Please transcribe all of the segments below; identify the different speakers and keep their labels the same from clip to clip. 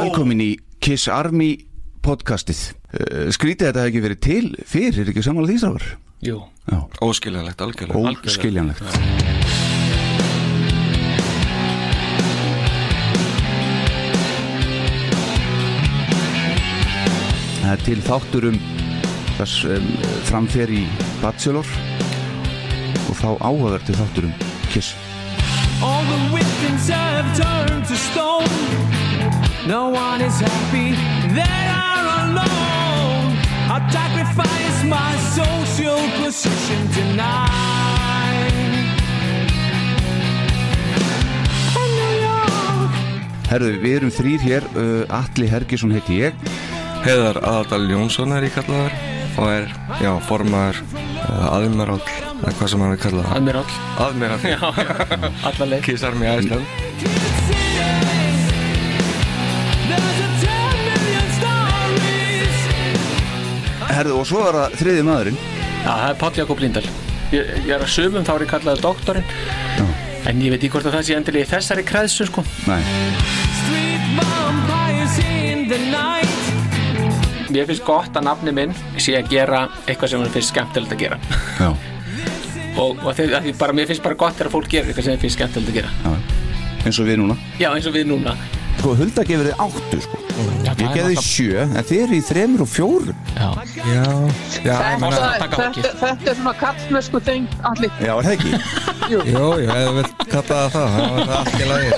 Speaker 1: Velkomin í Kiss Army podcastið uh, Skrítið að þetta hefði ekki verið til fyrir, ekki sammála því strákar
Speaker 2: Jú,
Speaker 3: Óskiljanlegt, algjörlega
Speaker 1: Óskiljanlegt Það er til þáttur um þess um, framfer í Bachelor og þá áhugavertu þáttur um Kiss
Speaker 4: All the victims have turned to stone. No one is happy. They are alone. I sacrifice my social position tonight. And New York.
Speaker 1: Herðu, við erum þrýr hér, uh, Atli Hergisson heiti ég
Speaker 3: Heiðar Aðardal Jónsson er í kallaðar og er, já, formaður uh, aðmirall, eða hvað sem hann er kallað
Speaker 2: Admiral
Speaker 3: Aðmirall,
Speaker 2: Alla leik
Speaker 3: kissar mig æsland
Speaker 4: There's a 10 million stories.
Speaker 1: Herðu, og svo er það þriði maðurinn
Speaker 2: Já, það er Páll Jakob Lindahl ég, ég er að sumum, þá er ég kallaði doktorinn En ég veit ekki hvort að það sé endilega í þessari kreðsu sko
Speaker 1: Nei
Speaker 4: Street vampires in the night.
Speaker 2: Ég finnst gott að nafni minn sé að gera eitthvað sem hann finnst skemmtilegt að gera
Speaker 1: Já,
Speaker 2: Og, og þeir, að því bara, mér finnst bara gott þegar fólk gerir eitthvað sem þeim finnst skemmtilegt að gera
Speaker 1: já eins og við núna
Speaker 2: Já, eins og við núna
Speaker 1: Sko, Hulda gefur þið áttu, sko Ég gef þið sjö, en þið eru í þremur og fjórum
Speaker 2: Já,
Speaker 3: Já, já, ég
Speaker 5: Þetta,
Speaker 3: meina
Speaker 2: taka
Speaker 5: þetta,
Speaker 2: ákið.
Speaker 5: þetta er svona kallmösku þing, allir.
Speaker 1: Já, er það ekki?
Speaker 3: Jó, já, ef þú vilt kalla það það, þá er það allt í lagi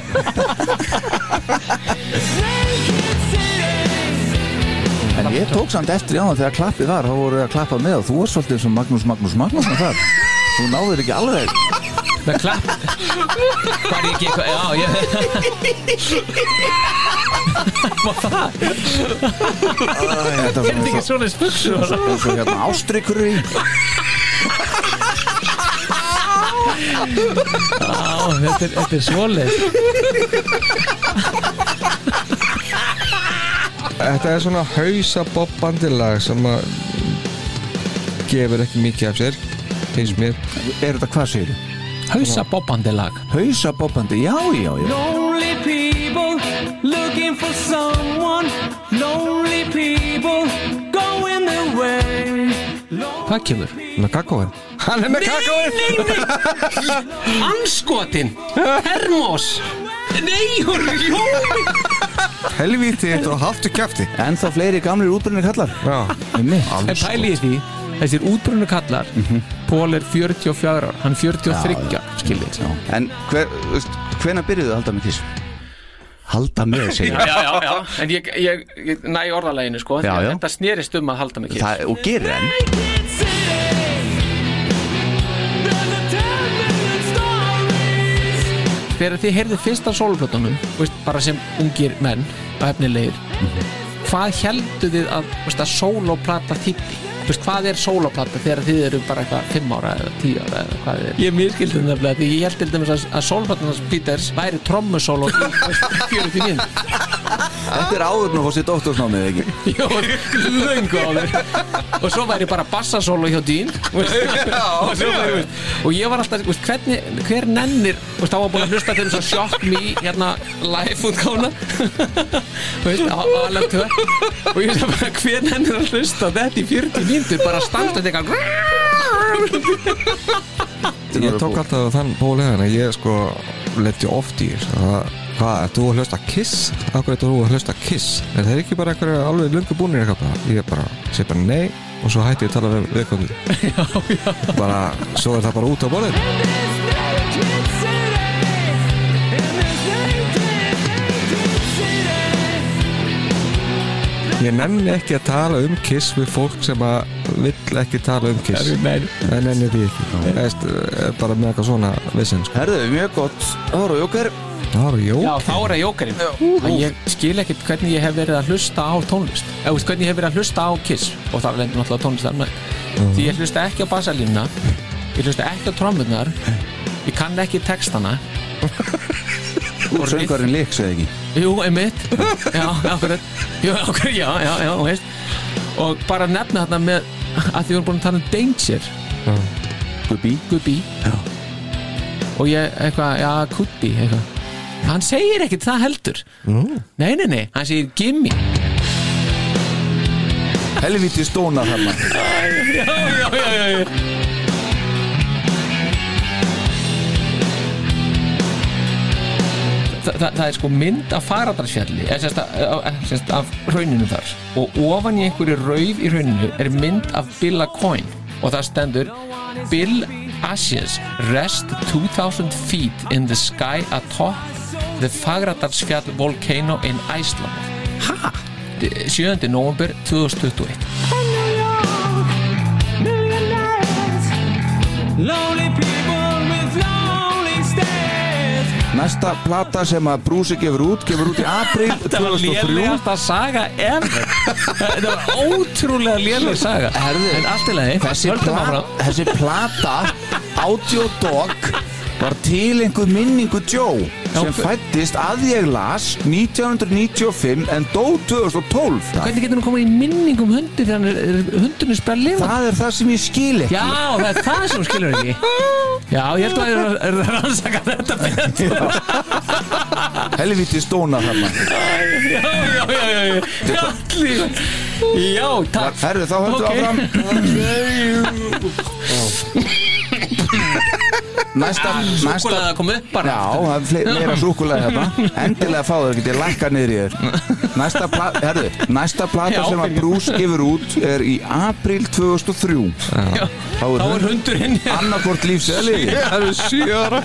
Speaker 4: Naked cities.
Speaker 1: En ég tók samt eftir á það þegar klappið var, þá voru þið að klappa með og þú var svolítið eins og Magnús Magnús Magnús þar Þú náður ekki alveg
Speaker 2: með klapp Hvað er ég ekki eitthvað, já, ég
Speaker 1: Æ, Þetta var svona eins
Speaker 2: svona spuksu
Speaker 1: og- eins og hérna ástrykkur í
Speaker 2: Þetta er, þetta er svoleið
Speaker 3: Þetta er svona hausabobbandi lag sem að gefur ekki mikið af sér finnst mér
Speaker 1: Er þetta hvað segir?
Speaker 2: Hausa bobbandi lag
Speaker 1: Hausa bobbandi, já, já, já
Speaker 4: Lonely people looking for someone. Lonely people going their way.
Speaker 2: Hvað kemur?
Speaker 3: með kakóin Hann er með kakóin
Speaker 2: Anskotin Hermos Nei, hún er ljóð
Speaker 3: Helvíti, þetta og haftu kjafti
Speaker 1: En þá fleiri gamlir útbrunni kallar
Speaker 3: Já,
Speaker 1: Einmitt.
Speaker 2: En pæli í því Þessir útbrunnu kallar Pól er 44 ára Hann 43 Skilvið Já,
Speaker 1: En hver, hvena byrjuðu að halda með kiss? Halda með, segir ég.
Speaker 2: já, já, já En ég, ég, ég næ orðalæginu sko
Speaker 1: Já, já.
Speaker 2: Þetta snerist um að halda mig kiss
Speaker 1: Það, og gerir enn
Speaker 4: Naked cities. There's a 10 million stories.
Speaker 2: Þegar þið heyrðu fyrst af sólplötunum veist, Bara sem ungir menn Og efnilegir Hvað heldur þið að, veist, að sólóplata þýtti? Þú veist, hvað er sólóplata þegar þið eru bara eitthvað 5 ára eða 10 ára eða hvað er? Ég miskildi það nefnilega því ég held til dæmis að, að sólplatans Peters væri trommusóló í þú veist, 40 minn
Speaker 1: Þetta er áður nú fór sér doktorsnámið, ekki?
Speaker 2: Jó, löngu á þér Og svo væri bara bassasólu hjá dýn og, svo væri, veist, og ég var alltaf, veist, hvernig, hver nennir veist, þá var búin að hlusta til þess að shock me hérna live útgána veist, á á alveg tvö og ég veist bara, hver nennir að hlusta á þetta í 40 mínútur, bara standa þetta eitthvað
Speaker 3: ég tók alltaf þann bóliðan að ég sko leti oft í þess að hvað, ert þú að hlusta kiss? Akkur ert þú að hlusta kiss? Er það ekki bara einhverja alveg lungu búnir eitthvað bara? Ég bara, segi bara nei og svo hætti ég að tala við viðkomandi
Speaker 2: já, já
Speaker 3: bara, svo er það bara út á bólið
Speaker 6: Naked City. In
Speaker 4: This night.
Speaker 6: this naked, naked city.
Speaker 3: Ég nenni ekki að tala um Kiss við fólk sem að vill ekki tala um Kiss
Speaker 2: Nei,
Speaker 3: Það nenni því ekki Eðst, Bara með eitthvað svona vissin sko.
Speaker 1: Herðu, mjög gott Það voru jóker
Speaker 3: Það var jó
Speaker 2: Já, þá er það jókarinn Þannig ég skil ekkert hvernig ég hef verið að hlusta á tónlist eða þú veist, hvernig ég hef verið að hlusta á Kiss og það lendur náttúrulega tónlistar með því ég hlusta ekki á bassalínuna ég hlusta ekki á trommurnar ég kann ekki textana
Speaker 1: Úr söngvarinn líks eða ekki
Speaker 2: Jú, einmitt Já, akkurat Jú, akkurat, já, já, já, þú veist og bara nefna þarna með að því við erum búin að tala um Danger
Speaker 1: Gubbi
Speaker 2: Gubbi já. og ég eitthvað, já, Kubbi eitthvað. hann segir ekkert það heldur mm. nei, nei, nei, hann segir Gimmi
Speaker 1: Helviti stónar hann
Speaker 2: já, já, já, já. Þa, það, það er sko mynd af faradarsfjalli eða sérst, að- að- að- sérst af rauninu þar og ofan í einhverju rauð í rauninu er mynd af Billa Coyne og það stendur Bill Ashes rest 2000 feet in the sky atop the Fagradalsfjall volcano in Iceland Hæ? 7. november 2021
Speaker 6: Lonely people with lonely stares.
Speaker 1: Næsta plata sem að Brúsi gefur út Gefur út í april
Speaker 2: Þetta var
Speaker 1: 2003
Speaker 2: lélegasta saga ever Þetta var ótrúlega léleg saga
Speaker 1: Herðu,
Speaker 2: En allt í lagi
Speaker 1: Þessi,
Speaker 2: höldum
Speaker 1: pla
Speaker 2: áfram.
Speaker 1: þessi plata Audio Dog var til einhver minningu Joe sem
Speaker 2: Já.
Speaker 1: fættist að ég las 1995 en dó 2012
Speaker 2: Hvernig getur hún komið í minning um hundi þegar hann er, er hundurinn er spjall lifa?
Speaker 1: það er það sem ég skil ekki
Speaker 2: Já, það er það sem hún skilur ekki Já, ég held að það er að rannsaka þetta betur
Speaker 1: helviti stónar hann
Speaker 2: Já, já, já, já, já Já, allir. Já, takk
Speaker 1: herðu þá höfðu
Speaker 2: Ok.
Speaker 1: áfram næsta, næsta
Speaker 2: Súkulega Ah, að koma upp bara
Speaker 1: Já, það er fle- meira súkulega hérna Endilega fá þau, getið lækka niður í þér Næsta, pla herðu, næsta plata
Speaker 2: Já,
Speaker 1: sem að
Speaker 2: fyrir.
Speaker 1: Bruce gefur út er í april 2003
Speaker 2: Já,
Speaker 1: Þá er
Speaker 2: Þá er
Speaker 1: hund
Speaker 2: hundurinn hérna.
Speaker 1: annarkvort lífseli
Speaker 3: Það eru sjö ára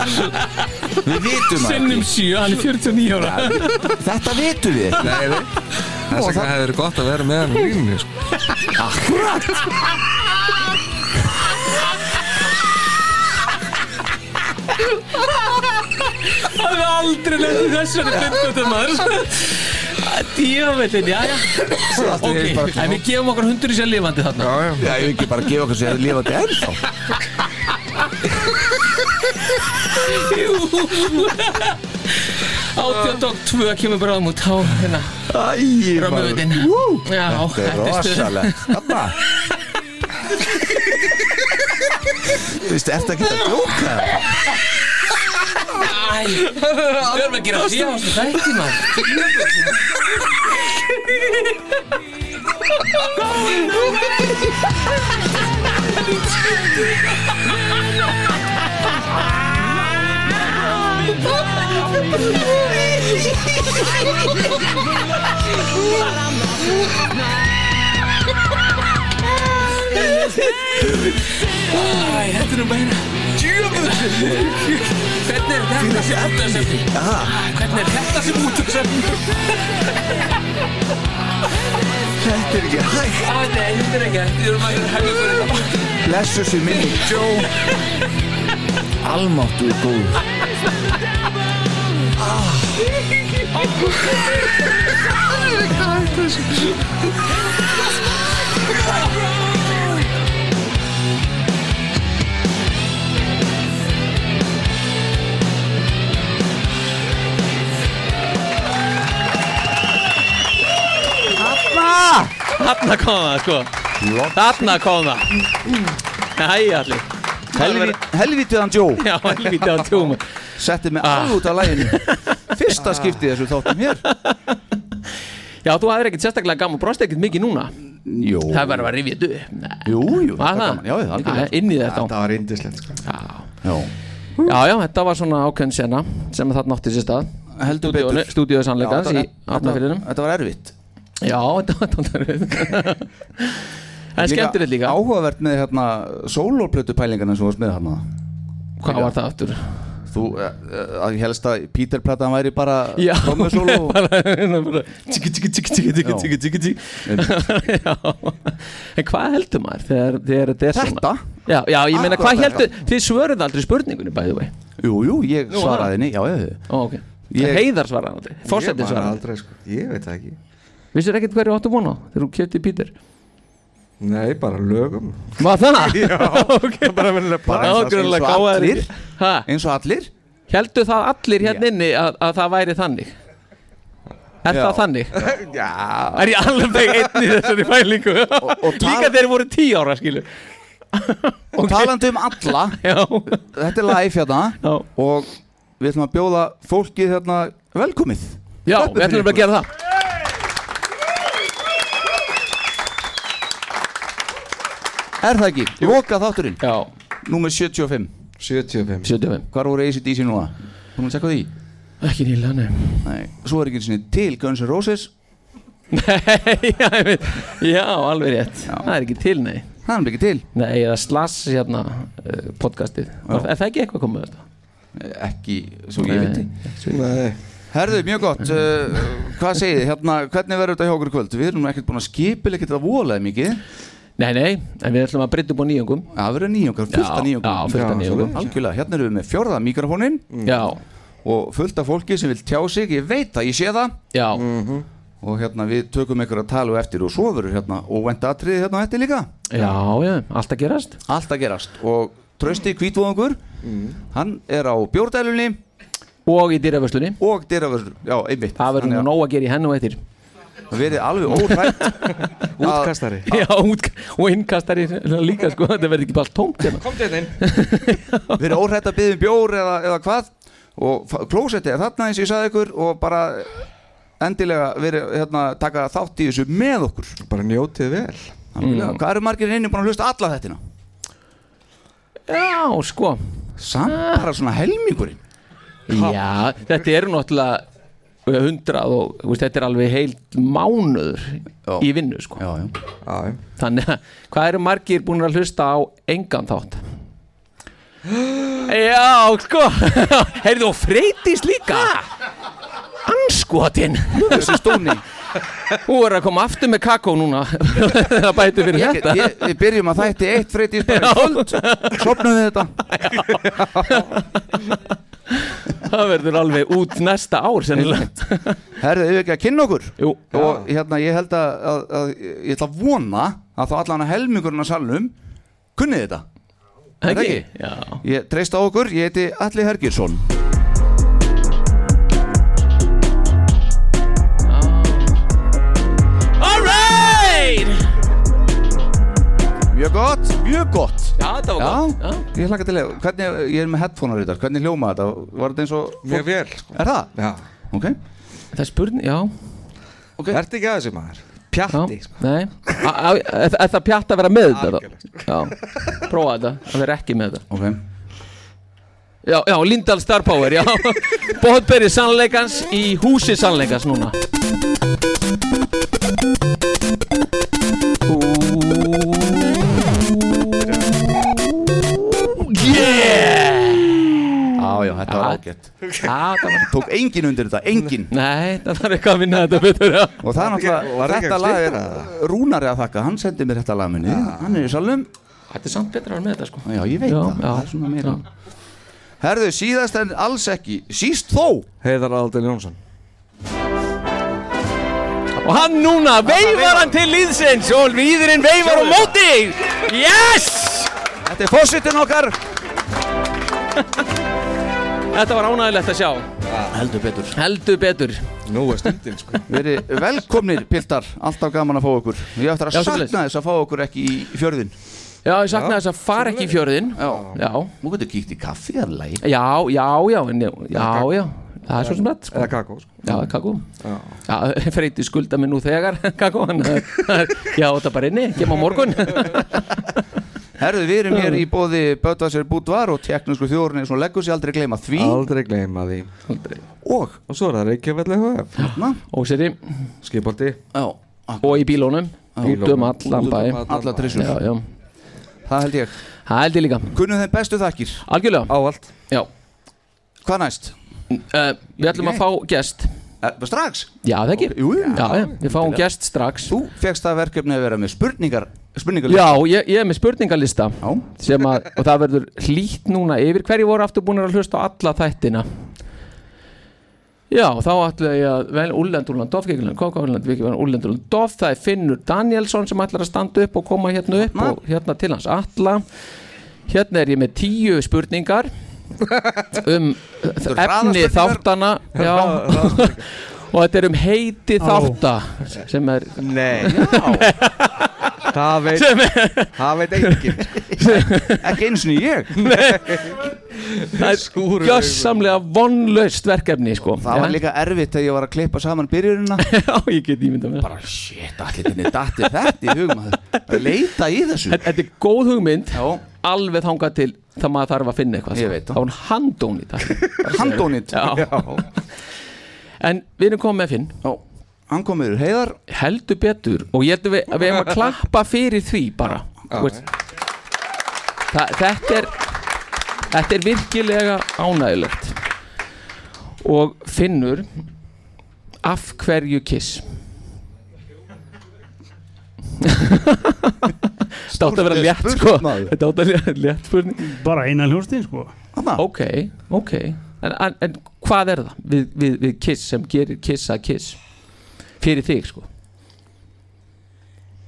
Speaker 1: Við vitum það
Speaker 2: Sinnum
Speaker 1: ekki.
Speaker 2: 7, hann er 49 ára
Speaker 1: Þetta vitum við ekki.
Speaker 3: Nei, nei Þess vegna hefur verið gott að vera með hann í línunni sko.
Speaker 2: Það er aldrei lendið þessari bindgötu maður Dýraveldin, já já
Speaker 1: í einu bara
Speaker 2: Ok, en við gefum okkur hundur í sér lifandi þarna
Speaker 3: Já, já
Speaker 1: Já, ég vil ekki bara gefa okkur sér að lifa þetta ennþá
Speaker 2: Átjóndokk 2 kemur bráðum út á hérna
Speaker 1: Æ,
Speaker 2: römmuðin Já,
Speaker 1: Þetta er
Speaker 2: stuð.
Speaker 1: rosalegt Þarna Þú veist, ertu ekki að djóka?
Speaker 2: Æ, við erum að gera því á þessu þætti maður Æ, þetta er nú meira Hvernig er þetta sem út að semni? Hvernig er þetta sem út að semni?
Speaker 1: Þetta er ekki hægt
Speaker 2: Æ, nei, þetta er ekki Við erum að hefja fyrir þetta
Speaker 1: Blessu sér minni Joe Almáttu er góð
Speaker 4: Þarna kom það sko Þarna kom það Æ, allir
Speaker 1: Helvi, Helvitiðan Joe
Speaker 4: Já, helvítið á tjóma
Speaker 1: Setti
Speaker 4: Ah.
Speaker 1: mig alveg út af læginu Fyrsta skiptið þessu þáttum hér
Speaker 4: Já, þú hafðir ekkert sérstaklega gaman Brosti ekkert mikið núna
Speaker 1: Jó
Speaker 4: Það var bara að rifja þetta upp Nei.
Speaker 1: Jú, jú,
Speaker 4: Var
Speaker 1: þetta
Speaker 4: það?
Speaker 1: er gaman, já, já, algjörlega.
Speaker 4: Já, Inn í þetta
Speaker 7: Þetta var indislegt sko.
Speaker 1: já.
Speaker 4: Já, já, þetta var svona ákveðin sena sem þarna átti sér stað
Speaker 1: Heldur
Speaker 4: Stúdíónu-
Speaker 1: betur.
Speaker 4: Stúdíói
Speaker 1: Já,
Speaker 4: sannleikans
Speaker 1: þetta
Speaker 4: í
Speaker 1: var-
Speaker 4: Afnafyrðinum
Speaker 1: Þetta var erfitt
Speaker 4: Já, þetta var tóndaröð En skemmtilegt líka
Speaker 1: Áhugavert með hérna sólóplötu pælingarna sem þú varst með hérna
Speaker 4: Hvað var það aftur?
Speaker 1: Þú, eh, eh, að ég helst að Peter Platan væri bara
Speaker 2: Já,
Speaker 1: trommusóló og-
Speaker 2: bara, hérna, bara tíki, tíki, tíki, tíki, tíki, tíki, tíki, tíki Já, en hvað heldur maður þegar, þegar þetta er svona?
Speaker 1: Þetta?
Speaker 2: Já, já, ég meina,
Speaker 1: Akkurat
Speaker 2: hvað
Speaker 1: þetta.
Speaker 2: heldur, þið svöruð aldrei spurningunni bæði vei
Speaker 1: Jú, jú, ég
Speaker 2: Nú,
Speaker 1: svaraði henni, já, ég,
Speaker 2: Ó, ok,
Speaker 1: Ég-
Speaker 2: heiðar svaraði hann aldrei,
Speaker 3: Ég
Speaker 2: fórsetin
Speaker 3: man
Speaker 2: svaraði
Speaker 3: aldrei, sko. Ég veit það ekki
Speaker 2: aldrei Vissir ekkert hverju áttu vona þegar hún kjöpti Pítur?
Speaker 3: Nei, bara lögum
Speaker 2: Var það? Já, ok
Speaker 3: Bara verður
Speaker 1: bara
Speaker 2: Já,
Speaker 1: eins og- eins
Speaker 2: greinilega
Speaker 1: og
Speaker 2: gáfaðir
Speaker 1: allir
Speaker 2: ekki. Ha,
Speaker 1: eins og allir
Speaker 2: heldur það allir hérna inni að, að það væri þannig? Er
Speaker 1: Já.
Speaker 2: það þannig?
Speaker 3: Já,
Speaker 2: Er ég alveg einn í þessari fælingu?
Speaker 1: og tal-
Speaker 2: Líka þeir voru tíu ára, skilu
Speaker 1: og talandi um alla,
Speaker 2: Já,
Speaker 1: þetta er live hérna
Speaker 2: já
Speaker 1: og við ætlum að bjóða fólkið hérna velkomið
Speaker 2: Já,
Speaker 1: Klöppum
Speaker 2: við
Speaker 1: fyrir
Speaker 2: ætlum
Speaker 1: ykkur.
Speaker 2: að gera það
Speaker 1: er það ekki, loka þátturinn
Speaker 2: Já,
Speaker 1: númer 75,
Speaker 3: 75
Speaker 2: 75
Speaker 1: hvar voru ACDC núna? Þú mér að tekka því?
Speaker 2: Ekki nýlega, nei
Speaker 1: Nei, svo er ekki einu sinni til Guns N' Roses
Speaker 2: Nei, já, ég veit Já, alveg rétt Það er ekki til, nei
Speaker 1: það er ekki til,
Speaker 2: Nei, eða slass hérna uh, podcastið Var, Er það ekki eitthvað komið þetta?
Speaker 1: ekki svo ég veit
Speaker 3: Nei,
Speaker 1: Herðu, mjög gott,
Speaker 2: Mhm.
Speaker 1: uh, hvað segið þið, hérna, hvernig verður þetta hjá okkur í kvöld? Við erum nú ekkert búin að skipilega þetta volaði mikið,
Speaker 2: Nei, nei, en við ætlum að breytta upp á nýjungum
Speaker 1: það verður nýjungar, fullt af nýjungum
Speaker 2: Já, fullt af nýjungum Mm.
Speaker 1: Algjörlega, hérna erum við með fjórða mikrofónin
Speaker 2: Já,
Speaker 1: og fullt af fólki sem vil tjá sig, ég veit að ég sé það
Speaker 2: já,
Speaker 1: og hérna við tökum einhverja talu eftir og svo verður hérna og venda atriði hérna eftir líka
Speaker 2: já, já, allt að gerast
Speaker 1: allt að gerast og trösti kvítvóðungur hann er á bjórdælunni
Speaker 2: Og í dýravörslunni
Speaker 1: og dyravörður, já einmitt
Speaker 2: Það verður nú
Speaker 1: Þannig
Speaker 2: nóg að gera í henn og eittir
Speaker 1: að verið alveg órætt
Speaker 3: útkastari
Speaker 2: Já, út, og innkastari líka sko Þetta verður ekki bara allt tómt hérna
Speaker 3: Kom þetta inn
Speaker 1: verið órætt að byggja um bjór eða, eða hvað og fa- klósettið er þarna eins og ég sagði ykkur og bara endilega verið hérna taka þátt í þessu með okkur
Speaker 3: Bara njótið vel
Speaker 1: mm. hvað eru margir inni búin að hlusta alla þettina
Speaker 2: Já, sko
Speaker 1: samt bara svona helmingurinn
Speaker 2: Já, þetta eru náttúrulega hundrað og þú veist, þetta er alveg heilt mánuður
Speaker 1: Já.
Speaker 2: í vinnu sko.
Speaker 1: já, já.
Speaker 3: Já,
Speaker 2: þannig að hvað eru margir búin að hlusta á engan þátt Já, sko heyrðu og freytis líka anskotin
Speaker 1: þessu stóni
Speaker 2: hún er að koma aftur með kakó núna það bæti fyrir
Speaker 1: ég,
Speaker 2: þetta
Speaker 1: ég, við byrjum að þætti eitt freytis bara í kvöld sopnum við þetta
Speaker 2: það verður alveg út næsta ár sennilega
Speaker 1: herðu yfir ekki að kynna okkur
Speaker 2: Jú,
Speaker 1: og hérna ég held að, að, að ég ætla að vona að þá allan að helmingurinn að salnum kunnið þetta það
Speaker 2: ekki?
Speaker 1: ekki?
Speaker 2: Já.
Speaker 1: ég treysta á okkur, ég heiti Alli Hergjursson
Speaker 2: Alright
Speaker 1: mjög gott, mjög gott
Speaker 2: Já, þetta var
Speaker 1: já,
Speaker 2: gott Já.
Speaker 1: ég hlaka til að hvernig, ég er með headphonear í þetta, hvernig hljóma þetta var þetta eins og,
Speaker 3: mjög vel sko.
Speaker 1: er það?
Speaker 3: Já,
Speaker 1: ok,
Speaker 2: Það er spurning, já
Speaker 3: ertu ekki aðeins maður? Pjatti
Speaker 2: Já,
Speaker 3: sko.
Speaker 2: Nei, A- á- er er það pjatt að vera með þetta þá? Já, prófa þetta, það vera ekki með þetta
Speaker 1: ok
Speaker 2: Já, já, Lindahl Star Power, já Bóðberi sannleikans í húsi sannleikans núna
Speaker 1: já, já, þetta var
Speaker 2: Já.
Speaker 1: ágætt
Speaker 2: Já, Ah. það var
Speaker 1: tók engin undir þetta, engin
Speaker 2: Nei, það þarf eitthvað að vinna þetta betur já.
Speaker 1: og það er náttúrulega,
Speaker 3: var ekki
Speaker 1: þetta
Speaker 3: að
Speaker 1: lag er
Speaker 3: slítra það?
Speaker 1: Rúnari að þakka, hann sendi mér þetta lag minni hann er í salnum,
Speaker 2: Þetta er samt betra að vera með þetta sko
Speaker 1: já, ég veit
Speaker 2: Já,
Speaker 1: það
Speaker 2: já.
Speaker 1: það er svona meira herðu, síðast en alls ekki, síst þó
Speaker 3: Heiðar Aldel Jónsson
Speaker 2: Og hann núna veifar hann til liðsins og líðurinn veifar á móti Yes!
Speaker 1: þetta er fósittin okkar
Speaker 2: Þetta var ánægilegt að sjá
Speaker 1: heldur betur,
Speaker 2: Heldur betur
Speaker 3: Nú er stundin sko.
Speaker 1: verið velkomnir piltar, alltaf gaman að fá okkur ég ætti að
Speaker 2: Já,
Speaker 1: sakna
Speaker 2: svoleiðis.
Speaker 1: þess að fá okkur ekki í fjörðin
Speaker 2: Já, ég sakna þess að fara ekki í fjörðin
Speaker 1: já,
Speaker 2: Já,
Speaker 1: nú getur kíkt í kaffi þar lagi
Speaker 2: Já, já, já, en, já, já, já Það er svo sem þetta, sko.
Speaker 3: Eða kakó sko.
Speaker 2: Já, kakó. Já, freyti skulda mig nú þegar, kakó. hann, það er- Já, þetta bara inni, kem á morgun.
Speaker 1: herðu, við erum hér í bóði Bötvarsir Búdvar og teknísku þjórnir sem leggur sér aldrei gleyma því
Speaker 3: Aldrei gleyma því
Speaker 1: og, Hérna.
Speaker 3: Og svo er það Reykjavík HF
Speaker 1: na,
Speaker 2: Óseri,
Speaker 3: Skipolti
Speaker 1: já,
Speaker 2: og í bílónum, út um allan bæ.
Speaker 1: alla trissur
Speaker 2: Já, já,
Speaker 1: það held ég
Speaker 2: það held ég líka.
Speaker 1: Kunnum þeim bestu þakkir
Speaker 2: Algjörlega,
Speaker 3: Ávallt
Speaker 2: já.
Speaker 1: Hvað næst?
Speaker 2: uh, Við ætlum að fá gest
Speaker 1: Eh, Strax?
Speaker 2: Já, það ekki
Speaker 1: Jú, jú.
Speaker 2: Já, já, við fáum gest strax
Speaker 1: Þú fegst það verkefni að vera með spurningar Spurningar
Speaker 2: Já, ég, ég er með spurningalista
Speaker 1: Já.
Speaker 2: sem að, og það verður hlýtt núna yfir hverju voru aftur búin að hlusta á alla þættina Já, þá ætla ég að vel Úlland, Úlland, Doff, Gekkiland, Kókaúlland, Vikiland, Úlland, Úlland, Doff, það er Finnur Danielsson sem ætlar að standa upp og koma hérna upp og hérna til hans alla Hérna er ég með tíu spurningar um efni
Speaker 1: hraðaspurningar?
Speaker 2: þáttana Já, og þetta er um heiti þátta sem er
Speaker 8: Nei Það veit
Speaker 2: Sem
Speaker 8: Það veit enginn sko.
Speaker 1: Ekki eins og ég
Speaker 2: það er gjössamlega vonlaust verkefni sko.
Speaker 1: Það var
Speaker 2: Já.
Speaker 1: líka erfitt þegar ég var að klippa saman byrjunina
Speaker 2: já, ég get ímynda með það
Speaker 1: Bara shit, allir þinni datti þetta í hugum að að leita í þessu
Speaker 2: Þetta- þetta er góð hugmynd
Speaker 1: Já,
Speaker 2: alveg þangað til það maður þarf að finna eitthvað
Speaker 1: Ég
Speaker 2: sko.
Speaker 1: veit það.
Speaker 2: þá er hún handóni þetta
Speaker 1: handónit
Speaker 2: Já. en við erum komið með Finn
Speaker 1: Já, hann kom yfir heiðar
Speaker 2: heldur betur og ég heldur við að við erum að klappa fyrir því bara Þú veist. Þa, þetta er þetta er virkilega ánægilegt og Finnur af hverju kiss Þetta átt að vera létt sko
Speaker 1: maður.
Speaker 2: Þetta átt að vera létt spurning
Speaker 9: bara eina hljómsdýn sko
Speaker 1: Hanna,
Speaker 2: Ok, ok En, en, en hvað er það við, við, við kiss sem gerir kiss að kiss Fyrir þig sko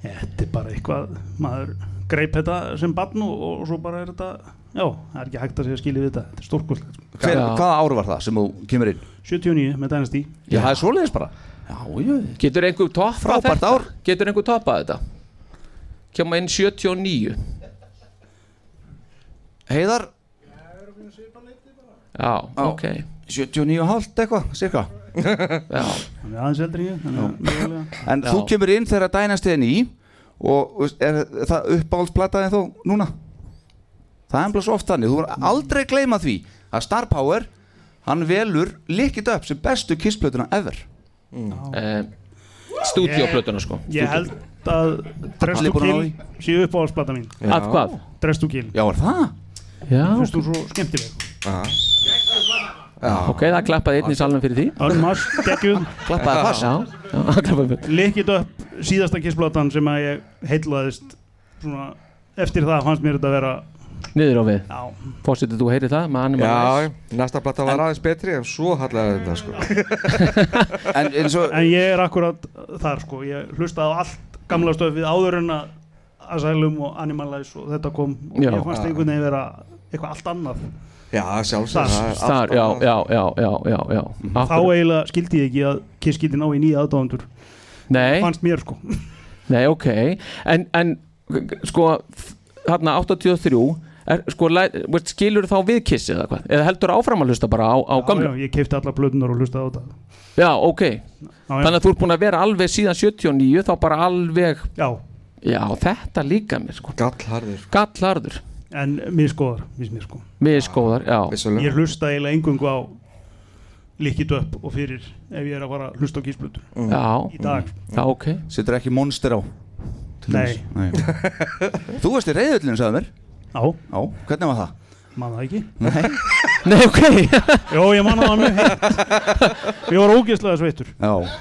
Speaker 9: þetta er bara eitthvað maður greip þetta sem barn og, og svo bara er þetta já, það er ekki hægt að segja skilja við þetta þetta er stórkvöld sko.
Speaker 1: hver,
Speaker 2: Já.
Speaker 1: hvaða áru var það sem þú kemur inn?
Speaker 9: 79 með Dynasty
Speaker 1: Já, það er svoleiðis bara Já, já,
Speaker 2: Getur einhver toppað
Speaker 1: Frábært
Speaker 2: þetta?
Speaker 1: ár.
Speaker 2: Getur einhver toppað þetta? Kjáma inn 79
Speaker 1: heiðar
Speaker 2: Já, ok
Speaker 1: 79,5 eitthvað, cirka
Speaker 2: Já,
Speaker 9: hann er aðeins eldri en ég þannig að mögulega-
Speaker 1: En þú kemur inn þegar dænastiðin í og veist, er það uppáhaldsplataðin þó núna? Það er ennbla svo oft þannig, þú verður aldrei gleyma því að Star Power, hann velur líkit upp sem bestu kissplötuna ever
Speaker 3: Mm.
Speaker 2: eh, Stúdíóplötuna sko
Speaker 9: ég held að Dress
Speaker 1: Allir
Speaker 9: to
Speaker 1: búin að
Speaker 9: Kill sé upp á allsplata mín
Speaker 2: Að hvað?
Speaker 9: Dress to Kill
Speaker 1: Já, er það?
Speaker 2: Já,
Speaker 9: finnst þú svo skemmtileg
Speaker 2: ok, það klappaði einn í salnum fyrir því
Speaker 9: Arn Mars, geggjum,
Speaker 1: Klappaði fast
Speaker 2: Já, já, það klappaði fyrir
Speaker 9: likit upp síðasta kissplatan sem að ég heitlaðist svona eftir það fannst mér þetta vera
Speaker 2: Niður á við
Speaker 9: já,
Speaker 2: Fórsetið þú heyrir það með Animal
Speaker 3: Já,
Speaker 2: Eyes.
Speaker 3: næsta platta var aðeins betri en svo hallaði þetta sko
Speaker 1: En eins og,
Speaker 9: En ég er akkurat þar sko, ég hlustaði á allt gamla stöfið áður en að Asylum og Animalize og þetta kom og
Speaker 2: Já.
Speaker 9: ég fannst einhvern veginn vera eitthvað allt annað
Speaker 3: Já, sjálfsög
Speaker 9: Þar-
Speaker 2: Star, já, já, já, já, já, já.
Speaker 9: þá
Speaker 2: Akkurat.
Speaker 9: eiginlega skildi ég ekki að Kiss geti ná í nýja aðdáðandur
Speaker 2: Nei,
Speaker 9: fannst mér sko
Speaker 2: Nei, ok, en, en sko, hérna 83 er, sko, læ- veist, skilur þá við kissið eða hvað, eða heldur áfram að hlusta bara á, á
Speaker 9: já,
Speaker 2: gamlu,
Speaker 9: já, ég keipti alla blöðunar og hlustaði á þetta
Speaker 2: já, ok
Speaker 9: já,
Speaker 2: þannig að þú ert búin að vera alveg síðan 79 þá bara alveg,
Speaker 9: já,
Speaker 2: já, þetta líka mér sko,
Speaker 3: Gallharður
Speaker 2: gallarður
Speaker 9: en miskoðar, viss mér sko
Speaker 2: miskóðar, já,
Speaker 3: Vissulega
Speaker 9: ég hlustaði eiginlega engungu á Likkið upp og fyrir ef ég er að fara að hlusta á kísblöður í
Speaker 2: Mm. já,
Speaker 9: dag,
Speaker 2: já, ok
Speaker 1: setur ekki monster á
Speaker 9: nei,
Speaker 1: Nei. Þú varst í reyðullinu, sagði mér
Speaker 9: já,
Speaker 1: Já, hvernig var það?
Speaker 9: maður það ekki
Speaker 1: Nei,
Speaker 2: Nei, ok,
Speaker 9: Jó, ég manna það mjög heitt Ég var ógeðslega sveittur
Speaker 1: já,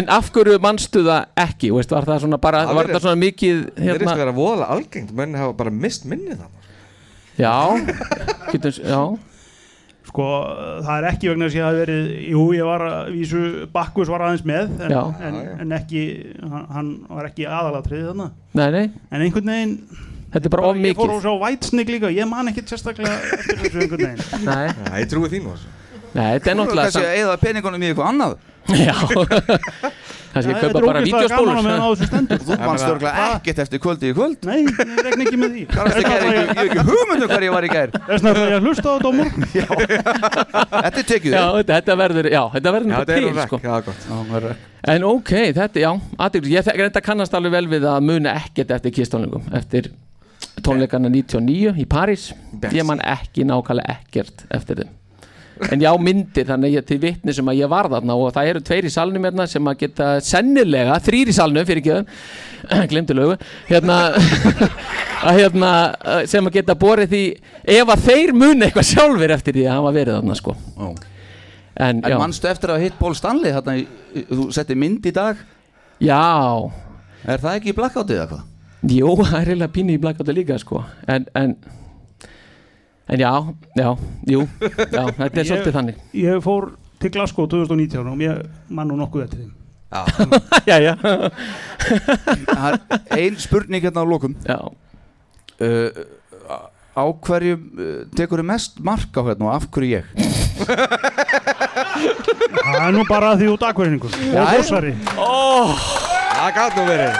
Speaker 2: en af hverju mannstu það ekki, veist, var það svona bara,
Speaker 3: Það
Speaker 2: var það
Speaker 3: virðist-
Speaker 2: svona mikið,
Speaker 3: Það er að
Speaker 2: hérna,
Speaker 3: vera voðalega algengt, menn hafa bara mist minnið það
Speaker 2: já, getum, já,
Speaker 9: Sko, það er ekki vegna þess að ég hafi verið Jú, ég var að vísu Bakkus var aðeins með En,
Speaker 2: Já.
Speaker 9: en, en ekki, hann, hann var ekki aðalatriði þarna
Speaker 2: nei, nei,
Speaker 9: En einhvern veginn
Speaker 2: þetta er bara of
Speaker 9: Ég fór
Speaker 2: mikið
Speaker 9: og sá Vætsnig líka Ég man ekkert sérstaklega eftir þessu einhvern veginn
Speaker 2: Nei,
Speaker 3: Já, ég trúi þínu þessu
Speaker 2: Nei, þetta er
Speaker 1: þú
Speaker 2: náttúrulega
Speaker 1: kannski
Speaker 2: samt
Speaker 1: að eigða peningunum í eitthvað annað
Speaker 2: Já Kannski ég kaupa bara
Speaker 9: gaman að meðan á
Speaker 2: vídeospólur
Speaker 9: þessu Ah. stendur
Speaker 1: Þú mannst örglega ekkert eftir kvöldi í kvöld
Speaker 9: Nei, ég regn ekki með því
Speaker 1: Hvað varstu að gera? Ég ég hef ekki hugmyndu hver ég var í gær
Speaker 9: Þess vegna ætla ég að hlusta á þetta á morgun
Speaker 1: Þetta er tekið
Speaker 2: Já,
Speaker 1: upp.
Speaker 2: þetta, þetta verður, já, þetta verður
Speaker 3: Já, þetta
Speaker 2: náttúrulega
Speaker 3: er
Speaker 2: til,
Speaker 3: úr
Speaker 2: sko
Speaker 3: rekk, það er gott
Speaker 2: En ok, þetta, já, aðeins, ég þekki reynda kannast alveg vel við að muna ekkert eftir kistónleikum Eftir tónleikana 99 í París Ég man ekki nákvæmlega ekkert eftir þeim en já myndir þannig að ég til vitni sem að ég var þarna og það eru tveir í salnum hérna sem að geta sennilega, þrýr í salnum fyrir ekki glemdi lögu hérna, að hérna að sem að geta borið því ef að þeir muni eitthvað sjálfur eftir því að hafa verið þarna sko
Speaker 1: Ó. En
Speaker 2: en, já.
Speaker 1: manstu eftir að hafa hitt Paul Stanley þarna, í- í- þú setti mynd í dag
Speaker 2: já
Speaker 1: Er það ekki í blackoutið eða hvað?
Speaker 2: Jó, það er reyna pínu í blackoutu líka sko. en, en en já, já, jú já, þetta er
Speaker 9: Ég-
Speaker 2: svolítið þannig
Speaker 9: Ég fór til Glasgow 2019 og mér mann nú nokkuð eftir þeim
Speaker 2: já, já.
Speaker 1: Það er ein spurning hérna á lokum
Speaker 2: já,
Speaker 1: uh, Á hverju uh, tekur þið mest mark á hérna og af hverju ég?
Speaker 9: Það er nú bara því út akverinningur og þossari
Speaker 8: Það gæt nú verið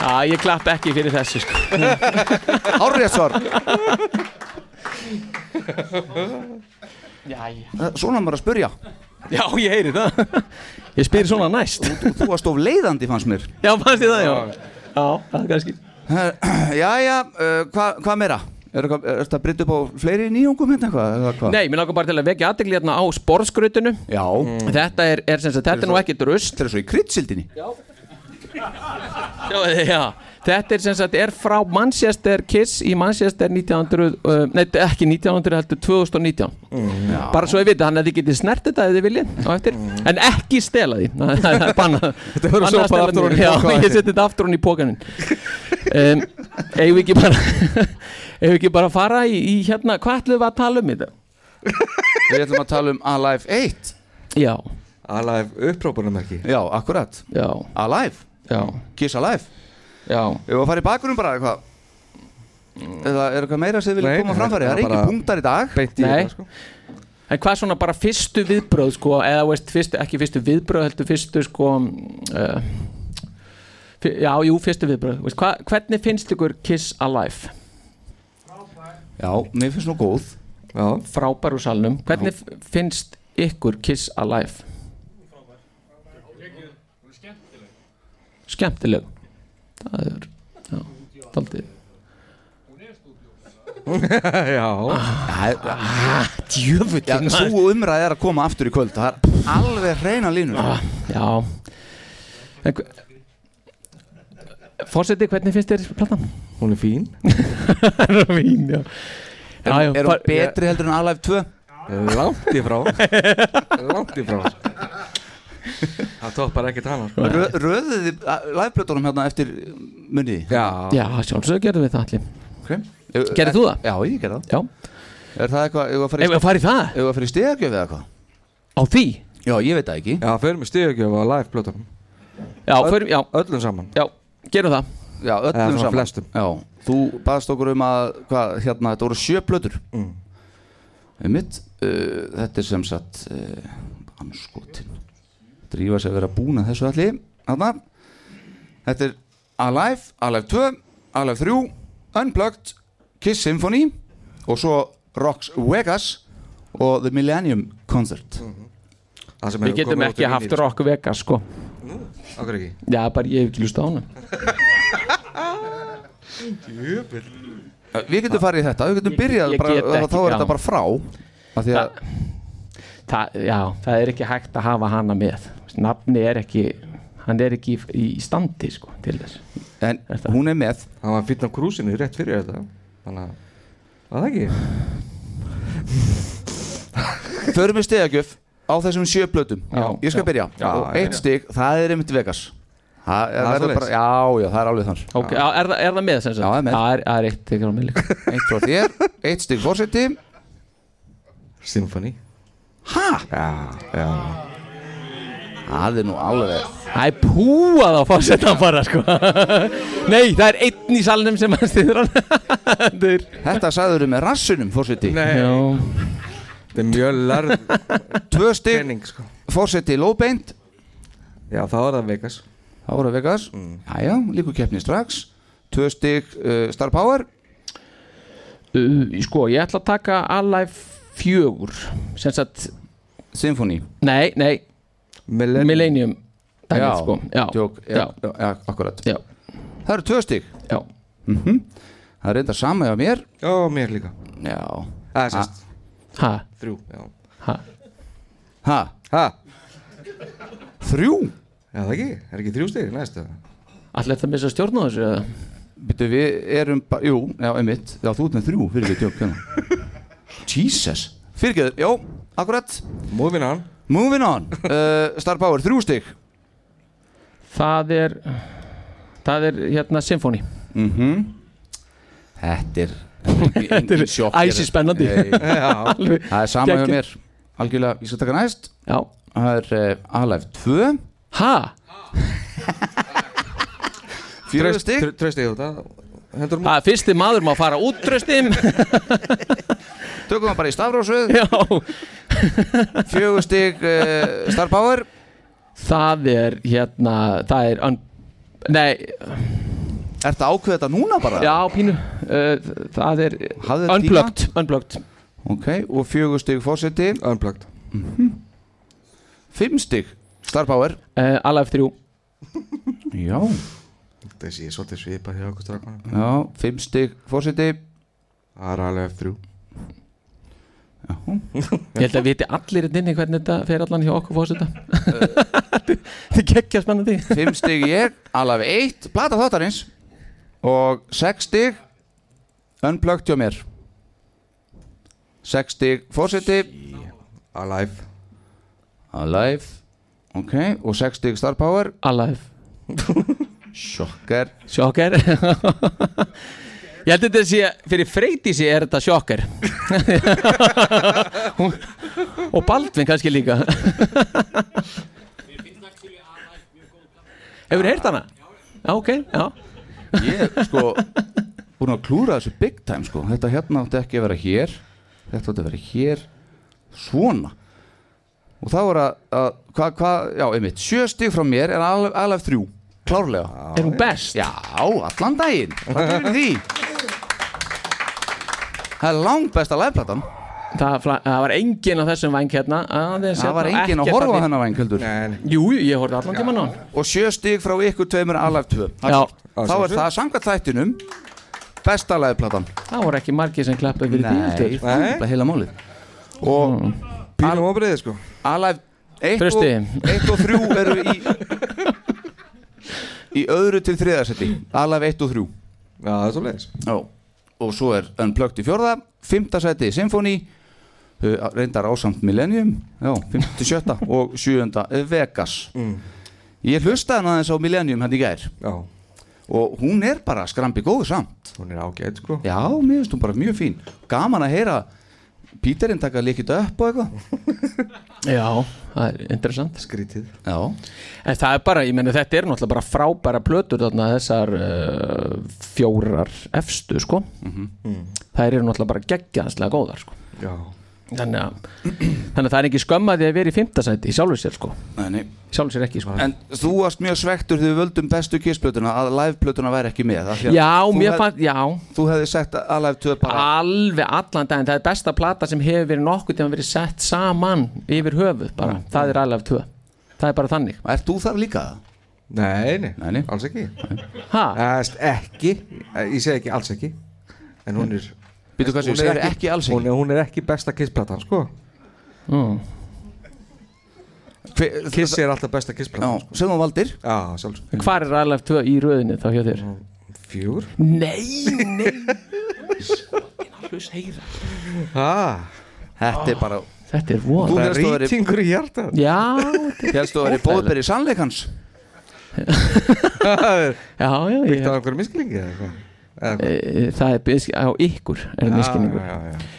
Speaker 2: já, ég klapp ekki fyrir þessu sko.
Speaker 1: Hárrið svar
Speaker 2: já, já.
Speaker 1: Uh, Svona maður að spurja
Speaker 2: já, ég heyri það ég spyr svona næst
Speaker 1: Þú varst of leiðandi fannst mér
Speaker 2: já, fannst ég það, já já, það er kannski
Speaker 1: Jæja, uh, hvað hva meira? Er þetta að breyta upp á fleiri nýjungum hérna eitthvað? eða hvað?
Speaker 2: Nei, mér langar bara til að vekja aðtegli hérna á sporðskrutinu
Speaker 1: Já,
Speaker 2: Þetta er, er sem sagt, þetta er nú ekki drust
Speaker 1: þetta er svo í kryddsildinni
Speaker 2: Já, já. Þetta er sem sagt, er frá Manchester Kiss í Manchester 1900, uh, nei ekki 1900 heldur 2019 bara svo ég viti, þannig að þið getið snert þetta ef þið viljið á eftir, en ekki stela því það það er bannað Þetta
Speaker 3: Mm. verður sópað aftur ofan í poka á
Speaker 2: Já, ég
Speaker 3: eftir.
Speaker 2: seti þetta aftur hún í pókanin um, Eigum við ekki bara eigum við ekki bara að fara í, í hérna, hvað ætlum við að tala um þetta?
Speaker 1: Við ætlum að tala um Alive 1
Speaker 2: Já,
Speaker 3: Alive upprópunum ekki
Speaker 1: Já, akkurat
Speaker 2: já,
Speaker 1: Alive,
Speaker 2: já,
Speaker 1: Kiss Alive
Speaker 2: já
Speaker 1: Ef við að fara í bakunum bara eitthvað Eða er eitthvað meira sem þið viljum
Speaker 3: Nei,
Speaker 1: koma á framfæri
Speaker 3: það
Speaker 1: Það
Speaker 3: er
Speaker 1: er ekki
Speaker 3: bara-
Speaker 1: punktar í dag
Speaker 3: Beint í
Speaker 2: Nei.
Speaker 3: þetta sko
Speaker 2: En hvað svona bara fyrstu viðbröð sko, eða veist, fyrstu, ekki fyrstu viðbröð heldur fyrstu sko uh, fyr, já, jú, fyrstu viðbröð veist, hva, hvernig finnst ykkur Kiss Alive?
Speaker 1: Já, mér finnst nú góð
Speaker 3: Já,
Speaker 2: Frábær úr salnum, hvernig f- finnst ykkur Kiss Alive? Skemmtileg Það er, já, daldið
Speaker 3: já
Speaker 2: Ah,
Speaker 1: Já,
Speaker 2: Djöfullin
Speaker 1: Sú umræð er að koma aftur í kvöld Það er alveg reyna línur
Speaker 2: Ah, Já En hve- Forseti, hvernig finnst þér platan?
Speaker 3: Hún er fín
Speaker 2: Vín, já Já, já,
Speaker 1: Er
Speaker 2: far-
Speaker 1: hún betri heldur en Alive 2?
Speaker 3: Eh, Langt í frá Langt í frá Það toppar ekkert hana sko.
Speaker 1: Rö- Röðuð þið liveblötunum hérna eftir munniði?
Speaker 3: Já,
Speaker 2: Já, sjálfsög gerðum við það allir
Speaker 1: Okay.
Speaker 2: Gerðir þú það?
Speaker 1: Já, ég gerði
Speaker 2: Já,
Speaker 1: það Er það eitthvað, ef að fara í
Speaker 2: ef við farið það
Speaker 1: Ef að fyrir stegagjöf eða eitthvað?
Speaker 2: Á því?
Speaker 1: Já, ég veit það ekki
Speaker 3: já förum við stíðugjöf á live plötunum
Speaker 2: Já, förum, já,
Speaker 3: Öllum saman
Speaker 2: já, gerum það
Speaker 1: Já,
Speaker 3: Eða
Speaker 1: öllum
Speaker 3: svona
Speaker 1: saman
Speaker 3: flestum.
Speaker 1: Já, þú baðst okkur um að, hvað, hérna, þetta voru sjö plötur
Speaker 3: Mm.
Speaker 1: Einmitt, uh, þetta er sem sagt uh, anskotin Drífa sig að vera búin að þessu allir Þarna Þetta er Alive, Alive 2, Alive 3 Unplugged, Kiss Symphony og svo Rocks Vegas og The Millennium Concert
Speaker 3: Mhm. Það sem
Speaker 2: Við
Speaker 3: hefur
Speaker 2: getum
Speaker 3: komið út í
Speaker 2: ekki haft
Speaker 3: vinil, sko.
Speaker 2: Rock Vegas, sko
Speaker 3: Af hverju ekki?
Speaker 2: Já, bara ég hef ekki lust á hana
Speaker 1: Eh, Við getum farið í þetta, við getum
Speaker 2: Ég-
Speaker 1: byrjað
Speaker 2: ég
Speaker 1: bara,
Speaker 2: get ekki,
Speaker 1: þá er þetta
Speaker 2: já.
Speaker 1: bara frá af því að,
Speaker 2: það, Já, það er ekki hægt að hafa hana með Nafni er ekki Hann er ekki í, í standi, sko, til þess
Speaker 1: en
Speaker 2: Er það?
Speaker 1: hún er með
Speaker 3: Það var fýtn á krúsinu rétt fyrir þetta Þannig að Var það ekki?
Speaker 1: förum við stegagjöf á þessum sjö plötum
Speaker 2: Já.
Speaker 1: ég skal byrja,
Speaker 3: Já,
Speaker 1: og
Speaker 3: ég
Speaker 1: eitt
Speaker 3: byrja.
Speaker 1: stig, það er einmitt Vegas það, það
Speaker 3: er
Speaker 1: er
Speaker 3: svoleiðis.
Speaker 1: bara, já, já, það er alveg þann
Speaker 2: Ok, já, er, það- er það með sem
Speaker 1: Já,
Speaker 2: sagt?
Speaker 1: það er með.
Speaker 2: Það er, það er eitt, ekki á mig líka
Speaker 1: eitt frá þér, eitt stig fórseti
Speaker 3: Symfóni
Speaker 1: ha,
Speaker 3: Já, já
Speaker 1: það er nú alveg
Speaker 2: Það er púað á fórsetan bara, sko Nei, það er einn í salnum sem hann stýður hann Þetta er
Speaker 1: þetta sagður við með rassunum fórseti
Speaker 3: Nei,
Speaker 2: Já
Speaker 3: þetta er mjög lærð
Speaker 1: tvö stig,
Speaker 3: kenning sko
Speaker 1: fórseti lóbeint
Speaker 3: Já, þá er það Vegas
Speaker 1: þá voru Vegas, mm. já, líku keppni strax tvö stig uh, Star Power
Speaker 2: Uh, sko, ég ætla að taka Alive 4 sem sagt,
Speaker 1: Symphony
Speaker 2: nei, nei,
Speaker 3: Millennium,
Speaker 2: Millennium dæmið, um, sko, já,
Speaker 1: Tjók, já,
Speaker 2: já,
Speaker 1: já, já, akkurat
Speaker 2: já,
Speaker 1: það eru tvö stig Mhm.
Speaker 2: já,
Speaker 1: Það er reynda sama hjá mér
Speaker 3: Já, mér líka
Speaker 1: Já
Speaker 3: Það er sérst
Speaker 2: ha,
Speaker 3: Þrjú, já
Speaker 2: Ha.
Speaker 1: Ha?
Speaker 3: Ha?
Speaker 1: Þrjú?
Speaker 3: Já, það ekki, er ekki þrjú stig, næstu
Speaker 2: Allir þetta missa stjórn á þessu eða?
Speaker 1: Býtu, við erum bara, jú, já, einmitt Já, þú ert með þrjú, fyrir ekki, tjók, hérna Jesus Fyrirgeður, já, akkurat
Speaker 3: Moving on
Speaker 1: Moving on uh, Star Power, þrjú stygg
Speaker 2: Það er Það er hérna symfóni
Speaker 1: mm -hmm. Þetta er Þetta
Speaker 2: er æsi spennandi. Alveg
Speaker 1: Það er sama hjá
Speaker 2: geggjað.
Speaker 1: mér Algjörlega, ég skal taka næst
Speaker 2: Já
Speaker 1: Það er uh, Alive 2
Speaker 2: Ha?
Speaker 1: Fjögur stygg
Speaker 3: Trösti ég þetta
Speaker 1: um-
Speaker 3: Hendur mú
Speaker 2: Það er fyrsti maður má fara út tröstin
Speaker 1: Tökum það bara í stafrósuð
Speaker 2: Já
Speaker 1: Fjögur stygg uh, Star Power
Speaker 2: Það er hérna Það er un... Nei
Speaker 1: Ertu að ákveða þetta núna bara?
Speaker 2: Já pínu uh, Það er
Speaker 1: Hafðu tíma?
Speaker 2: Unplugged Unplugged
Speaker 1: Ok, og fjögur stygg fórseti
Speaker 3: Unplugged
Speaker 1: Fimm stygg Star Power
Speaker 2: uh, Alive 3
Speaker 1: Já
Speaker 3: Þetta sé ég svolítið svipa hjá okkur strafmanum
Speaker 1: Já, fimm stygg fórseti
Speaker 3: Það er alveg F3
Speaker 2: Ég held að viti allir hérna inni hvernig þetta fer allan hjá okkur fósita Þetta er geggja spennandi
Speaker 1: Eh. Fimm stygg ég Alive 1 Plata þáttarins Og sex stygg Unplugged hjá mér Sex stygg fórseti
Speaker 3: Alive
Speaker 1: Alive Ok, og 6 stík star power
Speaker 2: Alive
Speaker 1: Sjokkar
Speaker 2: Sjokker Ég held að þetta sé, fyrir Freydísi er þetta sjokker Hún- Og Baldvin kannski líka Hefur heyrt hana? Já, ok, já
Speaker 1: Ég sko Búin að klúra þessu big time sko Þetta hérna átti ekki að vera hér Þetta átti að vera hér Svona Og þá er að, að Hvað, hvað, já, einmitt 7 stík frá mér er alveg, alveg þrjú Klárlega
Speaker 2: Er hún best?
Speaker 1: Já, allan daginn Hvað gerir því? Það er langt besta liveplatan
Speaker 2: Það, fla- það var engin á þessum væng hérna aðeins
Speaker 1: Það var
Speaker 2: hérna,
Speaker 1: enginn að
Speaker 2: ekkert
Speaker 1: horfa á
Speaker 2: allir-
Speaker 1: hennar vængjöldur
Speaker 3: En
Speaker 2: Jú, jú, ég horfði allan tíma hann
Speaker 1: Og 7 stík frá ykkur tveimur alveg tvö Það er
Speaker 2: Já,
Speaker 1: þá er það samkvæmt þættinum besta lagplatan
Speaker 2: það voru ekki margir sem klappa fyrir Mm. því heldur.
Speaker 1: það er bara heila málið og
Speaker 3: Pínum opriðið sko
Speaker 1: Alive 1 og,
Speaker 2: Trausti.
Speaker 1: 1 og 3 eru í í öðru til þriðarsetti Alive 1 og 3
Speaker 3: Já, það er svo leiðis
Speaker 1: Já. og svo er Unplugged í fjórða fimmta seti Symfóni uh, reyndar ásamt Millennium já, fimmta til sjötta og sjöunda eh, Vegas ég hlustaði hann aðeins á Millennium hann í gær
Speaker 3: Mm. Já,
Speaker 1: og hún er bara skrambi góð samt
Speaker 3: hún er ágætt sko
Speaker 1: Já, mér finnst hún bara mjög fín Gaman að heyra Píterinn taka líkit upp og eitthvað
Speaker 2: Já, það er interessant
Speaker 3: Skrítið
Speaker 1: Já,
Speaker 2: En það er bara, ég meina þetta er náttúrulega bara frábæra plötur þarna þessar uh, fjórar efstu sko
Speaker 1: Mhm.
Speaker 2: Það eru náttúrulega bara geggjaðslega góðar sko
Speaker 3: Mm. Já
Speaker 2: Þannig að, þannig að það er ekki skömma því að vera í fimmtasæti í sjálfu sér sko
Speaker 1: nei, nei
Speaker 2: Í sjálfu sér ekki sko
Speaker 1: En þú varst mjög svektur þegar við völdum bestu kissplötuna að liveplötuna væri ekki með af því að
Speaker 2: Já,
Speaker 1: þú
Speaker 2: mér
Speaker 1: hef-
Speaker 2: fannst, já,
Speaker 1: Þú hefði sagt að live 2 bara
Speaker 2: alveg allan daginn Það er besta plata sem hefur verið nokkuð tíma verið sett saman yfir höfuð bara Það er alveg tvö Það er bara þannig
Speaker 1: Mm. Ert þú þar líka?
Speaker 3: Nei, nei,
Speaker 1: Nei, nei.
Speaker 3: alls ekki
Speaker 2: Ha?
Speaker 3: Æst, Ekki, Eh, ég segi ekki alls ekki En hún er
Speaker 1: Býtu hvað sem
Speaker 3: hún er
Speaker 1: segir ekki alls
Speaker 3: Hún
Speaker 1: ekki
Speaker 3: er, hún er ekki besta kissplatan sko
Speaker 2: Mm.
Speaker 1: Hver-
Speaker 3: Kiss er alltaf besta
Speaker 1: Já,
Speaker 3: kissplatan sko.
Speaker 1: sem þú valdir
Speaker 3: Já, sjálfsög
Speaker 2: Hvar er alveg tvö í röðinni þá hjá þér?
Speaker 3: Fjúr
Speaker 2: Nei, nei Hlust heyra
Speaker 3: ah,
Speaker 1: Þetta er bara
Speaker 2: Þetta er von
Speaker 1: Þú
Speaker 3: Það er
Speaker 1: hélst þú væri-
Speaker 3: rýtingur í hjarta
Speaker 2: Já,
Speaker 1: Hélst þú að það er bóðberi sannleikans
Speaker 3: Það er
Speaker 2: já, já ég,
Speaker 3: Það er einhverjum misklingi eða eitthvað Eða eitthvað.
Speaker 2: e, Það er bis- á ykkur er miskinningur
Speaker 3: Já, já, já.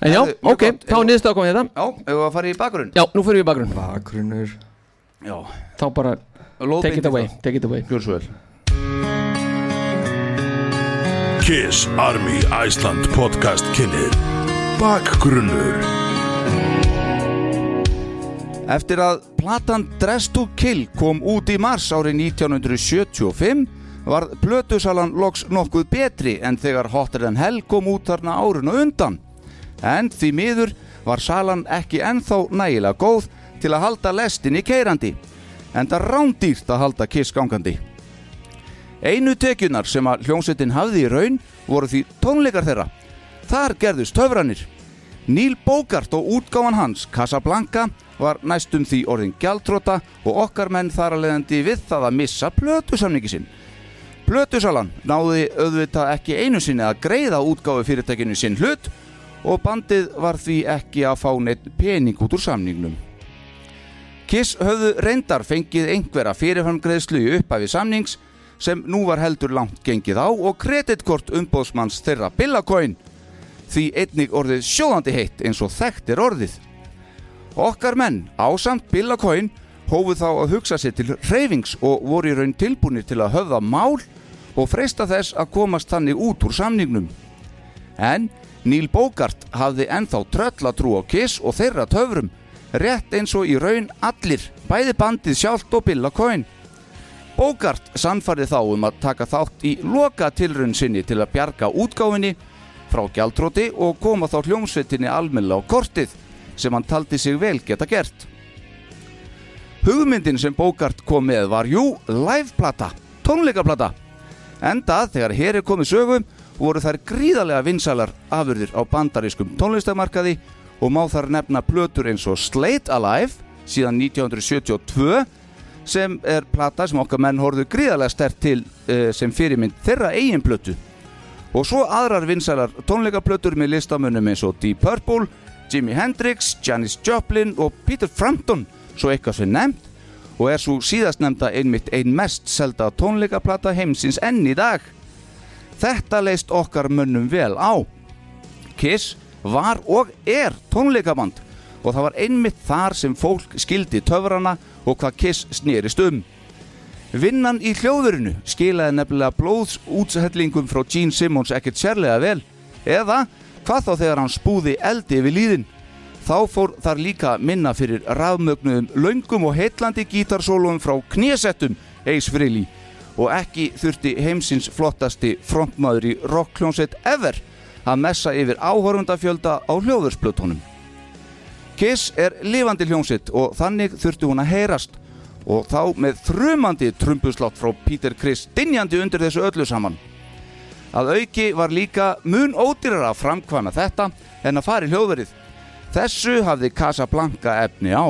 Speaker 2: En já,
Speaker 1: Það er mjög
Speaker 2: ok,
Speaker 1: gott.
Speaker 2: þá er niðurstaða komið þetta
Speaker 1: Já, ef við að fara í bakgrunn
Speaker 2: Já, nú fyrir við í bakgrunn
Speaker 3: Bakgrunnur
Speaker 1: Já,
Speaker 2: Þá bara, take it away, take it away
Speaker 1: Gjör svo vel
Speaker 4: Kiss Army Iceland podcast kynir Bakgrunnur
Speaker 1: Eftir að platan Dress to Kill kom út í mars árið 1975 var plötusalan loks nokkuð betri en þegar Hotter than Hell kom út þarna árun og undan. En því miður var salan ekki ennþá nægilega góð til að halda lestinni keirandi, en það rándýrt að halda kiss gangandi. Einu tekjunar sem að hljómsveitin hafði í raun voru því tónleikar þeirra. Þar gerðust höfranir. Neil Bogart og útgáfan hans, Casablanca, var næstum því orðin gjaldtróta og okkar menn þar að leiðandi við það að missa plötusamningi sinn. Plötusalan náði auðvitað ekki einu sinni að greiða útgáfu fyrirtækinu sinn hlut og bandið var því ekki að fá neitt pening út úr samningnum. Kiss höfðu reyndar fengið einhverja fyrirframgreðslu í upphafi samnings sem nú var heldur langt gengið á og kreditkort umbóðsmanns þeirra Billacoin því einnig orðið sjóðandi heitt eins og þekkt er orðið. Okkar menn ásamt Billacoin hófu þá að hugsa sér til reyfings og voru í raun tilbúinir til að höfða mál og freista þess að komast þannig út úr samningnum. En Neil Bogart hafði ennþá tröllatrú á Kiss og þeirra töfrum, rétt eins og í raun allir, bæði bandið sjálft og Billa Coyne. Bogart sannfærði þá um að taka þátt í loka tilrun sinni til að bjarga útgáfinni frá gjaldróti og koma þá hljómsveitinni almennilega á kortið sem hann taldi sig vel geta gert. Hugmyndin sem Bogart kom með var jú liveplata, tónleikaplata. Enda þegar hér er komið sögum voru þær gríðarlega vinsælar afurðir á bandarískum tónlistamarkaði og má þar nefna plötur eins og Slate Alive síðan 1972 sem er plata sem okkar menn horfðu gríðarlega stert til eh, sem fyrirmynd þeirra eigin plötu og svo aðrar vinsælar tónleikaplötur með listamönnum eins og Deep Purple, Jimi Hendrix, Janis Joplin og Peter Frampton svo eitthvað sem nefnt og er svo síðast nefnda einmitt ein mest selda tónleikaplata heimsins enn í dag. Þetta leist okkar mönnum vel á. Kiss var og er tónleikaband og það var einmitt þar sem fólk skildi töfrana og hvað Kiss snerist um. Vinnan í hljóðurinu skilaði nefnilega blóðsútsætlingum frá Gene Simmons ekkert sérlega vel eða hvað þá þegar hann spúði eldi yfir líðin. Þá fór þar líka minna fyrir rafmögnuðum löngum og heitlandi gítarsólum frá knésettum Ace Frehley og ekki þurfti heimsins flottasti frontmaður í rockkljónsett ever að messa yfir áhorfundafjölda á hljóðursplötunum. Kiss er lifandi hljómsitt og þannig þurfti hún að heyrast og þá með þrumandi trumbuslátt frá Peter Criss dinjandi undir þessu öllu saman. Að auki var líka mun ódýrara að framkvæma þetta en að fara í hljóðverið. Þessu hafði Casablanca efni á.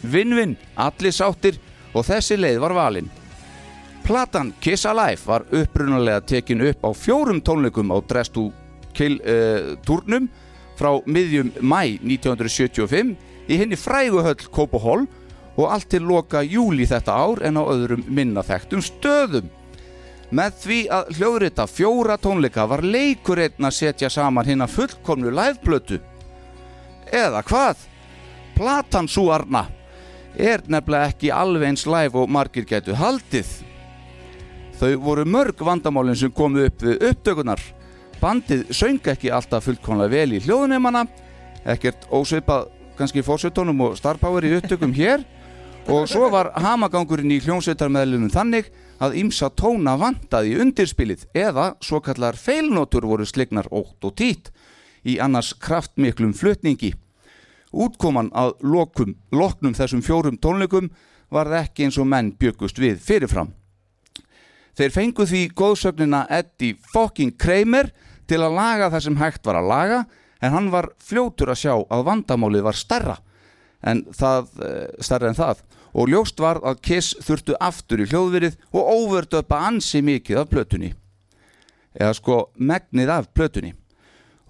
Speaker 1: Vinn-vinn, allir sáttir og þessi leið var valinn. Platan Kiss Alive var upprunalega tekin upp á fjórum tónleikum á Drestu Kill uh, turnum frá miðjum mæ 1975 í henni fræguhöll Kópahól og allt til loka júli þetta ár en á öðrum minna þekktum stöðum. Með því að hljóðrita fjóra tónleika var leikur einn að setja saman hinn að fullkomnu liveblötu. Eða hvað? Platan sú arna er nefnilega ekki alveg eins live og margir gætu haldið. Þau voru mörg vandamálin sem komu upp við upptökunar. Bandið söng ekki alltaf fullkomlega vel í hljóðunemana, ekkert ósveipað kannski fórsveitónum og starpower í upptökum hér og svo var hamagangurinn í hljómsveitarmeðlunum þannig að ymsa tóna vantaði í undirspilið eða svo kallar feilnótur voru slegnar ótt og tít í annars kraftmiklum flutningi. Útkoman að lokum, loknum þessum fjórum tónleikum varð ekki eins og menn bjökust við fyrirfram. Þeir fengu því góðsögnina Eddie fucking Kramer til að laga það sem hægt var að laga en hann var fljótur að sjá að vandamálið var stærra en það, eh, stærra en það og ljóst var að Kiss þurftu aftur í hljóðverið og overdöpa ansi mikið af plötunni eða sko megnið af plötunni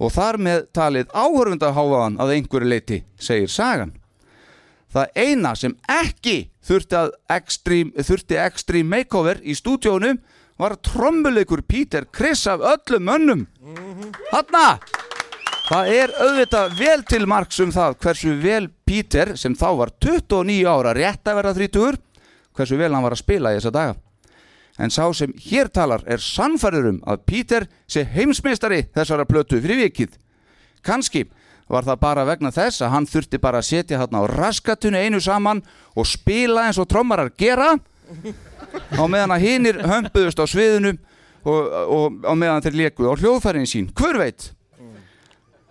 Speaker 1: og þar með talið áhörfundaháfaðan að einhverju leiti, segir sagan. Það eina sem ekki þurfti, að extreme, þurfti extreme makeover í stúdíónu var trommuleikur Peter Criss af öllum mönnum. Hanna! Það er auðvitað vel til marks um það hversu vel Peter, sem þá var 29 ára rétt að vera 30, hversu vel hann var að spila í þessa daga. En sá sem hér talar er sannfærður um að Peter sé heimsmeistari þessara plötu fyrir vikið. Kanski var það bara vegna þess að hann þurfti bara að setja hann á raskatunni einu saman og spila eins og trommarar gera á meðan að hinir hömpuðust á sviðinu og, og á meðan þeir lekuð á hljóðfærin sín. Hver veit?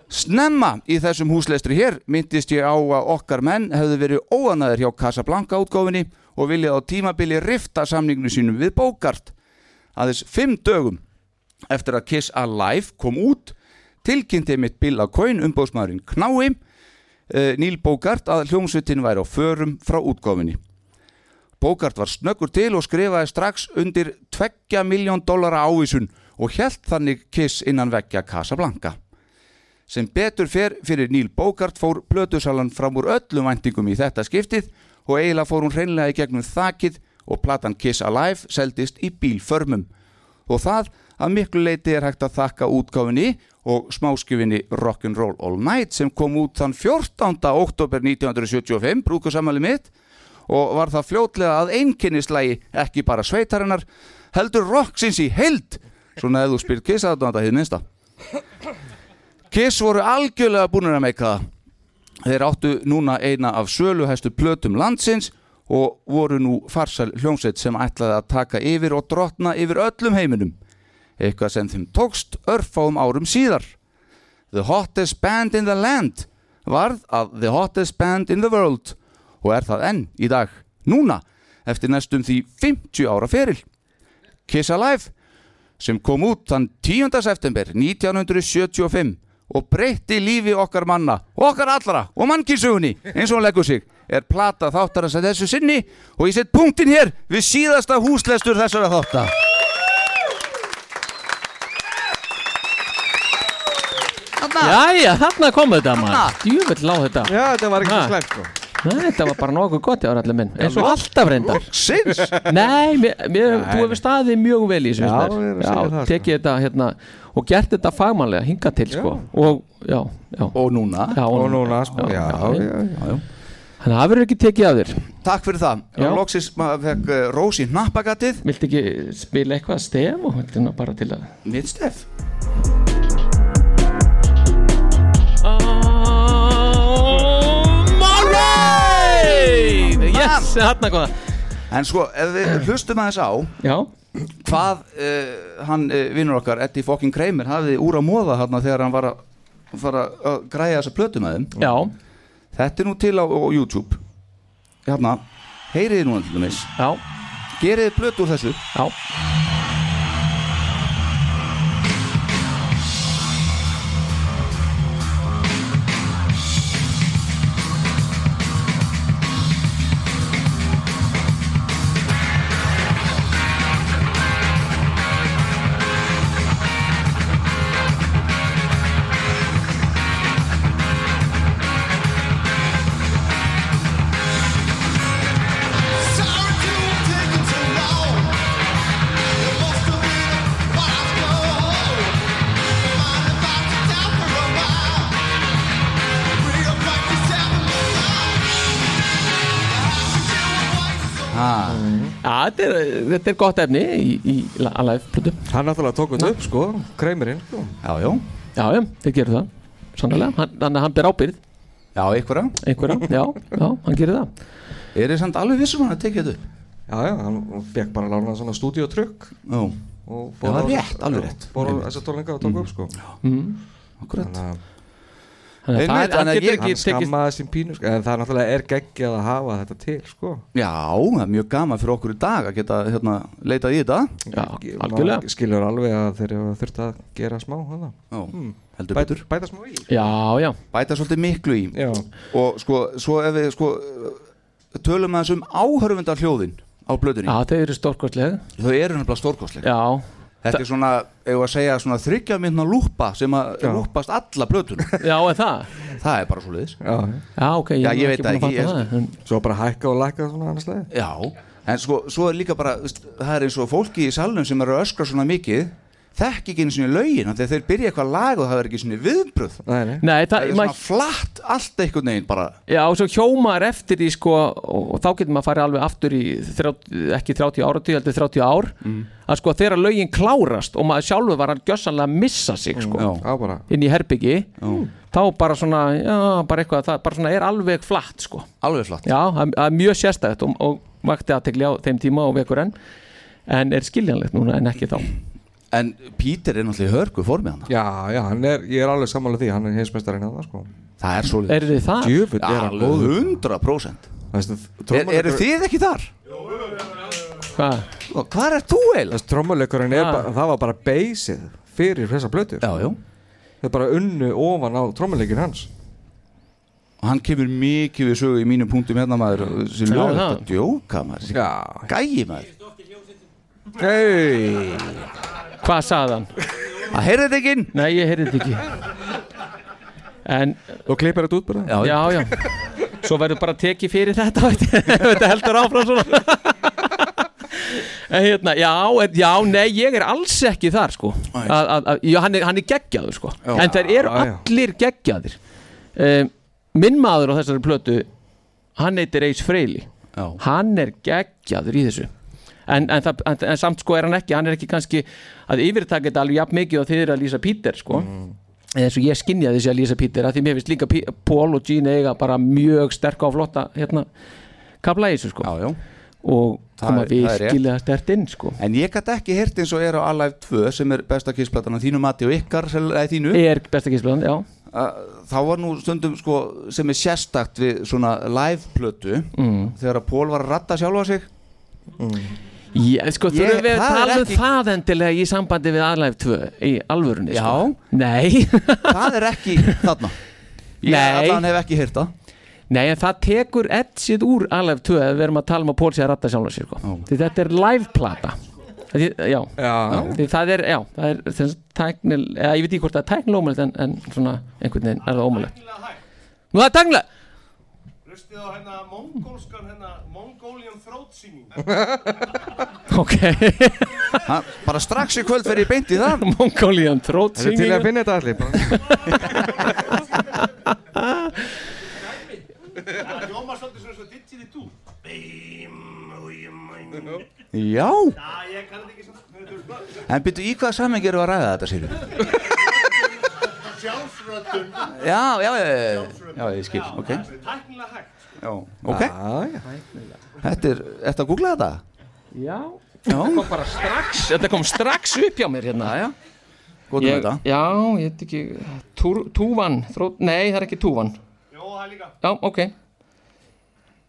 Speaker 1: Snemma í þessum húsleistri hér myndist ég á að okkar menn hefðu verið óanæður hjá Casablanca útgófinni og viljað á tímabili rifta samninginu sínum við Bogart. Aðeins fimm dögum eftir að Kiss Alive kom út tilkynnti mitt Bill Acoin umbóðsmaðurinn Knái uh, Níl Bógart að hljómsveitin væri á förum frá útgáfinni. Bógart var snöggur til og skrifaði strax undir 2 miljón dollara ávísun og hjælt þannig kiss innan veggja Casablanca. Sem betur fer fyrir Níl Bógart fór plötusalan fram úr öllum væntingum í þetta skiptið og eiginlega fór hún hreinlega í gegnum þakið og platan Kiss Alive seldist í bílförmum og það að miklu leiti er hægt að þakka útgáfinni og smáskifinni Rock'n'Roll All Night sem kom út þann 14. oktober 1975, brúkusamali mitt og var það fljótlega að einkennislægi ekki bara sveitarinnar heldur rocksins í heild svona ef þú spyrir Kiss aðdóðanda hið minnsta Kiss voru algjörlega búinir að meika það Þeir áttu núna eina af söluhæstu plötum landsins og voru nú farsal hljómsveit sem ætlaði að taka yfir og drotna yfir öllum heiminum. Eitthvað sem þeim tókst örfáum árum síðar. The Hottest Band in the Land varð að The Hottest Band in the World og er það enn í dag, núna, eftir næstum því 50 ára feril. Kiss Alive sem kom út þann 10. september 1975 og breytti lífi okkar manna okkar allra og mannkynsugunni eins og hún leggur sig er plata þáttarins að þessu sinni og ég set punktin hér við síðasta húslestur þessara þátta
Speaker 2: Jæja, þarna kom þetta maður Djúvill lág þetta
Speaker 8: Já, þetta var ekki
Speaker 2: Ha.
Speaker 8: svo slæmt sko
Speaker 2: Nei, þetta var bara nokkuð gott í árallu minn eins og alltaf reyndar
Speaker 1: Sins
Speaker 2: Nei, mér, mér, þú hefur staðið mjög vel í þessu
Speaker 8: Já,
Speaker 2: finnst
Speaker 8: ég er
Speaker 2: mér.
Speaker 8: að segja það, sko.
Speaker 2: tekið þetta hérna og gert þetta fagmannlega, hingað til sko og, já, já,
Speaker 1: og núna
Speaker 2: já
Speaker 3: Og núna, sko, já, já, já, já.
Speaker 2: Þannig að það verður ekki tekið af þér
Speaker 1: Takk fyrir það,
Speaker 2: Já.
Speaker 1: loksins maður fekk uh, Rósi hnappagatið,
Speaker 2: Viltu ekki spila eitthvað stef og hérna bara til að
Speaker 1: mitt stef
Speaker 2: Alright Yes, hérna góða
Speaker 1: En sko, ef við hlustum aðeins á
Speaker 2: Já,
Speaker 1: hvað uh, hann uh, vinnur okkar, Eddie fucking Kramer hafði úr að móða þarna þegar hann var að, var að að græja þessa plötu með þeim
Speaker 2: já,
Speaker 1: Þetta er nú til á, á YouTube Hérna, heyriði núna til dæmis
Speaker 2: já,
Speaker 1: Geriði blötu úr þessu
Speaker 2: já Já, þetta er, þetta er gott efni í, í Alive plötu
Speaker 3: Hann náttúrulega tók þetta upp sko, kreimirinn
Speaker 1: Já, já
Speaker 2: Já, já, þeir gerir það Sannlega, hann, hann, hann ber ábyrð
Speaker 1: Já, einhverja
Speaker 2: einhverja, já, já, hann gerir það
Speaker 1: Er þið samt alveg vissum hann að tekið þetta upp?
Speaker 3: Já, já, hann fekk bara lána svona stúdíotrykk
Speaker 1: Já
Speaker 3: og
Speaker 1: Já,
Speaker 3: á-
Speaker 1: rétt, alveg rétt. Mm,
Speaker 3: Bóra á þessa tólenga og tók upp sko
Speaker 2: Mhm.
Speaker 1: Akkurat
Speaker 3: Þannig að
Speaker 2: Þannig að
Speaker 1: Einmitt,
Speaker 2: það-
Speaker 1: þannig
Speaker 2: það
Speaker 1: að
Speaker 2: getur
Speaker 1: ég-
Speaker 2: ekki
Speaker 3: hann
Speaker 2: tekist
Speaker 3: skammaði sín pínu sko En það er náttúrulega er geggjað að hafa þetta til sko
Speaker 1: Já, það er mjög gaman fyrir okkur í dag að geta hérna, leitað í þetta
Speaker 2: Já,
Speaker 3: Ég-
Speaker 2: algjörlega
Speaker 3: maður Skilur alveg að þeir eru þurft að gera smá hana Hmm.
Speaker 1: Já, heldur betur
Speaker 3: Bæta smá í
Speaker 2: Já, já,
Speaker 1: Bæta svolítið miklu í
Speaker 3: Já,
Speaker 1: Og sko, svo ef við sko eh, Tölum aðeins um áhörfundar hljóðin á blöðunni
Speaker 2: já, þau eru stórkostlega
Speaker 1: Þau eru nefnilega stórkostleg
Speaker 2: Já,
Speaker 1: Þetta er svona, ef að segja, svona þryggja myndna lúpa sem að lúpast alla blöðun
Speaker 2: já, er það
Speaker 1: Það er bara svoleiðis
Speaker 3: já
Speaker 2: Já, ok, ég,
Speaker 1: Já,
Speaker 2: er
Speaker 1: ég
Speaker 2: nú
Speaker 1: veit það
Speaker 2: búinn að
Speaker 1: ekki,
Speaker 2: fatta
Speaker 1: ég-
Speaker 2: það, en-
Speaker 3: Svo bara hækka og lækka svona annars leið
Speaker 1: Já, en sko, svo er líka bara, veist, það er eins og fólki í salnum sem eru að öskra svona mikið þekk ekki einu sinni lögin, af því að þeir byrja eitthvað lag og það er ekki sinni viðbröð
Speaker 3: Nei, nei
Speaker 2: Nei,
Speaker 1: Það
Speaker 2: það,
Speaker 1: er
Speaker 2: maður
Speaker 1: svona flatt allt einhvern veginn bara
Speaker 2: Já, og svo hjómar eftir því sko og, og þá getur maður að fara alveg aftur í 30, ekki 30 ára tíu, heldur 30 ár
Speaker 1: Mm.
Speaker 2: að sko þegar lögin klárast og maður sjálfur var hann gjössanlega að missa sig sko
Speaker 1: Mm, Já,
Speaker 3: Já, bara
Speaker 2: inn í herbyggi
Speaker 3: Hmm.
Speaker 2: þá bara svona, já, bara eitthvað það bara svona er alveg flatt sko
Speaker 1: alveg flatt
Speaker 2: Já, það það er mjög sérstætt og, og vakti aðtekli á þeim tíma og vekur enn en er skiljanlegt núna en ekki þá
Speaker 1: En Pítur er náttúrulega í hörku formið hana
Speaker 3: Já, já, hann er, ég er alveg sammála því, hann er heimsmeistarinn að það sko
Speaker 1: Það er svoleiðis
Speaker 2: Er þið það?
Speaker 3: Djöfull er hann
Speaker 1: Alveg
Speaker 3: góður
Speaker 1: 100%
Speaker 3: Veistu,
Speaker 1: er, Eru
Speaker 3: trommuleikur-
Speaker 1: þið ekki þar?
Speaker 2: Hvað?
Speaker 1: Hvað er þú eiginlega?
Speaker 3: Þessi trommuleikurinn er
Speaker 2: Ah.
Speaker 3: bara, það var bara beysið fyrir þessa blötu
Speaker 1: Já, já
Speaker 3: þeir bara unnu ofan á trommuleikin hans
Speaker 1: og hann kemur mikið við sögu í mínum punktum hérna maður þessi
Speaker 3: Já,
Speaker 1: lög,
Speaker 3: það.
Speaker 1: þetta er djóka maður þessi gæi maður
Speaker 3: Hei
Speaker 2: Hvað sagði hann?
Speaker 1: Það heyrði þetta ekki inn?
Speaker 2: Nei, ég heyrði þetta ekki En
Speaker 3: Og klippir þetta út bara?
Speaker 1: Já,
Speaker 2: já, já. Svo verður bara tekið fyrir þetta veit ég, ef Þetta heldur áfram svona En hérna, já, en- já, nei, ég er alls ekki þar sko að, að, að, já, hann, er, hann er geggjaður sko
Speaker 10: Já.
Speaker 2: En þeir eru
Speaker 10: Já, já.
Speaker 2: allir geggjaðir um, Minn maður á þessari plötu Hann heitir Ace Freili
Speaker 1: já.
Speaker 2: Hann er geggjaður í þessu En, en, það, en, en samt sko er hann ekki Hann er ekki kannski að yfirtaka þetta alveg jafn mikið og þið eru að lýsa Peter sko eins og ég skinjaði þessi að Lisa Peter að því mér finnst líka P- Paul og Gene eiga bara mjög sterka og flotta hérna kapla í þessu sko
Speaker 1: já, já.
Speaker 2: og
Speaker 1: Það
Speaker 2: koma
Speaker 1: er- það er rétt.
Speaker 2: virkilega stert inn sko
Speaker 1: En ég gæti ekki heyrt eins og er á Alive 2 sem er besta kissplatana þínu mati og ykkar sel- eða þínu
Speaker 2: er besta kissplatana, já
Speaker 1: Þá var nú stundum sko sem er sérstakt við svona live plötu
Speaker 2: Mm.
Speaker 1: þegar að Pól var að ratta sjálfa sig
Speaker 2: ég, sko
Speaker 1: Ég-
Speaker 2: þurfum við að
Speaker 1: það er
Speaker 2: tala um
Speaker 1: ekki-
Speaker 2: það endilega í sambandi við aðlæf 2 í alvörunni sko. já nei
Speaker 1: það er ekki þarna Ég allan hef ekki heyrt það
Speaker 2: Nei, en það tekur eddsið úr alveg tvö að við erum að tala um að Pól sé að ratta sjálf sér sko. því þetta er liveplata því, já,
Speaker 3: já.
Speaker 2: Því það er, já, það er þess, tæknil, eða, ég veit ekki hvort það er tæknilega ómulegt en, en svona einhvern veginn er það ómulegt Nú það er tæknilega
Speaker 4: Hlustið á hérna mongólskan hérna Mongolian throat singing
Speaker 2: Ok
Speaker 1: ha, Bara strax í kvöld fer ég beint í það
Speaker 2: Mongolian throat
Speaker 3: Eru til í að finna þetta allir?
Speaker 4: Það ljóma svolítið svona svo dittir í dú
Speaker 1: Já,
Speaker 4: Já, ég kann þetta ekki svona
Speaker 1: en byrju í hvaða samhengi eru að ræða þetta sér
Speaker 4: Sjálfsröddun
Speaker 1: Já, já, já, já, já, ég skil, ok
Speaker 4: Tæknilega hægt
Speaker 1: Já, ok
Speaker 3: já.
Speaker 1: Þetta er, ertu að googla þetta?
Speaker 2: Já,
Speaker 1: Já.
Speaker 2: Þetta kom bara strax Þetta kom strax upp hjá mér hérna Já,
Speaker 1: Góðum
Speaker 2: ég,
Speaker 1: um þetta.
Speaker 2: Já, ég veit ekki túr, Túvan, þrótt, nei það er ekki túvan
Speaker 4: Jó, það er líka
Speaker 2: Já, ok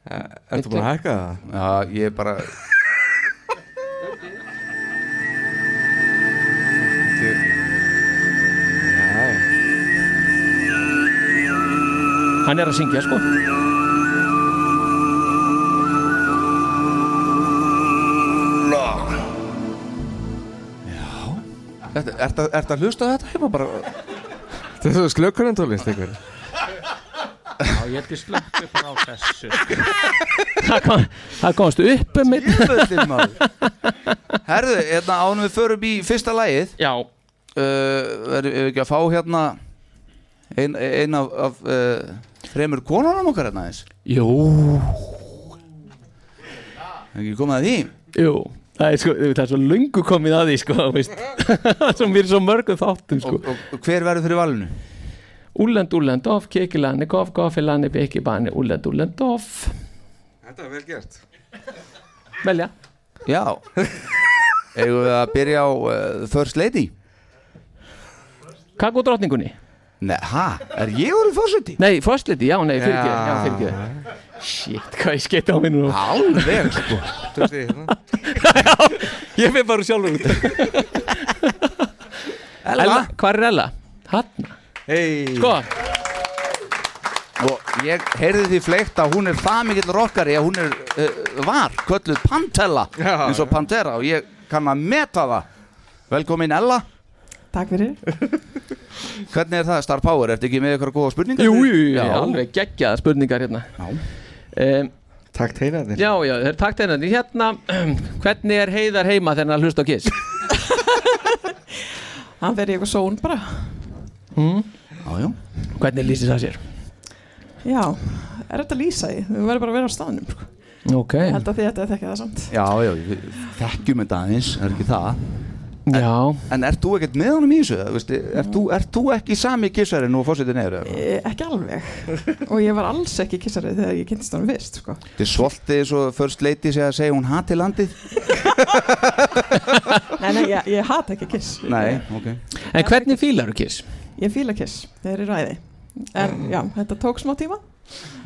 Speaker 1: Eh. Ertu
Speaker 2: búin að
Speaker 1: hækka það? Já, ég er bara
Speaker 2: Hann er að syngja sko
Speaker 1: Þetta- Ertu að- ertu að hlusta á þetta heima bara?
Speaker 3: Þetta er svo slökkurinn tólist ykkur
Speaker 2: Já, ég held ég slökk upp á þessu Það kom, það komst upp um mitt
Speaker 1: Jöfullinn, maður. Herðu, hérna ánum við förum í fyrsta lagið uh,
Speaker 2: Já
Speaker 1: Erum við ekki að fá hérna ein, ein af, af uh, fremur konunum okkar hérna aðeins?
Speaker 2: Jú
Speaker 1: Er ekki komið að því?
Speaker 2: Jú, það er, sko, það er svo lungu komið að því sko, þú veist. Svo mér er svo mörgu þáttum sko.
Speaker 1: og, og hver verður fyrir valinu?
Speaker 2: Úlend, úlend, of, kekilani, gof, gofilani, bekibani, úlend, úlend, of
Speaker 3: Þetta er vel gert
Speaker 2: Velja
Speaker 1: Já Eigum við að byrja á uh, First Lady?
Speaker 2: Kakó drottningunni
Speaker 1: Nei, ha? Er ég orðið fórseti?
Speaker 2: Nei, fórsliti, já, nei, fyrir
Speaker 1: Já.
Speaker 2: já, fyrir Shit, hvað ég skeita á minnu
Speaker 1: Alveg, sko
Speaker 3: Töfti hérna
Speaker 2: Ég finn bara sjálfur út
Speaker 1: Ella.
Speaker 2: Hvað er Ella? Hanna
Speaker 3: Hei
Speaker 2: Sko,
Speaker 1: Og ég heyrði því fleikt að hún er það mikill rockari að hún er uh, var, kölluð Pantella
Speaker 3: Já,
Speaker 1: eins og Pantera og ég kann að meta það Velkomin Ella
Speaker 11: Takk fyrir
Speaker 1: Hvernig er það Star Power? Ertu ekki með eitthvað góða spurningar?
Speaker 2: jú, jú, jú,
Speaker 1: já,
Speaker 2: alveg geggjaða spurningar hérna um,
Speaker 3: Takk teinarnir
Speaker 2: Já, já, það er takt hérna Hérna, hvernig er heiðar heima þegar hann hlust á kiss?
Speaker 11: Hann fer í eitthvað són bara
Speaker 2: Mm?
Speaker 1: Já, já
Speaker 2: Hvernig lýsir það sér?
Speaker 11: Já, er þetta að lýsa í? Við verðum bara að vera á staðnum sko.
Speaker 2: Ok
Speaker 11: Ég held að því þetta er þekkja það samt
Speaker 1: Já, já, við þekkjum þetta aðeins, er ekki það
Speaker 2: Já
Speaker 1: En ert þú ekkert með honum í þessu? Veistu, ert, þú, ert þú ekki sami kissarinn og fórsetin neyður?
Speaker 11: e, Ekki alveg Og ég var alls ekki kissari þegar ég kynntist hann fyrst sko.
Speaker 1: Þetta er svolítið svo First Lady sé að segja hún hati landið
Speaker 11: Nei, nei, ég, ég hata ekki kiss
Speaker 1: Nei, ok
Speaker 2: En hvernig fílar þú kiss?
Speaker 11: Ég fíla kiss, þeir eru ræði En já, þetta tók smá tíma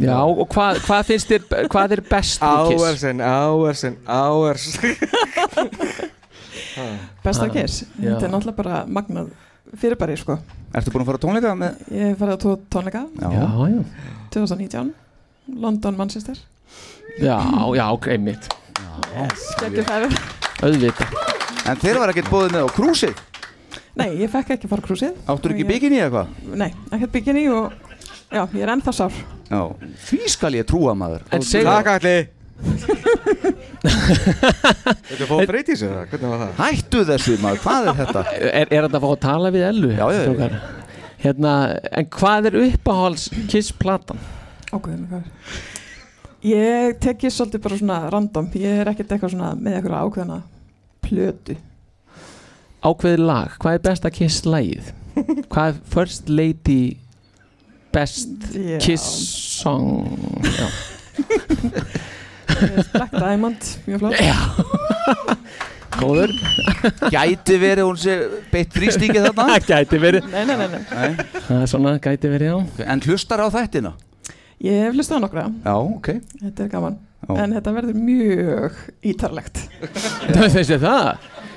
Speaker 2: Já, og hvað, hvað finnst þér, hvað er best við kiss?
Speaker 3: Hours and hours and hours
Speaker 11: Besta
Speaker 2: Ah,
Speaker 11: kiss,
Speaker 2: já.
Speaker 3: Ah,
Speaker 11: þetta er náttúrulega bara magnað fyrirbæri sko
Speaker 1: Ertu búin að fara á tónleika með
Speaker 11: Ég hef farið á tvo tónleika
Speaker 1: Já,
Speaker 2: já
Speaker 11: 2019 London, Manchester
Speaker 2: Já, já, ok, mitt
Speaker 11: Skekki færi
Speaker 2: Auðvita
Speaker 1: En þeir var ekkert bóðið með á krúsið
Speaker 11: Nei, ég fekk ekki fara á krúsið
Speaker 1: Áttur
Speaker 11: Og
Speaker 1: ekki
Speaker 11: ég-
Speaker 1: bygginni eða hvað?
Speaker 11: Nei, ekkert bikini og já, ég er ennþá sár
Speaker 1: Já, því skal ég trúa maður
Speaker 11: En segðu- Takk,
Speaker 1: Alli
Speaker 8: Þetta fóð breytis eða? Hvernig var það?
Speaker 1: Hættu þessu maður, hvað er þetta?
Speaker 2: Er, er þetta að fá að tala við Ellu? Já, já, já Hérna, en hvað er uppáhalds Kiss-platan?
Speaker 11: Ákveðinu hvað er Ég tek ég svolítið bara svona random Ég er ekkert eitthvað svona með eitthvað ákveðina plötu
Speaker 2: Ákveðið lag, hvað er besta Kiss-lagið? Hvað er First Lady Best
Speaker 11: Já.
Speaker 2: Kiss-song? Já
Speaker 11: Ég er Black Diamond, mjög flott
Speaker 2: Góður
Speaker 1: Gæti verið hún sé beitt þrýstingi þarna
Speaker 2: Gæti verið
Speaker 11: Nei, nei, nei, nei.
Speaker 2: Það er svona, gæti verið, já
Speaker 1: En hlustar á þættina?
Speaker 11: Ég hef hlustað á nokkra
Speaker 1: Já, ok
Speaker 11: Þetta er gaman
Speaker 1: Já.
Speaker 11: En þetta verður mjög ítarlegt
Speaker 2: Það finnst þér það?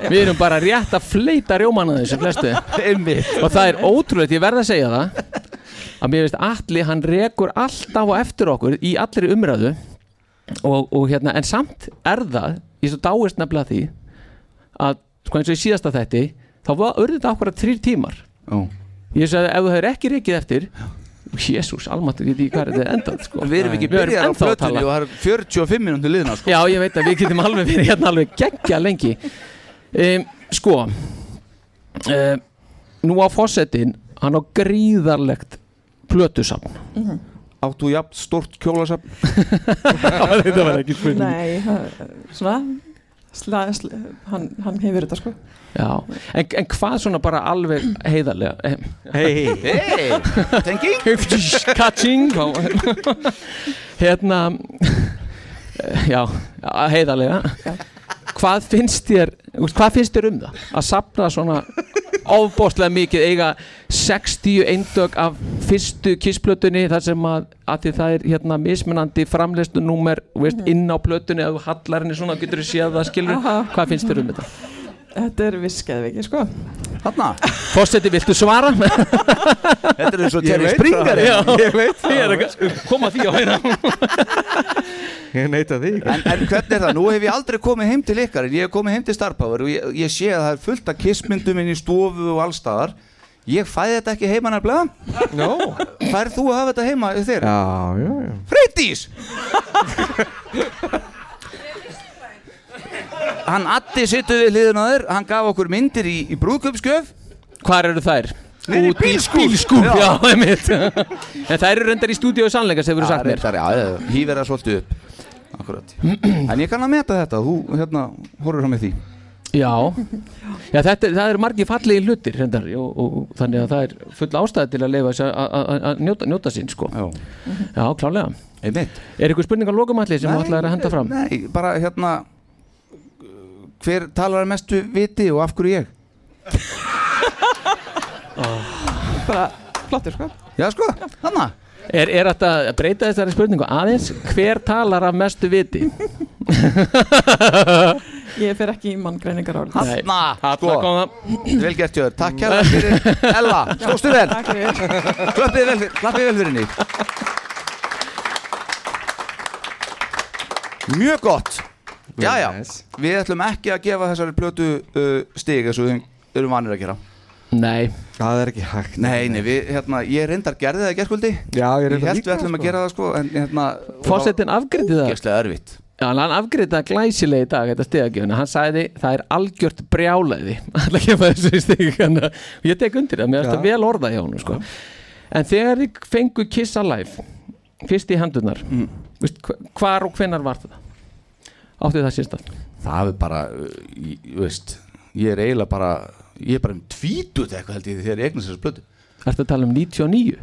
Speaker 2: Við erum bara rétt að fleita rjómanna þessu flestu Og það er ótrúlegt, ég verð að segja það Að mér finnst Atli, hann rekur alltaf á eftir okkur Í allri umræðu og, og hérna, En samt er það Ég svo dáist nefnilega að því Að sko eins og í síðasta þætti Þá var urðu þetta okkur að þrýr tímar
Speaker 1: Ó.
Speaker 2: Ég sagði, ef þú hefur ekki reikið eftir Jésús, almatur, ég veit ekki hvað þetta er endað sko.
Speaker 1: Við erum ekki
Speaker 2: Við erum
Speaker 1: byrjar á
Speaker 2: ennþá að
Speaker 1: plötunni
Speaker 2: tala.
Speaker 1: og það er 45 minúti liðna sko.
Speaker 2: Já, ég veit að við getum alveg verið hérna alveg geggja lengi um, Sko um, Nú á fósettin Hann á gríðarlegt plötusafn
Speaker 1: Áttu jafn stort kjólasafn
Speaker 2: Þetta var ekki
Speaker 11: Nei, það- svona sla, sla, hann, hann hefur þetta sko
Speaker 2: Já, en, en hvað svona bara alveg heiðarlega eh?
Speaker 8: Hei,
Speaker 1: hei Tenging
Speaker 2: Catching Hérna eh, Já, heiðarlega Hvað finnst þér þú veist, Hvað finnst þér um það? Að sapna svona ofbóstlega mikið eiga 60 eindög af fyrstu kissplötunni þar sem að, að því það er hérna mismunandi framleystunúmer veist, inn á plötunni eða þú hallar henni svona getur þú séð það skilur
Speaker 11: Aha.
Speaker 2: Hvað finnst þér um þetta?
Speaker 11: Þetta er visskæði ekki sko
Speaker 1: Hanna
Speaker 2: Fossetti, viltu svara?
Speaker 1: Þetta er eins og
Speaker 2: Ég
Speaker 1: Terry
Speaker 2: veit
Speaker 1: Springer
Speaker 2: það, já.
Speaker 8: Ég veit
Speaker 2: Ég er að koma því á hérna
Speaker 8: Ég neita því
Speaker 1: En, en hvernig er það? Nú hef ég aldrei komið heim til ykkar en ég hef komið heim til Star Power og ég, ég sé að það er fullt af kissmyndum inn í stofu og allstaðar Ég fæði þetta ekki heima nefnilega
Speaker 8: No.
Speaker 1: Færð þú að hafa þetta heima þér?
Speaker 8: Já, já, já
Speaker 1: Freydís Hann Addi sittu við hliðin á þér Hann gaf okkur myndir í, í brúðköpskjöf
Speaker 2: Hvar eru þær?
Speaker 1: Niður í
Speaker 2: Út í
Speaker 1: bílskúr.
Speaker 2: bílskúr,
Speaker 1: Já.
Speaker 2: já, einmitt En þær eru reyndar í stúdíu sannleika sem hefur sagt mér
Speaker 1: reyndar, já, já, hýver það svolítið upp Akkurat En ég kann að meta þetta, þú hérna horfur hann með því
Speaker 2: Já, já þetta, það eru margir fallegi hlutir reyndar og, og, og þannig að það er full ástæði til að leifa þess að- að að- að njóta, njóta sín sko
Speaker 1: Já,
Speaker 2: já klálega
Speaker 1: Einmitt
Speaker 2: Er eitthvað spurning á lokumalli sem
Speaker 1: Nei,
Speaker 2: þú ætlaðir að henda fram?
Speaker 1: Nei, bara hérna Hver talar mestu viti og af hverju ég?
Speaker 11: Bara flottur sko
Speaker 1: Já sko, hanna
Speaker 2: Er, er þetta að breyta þessari spurningu aðeins? Hver talar af mestu viti?
Speaker 11: Ég fer ekki í manngreiningar álit
Speaker 1: Hanna,
Speaker 2: Hanna kom það
Speaker 1: Vel gert Jörg, takk hérna fyrir Ella, stóstu vel Klappið vel, fyrir- klappið vel fyrir henni Mjög gott Jæja, við ætlum ekki að gefa þessari plötu uh, stig eins og við erum vanir að gera
Speaker 2: Nei
Speaker 8: Það er ekki hægt
Speaker 1: Nei, nei, við, hérna, ég reyndar gerði það í gerkvöldi
Speaker 8: Já, ég
Speaker 1: Ég
Speaker 8: reyndar
Speaker 1: held við
Speaker 8: líka,
Speaker 1: ætlum
Speaker 8: sko.
Speaker 1: að gera það sko En hérna
Speaker 2: Fósettin afgriði það
Speaker 1: Gæslega erfitt
Speaker 2: Já, en hann afgriði það glæsilega í dag, þetta stegagjöfuna. Hann sagði, það er algjört brjálæði. Alla kemur þessu stegagjöfuna. Og uh, ég tek undir það, mér finnst
Speaker 8: Já.
Speaker 2: það vel orða hjá honum, sko. En þegar þið fengu Kiss Alive, fyrst í hendunar, veist, hva- hvar og hvenar var það? Áttið það síðast
Speaker 1: Það er bara, uh, ég, þú veist Ég er eiginlega bara Ég er bara um tvítut eitthvað held ég þegar ég eignast þessari plötu
Speaker 2: Ertu að tala um 99?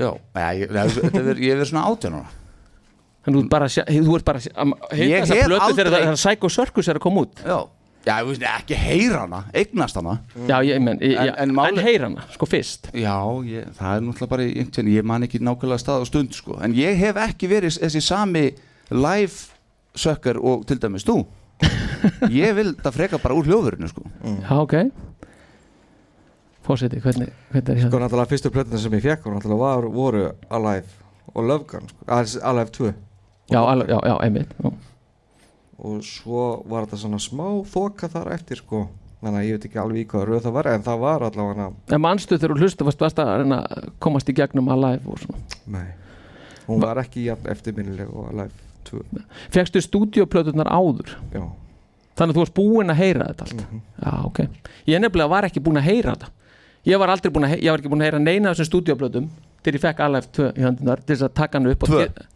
Speaker 1: Já, Nei, ég, nei, þetta verið- ég er svona átján ára
Speaker 2: Þannig þú ert bara, að sjá- þú ert bara að sjá- að
Speaker 1: Ég
Speaker 2: heita þessa
Speaker 1: hef
Speaker 2: plötu þegar
Speaker 1: aldrei-
Speaker 2: það er Psycho Circus er að koma út.
Speaker 1: Já, já ég veist ekki heyra hana, eignast hana
Speaker 2: Já, ég menn, ég-
Speaker 1: En-
Speaker 2: já,
Speaker 1: en
Speaker 2: en,
Speaker 1: máli-
Speaker 2: heyra hana, sko fyrst.
Speaker 1: Já, ég, það er náttúrulega bara einhvern, ég man ekki nákvæmlega stað og stund sko. en ég hef ekki verið þessi sami live sökkar og til dæmis þú Mm. ég vil það freka bara úr hljóðurinu sko.
Speaker 2: Já, ok. fórseti, hvernig, hvernig er
Speaker 3: Sko
Speaker 2: hérna
Speaker 3: náttúrulega fyrstu plötuna sem ég fekk og náttúrulega var, voru Alive og Love Gun sko. Aðeins Alive 2
Speaker 2: já, alveg- já, já, einmitt já.
Speaker 3: og svo var þetta svona smá þoka þar eftir sko þannig að ég veit ekki alveg í hvað röð það var en það var allavega
Speaker 2: en manstu þegar þú hlustu, varst, varst að reyna að komast í gegnum að live og svona
Speaker 3: nei, hún var ekki jafn eftirminnileg og Alive 2
Speaker 2: fegstu stúdíoplöturnar áður
Speaker 3: já.
Speaker 2: þannig að þú varst búinn að heyra þetta allt
Speaker 1: Mhm.
Speaker 2: já, ok, ég nefnilega var ekki búinn að heyra þetta ég var aldrei búinn að, he- ég var ekki búinn að heyra neina af þessum stúdíoplötum til ég fekk Alive 2 í höndunar til þess að taka hann upp og
Speaker 1: Tvö.
Speaker 2: ge-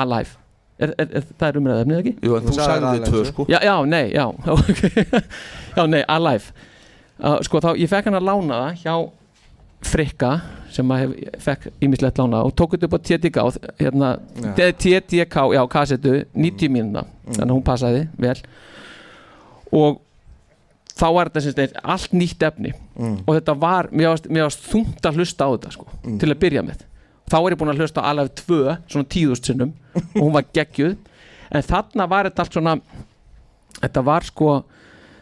Speaker 2: Alive er, er, er, það er umræðið efnið ekki?
Speaker 1: Jú, en Þú þú sagðir sagðir Alive tvö, tvö. sko.
Speaker 2: já, já, nei, já, okay. já, nei, Alive uh, sko þá, ég fekk hann að lána það hjá Frikka sem að hef, ég fekk ímislegt lána og tók þetta upp á TDK og þ- hérna,
Speaker 10: Já.
Speaker 2: TDK, já, kassetu 90 mínuna, þannig að hún passaði vel og þá var þetta sem sagt allt nýtt efni og þetta var, mér varst, mér varst þungt að hlusta á þetta sko, til að byrja með þá er ég búin að hlusta á alveg tvö svona tíðust sinnum og hún var geggjuð en þarna var þetta allt svona þetta var sko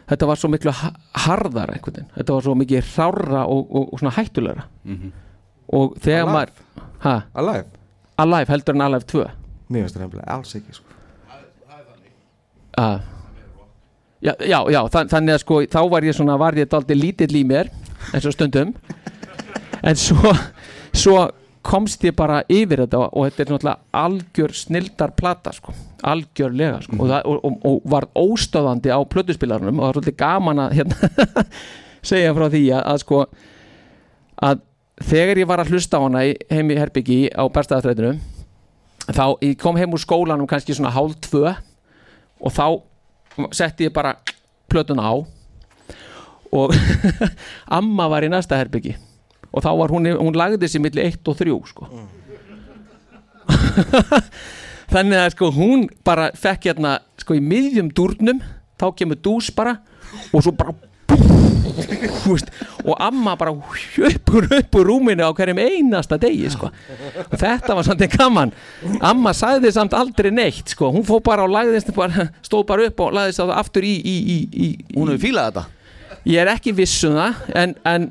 Speaker 2: þetta var svo miklu ha- harðara einhvern veginn þetta var svo mikið hrára og, og, og svona hættulegra
Speaker 3: Mhm.
Speaker 2: og þegar
Speaker 3: Alive?
Speaker 2: maður ha?
Speaker 3: Alive?
Speaker 2: Alive heldur en Alive 2
Speaker 3: mér finnst það nefnilega alls ekki sko
Speaker 2: Ah. Já, já, já þann, þannig að sko þá var ég svona, var ég daldið lítill í mér eins og stundum en svo, svo komst ég bara yfir þetta og þetta er náttúrulega algjör snildar plata sko, algjörlega sko, og, það, og, og, og var óstöðandi á plötuspilarunum og það var svolítið gaman að hérna, segja frá því að, að sko að þegar ég var að hlusta á hana í, heim í Herbyggi á bestaðastrætinu þá ég kom heim úr skólanum kannski svona hálf tvö og þá setti ég bara plötuna á og amma var í næsta herbyggi og þá var hún, hún lagði sér milli 1 og 3 sko þannig að sko hún bara fekk hérna sko í miðjum dúrnum þá kemur dús bara og svo bara þú veist, og amma bara upp úr, upp úr rúminu á hverjum einasta degi sko. og þetta var svolítið gaman amma sagði samt aldrei neitt sko. hún fór bara og lagðist bara, stóð bara upp og lagðist á það aftur í, í, í, í, í hún hefur fílað þetta ég er ekki viss um það en, en,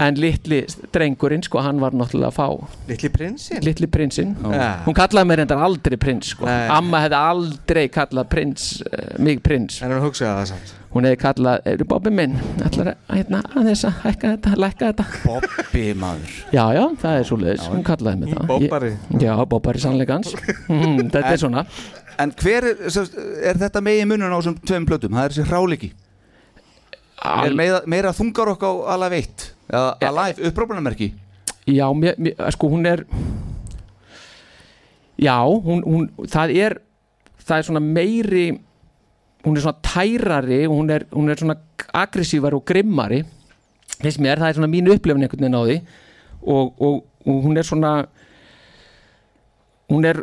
Speaker 2: en litli drengurinn sko, hann var náttúrulega að fá
Speaker 3: litli prinsinn
Speaker 2: litli prinsinn
Speaker 3: Já.
Speaker 2: hún kallaði mér reyndar aldrei prins sko. amma hefði aldrei kallað prins uh, mig prins
Speaker 3: en hún hugsaði það samt
Speaker 2: hún hefði kallað, eru Bobbi minn ætlar að, hérna, aðeins að hækka þetta, lækka þetta
Speaker 1: Bobbi maður
Speaker 2: já, já, það er svo leiðis, hún kallaði mig það
Speaker 1: Bobbari.
Speaker 2: Ég- já, Bobbari sannleikans mm, þetta er svona
Speaker 1: En hver er, sem sagt, er þetta megi munun á þessum tveim plötum? Það er þessi hráleiki Er meira, meira þungar okk á Alive 1 eða Alive upprópunamerki
Speaker 2: já, mér, mér, sko hún er já, hún, hún það er, það er svona meiri hún er svona tærari og hún er, hún er svona aggressívar og grimmari finnst mér, það er svona mín upplifin einhvern veginn á því og, og, og hún er svona hún er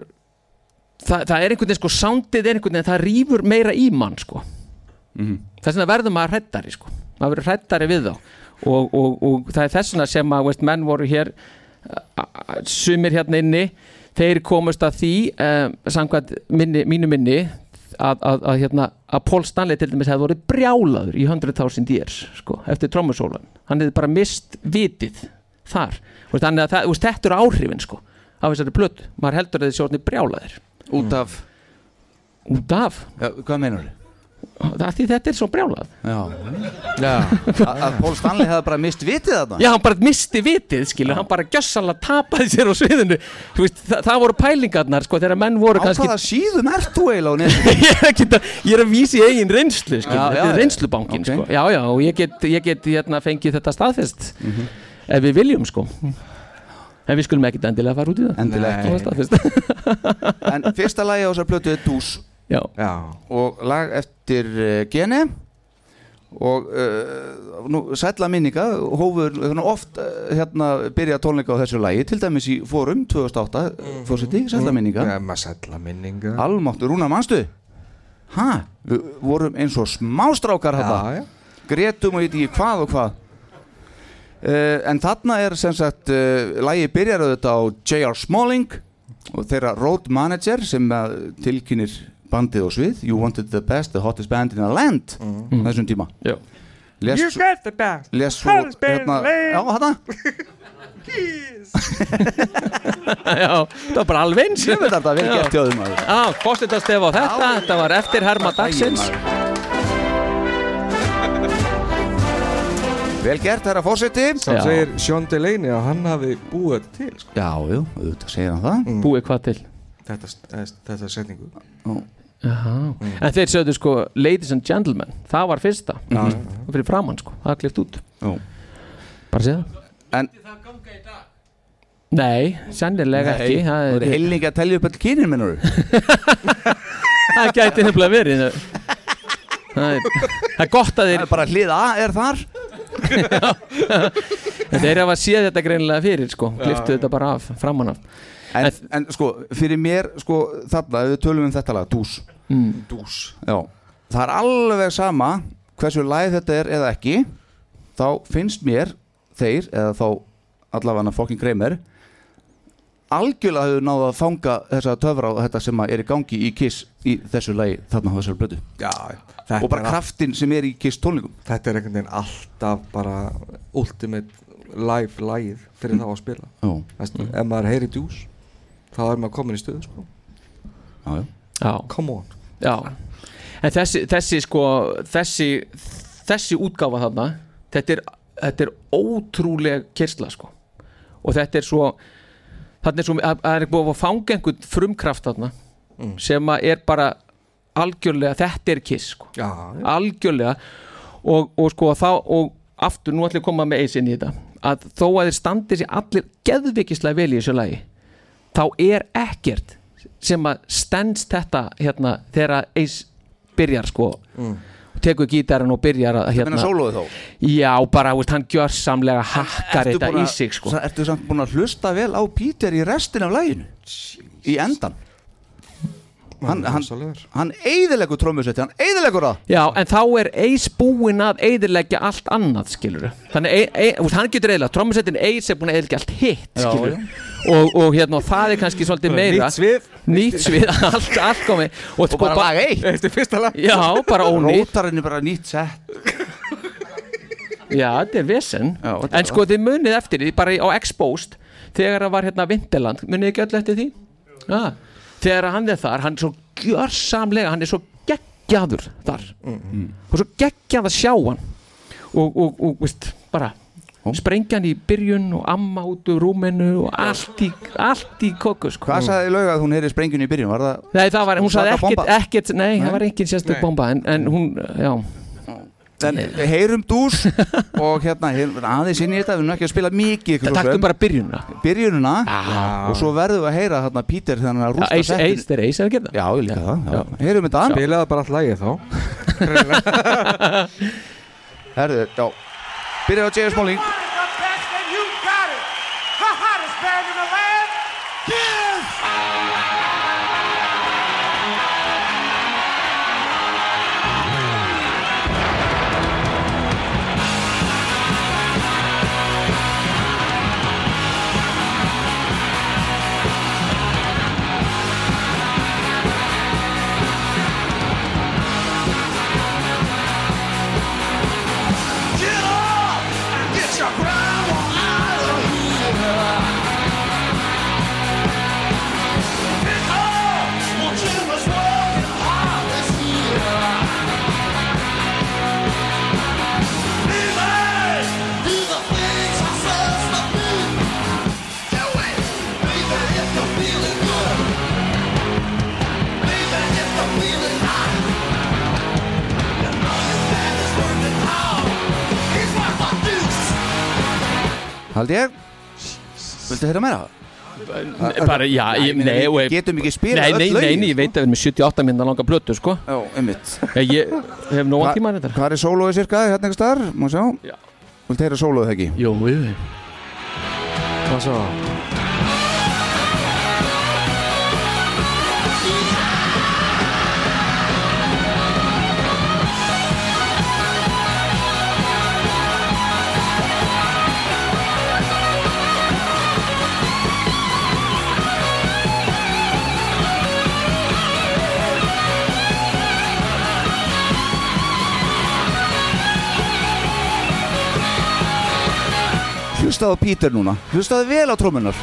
Speaker 2: það, það er einhvern veginn sko, soundið er einhvern veginn það rýfur meira í mann sko þess vegna verður maður hrættari sko. maður verður hrættari við þá og, og, og það er þess vegna sem að veist, menn voru hér a- a- sumir hérna inni þeir komust að því um, samkvæmt minni, mínu minni að, að, að, hérna, að Paul Stanley til dæmis hefði voru brjálaður í 100.000 years sko, eftir trommusólan hann hefði bara mist vitið þar Þú veist, þannig að það, þú veist, þetta eru áhrifin sko, af þessari blötu maður heldur að þið sjórni brjálaðir
Speaker 1: út af
Speaker 2: út af
Speaker 1: ja, hvað meinar þið?
Speaker 2: því þetta er svo brjálað
Speaker 1: Já, Já. Að, að Paul Stanley hefði bara mist vitið þarna
Speaker 2: Já, hann bara misti vitið, skilur, hann bara gjössalega tapaði sér á sviðinu Þú veist, það, það voru pælingarnar, sko, þegar menn voru
Speaker 1: Á
Speaker 2: kannski
Speaker 1: hvaða síðum ert þú eiginlega á netinu?
Speaker 2: ég, er ekki, að- ég er að vísi eigin reynslu, skilur,
Speaker 1: Já,
Speaker 2: þetta
Speaker 1: já,
Speaker 2: er reynslubankin, sko Já, já, og ég get, ég get hérna, fengið þetta staðfest
Speaker 1: Mhm.
Speaker 2: ef við viljum, sko En við skulum ekkit endilega fara út í það
Speaker 1: Endilega ekki.
Speaker 2: Það var staðfest
Speaker 1: En fyrsta lagi á þessar plötu er Dús
Speaker 2: Já.
Speaker 1: Og lag eftir uh, Gene Og uh, nú, sætla minninga Hófur hérna, oft uh, hérna, byrja tónleika á þessu lagi Til dæmis í Forum 2008 mm. Fórseti, sætla minninga
Speaker 3: ja, maður sætla minninga
Speaker 1: Almáttur, Rúna, manstu? Hæ? Við vorum eins og smástrákar þetta Gretum og hitt ekki hvað og hvað uh, En þarna er sem sagt uh, Lægi byrjar auðvitað á J.R. Smalling Og þeirra road manager sem eh, að tilkynir bandið og svið You wanted the best, the hottest band in the land Þessum tíma
Speaker 2: Já
Speaker 1: Lest-
Speaker 12: You got the dog.
Speaker 1: les svo
Speaker 12: Hans been
Speaker 1: hérna,
Speaker 12: lame.
Speaker 1: já, hérna
Speaker 2: Já, þetta var bara alveg eins
Speaker 1: Ég veit þetta, vel gert hjá þér, maður.
Speaker 2: Já, fórstundastef á þetta, þetta var eftir herma dagsins
Speaker 1: Vel gert, herra fórseti
Speaker 3: Samt segir Sean Delaney að hann hafi búið þetta til sko. Mm.
Speaker 1: Já, jú, auðvitað segir hann það
Speaker 2: Búið hvað til?
Speaker 3: Þetta, þetta setningu Mm.
Speaker 2: Aha. En þeir sögðu sko Ladies and Gentlemen, það var fyrsta
Speaker 1: Já.
Speaker 2: Og fyrir framann sko, það er klift út
Speaker 1: Já.
Speaker 2: Bara séð
Speaker 1: En
Speaker 2: Nei, sennilega
Speaker 1: Nei,
Speaker 2: ekki
Speaker 1: Þú
Speaker 2: Það
Speaker 1: eru
Speaker 2: er-
Speaker 1: hellingi að telja upp all kynin minnur
Speaker 2: það gæti nefnilega verið Það er, það er gott að þeir
Speaker 1: Bara hlið A er þar
Speaker 2: Já. Þeir hafa séð þetta greinilega fyrir sko
Speaker 1: Já.
Speaker 2: Kliftu þetta bara af, framann af
Speaker 1: en, en sko, fyrir mér sko, þarna, ef við tölum um þetta lag, dús
Speaker 2: Mm.
Speaker 1: Dús Já, það er alveg sama hversu læð þetta er eða ekki þá finnst mér þeir, eða þá allavega fokkin greimir algjörlega hefur náða að fanga þessa töfra og þetta sem að er í gangi í Kiss í þessu lagi þarna á þessari blödu
Speaker 3: Já,
Speaker 1: og bara kraftin sem er í Kiss tónlingum
Speaker 3: Þetta er einhvern veginn alltaf bara ultimate live lagið fyrir þá að spila
Speaker 1: Já.
Speaker 3: Vestu, Ef maður heyri djús þá er maður komin í stöðu sko.
Speaker 1: Já,
Speaker 2: já
Speaker 3: Come on
Speaker 2: Já En þessi, þessi sko þessi, þessi útgáfa þarna þetta er, þetta er ótrúleg kyrsla sko og þetta er svo þarna er svo að, að er búið að fanga einhvern frumkraft þarna
Speaker 3: Mm.
Speaker 2: sem að er bara algjörlega þetta er kiss sko
Speaker 3: já,
Speaker 2: algjörlega og, og sko þá og aftur nú ætlum ég að koma með eis inn í þetta að þó að þeir standi sér allir geðvikislega vel í þessu lagi þá er ekkert sem að stendst þetta hérna þegar eis byrjar sko
Speaker 3: Mm.
Speaker 2: og tekur gítarinn og byrjar að hérna
Speaker 1: Þetta meina sólóið þá?
Speaker 2: Já, bara, veist, hann gjörsamlega hakkar
Speaker 1: Ertu
Speaker 2: þetta
Speaker 1: búin
Speaker 2: í
Speaker 1: að-
Speaker 2: sig sko
Speaker 1: sa- Ertu samt búin að hlusta vel á Peter í restin af læginu Í endan Hann, hann, hann eiðilegur trómusetti, hann eiðilegur það
Speaker 2: Já, en þá er Ace búinn að eiðileggja allt annað, skilur Þannig, e, e, þú veist, hann getur eiðilega, trommusettin Ace er búinn að eiðileggja allt hitt,
Speaker 1: Já,
Speaker 2: skilur
Speaker 1: já.
Speaker 2: Og, og hérna, og það er kannski svolítið meira
Speaker 3: Nýtt svið.
Speaker 2: Nýtt svið, allt, allt komið Og, sko,
Speaker 1: bara lag eitt.
Speaker 3: Eftir fyrsta lag
Speaker 2: Já, bara ónýtt
Speaker 1: Rótarinn er bara nýtt sett
Speaker 2: Já, þetta er vesen
Speaker 1: þetta er
Speaker 2: En sko þið munið eftir því, bara í- á Exposed Þegar það var hérna Vindeland Munið ekki öll eftir því? Já Þegar hann er þar, hann er svo gjörsamlega Hann er svo geggjaður þar Og svo geggjað að sjá hann Og, og, og veist, bara Sprengja hann í byrjun og amma út úr rúminu Og allt í, allt í kokkus
Speaker 1: Hvað sagði Lauga að hún heyri sprengjun í byrjun? Var það
Speaker 2: Nei, það var, hún sagði
Speaker 1: Svaka
Speaker 2: ekkert,
Speaker 1: bomba.
Speaker 2: ekkert Nei,
Speaker 1: Nei.
Speaker 2: það var engin sérstök
Speaker 1: Nei.
Speaker 2: bomba En, en hún, já
Speaker 1: En heyrum dús og hérna, heyrum- aðeins inn í þetta, við erum ekki að spila mikið ykkur svo
Speaker 2: Taktum
Speaker 1: sem.
Speaker 2: bara byrjunna
Speaker 1: Byrjunina og svo verðum við að heyra hérna Peter þegar hann er að rústa
Speaker 2: Ace, Ace, þeir Ace er að gera það
Speaker 1: Já, ég líka það, já. Heyrum þetta
Speaker 3: Spilaðu bara all lagið þá
Speaker 1: Herðu, já Byrjaðu á J.S. Smalling Haldi ég Viltu heyra meira?
Speaker 2: bara, já, ég,
Speaker 1: meina,
Speaker 2: nei,
Speaker 1: við
Speaker 2: og-
Speaker 1: getum ekki spilað
Speaker 2: nei,
Speaker 1: öll
Speaker 2: nei, nei,
Speaker 1: lögin, sko.
Speaker 2: nei, ég veit að við erum með 78 minna langa blötu, sko
Speaker 1: Já, einmitt
Speaker 2: Ég, ég hef nóga tíma þetta
Speaker 1: Hvað er sólóið cirka? Hérna einhvers staðar? Má sjá
Speaker 2: Já.
Speaker 1: Viltu heyra sólóið ekki?
Speaker 2: Jú, jú
Speaker 3: Hvað svo?
Speaker 4: Thank
Speaker 1: hlustaðu á Peter núna hlustaðu vel á trómunar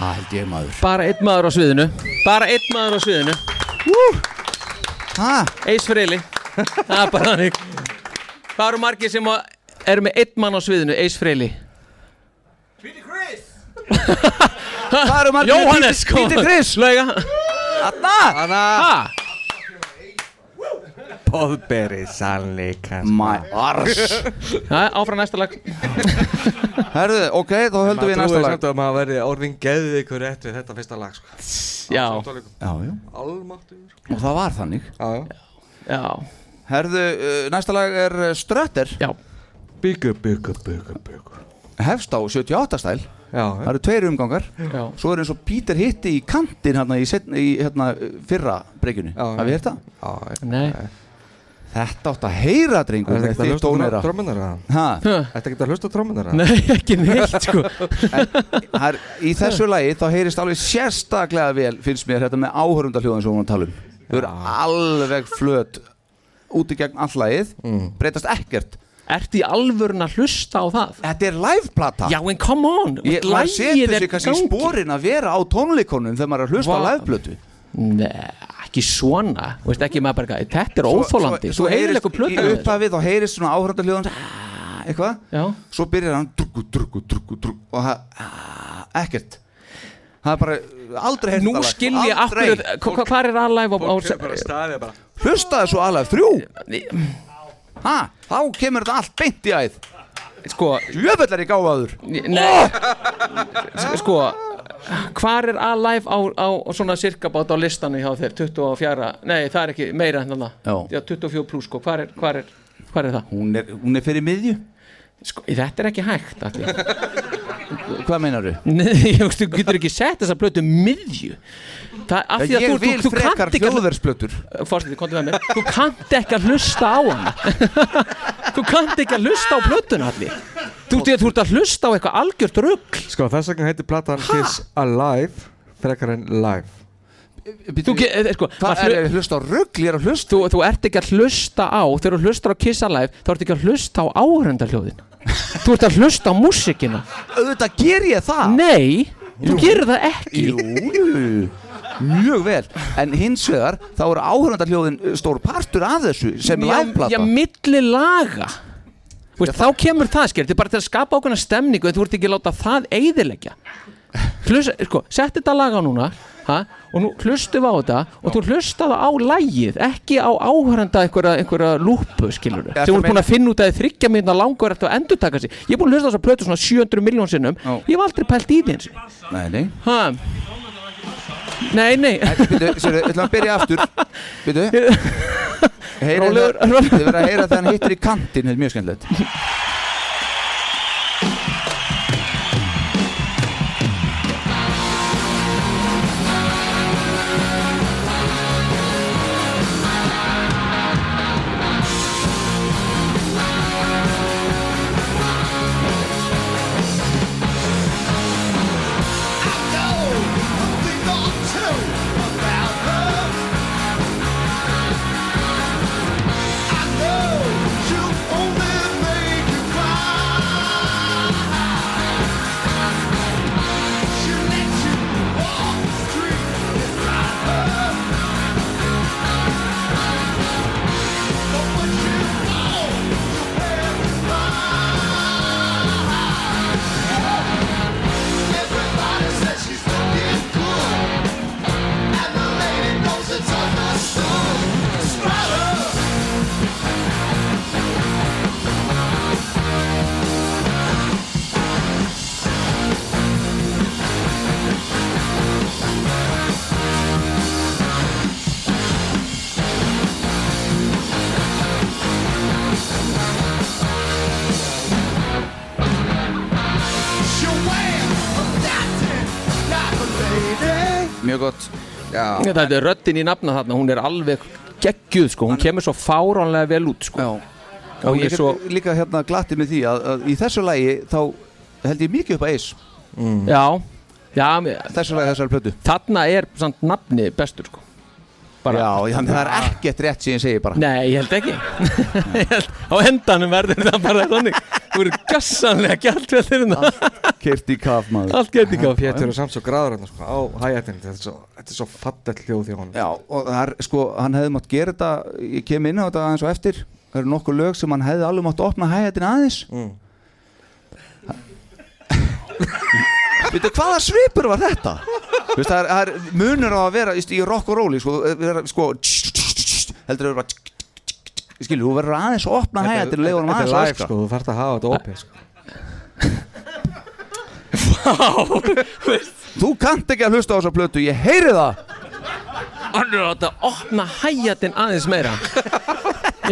Speaker 1: Það held ég maður
Speaker 2: Bara einn maður á sviðinu Bara einn maður á sviðinu Eis Freyli Það er bara þannig Hvað eru margir sem á- eru með einn mann á sviðinu Eis Freyli
Speaker 1: Það eru margir með
Speaker 2: Jóhannes
Speaker 1: Peter- Peter Criss.
Speaker 2: Lauga
Speaker 1: Anna Anna
Speaker 8: Bóðberi sannleikan
Speaker 1: My arse
Speaker 2: Það er áfram næsta lag
Speaker 1: Herðu, ok, þá höldum við í næsta lag
Speaker 3: samt að maður verði orðin geðið ykkur rétt við þetta fyrsta lag sko.
Speaker 2: Já.
Speaker 1: Já, já
Speaker 3: Almáttugur
Speaker 1: Og það var þannig
Speaker 3: Já,
Speaker 2: Já
Speaker 1: Herðu, uh, næsta lag er uh, Strötter
Speaker 2: Já
Speaker 3: Byggu, byggu, byggu, byggu
Speaker 1: Hefst á 78 stæl
Speaker 3: Já,
Speaker 1: Það eru tveir umgangar
Speaker 2: Já
Speaker 1: Svo er eins og Peter hitti í kantinn hérna í, setna, í hérna, uh, fyrra breykinu
Speaker 3: Já, já.
Speaker 1: Hafið þetta?
Speaker 3: já
Speaker 2: Nei
Speaker 1: Þetta átt að heyra,
Speaker 3: Er
Speaker 1: drengur
Speaker 3: þetta ekki að
Speaker 1: þið
Speaker 3: hlusta
Speaker 1: tónleira.
Speaker 3: á trómunar að?
Speaker 1: Ha,
Speaker 3: Er þetta ekki að hlusta á trómunar að?
Speaker 2: Nei, ekki neitt sko
Speaker 1: það er, Í þessu lagi þá heyrist alveg sérstaklega vel finnst mér þetta með áhörundaljóðin sem hún tala um Þau eru alveg flöt út í gegn all lagið
Speaker 3: Mm.
Speaker 1: breytast ekkert
Speaker 2: Ertu í alvörun að hlusta á það?
Speaker 1: Þetta er liveplata
Speaker 2: Já, en come on
Speaker 1: Ég, maður
Speaker 2: lagið
Speaker 1: setur
Speaker 2: er
Speaker 1: sig kannski í
Speaker 2: gangi.
Speaker 1: spórin að vera á tónleikonum þegar maður er að hlusta á
Speaker 2: Vá.
Speaker 1: liveplötu
Speaker 2: Nei, ekki svona Þú veist ekki maður bara eitthvað, Þetta er óþólandi Þú heyrir eitthvað plötu
Speaker 1: Í upphafið þá heyrist svona áhörundaljóðin eitthvað
Speaker 2: Já
Speaker 1: svo byrjar hann drukku, drukku, drukku, drukku og það, ah, ekkert það er bara, aldrei heyrt
Speaker 2: Nú
Speaker 1: þetta lag. sko.
Speaker 2: skil ég akkur
Speaker 1: Aldrei.
Speaker 2: Hvað er aðlæf á, á
Speaker 3: staðið bara
Speaker 1: hlustaðu svo alveg þrjú ha, þá kemur þetta allt beint í æð
Speaker 2: Sko
Speaker 1: jöfell er ég gáfaður
Speaker 2: Nei Sko Hvar er aðlæf á, á svona sirkabát á listanum hjá þér 24 Nei, það er ekki meira en þannig
Speaker 1: Já.
Speaker 2: Já, 24 pluss sko Hvar er, hvar er, hvar er það?
Speaker 1: hún er, hún er fyrir miðju
Speaker 2: Sko, þetta er ekki hægt allir.
Speaker 1: hvað meinaru?
Speaker 2: Nei, ég veist, þú getur ekki sett þessa plötu miðju Það, af því að
Speaker 1: ég
Speaker 2: þú,
Speaker 1: vil
Speaker 2: þú, þú
Speaker 1: frekar
Speaker 2: kannt ekki að
Speaker 1: hljóðversplötur
Speaker 2: Fórstætti, komdu með mér Þú kannt ekki að hlusta á hana Þú kannt ekki að hlusta á plötuna allir Þú ert þú ert að hlusta á eitthvað algjört rugg
Speaker 3: Sko þess vegna heitir platan Kiss Alive frekar en Live
Speaker 2: Þú, ge- eh, sko,
Speaker 1: hvað
Speaker 2: maður
Speaker 1: er
Speaker 2: hlu-
Speaker 1: að hlusta á rugl, ég er að hlusta
Speaker 2: þú, þú ert ekki að hlusta á Þegar þú hlustar á Kiss Alive Þá ert ekki að hlusta á áhörundarhljóðin Þú ert að hlusta á músikina
Speaker 1: auðvitað ger ég það
Speaker 2: Nei, þú gerir það ekki
Speaker 1: Jú, jú, mjög vel En hins vegar, þá eru áhörðandarhljóðin stór partur af þessu sem
Speaker 2: Já,
Speaker 1: liveplata
Speaker 2: Já, milli laga Þú Veist, þá kemur það skil, þetta er bara til að skapa ákveðna stemningu en þú ert ekki að láta það eyðileggja Hlust, sko, sett þetta lag á núna ha, og nú hlustum við á þetta og þú hlustaðu á lagið, ekki á áhörenda einhverja, einhverja lúpu skilur
Speaker 1: Ertu
Speaker 2: sem þú
Speaker 1: að
Speaker 2: ert búin að finna út að þið þryggja minna langur eftir að endurtaka sig, ég er búin að hlusta á þess að plötu svona 700 miljón sinnum,
Speaker 1: Já.
Speaker 2: ég hef aldrei pælt í því eins og-
Speaker 1: Nei, nei
Speaker 2: ha. Nei, nei
Speaker 1: Býtu, sérðu, ætlum að byrja aftur Býtu Heyrið
Speaker 2: Rólegur,
Speaker 1: það-
Speaker 2: rólegur.
Speaker 1: hérna, Þið verða að heyra þegar hann hittir í kantinn Þetta er mjög skemmtilegt
Speaker 4: I know you only make it
Speaker 1: mjög gott Já,
Speaker 2: Þetta er röddin í nafna þarna, hún er alveg geggjuð sko, hún kemur svo fáránlega vel út sko. Já,
Speaker 1: og
Speaker 2: hún
Speaker 1: ég
Speaker 2: er svo,
Speaker 1: er líka hérna glatti með því að, að í þessu lagi þá held ég mikið upp að eis mm.
Speaker 2: já, já Þessu
Speaker 1: lagi þessari plötu
Speaker 2: Þarna er samt nafni bestur sko Ah.
Speaker 1: Já, þannig að það er ekkert rétt sem ég segi bara
Speaker 2: Nei, ég held ekki Ég held, Á endanum verður það bara þannig Þú eru gassanlega gælt við þeirra
Speaker 1: Kert í kaf maður
Speaker 2: Allt gert í kaf
Speaker 3: Pétur er samt svo græður hérna sko, á hægættinni Þetta er svo, þetta er svo fallegt hljóð í honum
Speaker 1: Já, og það er, sko, hann hefði mátt gera þetta ég kem inn á þetta aðeins og eftir það eru nokkuð lög sem hann hefði alveg mátt opna hæðin aðeins mm. Veitu, hvaða svipur var þetta? Þú veist, það er, það er munur á að vera just, í rock og róli, sko, vera, sko heldur þau bara skilur, þú verður aðeins að opna
Speaker 3: Þetta er-
Speaker 1: hæðin og leiður hann
Speaker 3: þetta er
Speaker 1: aðeins
Speaker 3: live, sko, þú þarft að hafa þetta opið sko.
Speaker 1: Þú kannt ekki að hlusta á þessa plötu, ég heyri það
Speaker 2: Hann er átt að opna hæjatin aðeins meira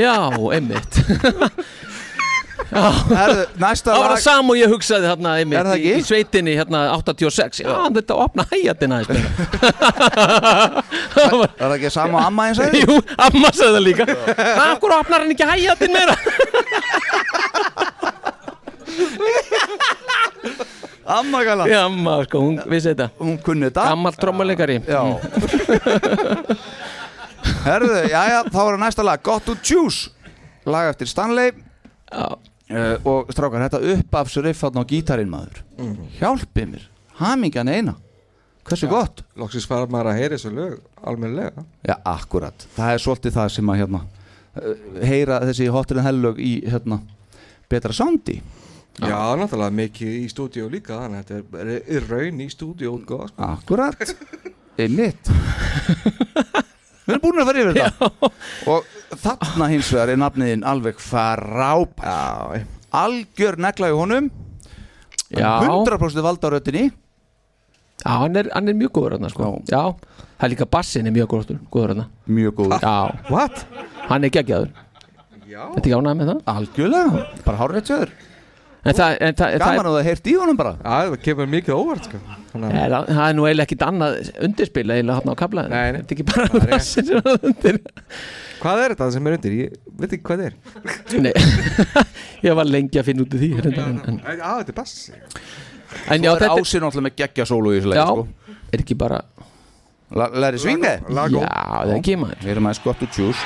Speaker 2: Já, einmitt
Speaker 1: Herðu, næsta
Speaker 2: Það
Speaker 1: lag-
Speaker 2: var það sam og ég hugsaði hérna einmitt
Speaker 1: Er það
Speaker 2: í,
Speaker 1: ekki?
Speaker 2: í sveitinni hérna 86 Já, hann þetta opna hæjatin aðeins meira Það var
Speaker 1: það ekki sama og amma eins aðeins?
Speaker 2: Jú, amma sagði það líka Akkur opnar hann ekki hæjatin meira
Speaker 1: Amma gala
Speaker 2: Já, amma, sko, hún vissi þetta
Speaker 1: Hún kunni þetta
Speaker 2: Gammal trommuleikari Mm.
Speaker 1: Já Herðu, jæja, þá er næsta lag Got to Choose Lag eftir Stanley Eh,
Speaker 2: Já
Speaker 1: Og strákar, þetta uppafsriff þarna á gítarinn maður Hjálpið mér, hamingjan eina Hversu gott
Speaker 3: Loksins fara maður að heyra þessu lög almennilega
Speaker 1: Já, akkurat, það er svolítið það sem að hérna eh, heyra þessi hotirinn hellög í hérna betra soundi
Speaker 3: Já, náttúrulega mikið í stúdíó líka þannig að þetta er- er raun í stúdíó góð, sko.
Speaker 1: Akkurat Einmitt Við erum búin að fara yfir þetta Og þarna hins vegar er nafniðin alveg frábær Algjör negla í honum
Speaker 2: Já.
Speaker 1: 100% valda á röttinni
Speaker 2: Já, hann er, hann er mjög góður hann sko. Já, það er líka bassin er mjög góður, góður hann
Speaker 1: Mjög góður
Speaker 2: Já
Speaker 1: What?
Speaker 2: Hann er geggjaður
Speaker 3: Já
Speaker 2: Þetta er ekki ánægð með það
Speaker 1: Algjörlega, bara hárrétt sjöður
Speaker 2: En það, en það, það,
Speaker 1: Gaman að það heyrt í honum bara
Speaker 3: Já, það kemur mikið óvart sko. Þannig
Speaker 2: er, það, það er nú eiginlega ekkit annað undirspil eiginlega hann á kablaðinu Nei, nei Þetta er ekki bara bassin sem hann undir
Speaker 3: Hvað er þetta sem er undir? Ég veit ekki hvað þetta er
Speaker 2: Nei, ég var lengi að finna út úr því reyndar, en, en,
Speaker 3: Já, þetta er bassi
Speaker 2: en já,
Speaker 1: Svo er
Speaker 2: þetta
Speaker 1: ásinn alltaf með geggja sólu í þessu leik
Speaker 2: Já,
Speaker 1: sko.
Speaker 2: er ekki bara
Speaker 1: Læri svingi?
Speaker 2: Lagó. Já, það er ekki maður
Speaker 1: eh? Við erum aðeins gott úr tjús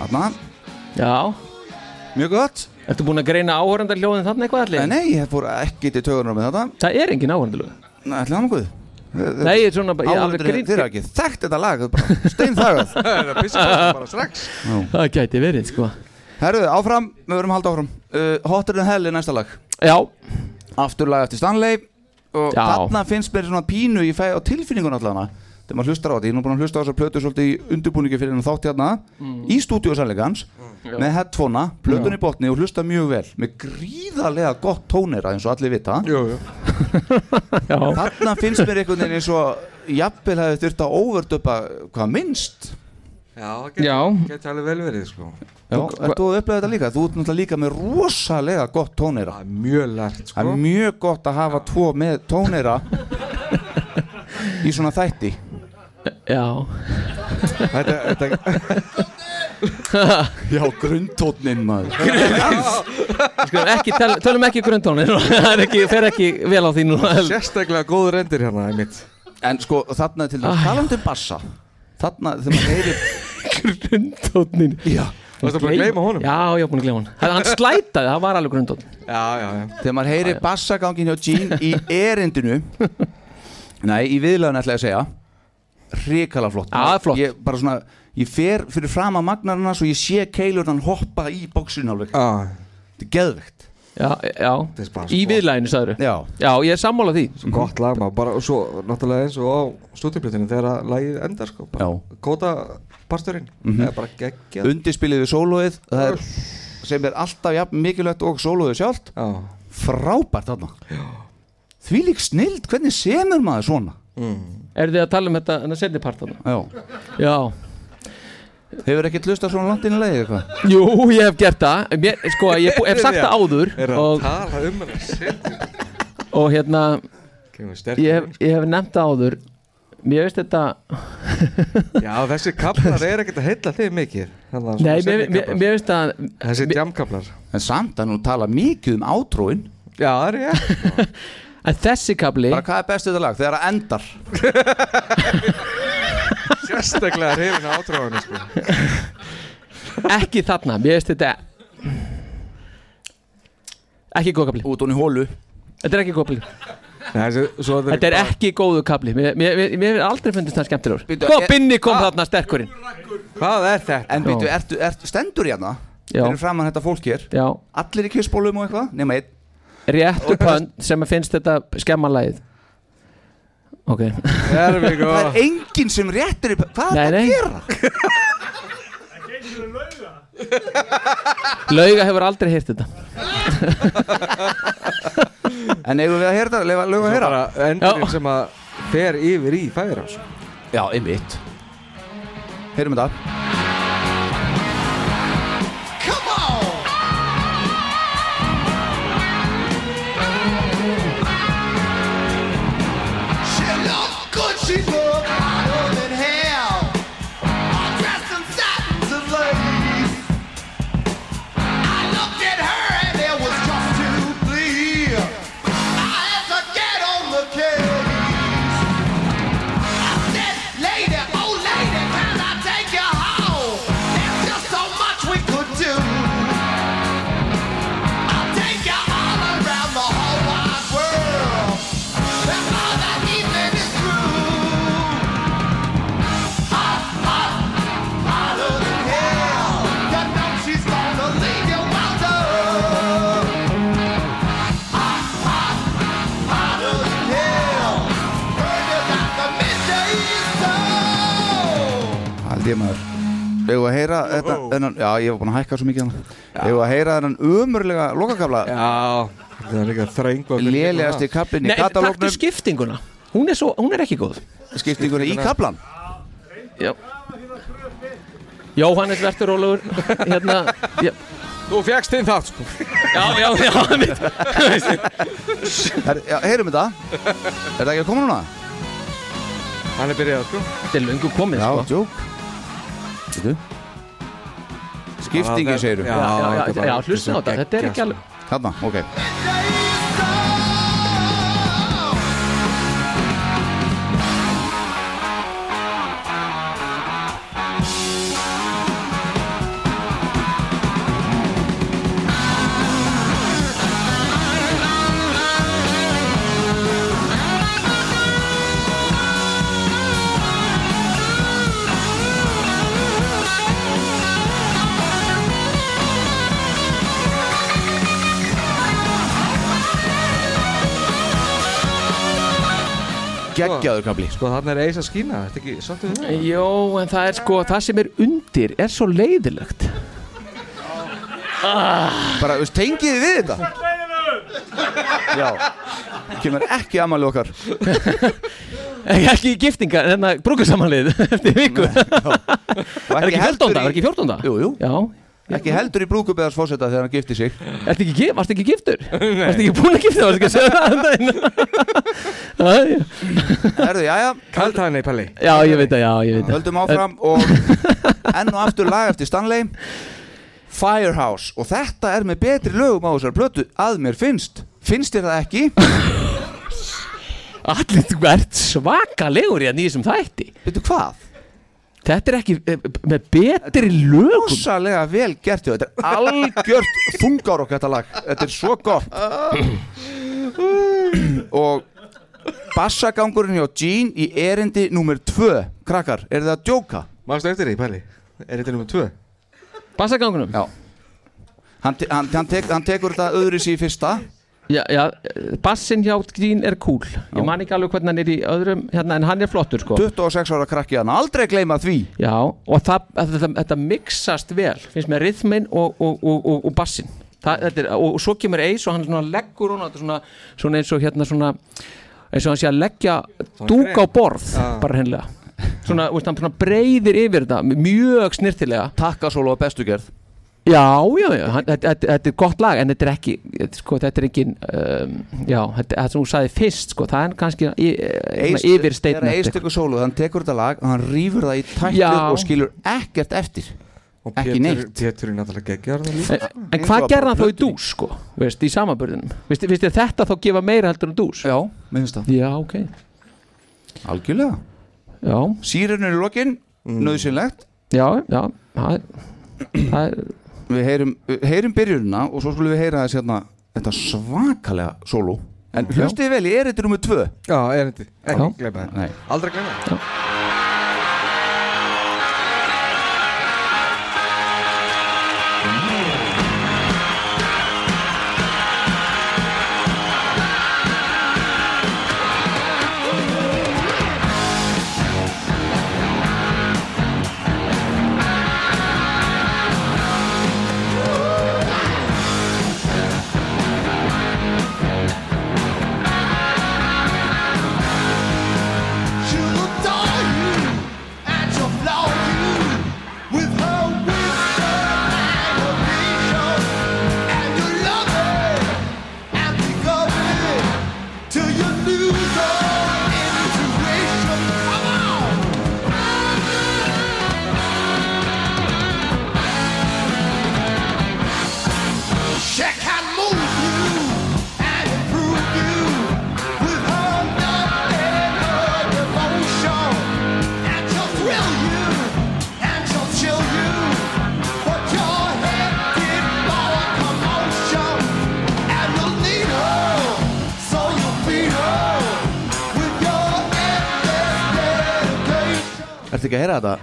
Speaker 1: Þarna
Speaker 2: Já
Speaker 1: Mjög gott
Speaker 2: Ertu búin að greina áhörandar hljóðin þarna eitthvað allir?
Speaker 1: Nei, ég fór ekki til tögunar með þetta
Speaker 2: Það er engin áhörandar hljóð
Speaker 1: Nei, ætli hann guð
Speaker 2: Nei, ég er svona bara- ég er alveg
Speaker 1: Áhundur
Speaker 2: grín-
Speaker 1: þeirra ekki Þekkt þetta lag, bara steinþagað
Speaker 3: Það er pissað bara strax
Speaker 2: Það gæti verið, sko
Speaker 1: Herðu, áfram, við verum að halda áfram uh, Hotter than Hell er næsta lag
Speaker 2: Já,
Speaker 1: Aftur lag eftir Stanley Og
Speaker 2: Já.
Speaker 1: þarna finnst mér svona pínu Ég fæ á tilfinningun allana þegar maður hlustar á þetta, ég er nú búin að hlusta á þessar plötu svolítið í undirbúningi fyrir hennar þátt hérna í stúdíu sannleikans með headphonea, plötun í botni og hlusta mjög vel með gríðarlega gott tónera eins og allir vita jú, jú. þarna finnst mér einhvern veginn eins og jafnvel hefði þurft að overdöpa hvað minnst
Speaker 3: Já, það get-
Speaker 1: Já.
Speaker 3: geti alveg vel verið sko.
Speaker 1: Já, ert þú að upplega þetta líka? Þú ert náttúrulega líka með rosalega gott tónera Það
Speaker 3: er mjög lært sko
Speaker 1: Það er mjög gott að hafa tvo með tónera Í svona þætti
Speaker 2: Já
Speaker 1: Þetta, þetta Já, grundtónin maður
Speaker 2: Skulum Sko, ekki, tel, tölum ekki grunntónin Það er ekki, fer ekki vel á því núna
Speaker 3: Sérstaklega góð reyndir hérna einmitt.
Speaker 1: En sko þarna til dæmis talandi um bassa Þarna þegar maður heyrir
Speaker 2: Grundtónin
Speaker 1: Já
Speaker 3: Varstu búin að gleyma honum?
Speaker 2: Já, ég var búin að gleyma honum Það- Hann slætaði, það var alveg grundtónin
Speaker 3: Já, já, já
Speaker 1: Þegar maður heyrir bassagangin hjá Gene í erindinu Nei, í viðlaðan ætla ég að segja Ríkala flott Já, flott Ég bara svona, ég fer fyrir fram að magnarinn hans og ég sé keilurnan hoppa í bóksinu alveg
Speaker 3: Já
Speaker 1: Þetta er geðvegt
Speaker 2: Já, já Í
Speaker 3: sko-
Speaker 2: viðlæðinu sagður
Speaker 1: Já
Speaker 2: Já, ég er sammála því
Speaker 3: Svo gott lag maður, bara og svo náttúrulega eins og á stúdíplutinu þegar að lagið endar sko bara, Kóta parturinn,
Speaker 2: Mhm.
Speaker 3: það er bara geggjað
Speaker 1: Undirspilið við sólóið það er, sem er alltaf jafn mikilvægt og sólóið sjálft
Speaker 3: Já.
Speaker 1: Frábært þarna Því lík snild, hvernig semur maður svona?
Speaker 3: Mm.
Speaker 2: Er þið að tala um þetta en að setja part þarna?
Speaker 1: Já
Speaker 2: Já
Speaker 1: Hefur ekkert hlustað svona langt inn í leiði eitthvað?
Speaker 2: Jú, ég hef gert það Mér, Sko, ég bú- hef sagt það áður
Speaker 3: Er að
Speaker 2: og,
Speaker 3: tala um hennar sitt
Speaker 2: og hérna ég hef,
Speaker 3: sko.
Speaker 2: ég hef nefnt það áður Mér veist þetta
Speaker 3: Já, þessi kaplar er ekkert að heilla þig mikið Þannig að
Speaker 2: Nei, mér, mér, mér veist að
Speaker 3: Þessi djamkaplar
Speaker 1: En samt að nú tala mikið um átrúin
Speaker 3: Já, það er ég
Speaker 2: En þessi kapli
Speaker 1: Bara hvað er bestið þetta lag? Þegar það endar
Speaker 3: Sérstaklega hrifin á átráðinu sko
Speaker 2: Ekki þarna, mér veist þetta Ekki góð kapli
Speaker 1: Út hún í hólu
Speaker 2: Þetta er ekki góð kapli
Speaker 3: Nei, þessi, svo
Speaker 2: Þetta er ekki góðu kapli Mér hefur aldrei fundist það skemmtilegur Sko,
Speaker 1: er-
Speaker 2: Binni kom þarna sterkurinn
Speaker 3: Hvað er þetta?
Speaker 1: En býttu, ertu, ertu stendur hérna?
Speaker 2: Já.
Speaker 1: Fyrir framann þetta fólk hér
Speaker 2: Já,
Speaker 1: Allir í kissbólum og eitthvað? Nema einn
Speaker 2: réttu pönd sem að finnst þetta skemmalægið Ok
Speaker 3: Það
Speaker 1: Það er enginn sem réttir upp Hvað er þetta að gera?
Speaker 2: Lauga hefur aldrei heyrt þetta
Speaker 1: En eigum við að heyra þetta? Lefa lögum að heyra?
Speaker 3: bara endurinn sem að fer yfir í færa sko.
Speaker 1: Já, einmitt Heyrum þetta
Speaker 4: Come on! She looked good, she looked hotter than hell. All dressed in satins and lace. I looked at her and it was just too clear. I had to get on the case. I said, lady, oh lady, can I take you home? There's just so much we could do. I'll take you all around the whole wide world. Before the evening is through. Hot, hot, hotter than hell. You know she's gonna leave you out Hot, hot, hotter than hell. Burn you like the midday sun.
Speaker 1: Haldið ég maður Eigum við að heyra þetta þennan, Já, ég var búin að hækka svo mikið hérna. hann Eigum við að heyra þennan umurlega lokakafla
Speaker 3: Já, það er líka þröngva
Speaker 1: Lélegasti kaplinn í katalógnum
Speaker 2: taktu skiptinguna hún er, svo, hún er ekki góð
Speaker 1: Skiptinguna í kaplan
Speaker 2: Já Jóhannes verður rólegur hérna, já,
Speaker 3: Þú fegst inn það sko
Speaker 2: já, já, já mitt.
Speaker 1: Her, já, Heyrum þetta Er það ekki að koma núna?
Speaker 3: Hann er byrjað sko
Speaker 2: Þetta er löngu komið
Speaker 1: Já,
Speaker 2: sko.
Speaker 1: djók Þetta Skiptingi segir
Speaker 2: Já, já, já, já, hlustum á þetta, þetta er ekki alveg
Speaker 1: Þarna, ok
Speaker 4: Hot, hot, hotter than hell.
Speaker 1: Geggjaður kapli
Speaker 3: Sko þarna er eis að skína, þetta er ekki svolítið við það?
Speaker 2: Jó, en það er sko, það sem er undir er svo leiðilegt Ah.
Speaker 1: Bara, veist, tengið þið við þetta? Já Kemur ekki amalið okkar
Speaker 2: Ekki í giftinga, en það brúkursamanlið eftir viku
Speaker 1: Og
Speaker 2: Er ekki 14. Það er ekki 14.
Speaker 1: Jú, jú
Speaker 2: Já
Speaker 1: Ekki heldur í brúkubeðars fósetta þegar hann gifti sig
Speaker 2: Ertu ekki, gif- varstu ekki giftur? Varstu ekki búin að gifta? Varstu ekki að segja það? um Nei.
Speaker 1: Erðu, jæja
Speaker 3: Kallt hann í palli
Speaker 2: Já, ég veit að, já, ég veit að
Speaker 1: Höldum áfram og enn og aftur lag eftir Stanley Firehouse og þetta er með betri lögum á þessar plötu að mér finnst finnst þér það ekki?
Speaker 2: Allir, þú ert svakalegur hérna í að nýja sem þætti
Speaker 1: Veitu hvað?
Speaker 2: Þetta er ekki eh, með betri lögum
Speaker 1: Ósalega vel gert hjá þetta er algjört þungar okkur þetta lag þetta er svo gott og bassagangurinn hjá Gene í erindi nummer 2 krakkar, er það að djóka?
Speaker 3: Mástu eftir því, palli? Er þetta nummer 2?
Speaker 2: Bassagangunum?
Speaker 1: Já Hann, te hann, hann, tek hann tekur þetta öðru sér í fyrsta
Speaker 2: Já, já, bassin hjá Grín er cool Ég man ekki alveg hvernig hann er í öðrum hérna, En hann er flottur sko
Speaker 1: 26 ára krakki hann, aldrei gleyma því
Speaker 2: Já, og það, þetta, þetta mixast vel Finnst mér rithminn og, og, og, og, og bassin það, þetta er, og, og svo kemur eis og hann svona leggur hún á þetta svona, svona eins og hérna svona eins og hann sé að leggja dúk á borð
Speaker 3: Já.
Speaker 2: Bara hennilega Svona, veist, hann svona breyðir yfir þetta Mjög snirtilega
Speaker 1: Takkasólu á bestu gerð
Speaker 2: Já, já, já, hann- þetta þetta- þetta er gott lag en þetta er ekki, þetta er sko, þetta er engin um, já, þetta þetta sem þú sagði fyrst sko, það er kannski eh,
Speaker 1: Eist-
Speaker 2: yfir
Speaker 1: Þegar Eist
Speaker 2: steitnætt
Speaker 1: tekur sólu, hann tekur þetta lag og hann rýfur það í
Speaker 2: Já.
Speaker 1: tættur og skilur ekkert eftir
Speaker 3: Og
Speaker 1: Ekki neitt.
Speaker 3: Pétur er náttúrulega geggjar það
Speaker 2: En,
Speaker 3: líka
Speaker 2: en hvað gerði hann þá í dús sko, veist, í samanbörðinum veist, veist þér þetta þá gefa meira heldur en dús
Speaker 1: Já, minnst það
Speaker 2: Já, ok,
Speaker 1: Algjörlega
Speaker 2: já,
Speaker 1: Sýrinu í lokin, mm. nöðsynlegt
Speaker 2: já, já það er, það er
Speaker 1: Við heyrum, við heyrum byrjunina og svo skulum við heyra þess hérna Þetta svakalega sólu En hlustið vel, ég er þetta nummer tvö
Speaker 3: Já, er þetta, ekki
Speaker 2: Já.
Speaker 3: gleypa það
Speaker 1: Nei,
Speaker 3: Aldrei gleypa það
Speaker 4: She'll adore you and she'll flow you with her wisdom and her vision. And you love her and think of it till you lose all intuition. Come on! She can move you and improve you with her love and her devotion. And she'll thrill you and she'll chill you. But your head did for a commotion. And you'll need her, so you'll feed her with your endless dedication.
Speaker 1: ertu ekki að heyra þetta?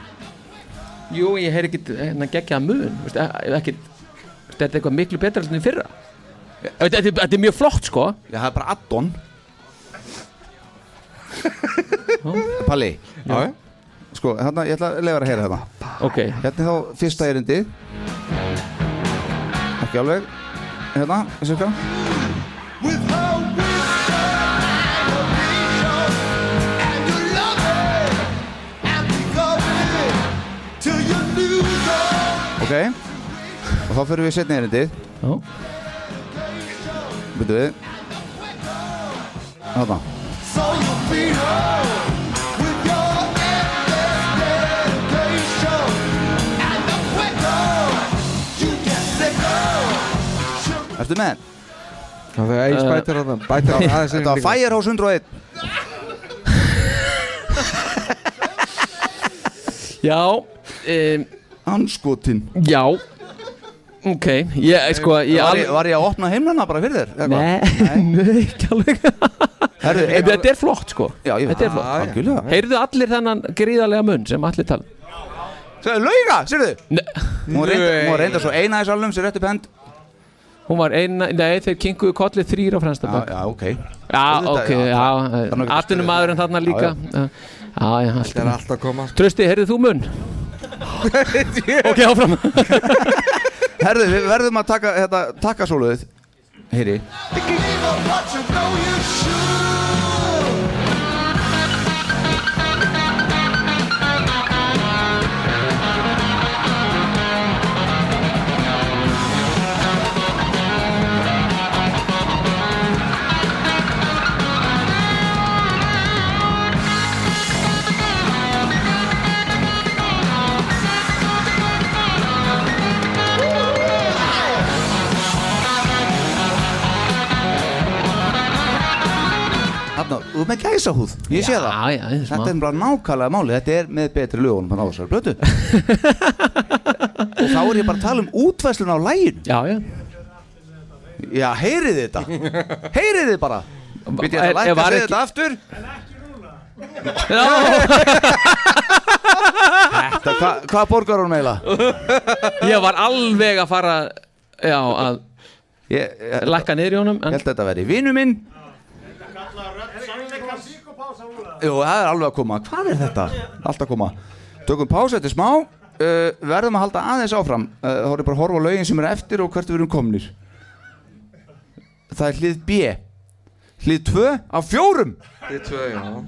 Speaker 2: Jú, ég heyr ekkit hérna geggjaða mun veist, e- ekkit, veist, þetta er eitthvað miklu betra heldur en í fyrra Þetta þetta er, þetta er mjög flott sko
Speaker 1: Já, það er bara addon Palli
Speaker 3: Já, já
Speaker 1: Sko, hérna, ég ætla að leifa að heyra þetta
Speaker 2: Ok,
Speaker 1: Hérna er þá fyrsta erindi Ekki alveg Hérna, þessu hvað?
Speaker 4: with her wisdom and her vision. And you love her and think of it till you lose all
Speaker 1: Ok Og þá fyrir við setni erindið
Speaker 2: já,
Speaker 1: Býtu við Þarna
Speaker 4: So you feed her with your endless dedication. And the quicker you get sicker.
Speaker 1: Ertu með?
Speaker 3: Já, Það er
Speaker 2: Eh,
Speaker 3: eis bætir að það Bætir að aðeins
Speaker 1: Þetta var Firehouse 101
Speaker 2: já um,
Speaker 1: Anskotin
Speaker 2: Já Ok, ég sko ég
Speaker 1: var,
Speaker 2: alveg
Speaker 1: ég- var ég að opna heimlana bara fyrir þér? eða hvað?
Speaker 2: Nei, nei, ekki alveg
Speaker 1: Herðu,
Speaker 2: En
Speaker 1: ein,
Speaker 2: Þetta er flott sko
Speaker 1: Já, ég veit
Speaker 2: Þetta er flott
Speaker 3: já.
Speaker 1: Algjörlega
Speaker 2: Heyrðu allir þennan gríðarlega mun sem allir tala
Speaker 1: Sæðu, lauga, sérðu
Speaker 2: Nei,
Speaker 1: Hún var reynda, hún var reynda svo eina í salnum sér rétt upp hend
Speaker 2: Hún var eina, nei þeir kinkuðu kollið þrýr á fremstabak
Speaker 1: Já, já, ok
Speaker 2: Já,
Speaker 1: Auðvitað,
Speaker 2: ok,
Speaker 1: já,
Speaker 2: já,
Speaker 1: það er nú ekki að
Speaker 2: atvinnum maðurinn þarna líka Já, já, allt
Speaker 3: er allt að koma
Speaker 2: Trösti, heyrðu þú mun? ok, áfram
Speaker 1: Herðu, við verðum að taka, hérna, taka sóluðið Heyri Þarna, þú ert með gæsa húð, ég sé það
Speaker 2: Já, já, þetta er smá.
Speaker 1: Þetta er bara nákvæmlega máli, þetta er með betri lögunum hann á þessari blötu Og þá er ég bara að tala um útvæslun á læginu
Speaker 2: Já, já
Speaker 1: Já, heyrið þið þetta Heyrið þið bara Við ég
Speaker 2: Er-
Speaker 1: að lækka
Speaker 2: var
Speaker 1: þið
Speaker 2: ekki-
Speaker 1: þetta aftur
Speaker 2: Já
Speaker 1: Hva, Hvað borgar hún meila?
Speaker 2: Ég var alveg að fara Já, að
Speaker 1: ég, ég,
Speaker 2: Lækka niður í honum
Speaker 1: Ég
Speaker 2: en,
Speaker 1: held að þetta veri vinnu minn Jú, það er alveg að koma Hvað er þetta? Allt að koma Tökum pásu eftir smá uh, Verðum að halda aðeins áfram uh, Þá erum bara að horfa á lögin sem eru eftir og hvert við erum komnir Það er hlið B Hlið 2 á fjórum
Speaker 3: Þið tvö, já
Speaker 2: Já, og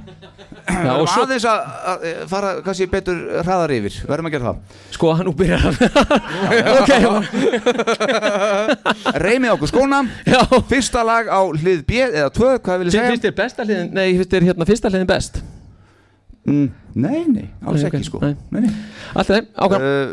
Speaker 1: Verðum
Speaker 2: svo-
Speaker 1: aðeins að, að eh, fara kannski betur hraðar yfir Verðum að gera
Speaker 2: Sko, hann úr byrjar
Speaker 1: það Reymið okkur skóna
Speaker 2: Já.
Speaker 1: Fyrsta lag á hlið B eða 2, hvað vil ég
Speaker 2: Sem
Speaker 1: segja?
Speaker 2: finnst þér besta hliðin Nei, finnst þér hérna fyrsta hliðin best
Speaker 1: Mm, nei, nei, alls
Speaker 2: Nei, ok,
Speaker 1: ekki sko
Speaker 2: nei.
Speaker 1: Nei, nei.
Speaker 2: Allt þeim, ákvæm
Speaker 1: Uh,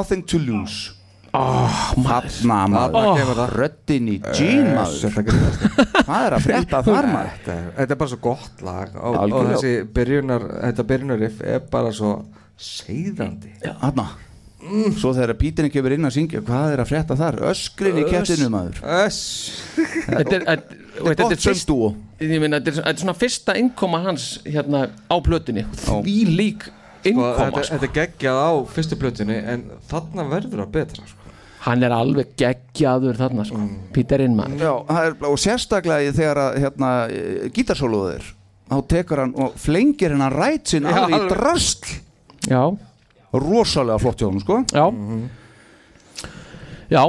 Speaker 1: nothing to lose
Speaker 2: Ah,
Speaker 1: oh, Þarna maður
Speaker 3: Þarna
Speaker 1: oh.
Speaker 3: kemur það. Eh,
Speaker 1: Röddin í jean maður
Speaker 3: Þetta grínast.
Speaker 1: Hvað er að frétta þar maður
Speaker 3: Þetta er þetta er bara svo gott lag og, og
Speaker 1: Algjörlega.
Speaker 3: þessi byrjunar, þetta byrjunariff er bara svo seiðandi Mm.
Speaker 1: Þarna Svo þegar Pítinni kemur inn að syngja Hvað er að frétta þar? Öskrin í kettinu maður
Speaker 3: Öss
Speaker 2: Þetta er- þetta- þetta er
Speaker 1: Gott
Speaker 2: fyrst-
Speaker 1: sömstúo
Speaker 2: Ég meina, þetta er svona- þetta er svona fyrsta innkoma hans Hérna á plötunni Því lík
Speaker 3: og
Speaker 2: innkoma
Speaker 3: Sko, þetta,
Speaker 2: sko.
Speaker 3: þetta er geggjað á fyrstu plötunni en þarna verður það betra sko.
Speaker 2: Hann er alveg geggjaður þarna sko.
Speaker 3: Mm.
Speaker 2: Pítur inn maður
Speaker 1: Já, það er, og sérstaklega í þegar að hérna, gítarsóluður þá tekur hann og flengir hennan rætsinn
Speaker 3: Já,
Speaker 1: alveg í
Speaker 3: alveg.
Speaker 1: drasl
Speaker 2: Já,
Speaker 1: Rosalega flott hjá hún sko
Speaker 2: já Já,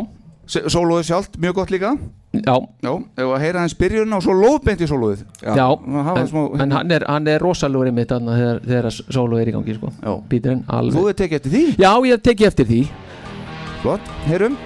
Speaker 1: Sóluðu sjálft, mjög gott líka
Speaker 2: já,
Speaker 1: Já, ef að heyra hans byrjun og svo lóðbeint í sóluðið
Speaker 2: já
Speaker 1: það hafa
Speaker 2: En,
Speaker 1: smá-
Speaker 2: en hann, er, hann er rosalegur einmitt þarna þegar, þegar að solo er í gangi sko.
Speaker 1: Já.
Speaker 2: Píturinn alveg
Speaker 1: Þú hefur tekið eftir því
Speaker 2: Já, ég teki eftir því
Speaker 1: Flott, heyrum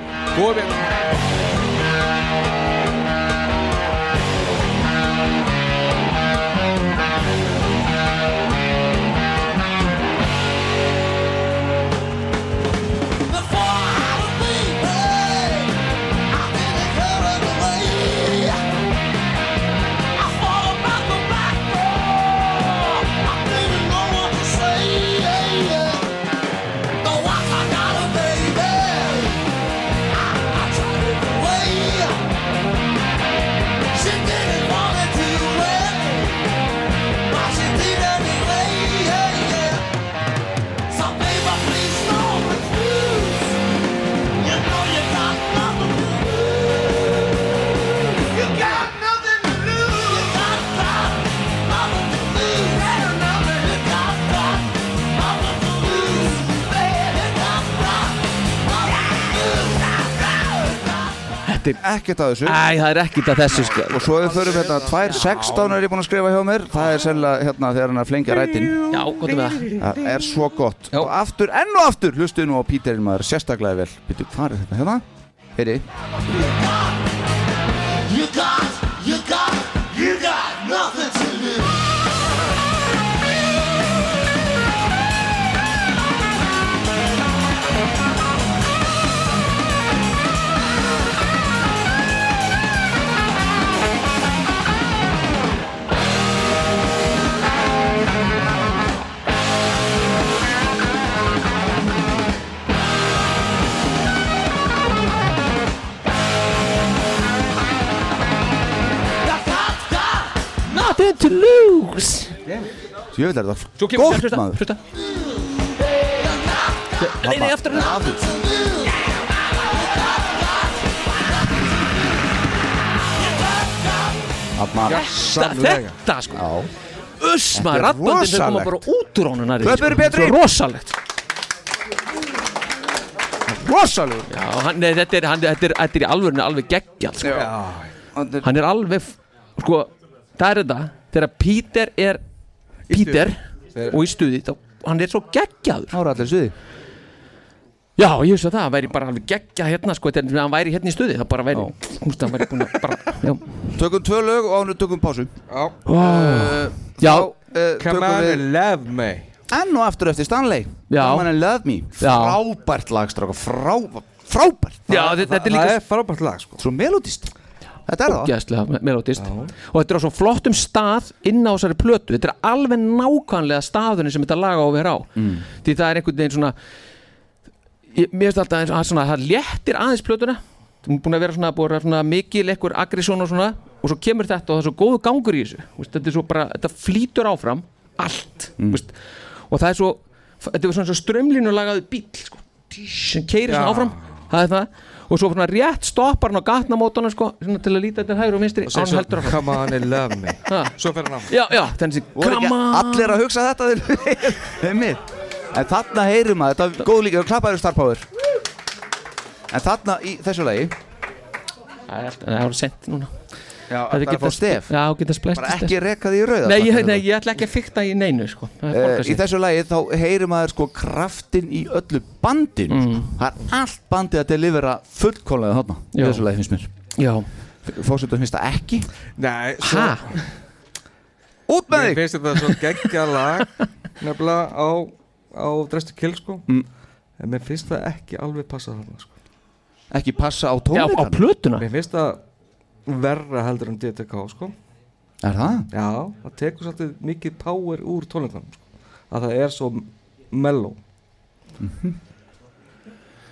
Speaker 4: She didn't wanna do it, but she did anyway. Yeah, yeah. So baby, please don't refuse. You know you got nothing to lose. You got nothing to lose. You got got nothing to lose. Ain't nothing. You got got nothing to lose. Baby, got got nothing to lose. Got got.
Speaker 1: Ekkert að þessu
Speaker 2: Æ, það er ekkert að þessu sko.
Speaker 1: Og svo við förum hérna Tvær 16 er ég búinn að skrifa hjá mér Það er sennilega hérna þegar hann er að flengja rætin
Speaker 2: Já, gott með það
Speaker 1: Það er svo gott Og aftur, enn og aftur Hlustuðu nú á Píterinn maður Sérstaklega vel Býttu, hvað er þetta hérna? Heyri
Speaker 4: You got, you got, you got nothing to lose.
Speaker 2: Nothing to lose
Speaker 1: Ég veit að þetta
Speaker 2: Svo
Speaker 1: er
Speaker 2: kemur
Speaker 1: Gott
Speaker 2: hlusta,
Speaker 1: maður
Speaker 2: hlusta Nei, nei, aftur Nei, aftur Þarna
Speaker 1: sannlega.
Speaker 2: Þetta sko
Speaker 1: Nou.
Speaker 2: Uss
Speaker 1: Þetta er
Speaker 2: maður, rattböndin þau koma
Speaker 1: rosalegt.
Speaker 2: bara út úr honum nærið
Speaker 1: Klöppum eru betri.
Speaker 2: Svo rosalegt
Speaker 1: Rosalegur
Speaker 2: Já, hann, nei, þetta, er, hann, þetta, er, þetta er í alvörinu alveg geggjall sko. Hann er alveg f- Sko, það er þetta Þegar Peter er Peter og í stuði þá, Hann er svo geggjaður
Speaker 1: Ára allir stuði
Speaker 2: Já, ég veist að það, hann væri bara alveg geggjað hérna sko, þegar hann væri hérna í stuði, það bara væri, húst, hann væri búin að bara, já.
Speaker 1: Tökum tvö lög og ánum tökum pásu
Speaker 3: Já
Speaker 2: Vá.
Speaker 1: Já eh,
Speaker 3: Come on and
Speaker 1: love me Enn og aftur eftir Stanley
Speaker 3: Já.
Speaker 1: Come on and love me Frábært lag, stráka Frá, Frábært
Speaker 2: Já,
Speaker 1: Það-
Speaker 2: þetta er
Speaker 1: það-
Speaker 2: líka-
Speaker 1: Það er frábært lag, sko Svo melodist Þetta er það
Speaker 2: Ógeðslega melodist Og þetta er á svo flottum stað inn á þessari plötu Þetta er alveg nákvæmlega staðurinn sem þetta laga á að vera á
Speaker 4: Mm.
Speaker 2: Því það er einhvern veginn svona ég, Mér finnst alltaf að svona, það léttir aðeins plötuna Hún er búin að vera svona, búin að vera svona mikil ekkur aggression og svona Og svo kemur þetta og það er svo góðu gangur í þessu Vist, Þetta er svo bara, þetta flýtur áfram Allt mm. Vist, Og það er svo, þetta er svona strömlinu lagaði bíl sko, sem keirir svona
Speaker 10: Já.
Speaker 2: áfram það er það og svo svona rétt stoppar hann á gatnamótana sko, svona til að líta til hægri og vinstri
Speaker 3: Og
Speaker 2: og
Speaker 3: segir
Speaker 2: hann
Speaker 3: svo,
Speaker 2: heldur áfram
Speaker 3: "Come on and love me."
Speaker 2: Ha.
Speaker 3: Svo fer hann áfram.
Speaker 2: já, já, þannig sem
Speaker 1: Voru ekki
Speaker 2: come on
Speaker 1: allir að hugsa þetta Heimir En þarna heyrum að Þetta er góð líka og klappaður Star Power En þarna í þessu lagi
Speaker 2: Það er alltaf- það er sent núna
Speaker 1: Já, það er að fá stef
Speaker 2: já, geta splæst
Speaker 1: Bara ekki reka því í rauða
Speaker 2: nei, ég,
Speaker 1: takk fyrir
Speaker 2: nei, ég ætla ekki að fykta í neinu sko. Það
Speaker 1: Eh,
Speaker 2: borgar
Speaker 1: í
Speaker 2: sig.
Speaker 1: þessu lagi þá heyrir maður sko kraftin í öllu bandinu mm. það er allt bandið að delivera fullkomlega þarna í
Speaker 2: Já.
Speaker 1: þessu lagi finnst mér
Speaker 2: já
Speaker 1: fórsveitum finnst það ekki
Speaker 3: Nei,
Speaker 1: svo Út með
Speaker 3: þig Mér finnst þetta svo geggja lag Nefnilega á, á Drestu Kill sko En mér finnst það ekki alveg passa þarna sko
Speaker 1: Ekki passa á tónleikana? Já, á
Speaker 2: plötuna
Speaker 3: Mér finnst það verra heldur en DTK sko
Speaker 1: Er það?
Speaker 3: Já, það tekur svolítið mikið power úr tónleikanum sko Að það er svo mellow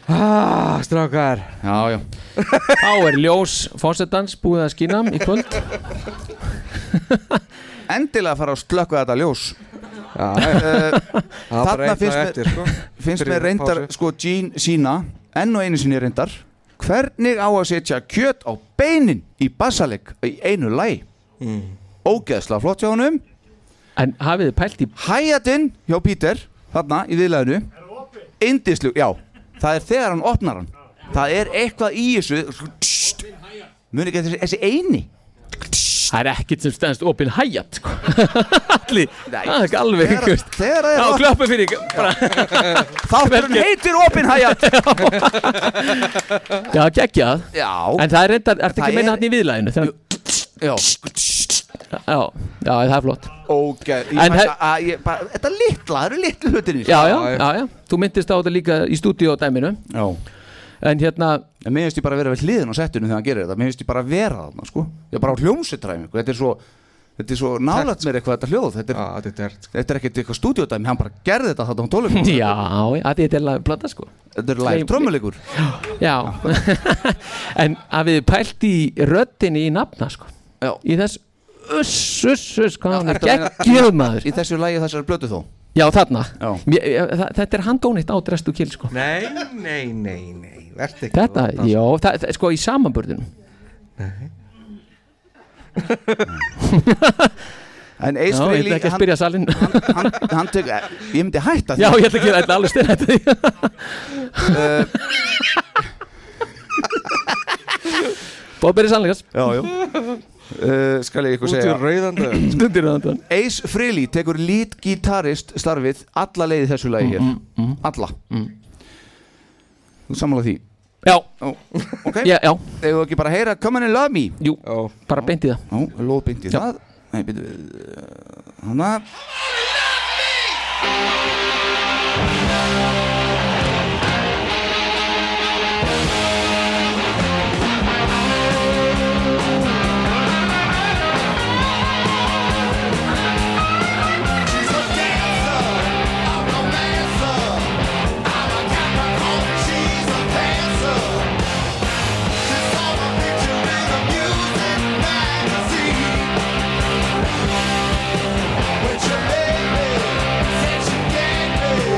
Speaker 3: Ah, strákar
Speaker 1: Já, já
Speaker 2: þá er ljós fósettans búið að skýna í kvöld
Speaker 1: endilega fara að slökka þetta ljós Eh,
Speaker 3: já, Það er bara
Speaker 1: þarna
Speaker 3: eitt
Speaker 1: finnst
Speaker 3: lag
Speaker 1: mér,
Speaker 3: eftir, sko.
Speaker 1: finnst
Speaker 3: Fyrir
Speaker 1: mér reyndar
Speaker 3: pásu.
Speaker 1: sko Gene sína enn og einu sinni reyndar hvernig á að setja kjöt á beinin í bassaleg í einu lagi mm. ógeðslega flott hjá honum
Speaker 2: en hafið þið pælt í
Speaker 1: hæjatinn hjá Peter þarna í viðlæðinu indislu, já, það er þegar hann opnar hann það er eitthvað í þessu tst, muni ekki þessi, þessi eini
Speaker 2: það er ekkit sem stendst opinn hægjat sko. allir, það er ekki alveg
Speaker 1: þegar-
Speaker 2: þegar,
Speaker 1: þegar það er
Speaker 2: já,
Speaker 1: opnað.
Speaker 2: klöppu fyrir ykkur, bara.
Speaker 1: þátturinn heitir opinn hæjat
Speaker 2: já, geggjað
Speaker 1: Já.
Speaker 2: en það er reyndar, ertu ekki
Speaker 1: Það
Speaker 2: að meina
Speaker 1: er-
Speaker 2: hann í viðlæðinu þegar...
Speaker 1: já.
Speaker 2: já, já, það er flott
Speaker 1: ógeð, ég,
Speaker 2: En he-
Speaker 1: hef... að, ég bara, þetta er litla, það eru litlu hlutinir
Speaker 2: já, já, já, já, þú myndist á þetta líka í stúdíu á dæminu
Speaker 1: já.
Speaker 2: en hérna
Speaker 1: en mér finnst ég bara að vera við hliðin á settinu þegar hann gerir þetta, mér finnst ég bara að vera þarna sko. ég er bara á hljómsveitræfingu þetta er svo, þetta er svo nálægt mér eitthvað þetta hljóð þetta er,
Speaker 3: ja, þetta er,
Speaker 1: þetta er ekkert eitthvað stúdíódæmi, hann bara gerði þetta þarna á tólumikum
Speaker 2: já, já, þetta er lagið plata sko
Speaker 1: þetta er live trommuleikur
Speaker 2: já en að við pælt í röddinni í nafna sko
Speaker 1: já.
Speaker 2: í þess, uss, uss, uss hvað hann er
Speaker 1: ertu að meina-
Speaker 2: geggjöð maður
Speaker 1: í þessu lagi þessari blötu þó
Speaker 2: já, þarna
Speaker 1: já.
Speaker 2: Mér, það, þetta er handónýtt á drestu kýl sko
Speaker 3: Nei, nei, nei, nei Vertu ekki
Speaker 2: Þetta, já, það, það, sko í samanburðinu
Speaker 1: en
Speaker 2: Já, ég
Speaker 1: Eisfreyli
Speaker 2: ætla ekki að spyrja salinn
Speaker 1: hann, hann tek, ég myndi hætta
Speaker 2: Já, ég ætla ekki að ætla alveg styrja þetta
Speaker 1: uh,
Speaker 2: Bóberi sannleikast
Speaker 1: Já, já uh, Skal ég ykkur
Speaker 2: Út í
Speaker 1: segja
Speaker 3: rauðan dög
Speaker 2: Út í rauðan dög
Speaker 1: Ace Frehley tekur lít gítarist starfið alla leið í þessu lagi hér
Speaker 2: Mm,
Speaker 1: Alla Þú sammála því
Speaker 2: Já
Speaker 1: Ok
Speaker 2: Já, já
Speaker 1: Þegar ekki bara að heyra Come on and love me
Speaker 2: Jú, bara beint í það
Speaker 1: Já, lóð beint í það Nei, byrju uh, Hanna
Speaker 4: With your baby, said she gave me.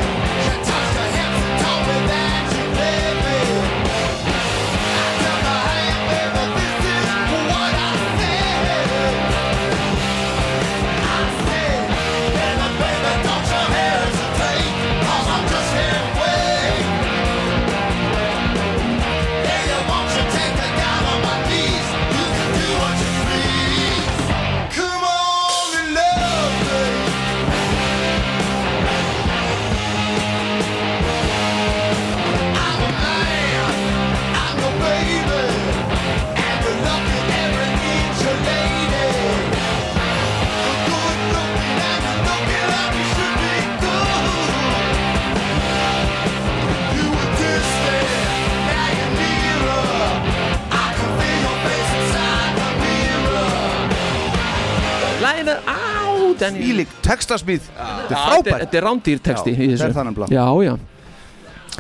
Speaker 2: Daniel-
Speaker 1: Ílík textasmíð Þetta er
Speaker 2: Já,
Speaker 1: frábært
Speaker 2: þetta- þetta er rándýr texti
Speaker 1: Já,
Speaker 2: í þessu.
Speaker 1: þetta er það nefnilega.
Speaker 2: Já, já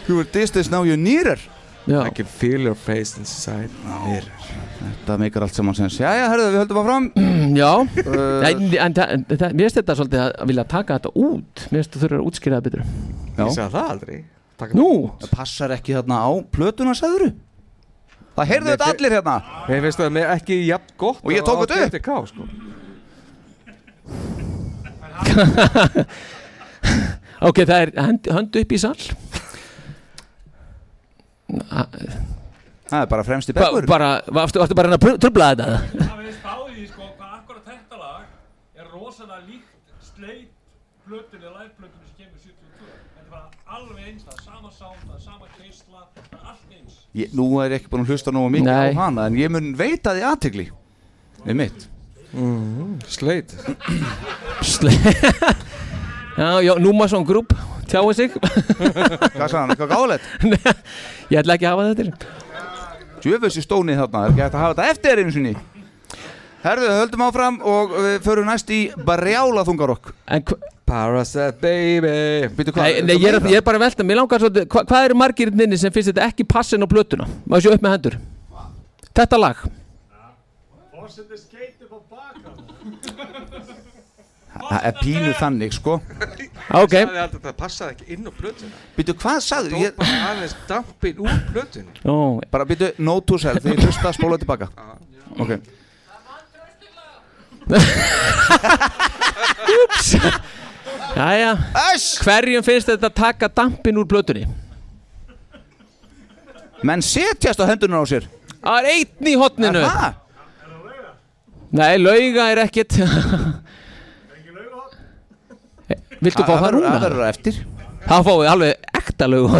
Speaker 1: You were distance, now you're nearer
Speaker 2: Já.
Speaker 1: I can feel your face inside nearer Þetta meikar allt saman sens Jæja, herðu, við höldum áfram
Speaker 2: Já,
Speaker 1: Uh,
Speaker 2: en, en, það- en, það- mér finnst þetta svolítið að vilja taka þetta út Mér finnst þú þurfa að útskýra það betur
Speaker 1: Ég sagði það
Speaker 2: aldrei Nú
Speaker 1: Það passar ekki þarna á plötuna, sagður Það heyrðu þetta allir hérna
Speaker 3: Mér finnst það mér ekki jafn gott
Speaker 1: Og ég tók þetta upp.
Speaker 3: Ká, sko.
Speaker 2: Ok, það er hönd, hönd upp í sall
Speaker 1: Það er bara fremst í
Speaker 2: Hva-
Speaker 1: bekkur
Speaker 2: bara, varstu, varstu bara að reyna að pr- trufla þetta?
Speaker 12: Það við spáði því sko hvað akkurat þetta lag er rosalega líkt sleit plötunni, liveplötunni sem kemur 72 Þetta er bara alveg eins, það er sama sound, það er sama keisla, það er allt eins
Speaker 1: ég, Nú er ég ekki búin að hlusta nógu mikið
Speaker 2: Nei.
Speaker 1: á hana En ég mun veita því aðtegli Við mitt mm, Sleit
Speaker 2: Sle- Já, já, Númason Group tjáu sig
Speaker 1: Hvað sagði hann, eitthvað gáðlegt?
Speaker 2: Ég ætla ekki að hafa þetta til.
Speaker 1: Djöfus í stónið þarna, það er ekki hægt að hafa þetta eftir einu sinni Herðu, höldum áfram og við förum næst í Barjála þungarokk
Speaker 3: Parasite baby
Speaker 1: Býtu
Speaker 2: Nei, nei ég, er, að- ég er bara að velta, mér langar svo hva, Hvað eru margir nynni sem finnst þetta ekki passin á plötuna? Má sjá upp með hendur Þetta lag
Speaker 12: Fórsetið skeiti på baka
Speaker 1: Það er pínu þannig, sko
Speaker 2: Ah,
Speaker 3: Ég sagði aldrei að Það passaði ekki inn á plötuna
Speaker 1: Býtu, hvað sagði
Speaker 3: Ég bara aðeins dampin úr plötunni
Speaker 2: oh.
Speaker 1: Bara býtu, no to self, því hlusta að spóla tilbaka Ok
Speaker 2: Úps Jæja Hverjum finnst þetta taka dampin úr plötunni?
Speaker 1: Menn setjast á hendunar á sér
Speaker 2: Það er einn í hotninu
Speaker 1: Aha.
Speaker 2: Nei, lauga er ekkit Viltu fá
Speaker 1: Það
Speaker 2: það
Speaker 1: verður-
Speaker 2: núna?
Speaker 1: það verður eftir
Speaker 2: Það fáum við alveg ekta lög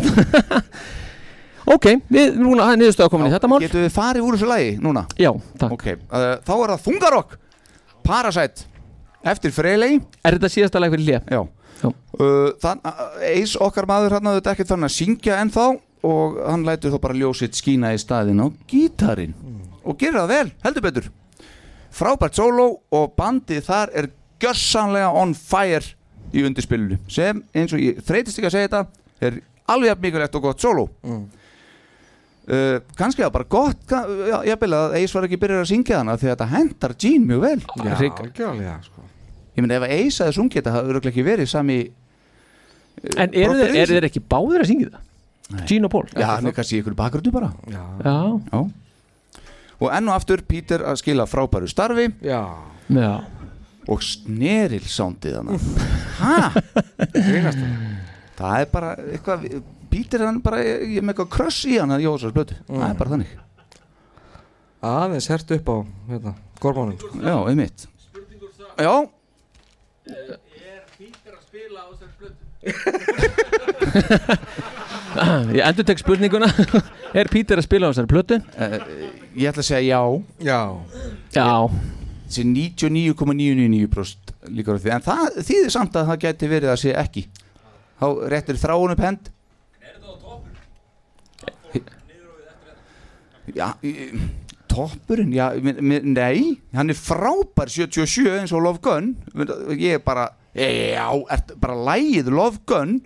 Speaker 2: Ok, við núna það er niðurstöða komin í þetta mál
Speaker 1: Getum við farið úr þessu lagi núna?
Speaker 2: Já, takk
Speaker 1: Ok, uh, þá er það þungarokk Parasite Eftir Freylei
Speaker 2: Er þetta síðasta lag fyrir hlja?
Speaker 1: Já uh, þann, uh, Eis okkar maður hann auðvitað ekkert þannig að syngja ennþá Og hann lætur þó bara ljósitt skína í staðin á gítarin Og gerir það vel, heldur betur Frábært solo og bandið þar er gjörsanlega on fire í undirspilinu Sem eins og ég þreytist ekki að segja þetta Er alveg jafn mikilvægt og gott solo Uh, kannski það bara gott ka- já, ég byrja að Ace var ekki byrjar að syngja hana því að þetta hendar Jean mjög vel
Speaker 3: Já, algjörlega sko.
Speaker 1: ég meina ef að Ace aðeins sungið þetta það eru ekki verið sami eh,
Speaker 2: En eru þeir, eru þeir ekki báðir að syngja það? Gene og Paul
Speaker 1: já, hann er kannski í ykkur bakgrundu bara
Speaker 3: já.
Speaker 2: Já.
Speaker 1: og enn og aftur Peter að skila frábæru starfi
Speaker 3: já.
Speaker 2: Já.
Speaker 1: og sneril sándið hana hæ? það er bara eitthvað Peter hann bara, ég er með eitthvað kröss í hana Jósars blötu, það er bara þannig
Speaker 3: Aðeins hert upp á hérna, gormónum sko.
Speaker 1: já, einmitt já,
Speaker 2: Ég endur tek spurninguna Er Peter að spila á þessari plötu?
Speaker 1: Eh, ég ætla að segja já
Speaker 3: já
Speaker 2: Já
Speaker 1: þessi 99,999% líkur á því en það þýðir samt að það gæti verið að sé ekki þá réttir þráun upp hend Já, í- toppurinn, já, mi- mi- nei, hann er frábær 77 eins og Love Gun, ég er bara, já, ert bara lægið Love Gun,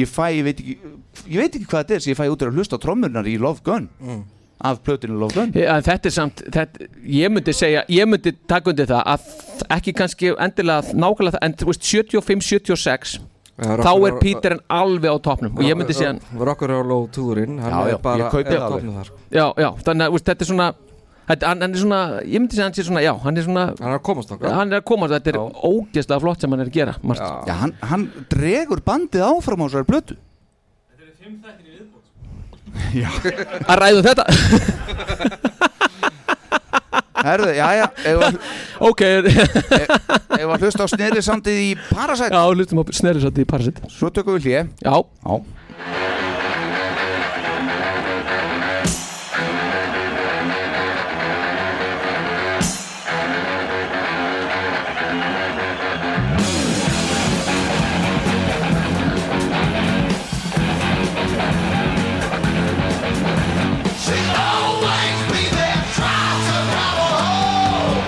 Speaker 1: ég fæ, ég veit ekki, ég veit ekki hvað þetta er sem ég fæ út af að hlusta á trommurnar í Love Gun, af plötinu Love Gun.
Speaker 2: Eh, En þetta er samt, þetta, ég myndi segja, ég myndi taka undir það að ekki kannski endilega nákvæmlega það, en þú veist 75-76
Speaker 3: Já,
Speaker 2: þá
Speaker 3: rock-
Speaker 2: er Peter en alveg á topnum og ég myndi segja hann,
Speaker 3: Rocker á low túrin
Speaker 2: Já, já, ég kaupi það alveg.
Speaker 3: sko.
Speaker 2: já, já, þannig að þú veist, þetta er svona, þetta, hann, hann er svona, ég myndi segja hann sé svona, já, hann er svona
Speaker 3: Hann er að komast okkar
Speaker 2: Hann er að komast, þetta er ógeðslega flott sem hann er að gera, margt.
Speaker 1: Já, hann, hann dregur bandið áfram á þessari blötu
Speaker 2: Að ræðu þetta
Speaker 1: Herðu, já, já
Speaker 2: Ok
Speaker 1: Ef að hlusta á sneri samtið í Parasite
Speaker 2: Já, hlustum á sneri samtið í Parasite
Speaker 1: Svo tökum við hlje
Speaker 2: Já,
Speaker 1: já.
Speaker 4: She'll always be there trying to grab a hold.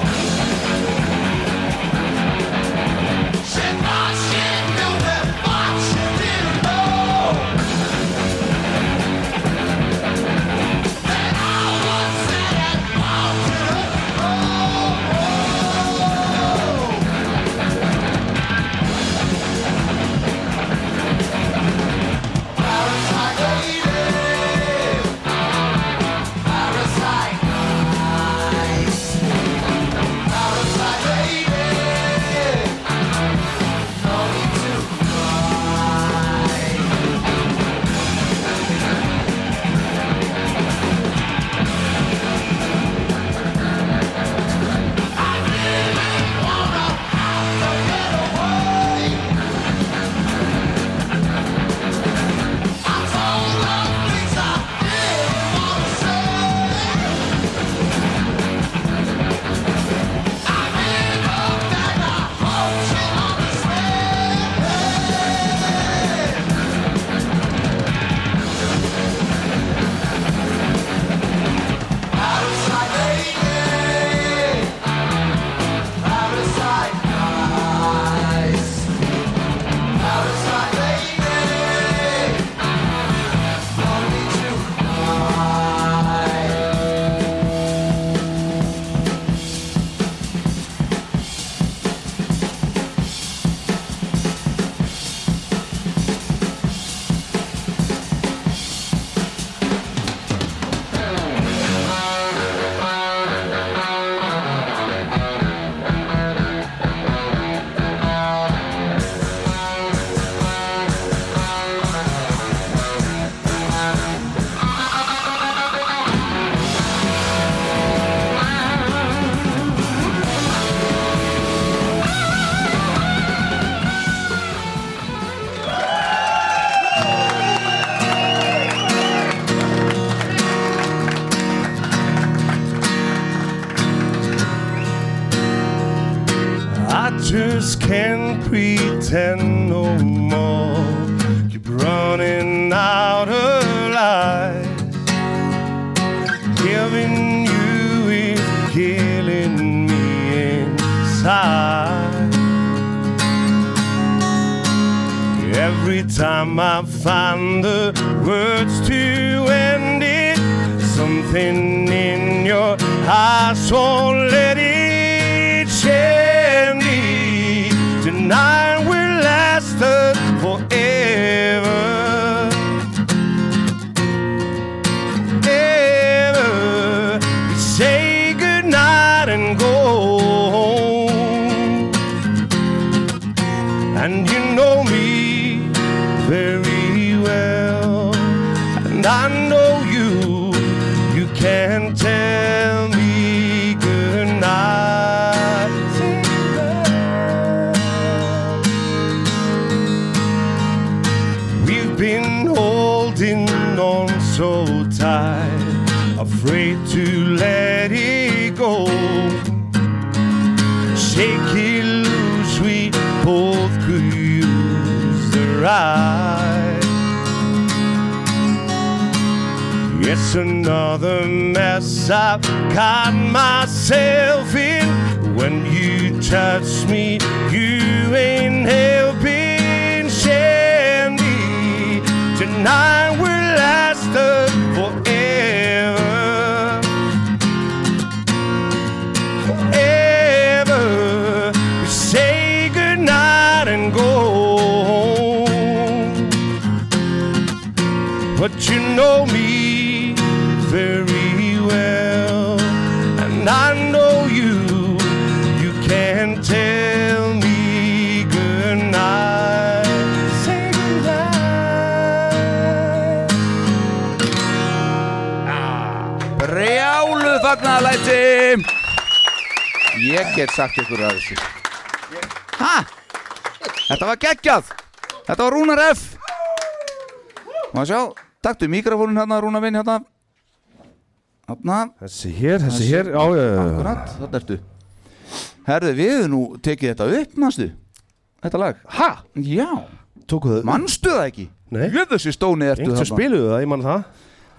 Speaker 13: can't pretend no more. Keep running out of lies, giving you is killing me inside. Every time I find the words to end it, something in your eyes won't let it change. Tonight will last us forever. Ever. We say goodnight and go home. And you know me very well. And I know you, you can tell me goodnight. We've been holding on so tight, afraid to let it go shake it loose. We both could use the ride. Yes, another mess I've got myself in. When you touch me, you ain't helping, Shandy. Tonight will last us forever forever. We say goodnight and go home. But you know me very well, and I know you. You can tell me goodnight. Say goodnight.
Speaker 1: Brjálu fagnaðalæti Ég get sagt ykkur að þessu Ha? Þetta var geggjað Þetta var Rúnar F Má sjá, taktu mikrofónin hérna Rúnar minn hérna Hérna
Speaker 13: Þessi hér, þessi hér, já, já, já.
Speaker 1: Akkurat, þarna ertu Herðu, við höfum nú tekið þetta upp, manstu? Þetta lag Ha? Já
Speaker 13: Tókuðu
Speaker 1: það Manstu það ekki? Nei Jöfðu sér stónið ertu
Speaker 13: Einhvern
Speaker 1: þarna.
Speaker 13: spiluðu það, ég man það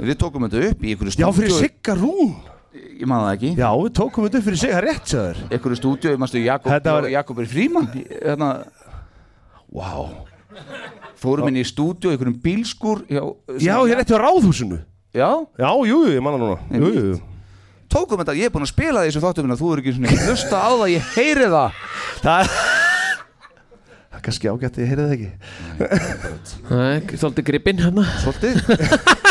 Speaker 1: Við tókum þetta upp í einhverju
Speaker 13: Já, fyrir
Speaker 1: stúdíói-
Speaker 13: Sigga Rún
Speaker 1: Ég man það ekki
Speaker 13: Já, við tókum þetta upp fyrir sig, það er rétt sér
Speaker 1: einhverju stúdíu, mannstu Jakob,
Speaker 13: Þetta var-
Speaker 1: Jakob er frímann hérna, wow fórum inn í stúdíu, einhverjum bílskur já,
Speaker 13: Já, ég er eftir á ráðhúsinu
Speaker 1: já,
Speaker 13: Já, jú, jú, ég manna núna Jú, jú, jú
Speaker 1: tókum þetta, ég er búinn að spila þessu þáttum minna, þú er ekki svona hlusta á það, ég heyri það
Speaker 13: það Það er kannski ágætt að ég heyrði það ekki
Speaker 2: Nei, svolítið gripinn hérna
Speaker 1: Svolítið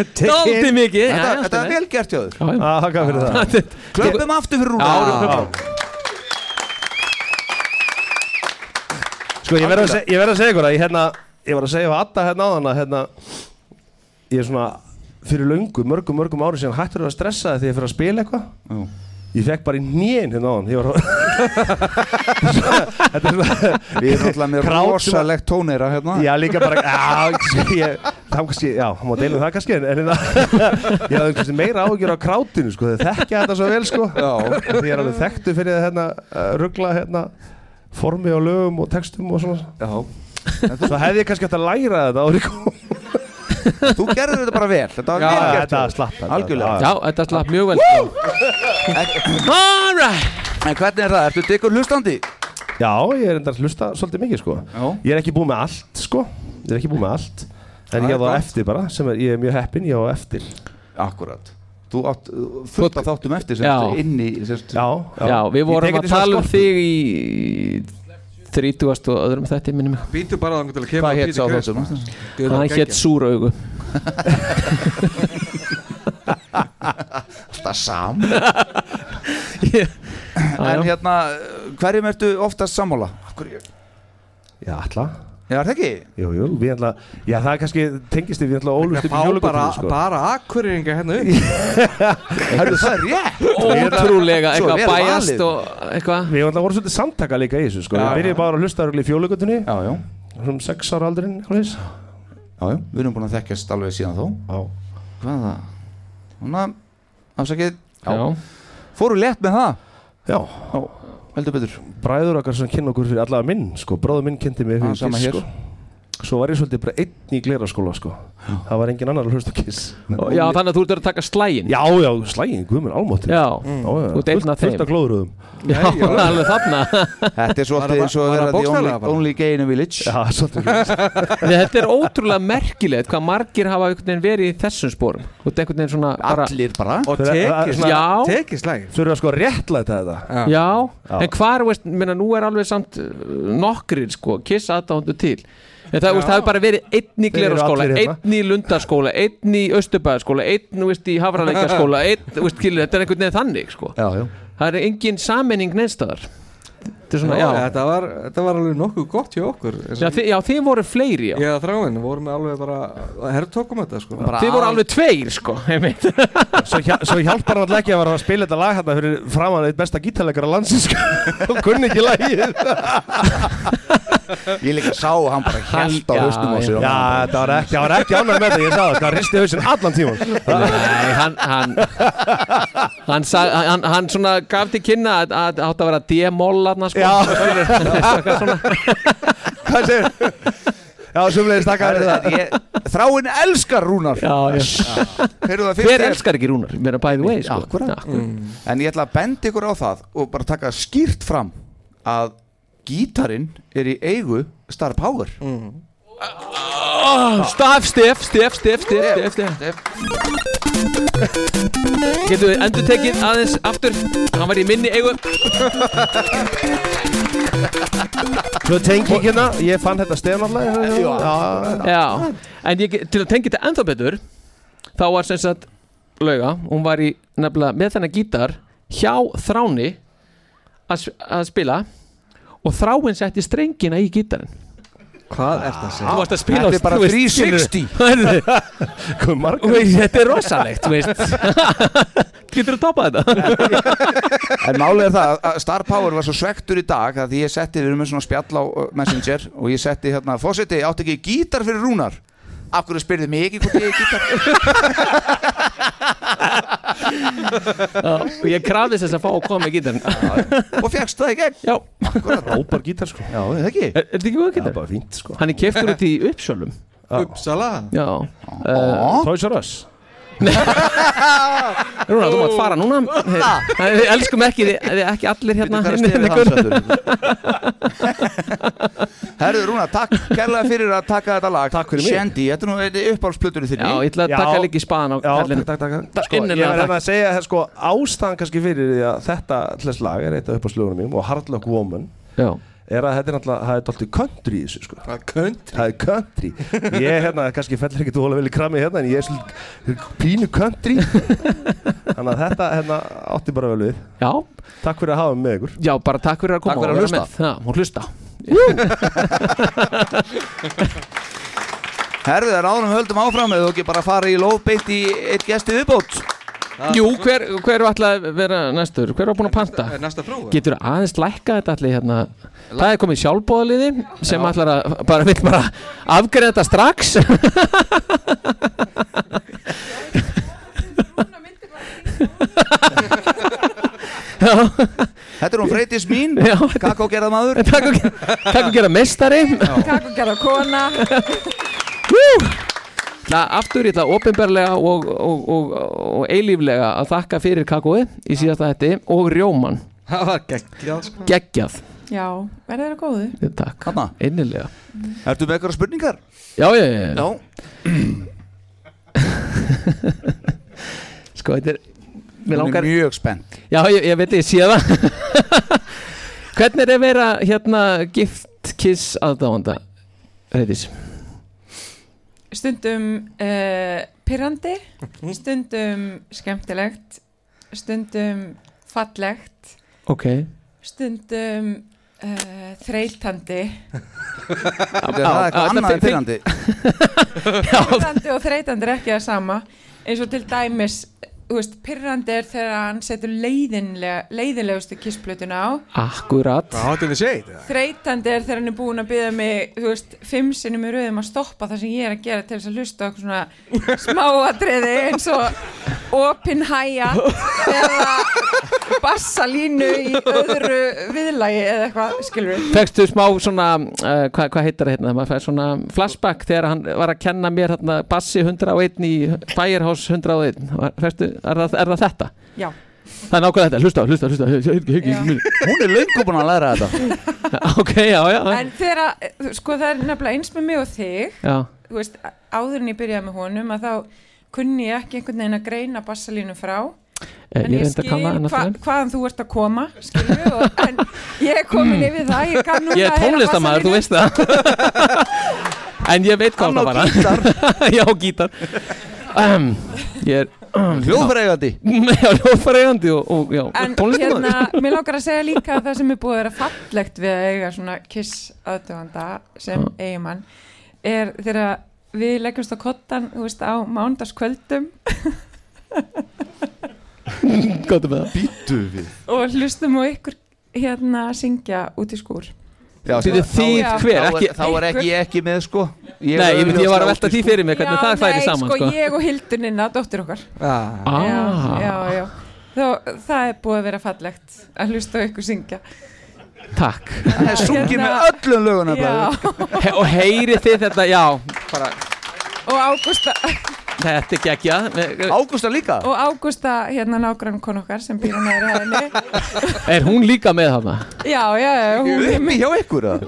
Speaker 2: Svolítið mikið
Speaker 1: þetta,
Speaker 2: já, já,
Speaker 1: þetta er
Speaker 2: allt í
Speaker 1: vel gert hjá þér
Speaker 2: Já, já.
Speaker 13: Ah, hvað fyrir það?
Speaker 2: Þetta-
Speaker 1: klöppum aftur fyrir
Speaker 2: Já,
Speaker 1: Rúnar
Speaker 2: já, já.
Speaker 13: Sko, ég verð að, seg, ég verð að segja ykkur að ég, hérna, ég var að segja við Adda hérna áðan að hérna, ég er svona fyrir löngu, mörgum, mörgum ári síðan hættur að stressa því að ég fyrir að spila eitthvað
Speaker 1: Já.
Speaker 13: Ég fekk bara í nén hérna áðan Ég var Þetta er svona
Speaker 1: við erum alltaf með
Speaker 13: Krátum-
Speaker 1: rosalegt tónera hérna
Speaker 13: Já, líka bara, já, ég, það kannski, já, hann má deila um það kannski, en, en hérna, ég hafði kannski meira áhugjur á krátinu, sko, þau þekkja þetta svo vel, sko,
Speaker 1: Já.
Speaker 13: því ég er alveg þekktu fyrir það, hérna, að ruggla, hérna, formi á lögum og textum og svona,
Speaker 1: já,
Speaker 13: svo hefði ég kannski hægt að læra þetta árið kom.
Speaker 1: þú gerður þetta bara vel þetta var
Speaker 13: Já,
Speaker 1: vel gert
Speaker 13: þetta
Speaker 1: hjá þér.
Speaker 13: slapp, þetta-
Speaker 1: algjörlega
Speaker 2: Já, þetta slapp mjög vel sko. Alright
Speaker 1: en hvernig er það, ertu dykkur hlustandi?
Speaker 13: Já, ég er enda að hlusta svolítið mikið, sko,
Speaker 1: Já.
Speaker 13: ég er ekki búið með allt, sko, ég er ekki búið með allt, en
Speaker 1: Það
Speaker 13: ég
Speaker 1: er
Speaker 13: á það
Speaker 1: gott.
Speaker 13: eftir bara, sem er, ég er mjög heppinn, ég á það eftir.
Speaker 1: akkurat þú átt uh, fullt af þáttum eftir sem
Speaker 2: Já.
Speaker 1: þetta er inn í sérst,
Speaker 13: Já,
Speaker 2: Já, við
Speaker 13: Ég
Speaker 2: vorum
Speaker 13: tek
Speaker 2: að
Speaker 13: þetta sem
Speaker 2: tala um
Speaker 13: skorpu.
Speaker 2: þig í 30 og öðrum þetta minnum
Speaker 3: Býtu bara þangur til að kemur
Speaker 1: hvað hétt sá þáttum?
Speaker 2: Hann hétt Súraugu
Speaker 1: alltaf sam en
Speaker 2: En
Speaker 1: hérna, hverjum ertu oftast sammála? Af hverju?
Speaker 13: Já, ætla.
Speaker 1: Já, er það ekki?
Speaker 13: Jú, jú, við ætla, já það er kannski tengist við ætla ólust upp í
Speaker 3: Fá bara,
Speaker 13: jólakökunni, sko.
Speaker 3: bara akkuriringa hérna upp
Speaker 1: Herðu, það er rétt Svo
Speaker 2: Ótrúlega, eitthvað
Speaker 1: vel valið.
Speaker 2: bæjast og eitthvað
Speaker 13: Við ætla vorum svolítið samtaka líka í þessu sko.
Speaker 1: Já,
Speaker 13: Við byrjuðum bara að hlusta röglega í fjólugutunni
Speaker 1: Já, já,
Speaker 13: Svona 6 ára aldurinn Já,
Speaker 1: já, já, við erum búin að þekkjast alveg síðan þó
Speaker 13: já
Speaker 1: Hvað er það? Svona, afsakið
Speaker 2: Já,
Speaker 1: Fóru létt með það
Speaker 13: Já,
Speaker 1: heldur betur
Speaker 12: Bræður okkar sem kynna okkur fyrir allavega minn sko, bróður minn kynnti mig
Speaker 1: Ah,
Speaker 12: fyrir
Speaker 1: sama
Speaker 12: Kiss
Speaker 1: hér.
Speaker 12: sko Svo var ég svolítið bara einn í gleraskóla sko Það var engin annar að hlusta á Kiss
Speaker 2: Já, þannig að þú ert að taka slægin
Speaker 12: Já, já, slægin, guðmur, álmáttur
Speaker 2: Já, þú ert einn af þeim
Speaker 12: Fullt af glóðröðum
Speaker 2: Já, alveg þarna
Speaker 1: Þetta er svo alltaf eins og að vera the only, only gay in a village
Speaker 12: Já, svolítið
Speaker 2: Nei, þetta er ótrúlega merkilegt hvað margir hafa einhvern veginn verið í þessum spórum og þetta er einhvern veginn svona bara
Speaker 1: Allir bara
Speaker 12: Og tekið-
Speaker 2: Já,
Speaker 12: tekið slægin Þurfa sko að réttlæta þetta
Speaker 2: já, en hvað er, veist, minna, nú er alveg samt uh, nokkrir sko, kiss aðdándu til en það, veist, það hefur bara verið einn í
Speaker 12: Þeir eru
Speaker 2: gleraskóla,
Speaker 12: allir hérna.
Speaker 2: einn í lundaskóla einn í austurbæðaskóla, einn þú veist, í hafralækjaskóla, einn, þú veist, kilur þetta er einhvern veginn þannig, sko
Speaker 12: já, já.
Speaker 2: það er engin sammenning neinstæðar þetta er svona, já,
Speaker 3: Þetta var, þetta var alveg nokkuð gott hjá okkur
Speaker 2: já, þið, já, þið voru fleiri, já
Speaker 3: Já, þráin, vorum við alveg bara herrtókum þetta sko
Speaker 2: Þið voru alveg tveir sko einmitt.
Speaker 12: Svo, hjá, svo hjálpar hann ekki að vera að spila þetta lag hérna fyrir framan eitt besta gítarleikara landsins sko. og kunni ekki lagið
Speaker 1: Ég líka sá, hann bara hélt á
Speaker 12: Já,
Speaker 1: hausnum á
Speaker 12: já.
Speaker 1: sér
Speaker 12: Já, það var ekki, það var ekki ánægð með þetta, ég sá það, sko, hann risti hausinn allan tíman
Speaker 2: Nei, hann hann, hann, sag, hann hann svona gaf til kynna að, að átt að vera demól aðna sko
Speaker 12: Hvað segir? Já, sumlegis takk að
Speaker 1: það ég, Þráin elskar Rúnar
Speaker 2: Já, já.
Speaker 1: Heyrðu það fyrst
Speaker 2: Hver elskar ekki Rúnar? Mér er by the way sko
Speaker 1: Akkúrat.
Speaker 2: Akkúrat.
Speaker 1: Mm. En ég ætla að benda ykkur á það og bara taka skýrt fram að gítarinn er í eigu Star Power
Speaker 2: Mm. oh, Staf, stef, stef, stef, stef, stef, stef. Getur við endur tekið aðeins aftur Hann var í minni eigu
Speaker 12: Svo tengi ekki hérna, ég fann þetta stefn alltaf Já,
Speaker 2: Já, en ég, til að tengja þetta ennþá betur þá var sem sagt lauga, hún var í nefnilega með þennan gítar hjá þráni að, s- að spila og þráin setti strengina í gítarinn
Speaker 3: Hvað er það
Speaker 2: Þú varst að spila
Speaker 1: Þetta er bara
Speaker 2: þú veist,
Speaker 1: 360.
Speaker 2: Hörðu,
Speaker 12: Hvað er
Speaker 2: þú
Speaker 12: margar?
Speaker 2: veist, Þetta er rosalegt þú veist. Getur þú toppað þetta?
Speaker 1: En málið er það að Star Power var svo svektur í dag að því ég setti, við erum með svona spjall á uh, Messenger og ég setti hérna, fósiti, áttu ekki gítar fyrir Rúnar? Af hverju spyrðu mig ekki hvort ég er gítar?
Speaker 2: Já, og ég krafðist þess að fá að koma með gítarinn
Speaker 1: og fegst það í gegn
Speaker 2: Já,
Speaker 1: Akkurat,
Speaker 12: Ópar gítar sko Já,
Speaker 1: það ekki
Speaker 2: er er þetta ekki góð
Speaker 12: Það er
Speaker 2: gítar?
Speaker 12: bara fínt sko
Speaker 2: Hann er keftur út í uppsölum
Speaker 3: Uppsala
Speaker 2: Já uh,
Speaker 12: Toys R Us
Speaker 2: Rúnar, þú mátt fara núna Við- Við elskum ekki, þið- þið ekki allir hérna
Speaker 1: Hvað er
Speaker 2: inni
Speaker 1: stefið
Speaker 2: með Gunnar.
Speaker 1: hans Herðu Rúnar, takk kærlega fyrir að taka þetta lag Takk
Speaker 12: fyrir mig.
Speaker 1: Shandy, þetta er nú einn uppáhaldsplötunni þinni
Speaker 2: Já, ég ætla að
Speaker 12: Já.
Speaker 2: taka líka í spaðan á
Speaker 12: Já,
Speaker 2: kallinu
Speaker 12: takk, takk, takk
Speaker 2: Takk
Speaker 12: Sko, ég
Speaker 2: innilega
Speaker 12: verði
Speaker 2: takk.
Speaker 12: að segja það sko Ástæðan kannski fyrir því að þetta hlest lag er eitt af uppáslögunum mínum og Hard Luck Woman
Speaker 2: Já,
Speaker 12: er að þetta er náttúrulega, það er dálítið country í þessu sko
Speaker 3: Það er könd
Speaker 12: Það er country Ég hérna, kannski fellur ekkert ólega vel í krammi hérna en ég er svolítið pínu country Þannig að þetta hérna átti bara vel við
Speaker 2: já,
Speaker 12: Takk fyrir að hafa mig með ykkur
Speaker 2: já, bara takk fyrir að koma
Speaker 1: Takk fyrir að
Speaker 2: og vera
Speaker 1: hlusta.
Speaker 2: með. Já, og hlusta
Speaker 1: Herðu, það ráðum höldum áfram eða þú ekki bara fara í lóf beitt í eitt gesti viðbót
Speaker 2: Jú, hver, hver var alltaf að vera næstur? Hver var búin að panta?
Speaker 3: Er næsta frá það?
Speaker 2: Getur aðeins lækka þetta allir hérna Það er komið sjálfbóðaliði sem ætlar að bara vill bara afgreða þetta strax Já,
Speaker 1: Þetta er hún Freydís mín,
Speaker 2: Já, þetta-
Speaker 1: kakó gerað maður
Speaker 2: takk og, takk og gera mestari
Speaker 14: Kakku gerða kona
Speaker 2: Það aftur ég ætla ofinberlega og, og, og, og eilíflega að þakka fyrir kakói í síðasta hætti og rjóman
Speaker 3: Það var geggjað sko
Speaker 2: geggjað,
Speaker 14: Já, verður þeirra góðu
Speaker 2: takk,
Speaker 1: Þarna.
Speaker 2: innilega
Speaker 1: Ertu með eitthvað spurningar?
Speaker 2: Já, já, já, já.
Speaker 1: Já,
Speaker 2: sko þetta er
Speaker 1: hún
Speaker 2: Mér
Speaker 1: er
Speaker 2: langar,
Speaker 1: mjög spennt
Speaker 2: já ég, ég veit ég sé það Hvernig er að vera hérna gift kiss aðdáanda Reyðis
Speaker 14: Stundum uh, pyrrandi Stundum skemmtilegt Stundum fallegt
Speaker 2: Ok
Speaker 14: Stundum uh, þreytandi
Speaker 1: Það er eitthvað annað en fyrrandi
Speaker 14: Pyrrandi og þreytandi er ekki það sama eins og til dæmis þú veist, pyrrandi er þegar hann setur leiðinlega, leiðinlegustu kissplötuna á
Speaker 2: Akkurat
Speaker 3: Það hátum við segið það
Speaker 14: þreytandi er þegar hann er búin að byggja mig þú veist, fimm sinnum í rauðum að stoppa það sem ég er að gera til þess að hlusta á eitthvað svona smáatriði eins og opin hæja eða bassalínu í öðru viðlagi eða eitthvað, skilur við
Speaker 2: Fekstu smá svona, uh, hvað hva heitir það hérna, maður fæði svona flashback þegar hann var að kenna mér hérna Bassi 101 í Bæjarhás 101, Var- fekstu, er, það, er það þetta?
Speaker 14: Já.
Speaker 2: Það er nákvæmlega þetta, hlusta, hlusta, hlusta, hlusta, hlusta, hlusta. Hún er löngu búin að læra þetta. ok, já, já.
Speaker 14: en þegar, að- þú- sko það er nefnilega eins með mig og þig
Speaker 2: Já.
Speaker 14: þú veist, áður en ég byrjaði með honum að þá kunni ég ekki einhvern veginn að greina bassalínu frá
Speaker 2: Eh,
Speaker 14: en
Speaker 2: ég
Speaker 14: ég
Speaker 2: reyndi að
Speaker 14: skil
Speaker 2: kann það en að
Speaker 14: hva,
Speaker 2: þeim.
Speaker 14: hvaðan þú ert að koma skilur við, og, en ég er komin yfir það ég kann
Speaker 2: Mm. Ég er tónlistamæður, þú veist það. en ég veit hvað
Speaker 14: Hann á
Speaker 2: það var. gítar. já, gítar. Um, ég er... Um,
Speaker 1: Hljóðfæraeigandi.
Speaker 2: já, hljóðfæraegandi og, og já,
Speaker 14: En
Speaker 2: tónlistamæður.
Speaker 14: hérna, mér langar að segja líka að það sem er búið að vera fallegt við að eiga svona kiss aðdöfanda sem
Speaker 2: Já.
Speaker 14: eigimann er þegar við leggjumst á kottan, þú veist, á mándaskvöldum
Speaker 2: Gáttu með það.
Speaker 1: Býtu við.
Speaker 14: og hlustum á ykkur hérna syngja út í skúr.
Speaker 1: Já,
Speaker 2: Býtu,
Speaker 1: þá- þá
Speaker 2: þið
Speaker 1: er- þá
Speaker 2: hver?
Speaker 1: er-
Speaker 2: Ekki-
Speaker 1: Þá er ekki ég ekki með sko
Speaker 2: Nei, ég myndi- ég var
Speaker 1: augljóslega
Speaker 2: að velta
Speaker 1: ógift,
Speaker 2: því
Speaker 1: sko.
Speaker 2: fyrir mig hvernig það færi saman
Speaker 14: sko.
Speaker 2: sko.
Speaker 14: ég og Hildunina, dóttir okkar.
Speaker 2: Ah.
Speaker 14: Já, já, já. Þó, það er búið að vera fallegt að hlusta á ykkur syngja.
Speaker 2: Takk Hérna-
Speaker 1: Það er sungið með öllum lögunum
Speaker 14: Já.
Speaker 2: He Og heyrið þið þetta, já bara,
Speaker 14: Og Ágústa,
Speaker 2: Þetta er geggja
Speaker 1: Ágústa líka?
Speaker 14: og Ágústa hérna nágrann kon okkar sem býr á næri hæðinni.
Speaker 2: Er hún líka með hana?
Speaker 14: Já, já, já. Hún er
Speaker 1: Uppi hjá ykkur að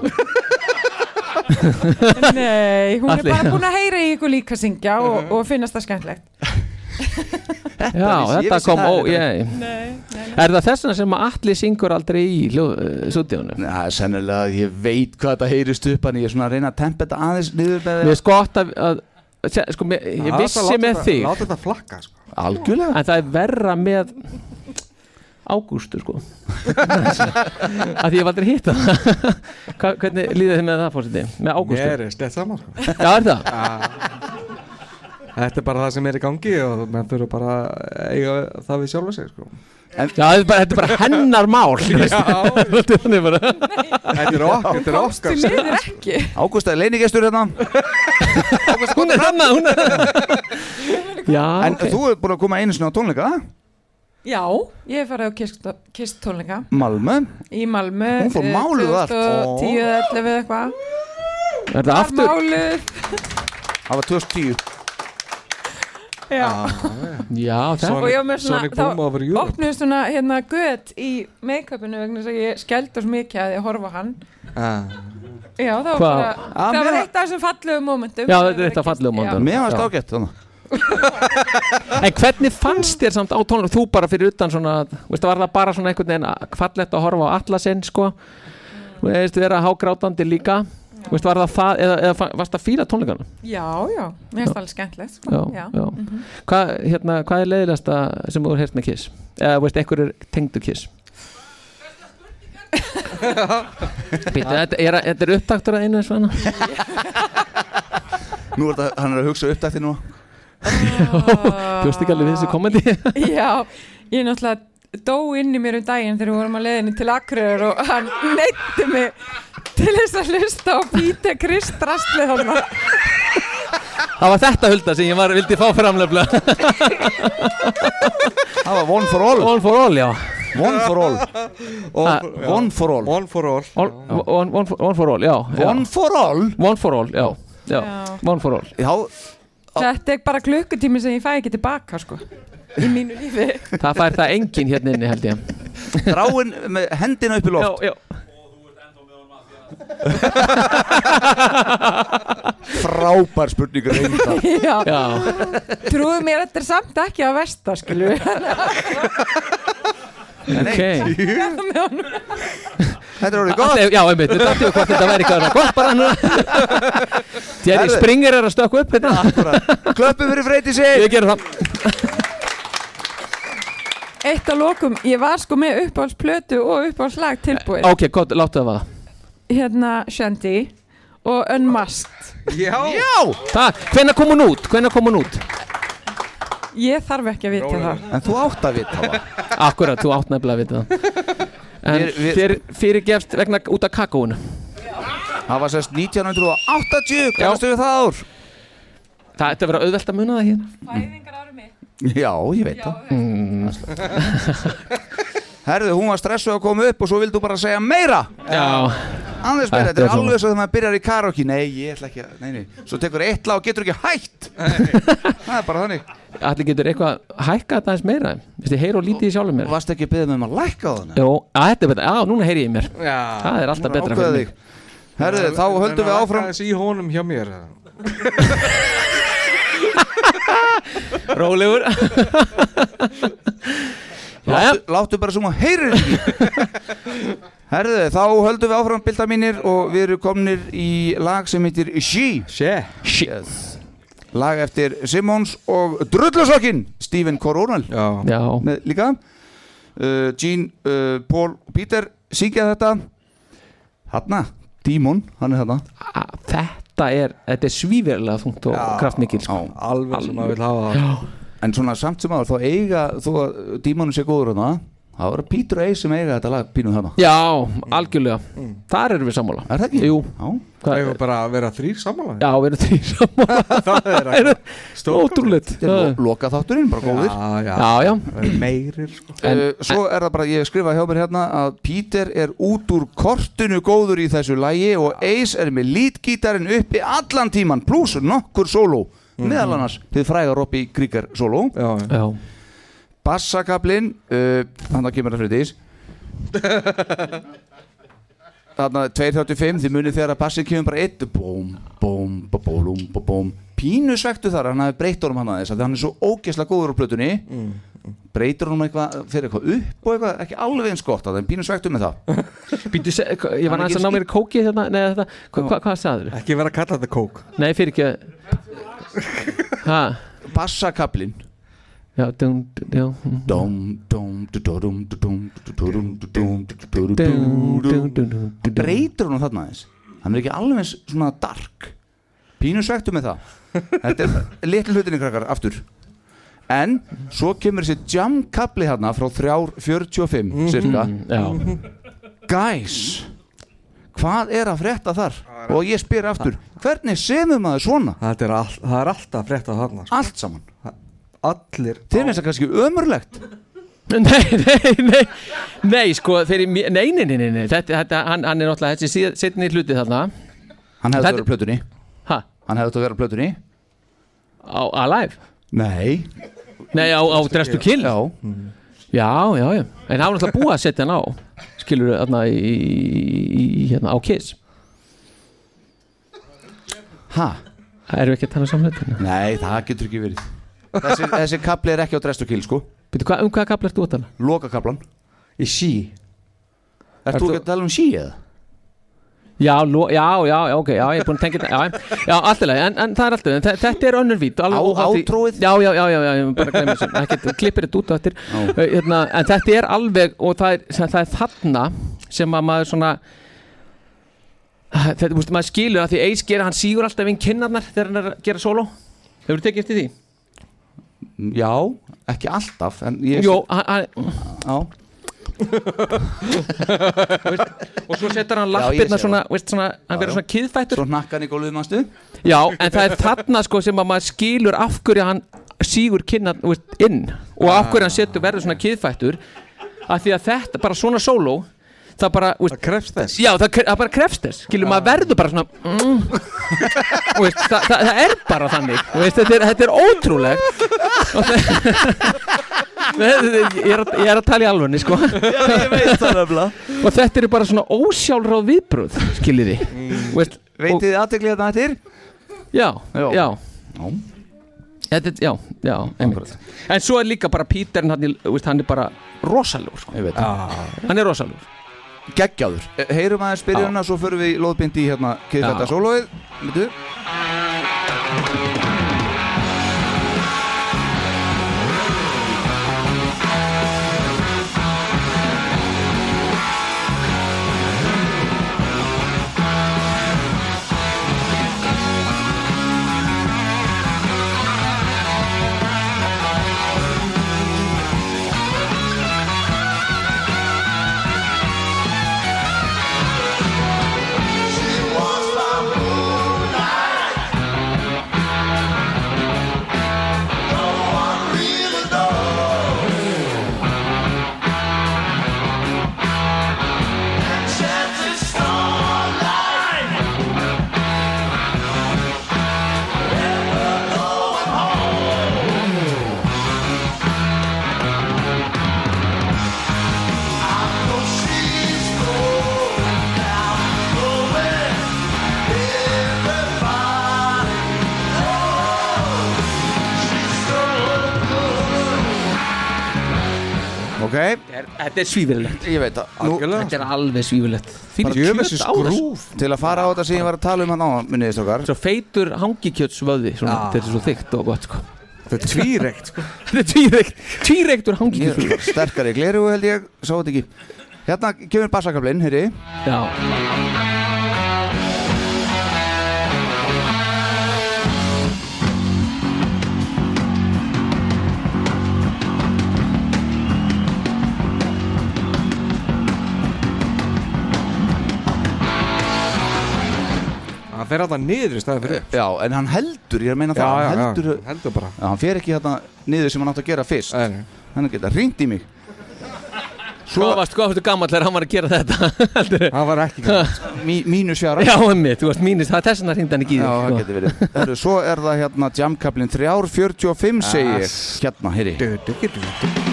Speaker 14: Nei, hún
Speaker 2: Atli.
Speaker 14: er bara búin að heyra í ykkur líka syngja og, og finnast það skemmtlegt.
Speaker 2: Mhm. Já,
Speaker 14: vissi- ég
Speaker 2: þetta
Speaker 14: vissi
Speaker 2: kom
Speaker 14: það
Speaker 2: ó,
Speaker 14: reyndar
Speaker 2: ég
Speaker 14: ekki. Nei, nei, nei.
Speaker 2: Er það þessna sem að Atli syngur aldrei í hljóð, uh, súdíunum?
Speaker 1: Já, sennilega að ég veit hvað þetta heyrist upp en ég er svona að reyna að tempa þetta aðeins niður með
Speaker 2: Mér er skott að, að sé- sko, mér, ég vissi með þig
Speaker 3: Láta þetta flakka sko.
Speaker 1: Algjörlega
Speaker 2: En það er verra með Ágústu sko Af því ég hef aldrei hitt það Hva- Hvernig líðið þið með það fórseti? Með Ágústu?
Speaker 3: Mér er slett saman sko.
Speaker 2: Já, er það?
Speaker 3: Þetta er bara það sem er í gangi og menn þurfa bara að eiga það við sjálfa sig sko.
Speaker 1: Já,
Speaker 2: þetta er bara, þetta er bara hennar mál þú veist. Þetta er þannig bara
Speaker 3: Þetta er okkar, þetta er okkar
Speaker 14: ekki
Speaker 1: Ágústa er leinigestur hérna
Speaker 2: Hún er hann Hún er Já,
Speaker 1: En
Speaker 2: ok.
Speaker 1: þú er búin að koma einu sinni á tónleika
Speaker 14: Já, ég hef farið á kist- kisttónleika
Speaker 1: Malmö
Speaker 14: í Malmö.
Speaker 1: Hún fór máluð þar.
Speaker 14: 10, 11 eða eitthvað.
Speaker 2: Er þetta
Speaker 14: Var
Speaker 2: aftur?
Speaker 14: Máluð,
Speaker 1: Það var 2010
Speaker 14: já.
Speaker 2: Ah, Já, þetta
Speaker 14: og ég var með svona, þá opnuði svona hérna gött í make-upinu vegna þess að ég skeldur svo mikið að ég horfa á hann. Já, það var
Speaker 2: Hvað?
Speaker 14: bara,
Speaker 2: Ah,
Speaker 14: það var
Speaker 2: mér-
Speaker 14: eitt af þessum fallegu mómentum.
Speaker 2: Já, þetta er eitt af fallegu mómentum. Mér fannst ágætt En hvernig fannst þér samt á tónleikum þú bara fyrir utan svona veist, var það bara svona einhvern veginn fallegt að horfa á allasinn sko Þú veist, vera hágrátandi líka veist, var það það, eða, eða fa- varst það fíla tónleikana?
Speaker 14: Já, já, mér finnst það alveg skemmtilegt, sko.
Speaker 2: Já, já,
Speaker 14: mhm.
Speaker 2: Hvað, hérna, hvað er leiðilegasta sem þú hefði með Kiss? Eða, veist, einhver er tengdu Kiss? Býttu, þetta er, þetta er upptaktur að einu svona
Speaker 1: Nú er þetta, hann er að hugsa uppdætti nú
Speaker 2: Bjóst ekki alveg við þessu komandi
Speaker 14: Já, ég náttúrulega dó inn í mér um daginn þegar við vorum að leiðinni til Akureyrar og hann neytti mig til þess að hlusta á Píte Krist rastlið þarna.
Speaker 2: Það var þetta hulda sem ég var, vildi fá framlefla
Speaker 1: Það var One for All
Speaker 2: One for All, já
Speaker 1: One for All Og
Speaker 2: Ah,
Speaker 1: One for All
Speaker 3: One for All
Speaker 2: All- One, one, for, one for All, já já.
Speaker 1: One for All
Speaker 2: One for All, já, já.
Speaker 14: Já.
Speaker 2: One for All
Speaker 1: já.
Speaker 14: Þetta er bara klukkutími sem ég fæ ekki tilbaka, sko, í mínu lífi.
Speaker 2: Það fær það enginn hérna inni held ég
Speaker 1: Dráin með hendina upp í loft
Speaker 2: Já, já
Speaker 1: Frábær spurning reynda
Speaker 14: Já.
Speaker 2: Já.
Speaker 14: Trúðu mér, þetta er samt ekki að versta, skilju.
Speaker 2: Ok
Speaker 1: Þetta er orðið
Speaker 2: gott Já, einmitt, þetta er orðið gott Þetta væri eitthvað orðið gott bara núna Jerry
Speaker 1: Herðu.
Speaker 2: Springer er að stökka upp hérna
Speaker 1: Klöppum fyrir freyti sig
Speaker 2: Ég gerum það
Speaker 14: Eitt að lokum, ég var sko með uppáhaldsplötu og uppáhaldslag tilbúið.
Speaker 2: Ok, gott, láttu það vaða
Speaker 14: Hérna, Shandy og Unmasked.
Speaker 3: Já
Speaker 1: Já
Speaker 2: Takk, hvenær kom hún út? Hvenær kom hún út?
Speaker 14: Ég þarf ekki að vita það.
Speaker 1: En þú átt að vita það
Speaker 2: Akkurat, þú átt nefnilega að vita það En
Speaker 1: Við- við-
Speaker 2: þér fyrirgefst vegna út af kakóinu
Speaker 1: Það var sérst 1980 Kannastu við það ár?
Speaker 2: Það ætti að vera auðvelt að muna það hér
Speaker 1: Já, ég veit það mm. herðu, hún var stressuð að koma upp og svo vildu bara segja meira
Speaker 2: Já
Speaker 1: Andrés Meira,
Speaker 2: Þetta
Speaker 1: þetta
Speaker 2: er
Speaker 1: er
Speaker 2: svona.
Speaker 1: alveg svo þegar maður byrjar í karaoke Nei, ég ætla ekki að, nei, nei Svo tekur eitt lag og getur ekki hætt Það er bara þannig
Speaker 2: Allir getur eitthvað hækka þetta aðeins meira Vist, ég heyr og lítið í sjálfum mér
Speaker 1: Varst ekki að byrja með maður að lækka þannig?
Speaker 2: Jó, að þetta er betra, já, núna heyri ég í mér Það er alltaf betra fyrir mig
Speaker 1: Herðu, þá höldum við áfram
Speaker 3: Það er í honum hjá mér
Speaker 2: Rólegur
Speaker 1: Láttu, láttu bara sem hún heyrir ekki Herðu, þá höldum við áfram bilda mínir og við erum komnir í lag sem heitir She She, yes. Lag eftir Simmons og Drullusokkin Stephen Coronel Já.
Speaker 2: Já.
Speaker 1: Með, Líka uh, Gene, uh, Paul og Peter syngja þetta Hanna, Dímon, hann er þarna
Speaker 2: Þetta er, þetta er svíverlega þungt og kraftmikil sko.
Speaker 1: Alveg
Speaker 2: sem maður vill hafa það.
Speaker 1: En svona samt sem áður, þá eiga þó að Dímonum sé góður hann þá er Peter og Ace sem eiga þetta lag pínuð þarna
Speaker 2: Já, algjörlega Þar erum við sammála
Speaker 1: Er það ekki?
Speaker 2: Jú
Speaker 3: Það hefur bara að vera þrýr sammála
Speaker 2: Já, við erum þrýr sammála
Speaker 3: Það er
Speaker 2: Ótrúleitt
Speaker 1: Loka þátturinn, bara góðir
Speaker 2: já. Já, já.
Speaker 1: Meirir sko. Svo er það bara, ég skrifa hjá mér hérna að Peter er út úr kortinu góður í þessu lægi og Ace er með lítgítarinn uppi allan tíman pluss nokkur sóló meðal annars þið frægar uppi gríkar sóló
Speaker 2: Mhm. Já
Speaker 1: Bassakablin uh, þannig að kemur það fyrir þess þarna 2.35 þið munið þegar að bassin kemur bara eitt bóm, bóm, bá, bólum, bá, bóm pínu svektu þar, hann hafi breytt honum hann aðeins af því hann er svo ógeðslega góður á plötunni
Speaker 2: Mm.
Speaker 1: breytir honum eitthvað fyrir eitthvað upp og eitthvað, ekki alveg eins gott að það en pínu svektu með það
Speaker 2: Býtu, Ég var næst að ná mér í kóki hérna Nei, þetta, hva, hva, hvað sagður?
Speaker 3: Ekki vera að kalla þetta kók
Speaker 2: Nei, fyrir ekki Hæ?
Speaker 1: Bassakablin
Speaker 2: Já, dum, já
Speaker 1: Dum, dum, dum, dum, dum, dum, dum,
Speaker 2: dum, dum
Speaker 1: Hann breytir honum þarna aðeins hann er ekki alveg eins svona dark pínu svektu með það þetta er litlu hlutinni krakkar aftur en svo kemur þessi jam kapli hérna frá 3.45 cirka guys hvað er að frétta þar og ég spyr aftur hvernig semur maður svona
Speaker 3: þetta er, all, það er alltaf frétta þarna sko.
Speaker 1: allt saman
Speaker 3: allir
Speaker 1: þeir finnst það kannski ömurlegt
Speaker 2: Nei, nei, nei Nei, sko, fyrir mér Nei, nei, nei, nei, nei. Þetta, þetta, hann, hann er náttúrulega Þessi setni hluti þarna
Speaker 1: hann hefði
Speaker 2: Þetta-
Speaker 1: þetta verið á plötunni
Speaker 2: Hæ?
Speaker 1: hann hefði þetta verið á plötunni
Speaker 2: á Alive?
Speaker 1: Nei
Speaker 2: Nei, á, á Dress to Kill?
Speaker 1: Já
Speaker 2: Já, já, já En það var náttúrulega búið að setja hann á Skilur þarna í, í, í hérna, á Kiss
Speaker 1: Hæ?
Speaker 2: Erum við ekki að tala um samleitina?
Speaker 1: Nei, það getur ekki verið þessi, þessi kapli er ekki á drest og kill sko
Speaker 2: Býtu, hva, um hvaða kapla ertu að tala?
Speaker 1: Lokakaplan Í sí Ert þú ekki að tala um sí eða?
Speaker 2: Já, lo, já, já, já, ok, já, ég er búin að tengja þetta Já, já alltaf, en, en það er alltaf en þe- Þetta er önnur vít Á, Átrúið? Já, já, já, já, já, ég er bara að glemja þessu Ekkert, þú klippir þetta út á eftir uh, hérna, En þetta er alveg, og það er, það er þarna sem að maður svona Þetta, mústu, maður skilur að því Ace gera, hann sígur alltaf inn kinnarnar þegar hann er að gera solo Hefur þú tekið eftir því?
Speaker 1: Já, ekki alltaf en ég
Speaker 2: Jó, hann- hann
Speaker 1: Já
Speaker 2: Og svo setur hann
Speaker 1: Já, ég sé
Speaker 2: lappirna
Speaker 1: það.
Speaker 2: svona, veist, svona hann verður svona kiðfættur
Speaker 1: Svo hnakkan í gólfið mannstu
Speaker 2: Já, en það er þarna sko sem að maður skilur af hverju hann sígur kynna veist, inn og af hverju hann setur verður svona kiðfættur af því að þetta, bara svona sóló það bara, veist, það
Speaker 3: krefst þess
Speaker 2: já, það, kre- það bara krefst þess, skilur maður verður bara svona mm, veist, það, það, það er bara þannig, veist, þetta, er, þetta er ótrúlegt Og það- ég, er að, ég er að tala í alvörni sko
Speaker 4: ég veit það nefnilega.
Speaker 2: og þetta eru bara svona ósjálfráð viðbröð skiljiði mm.
Speaker 1: Veitið þið aðteklið þetta hættir?
Speaker 2: já, já, já.
Speaker 1: Já.
Speaker 2: Þetta, er- já, já, einmitt En svo er líka bara Píterin, hann, er- þú veist, hann er bara rosalur sko.
Speaker 1: Ég veit
Speaker 2: Hann er rosalur
Speaker 1: Geggjáður Heyrum aðeins byrjunna hérna, Svo förum við í loðbindi í hérna Kiðfætta
Speaker 2: Já.
Speaker 1: sólóið Myndu
Speaker 4: She walks by moonlight.
Speaker 1: Ok
Speaker 2: Þetta er svífurlegt
Speaker 1: Ég veit það Nú-
Speaker 2: Þetta er alveg svífurlegt Fyrir
Speaker 1: Bara
Speaker 2: kjöt
Speaker 1: djöfisins
Speaker 2: á þessu
Speaker 1: grúf Til að fara á þetta sem ég var að tala um hann á minniðist okkar
Speaker 2: Svo feitur hangikjötsvöði svona,
Speaker 1: Ah.
Speaker 2: Þetta er svo þykkt og gott sko.
Speaker 1: Þetta er tvíreykt,
Speaker 2: sko. Þetta er tvírekt Tvírekt úr
Speaker 1: Ég
Speaker 2: hangikjötsvöði
Speaker 1: er Sterkari gleru held ég, sá þetta ekki Hérna kemur bassakablinn, heyri
Speaker 2: Já
Speaker 1: Hann fer alltaf niður í staði fyrir Já, en hann heldur, ég er að meina það
Speaker 3: Já,
Speaker 1: hann
Speaker 3: já,
Speaker 1: heldur,
Speaker 3: já, heldur bara.
Speaker 1: Já, hann fer ekki hérna niður sem hann átt að gera fyrst Hann geta hringt í mig
Speaker 2: Svo varst hvað fyrstu gammal þegar hann var að gera þetta
Speaker 1: Hann var ekki Mí, Mínus fjara
Speaker 2: Já, emmi, þú varst mínus Það er þess vegna hringdi hann ekki í
Speaker 1: Já,
Speaker 2: þig,
Speaker 1: það
Speaker 2: sko.
Speaker 1: getur verið Heru, Svo er það hérna jamkablin 3.45 segi ég
Speaker 2: Ass.
Speaker 1: Hérna, heyri du, du, du, du, du.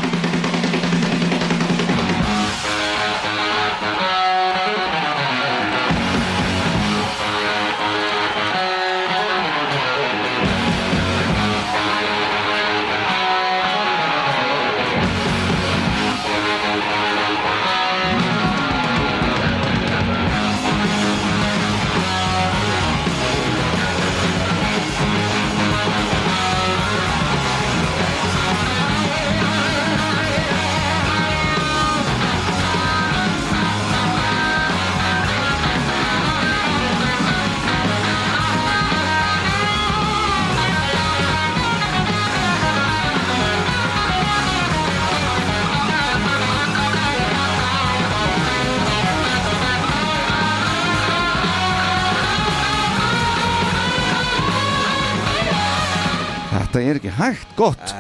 Speaker 1: Þetta er ekki hægt, gott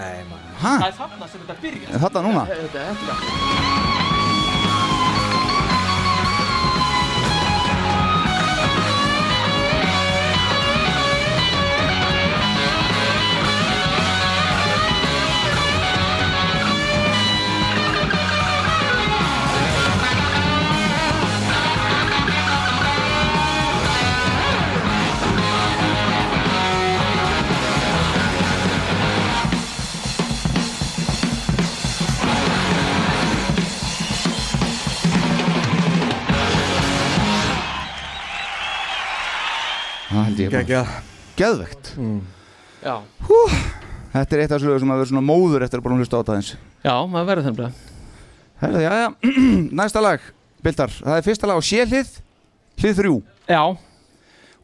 Speaker 1: Hæ?
Speaker 2: Það er þarna sem þetta byrja
Speaker 1: Er þarna núna?
Speaker 2: Þetta er þetta
Speaker 1: Það held ég bara Geðvegt
Speaker 2: Já,
Speaker 1: Hú, Þetta er eitt af þessu lögum sem að vera svona móður eftir að búin að hlusta á það eins
Speaker 2: já maður verður þennblega
Speaker 1: Herðu, já, já, næsta lag Bildar, það er fyrsta lag á sélið Hlið þrjú
Speaker 2: Já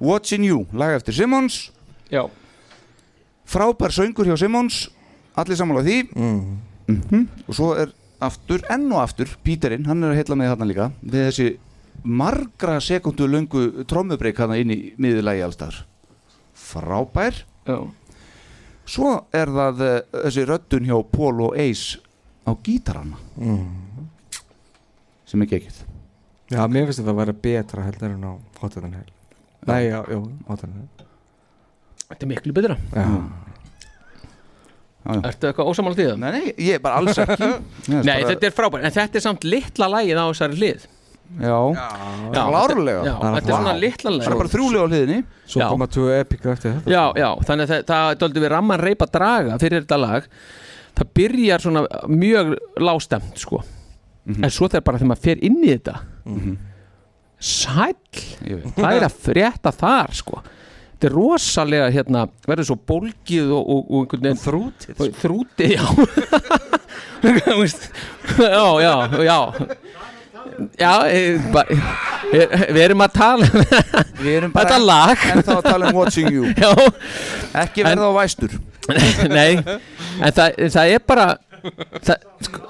Speaker 1: Watching You, lag eftir Simmons
Speaker 2: Já
Speaker 1: Frábær söngur hjá Simmons Allir sammála því mm. Og svo er aftur, enn og aftur Píterinn, hann er að heilla með þarna líka Við þessi margra sekundu löngu trommubreik hann inn í miðurlægi allstar Frábær
Speaker 2: Já
Speaker 1: Svo er það eh, þessi röddun hjá Paul og Ace á gítarana sem er gekkið
Speaker 3: Já, mér finnst þetta að vera betra heldur en á Hotel and Hell Nei, já, jú, Hotel and Hell
Speaker 2: Þetta er miklu betra
Speaker 3: Já.
Speaker 2: Ertu eitthvað ósamála því það?
Speaker 1: Nei, nei, ég er bara alls ekki Ég er
Speaker 2: Nei,
Speaker 1: bara-
Speaker 2: þetta er frábært En þetta er samt litla lagið á þessari hlið
Speaker 1: Já,
Speaker 2: Já,
Speaker 1: klárlega
Speaker 2: þetta- já, þetta er svona litla lag.
Speaker 1: Það er bara þrjúlega á hliðinni
Speaker 3: Svo
Speaker 2: Já.
Speaker 3: koma tvö epika eftir þetta
Speaker 2: Já, já, þannig að það, það döldu við ramman reypa draga fyrir þetta lag Það byrjar svona mjög lástemt sko
Speaker 1: Mhm.
Speaker 2: En svo þegar bara þegar maður fer inn í þetta Sæll
Speaker 1: veit.
Speaker 2: Það er að frétta þar sko Þetta er rosalega hérna verður svo bólgið og, og, og einhvern veginn Þrútið
Speaker 1: sko.
Speaker 2: Þrútið, já Þú veist, Já, já, já Já, e, ba, e, við erum að tala Við
Speaker 1: erum
Speaker 2: bara Þetta lag
Speaker 1: En þá að tala um Watching You
Speaker 2: Já
Speaker 1: Ekki verða á væstur
Speaker 2: Nei, en það, það er bara það, sko,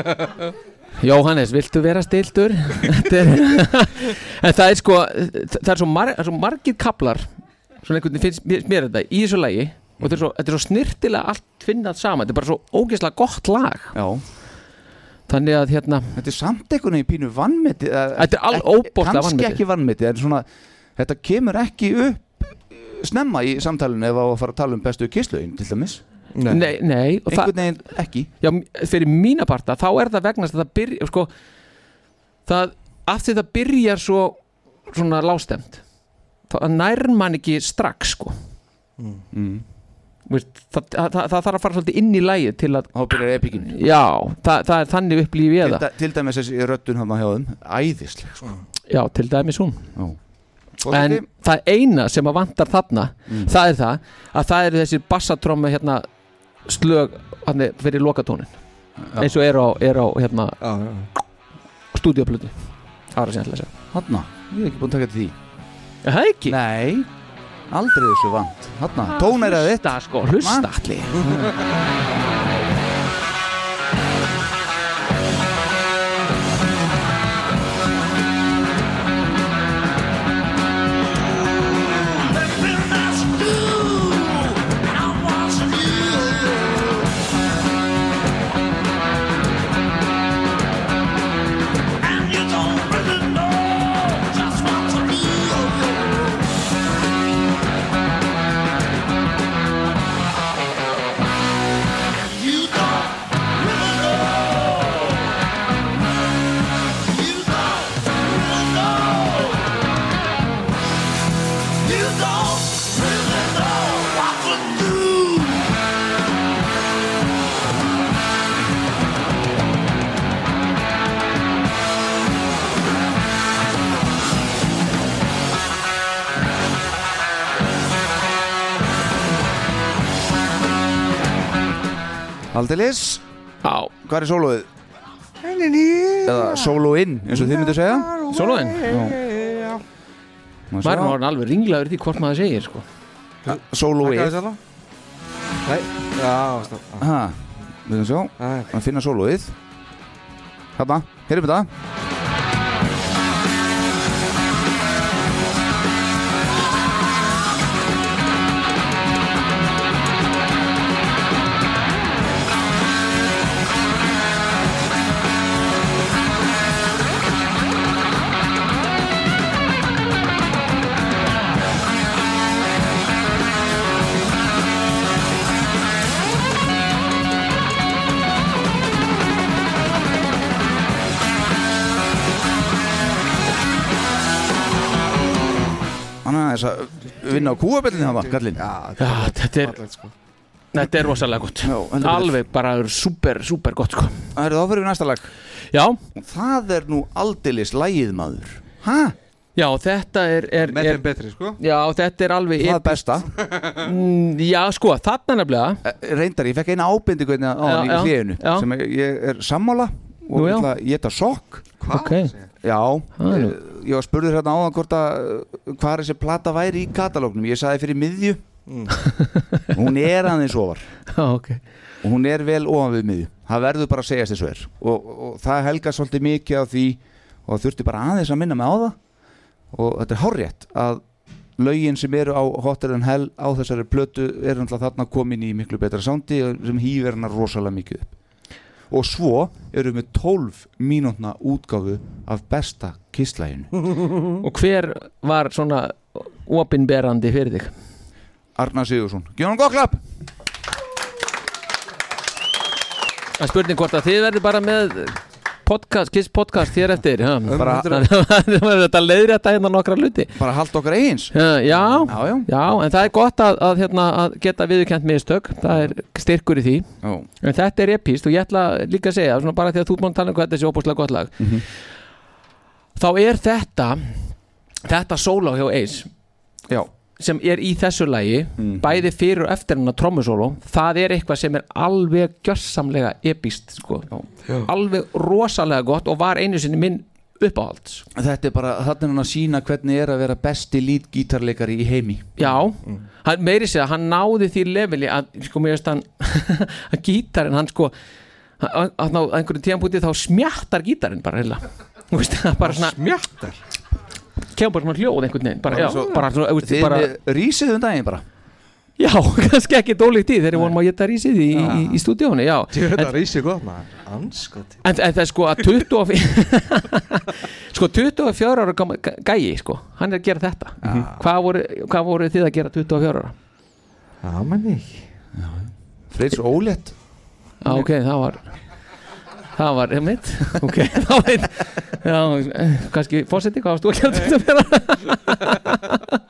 Speaker 2: Jóhannes, viltu vera stiltur? Þetta er, en það er sko það er svo, mar, það er svo margir kaplar svona einhvern veginn finnst mér, mér þetta í þessu lagi og þetta er svo, þetta er svo snirtilega allt tvinnað saman, þetta er bara svo ógeðslega gott lag
Speaker 1: Já
Speaker 2: Þannig að hérna
Speaker 1: Þetta er samt einhvern veginn pínu vannmeti
Speaker 2: Þetta er alveg óbóðslega
Speaker 1: Kannski
Speaker 2: vanmetið.
Speaker 1: ekki vannmeti En svona, þetta kemur ekki upp eh, Snemma í samtalinu ef á að fara að tala um bestu kisslögin til dæmis
Speaker 2: Nei, nei, og það-
Speaker 1: Einhvern veginn ekki
Speaker 2: Já, m- fyrir mína parta, þá er það vegna þess að það byrja, sko það, af því það byrjar svo svona lástemt þá nær mann ekki strax, sko
Speaker 1: mm.
Speaker 2: Veist, það, það, það, það þarf að fara svolítið inn í lægið til að
Speaker 1: þá byrjar epikin
Speaker 2: já, það, það er þannig upplýfi ég
Speaker 1: til,
Speaker 2: það
Speaker 1: dæ- til dæmis þessi röddun hama hjá þeim æðisleg sko.
Speaker 2: já, til dæmis hún
Speaker 1: Og
Speaker 2: en
Speaker 1: þetta-
Speaker 2: það eina sem að vantar þarna
Speaker 1: Mm.
Speaker 2: það er það að það eru þessi bassatrómi hérna slög hérna, fyrir lokatónin eins og er á, er á hérna stúdíoplötu það var að segja alltaf að segja
Speaker 1: Hanna, ég er ekki búin að taka til því
Speaker 2: Er það ekki?
Speaker 1: Nei, aldrei þessu vant Hanna,
Speaker 2: Ah,
Speaker 1: tónar að þetta
Speaker 2: sko, hlusta
Speaker 1: allir Aldeilis
Speaker 2: Já
Speaker 1: Hvað er sólóið? Eða sólóinn, eins og þið myndu að segja
Speaker 2: Sólóinn?
Speaker 1: Já
Speaker 2: maður er nú orðinn alveg ringlaður í því hvort maður segir sko.
Speaker 1: Sólóið
Speaker 3: Nei, já, stopp
Speaker 1: Ha, við þum sjá Að finna sólóið Hanna, heyrðum þetta Hann er þess að vinna á kúabellinu hana, kallinn
Speaker 2: Já, þetta er
Speaker 3: sko.
Speaker 2: Þetta er rosalega gott
Speaker 1: heldur betur.
Speaker 2: Alveg bara super, super gott sko.
Speaker 1: Það eru þá fyrir við næsta lag
Speaker 2: Já
Speaker 1: Það er nú aldeilis lægið maður Hæ?
Speaker 2: Já, þetta er, er
Speaker 1: Með þeim
Speaker 2: er-
Speaker 1: betri, sko.
Speaker 2: Já, þetta er alveg
Speaker 1: Það er besta
Speaker 2: Mm, Já, sko, þarna nefnilega
Speaker 1: Eh, Reyndar, ég fekk eina ábindi hvernig á hann í
Speaker 2: Já, já,
Speaker 1: hliðinu
Speaker 2: já.
Speaker 1: sem ég- ég er sammála
Speaker 2: Nú,
Speaker 1: og
Speaker 2: já.
Speaker 1: ég ætla að geta sokk
Speaker 2: Hvað? Ok.
Speaker 1: Já,
Speaker 2: Það er nú-
Speaker 1: eh, ég var spurður hérna áðan hvort að eh, hvað þessi plata væri í katalógnum ég sagði fyrir miðju
Speaker 3: Mm.
Speaker 1: hún er aðeins ofar
Speaker 2: Já, Ah, ok
Speaker 1: og hún er vel ofan við miðju það verður bara að segjast eins og er og, og það helgast svolítið mikið á því og þurfti bara aðeins að minna mig á það og þetta er hárrétt að lögin sem eru á Hotter and Hell á þessari plötu er náttúrulega þarna komin í miklu betra sándi sem hýver hana rosalega mikið upp og svo eru við með 12 mínútna útgáfu af besta kisslæginu
Speaker 2: Og hver var svona opinberandi fyrir þig?
Speaker 1: Arnar Sigursson Gjónum gott klapp
Speaker 2: Það er spurning hvort að þið verður bara með podcast, kiss podcast hér eftir ha?
Speaker 1: Bara-
Speaker 2: Það verður þetta leiðri að hérna nokkra luti
Speaker 1: Bara halda okkar eigins
Speaker 2: Já, já,
Speaker 1: já.
Speaker 2: en það er gott að, að, hérna, að geta viðurkjent mistök Það er styrkur í því
Speaker 1: Já.
Speaker 2: En þetta er epíst og ég ætla líka að segja svona bara því að þú mátt tala um hvað þetta sé óbúslega gott lag Þá er þetta þetta sóló hjá Ace
Speaker 1: Já.
Speaker 2: sem er í þessu lagi bæði fyrir og eftir hennar trommusóló það er eitthvað sem er alveg gjörsamlega epíst sko. alveg rosalega gott og var einu sinni minn uppáhalds
Speaker 1: Þetta er bara, þarna er hann að sína hvernig er að vera besti lítgítarleikari í heimi
Speaker 2: Já,
Speaker 1: Mm.
Speaker 2: hann, meiri sér að hann náði því leveli að, sko, mér veist hann að gítarinn, hann sko að, að ná einhverjum tíðanbúti þá smjattar gítarinn bara heila Þú veist, það bara svona
Speaker 3: Smjattar?
Speaker 2: Kemur bara svona hljóð einhvern veginn bara, já, bara svona, þú veist,
Speaker 1: Þið
Speaker 2: bara
Speaker 1: bara... rísið um daginn bara
Speaker 2: Já, kannski ekki dólíkt í þegar við vorum að geta rísið í, í, í stúdíónu, já
Speaker 3: Ég veit
Speaker 2: En-
Speaker 3: að rísi gott maður Anskot
Speaker 2: En, en það er sko að 25 Sko 24 ára gamall gæ- gæi sko, hann er að gera þetta
Speaker 1: Mhm.
Speaker 2: hvað, voru, hvað voru þið að gera 24 ára?
Speaker 3: Já, menni
Speaker 1: Fritz Ólétt
Speaker 2: Já, ok, það var Það var, ég mitt Ok, það var eitt Já, eh, kannski fórseti, hvað varst þú að gera 24 ára?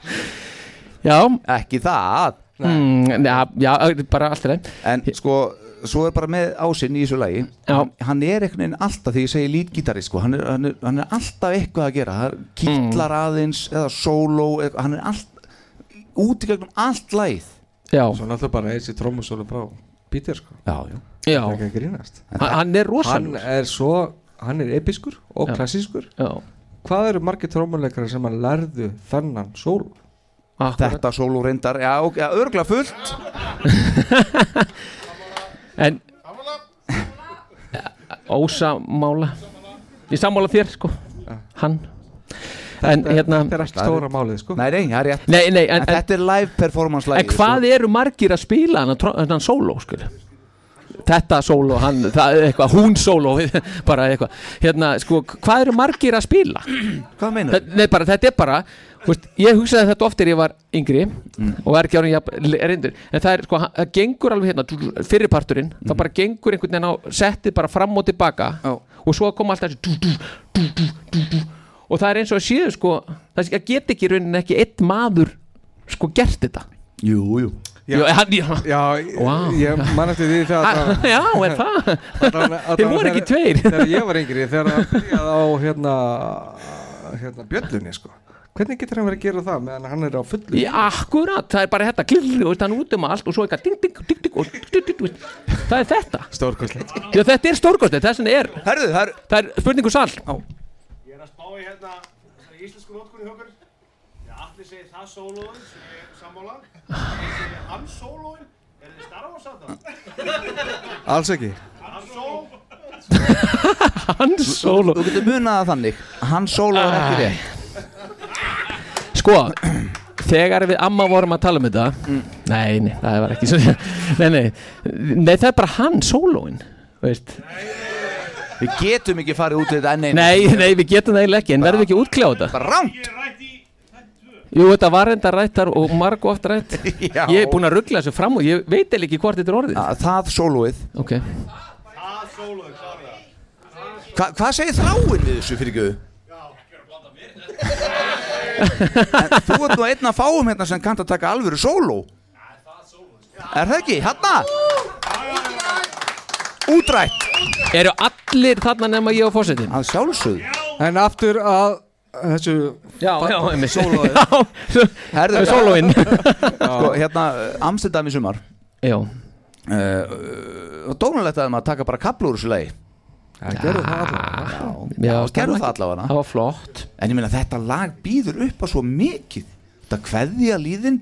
Speaker 2: Já
Speaker 1: Ekki það
Speaker 2: Mm, já, já, bara allt í leið
Speaker 1: En sko, svo er bara með ásinn í þessu lagi já. Hann er einhvern veginn alltaf, þegar ég segi lítgítari sko, hann, er, hann, er, hann er alltaf eitthvað að gera hann
Speaker 2: Mm.
Speaker 1: Kýtlar aðeins eða sóló eitthvað, Hann er allt út í gegnum allt lagið
Speaker 2: Já
Speaker 1: Svo
Speaker 3: náttúrulega bara þessi trómusólu frá Peter sko
Speaker 1: Já, já
Speaker 2: Já.
Speaker 3: Það er ekki að grínast
Speaker 2: Hann- hann er rosalegur.
Speaker 3: Hann er svo, hann er episkur og
Speaker 2: Já.
Speaker 3: klassískur
Speaker 2: Já
Speaker 3: Hvað eru margir trómuleikara sem að lærðu þennan sólu?
Speaker 1: Þetta sólu reyndar, já, ok, já örgla fullt
Speaker 2: En Ósamála Ég sammála þér sko Hann En hérna
Speaker 3: málið sko
Speaker 1: Nei, nei, það er rétt
Speaker 2: Nei, nei, en-
Speaker 1: en, Þetta er live performance sko. lagi
Speaker 2: En hvað eru margir að spila hann, hann sóló skil Þetta sóló, hann, það er eitthvað, hún sóló bara eitthvað, hérna, sko hvað eru margir að spila?
Speaker 1: Hvað meinar?
Speaker 2: Þa, nei, bara, þetta er bara, þú veist, ég hugsaði þetta oft þegar ég var yngri
Speaker 1: Mm.
Speaker 2: og var ekki árið jafn reyndur, en það er, sko, hann- það gengur alveg hérna, dú- dú- fyrirparturinn
Speaker 1: Mm.
Speaker 2: það bara gengur einhvern veginn á, settið bara fram og tilbaka Já. og svo kom alltaf þessi dú, dú, dú, dú, dú, dú. og það er eins og að séu, sko það get ekki í rauninni ekki einn maður sko gert þetta
Speaker 1: Jú, jú
Speaker 2: Já, já, já. Vá.
Speaker 3: Ég man eftir því þegar
Speaker 2: Ah,
Speaker 3: það
Speaker 2: Já, er það? Þeir voru ekki tveir
Speaker 3: Þegar ég var yngri, þegar það byrjaði á hérna, hérna bjöllunni sko Hvernig getur hann verið að gera það meðan hann er á fullu?
Speaker 2: Já, akkurat, það er bara hérna, þetta klirri og hann er út um allt og svo eitthvað ding, ding, ding, ding, og ding, ding, ding, það er þetta
Speaker 3: Stórkostlegt
Speaker 2: Já, þetta er stórkostið, þess vegna er
Speaker 1: Herðu, það er,
Speaker 2: það er spurningu sall Já,
Speaker 12: Ég er að spá í hérna þessari íslensku notkunni hjá okkur. Ég allir segi það sólóðin sem ég er sammála. Ég segi hann sólóðin. Er þið starf á sáttan?
Speaker 3: Alls ekki
Speaker 12: Hann sóló.
Speaker 2: Hann sóló
Speaker 1: Þú getur munað það þannig Hann sóló er ekki
Speaker 2: Æ.
Speaker 1: rétt
Speaker 2: Sko, þegar við amma vorum að tala um þetta
Speaker 1: Mm.
Speaker 2: Nei, nei, það var ekki svo Nei, nei, nei, það er bara hann, sólóin Veist
Speaker 1: Við getum ekki farið út í þetta enn einu
Speaker 2: Nei, nei, við getum það eiginlega ekki, en verðum við ekki útkláða þetta
Speaker 1: Rám
Speaker 2: Jú, þetta var enda rættar og marg oft rætt Ég er búin að ruggla þessu fram og ég veit eiginlega ekki hvort þetta er orðið
Speaker 1: Það sólóið
Speaker 2: Ok
Speaker 12: Það sólóðin, klára.
Speaker 1: Hva, Hvað segir þráin við þessu fyrir göðu? en þú ert nú einn að fáum hérna sem kannt að taka alvöru sóló Er það ekki? Hérna. Hanna? Útrætt
Speaker 2: Eru allir þarna nema ég og fósettin?
Speaker 1: Að sjálfsög
Speaker 3: En aftur að þessu
Speaker 2: Já, já, einmitt.
Speaker 3: Sólóið
Speaker 2: Já,
Speaker 1: Herðu,
Speaker 2: sólóin
Speaker 1: Sko, hérna, Amstendam í sumar Eh,
Speaker 2: Já
Speaker 1: Og dónulegt að maður taka bara kaplu úr þessu lagi Já, gerðu það allavega Já,
Speaker 2: Já,
Speaker 1: gerðu
Speaker 2: stemma
Speaker 1: það
Speaker 2: ekki.
Speaker 1: allavega
Speaker 2: Það var flott
Speaker 1: En ég meina þetta lag býður upp á svo mikið Þetta kveðja líðin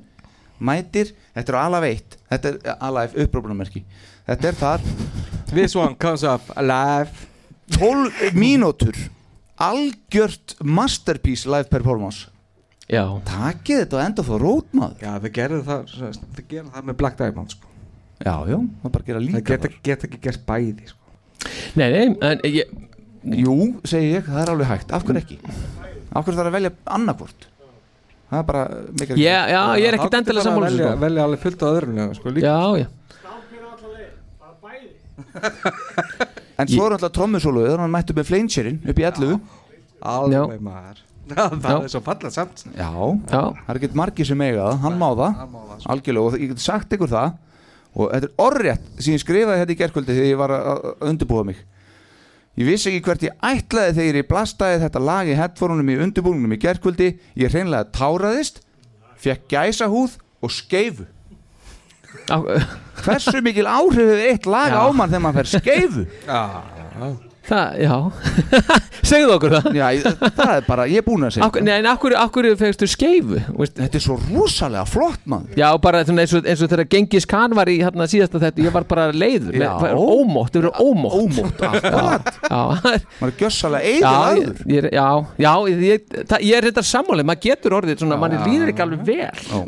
Speaker 1: Mætir, þetta er alaf eitt Þetta er eh, alaf upprópunamerki Þetta er þar
Speaker 3: This one comes up alive
Speaker 1: 12 mínútur Algjört masterpiece live performance
Speaker 2: Já
Speaker 1: Takið þetta og enda þá rótmaður
Speaker 3: Já, þau gerðu það, svo- þau gerðu það með Black Diamond sko
Speaker 1: Já, já, það bara gera líka
Speaker 3: Það geta, geta ekki gert bæði sko
Speaker 2: Nei, nei, en ég
Speaker 1: Jú, segi ég, það er alveg hægt Af hverju ekki? Af hverju þarf að velja annarkvort? Það er bara mikil
Speaker 2: Já, já, ég er ekkert endilega sammála þessu,
Speaker 3: velja,
Speaker 2: sko.
Speaker 3: velja alveg fullt á öðrum lögum, sko, líka.
Speaker 2: Já, já
Speaker 1: En svo er alltaf trommusólu Þegar hann mættu með fleinsjörinn upp í 11
Speaker 3: Alveg maður Það
Speaker 1: Já.
Speaker 3: er svo fallað samt
Speaker 1: Já, það er ekkert margir sem eiga það, hann má það,
Speaker 3: hann má það, sko.
Speaker 1: algjörlega og ég get sagt ykkur það og þetta er orðrétt sem ég skrifaði hérna í gerkvöldi þegar ég var að að undirbúa mig. Ég vissi ekki hvert ég ætlaði þegar ég blastaði þetta lag í headphone-unum í undirbúingunum í gerkvöldi, ég hreinlega táraðist, fekk gæsa húð og skeifu. Hversu mikil áhrif hefur eitt lag
Speaker 2: Já.
Speaker 1: á mann þegar mann fer skeifu?
Speaker 3: Já,
Speaker 2: Það, já Segðu okkur það
Speaker 1: Já, ég- það er bara, ég er búin að segja.
Speaker 2: Akkur, nei, en akkur, akkur fegstu skeifu veist?
Speaker 1: Þetta er svo rosalega flott maður
Speaker 2: Já, bara svona eins og, eins og þegar Gengis Khan var í hérna síðasta þetta Ég var bara leiður
Speaker 1: Já.
Speaker 2: Með- Ómótt, það verður ómótt
Speaker 1: Ómótt, akkurat.
Speaker 2: Já,
Speaker 1: Maður er gjössalega
Speaker 2: já,
Speaker 1: eigin aður.
Speaker 2: ég, ég, já, já ég, það, ég er þetta sammáli, maður getur orðið svona, manni líður ekki alveg vel
Speaker 1: Já.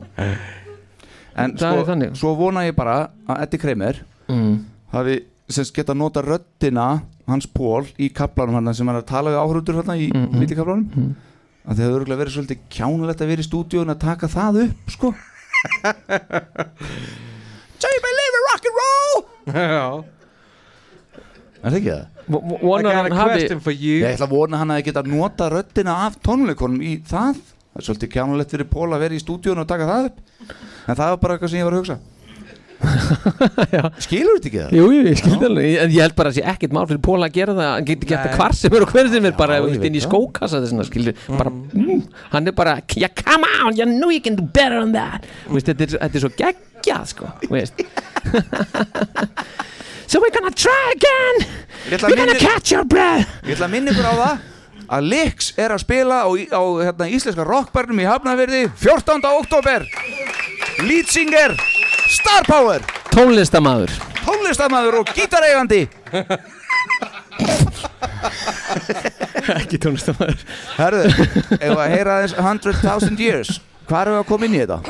Speaker 1: En
Speaker 2: Það er
Speaker 1: sko, svo vona ég bara að Eddie Kramer
Speaker 2: mm.
Speaker 1: hafi sem sagt geta nota röddina hans Pól í kaplanum hann sem hann er að tala við áhrútur hérna í mm
Speaker 2: Mhm.
Speaker 1: millikaplanum að það hefur örgulega verið svolítið kjánulegt að vera í stúdíun að taka það upp sko So you believe in rock and roll
Speaker 3: Já
Speaker 1: Er það ekki það?
Speaker 2: vonar hann hafi
Speaker 1: Ég ætla að vona hann að geta nota röddina af tónleikonum í það það er svolítið kjánulegt fyrir Pól að vera í stúdíun og taka það upp en það var bara eitthvað sem ég var að hugsa skilur þetta ekki það?
Speaker 2: Jú, jú, ég skildi alveg, en ég held bara að sé ekkert mál fyrir Póla að gera það, hann getur gert það
Speaker 1: Nei.
Speaker 2: hvar sem er og hver sem er, bara
Speaker 1: Já,
Speaker 2: ef
Speaker 1: ég
Speaker 2: þú vilt inn í
Speaker 1: veit það.
Speaker 2: skókassa þessna, skilur, bara, mm, hann er bara, yeah, come on, you know you can do better than that, þú veist, þetta er, þetta er svo geggjað, sko, þú veist. so we're gonna try again,
Speaker 1: Ég ætla að
Speaker 2: we're gonna
Speaker 1: minni-
Speaker 2: catch your breath.
Speaker 1: Ég ætla að minna ykkur á það að Lix er að spila á, á hérna, íslenska rockbarnum í Hafnafyrði 14. oktober Leadsinger Star Power
Speaker 2: Tónlistamæður
Speaker 1: Tónlistamæður og gítareigandi
Speaker 2: Ekki tónlistamæður
Speaker 1: Herðu, ef að heyra aðeins 100.000 years Hvar erum við að koma inn í þetta?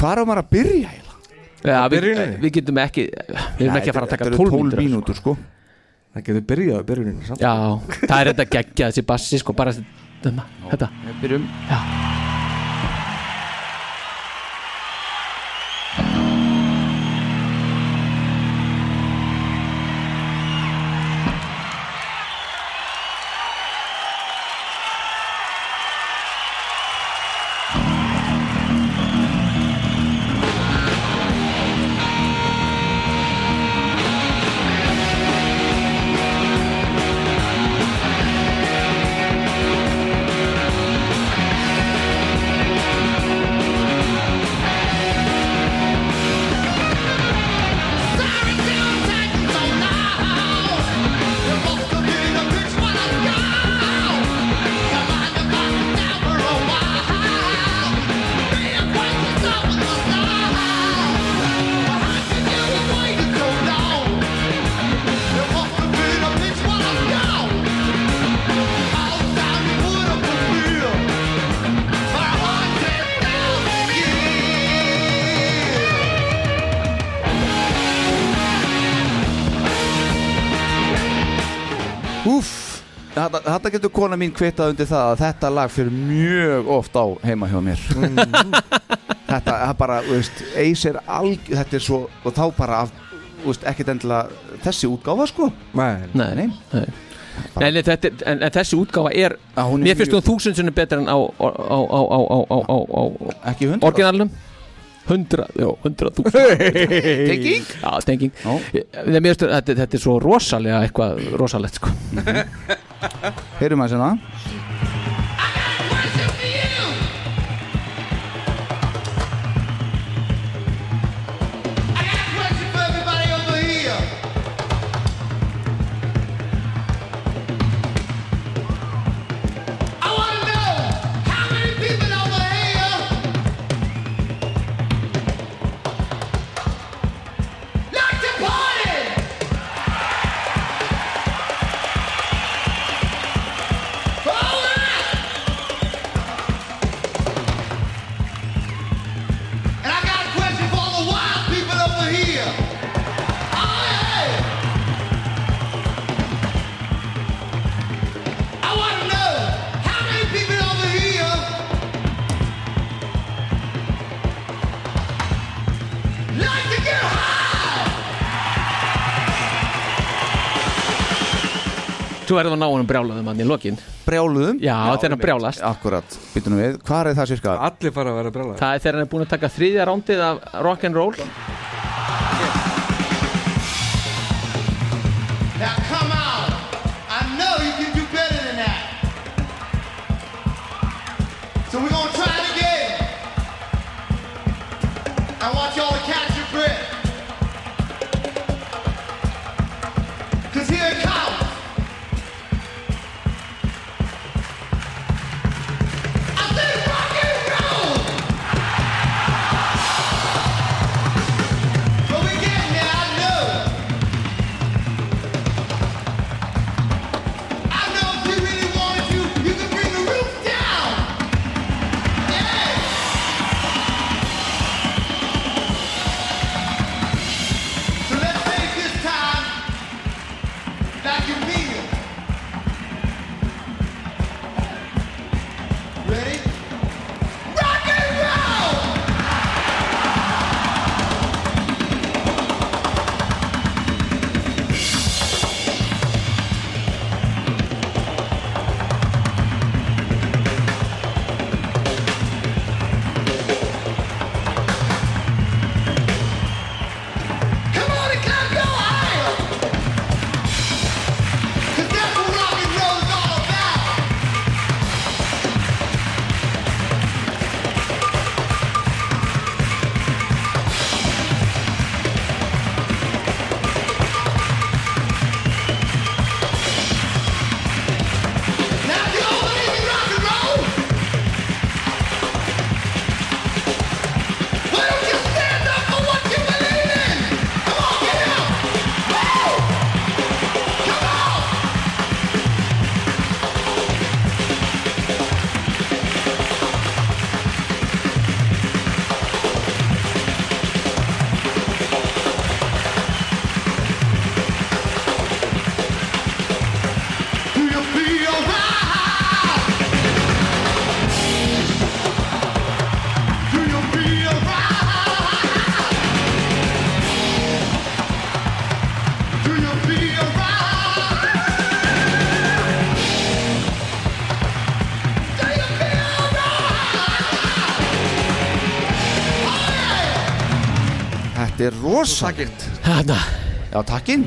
Speaker 1: Hvar erum við að byrja? hérna? eiginlega?
Speaker 2: Já, við, við getum e- ekki, við erum
Speaker 1: Nei,
Speaker 2: ekki að fara
Speaker 1: þetta
Speaker 2: að taka
Speaker 1: eru
Speaker 2: 12
Speaker 1: 12
Speaker 2: mínútur.
Speaker 1: mínútur, sko.
Speaker 2: Það getur byrjað að byrjunin samt. Já, það er þetta geggjað þessi bassi, sko, bara þetta, þetta.
Speaker 1: Við byrjum.
Speaker 2: Já.
Speaker 1: Úff, þetta, þetta getur kona mín kvittað undir það að þetta lag fyrir mjög oft á heima hjá mér Þetta er bara, þú veist, Ace er alg, þetta er svo, og þá bara af, þú veist, ekkert endilega þessi útgáfa sko
Speaker 2: Nei, nei, nei. Nei, nei, þetta, er- en, en þessi útgáfa er,
Speaker 1: er
Speaker 2: mér finnst
Speaker 1: mjög-
Speaker 2: hún þúsundsunum betra en á, á, á, á, á, á, á, á, á
Speaker 1: Ekki hundra
Speaker 2: Orginalnum Hundra, já, hundra þúsund
Speaker 1: Tenging?
Speaker 2: Já, tenging Nei, mér finnst þetta, þetta er svo rosalega eitthvað, rosalegt sko
Speaker 1: Heyrum hérna. að sinna
Speaker 4: Oh,
Speaker 2: Svo verðum við að ná honum brjálaðum hann í lokin
Speaker 1: Brjáluðum?
Speaker 2: Já, þegar hann brjálast
Speaker 1: Akkurat, býtum við, hvað er það sérska?
Speaker 2: Allir fara að vera brjálaðir Það er þegar hann er búin að taka þriðja rándið af rock'n'roll
Speaker 4: Now come out. I know you can do better than that. So we're gonna try it again. I want y'all to catch your breath. Cause here it comes. I said rock and roll. But we getting there, I know.
Speaker 1: Þetta er rosakett
Speaker 2: Hanna
Speaker 1: Já, takkinn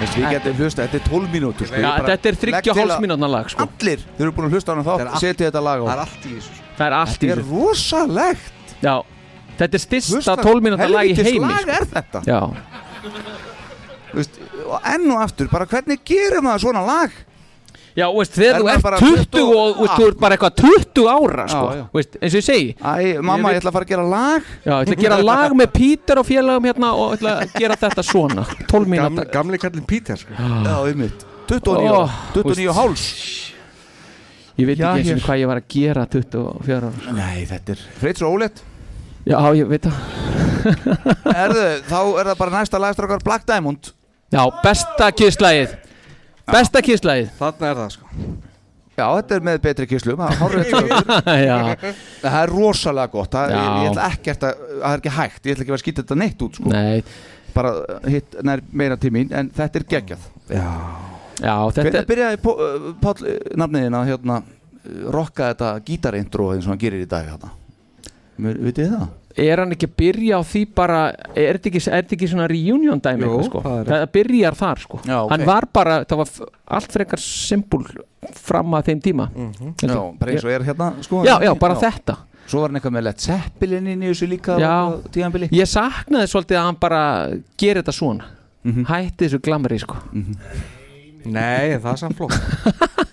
Speaker 1: Veist, við getum hlusta, þetta er 12 mínútur sko.
Speaker 2: Já,
Speaker 1: Ég bara
Speaker 2: þetta er
Speaker 1: legg
Speaker 2: 3,5
Speaker 1: til að
Speaker 2: mínútna lag, sko.
Speaker 1: Allir, þau eru búin að hlusta á hana
Speaker 2: Þetta er
Speaker 1: þá
Speaker 2: allt-
Speaker 1: Setja þetta lag á
Speaker 2: það er
Speaker 1: allt í þessu
Speaker 2: Það er allt í
Speaker 1: Þetta er
Speaker 2: þessu
Speaker 1: rosalegt
Speaker 2: Já, þetta er styrsta
Speaker 1: Hlusta-
Speaker 2: 12 mínúta lag í
Speaker 1: helvítis
Speaker 2: heimi
Speaker 1: lag
Speaker 2: sko.
Speaker 1: er þetta.
Speaker 2: Já,
Speaker 1: Veist, og Enn og aftur, bara hvernig gerir maður svona lag?
Speaker 2: já og veist, þegar
Speaker 1: Er
Speaker 2: þú
Speaker 1: maður
Speaker 2: ert
Speaker 1: bara
Speaker 2: 20 og,
Speaker 1: 20
Speaker 2: og veist, þú ert bara eitthvað 20 ára sko.
Speaker 1: Já, já.
Speaker 2: Veist, eins og ég segi Æ,
Speaker 1: mamma, ég ætla að fara að gera lag
Speaker 2: Já, ég ætla að gera lag með Pítur og félagum hérna og ætla að gera þetta svona 12 mínúta
Speaker 1: Gamli kallin Pítur sko. Já, einmitt 29,
Speaker 2: Ó,
Speaker 1: 29
Speaker 2: veist.
Speaker 1: háls
Speaker 2: Ég veit
Speaker 1: Já,
Speaker 2: ekki eins
Speaker 1: hér.
Speaker 2: og hvað ég var að gera 24 ára sko.
Speaker 1: Nei, þetta er Freyts og Ólet
Speaker 2: Já, ég veit það
Speaker 1: Erðu, þá er það bara næsta lagstrakar Black Diamond
Speaker 2: Já, besta kisslægið Besta kisslægið
Speaker 1: Þarna er það sko Já, þetta er með betri kíslum Það er hárrétt hjá
Speaker 2: þér. Já.
Speaker 1: Það er rosalega gott Það ég,
Speaker 2: Já.
Speaker 1: ég ætla ekkert að, það er ekki hægt Ég ætla ekki að skýta þetta neitt út sko
Speaker 2: Nei
Speaker 1: Bara uh, hitt nær meira tímin En þetta er geggjað Já
Speaker 2: Já, þetta
Speaker 1: Hvernig byrjaði Pó- uh, Páll uh, nafniðina hérna uh, Rokka þetta gítarintro eins og hann gerir í dag hérna Mér- Vitið þið það?
Speaker 2: er hann ekki að byrja á því bara er þetta ekki, er þetta ekki svona reunion dæmi
Speaker 1: Jú,
Speaker 2: eitthvað, sko?
Speaker 1: það er-
Speaker 2: það byrjar þar sko.
Speaker 1: Já, ok.
Speaker 2: hann var bara, það var f- allt frekar simpul fram að þeim tíma Held ég.
Speaker 1: Já, bara eins og er hérna sko
Speaker 2: já, já, bara þetta
Speaker 1: Svo var hann eitthvað með Led Zeppelin inn í þessu líka
Speaker 2: Já.
Speaker 1: tíðanbili
Speaker 2: ég saknaði svolítið að hann bara gerir þetta svona
Speaker 1: Mhm.
Speaker 2: hætti þessu glamri sko.
Speaker 8: Nei, það er samt flokk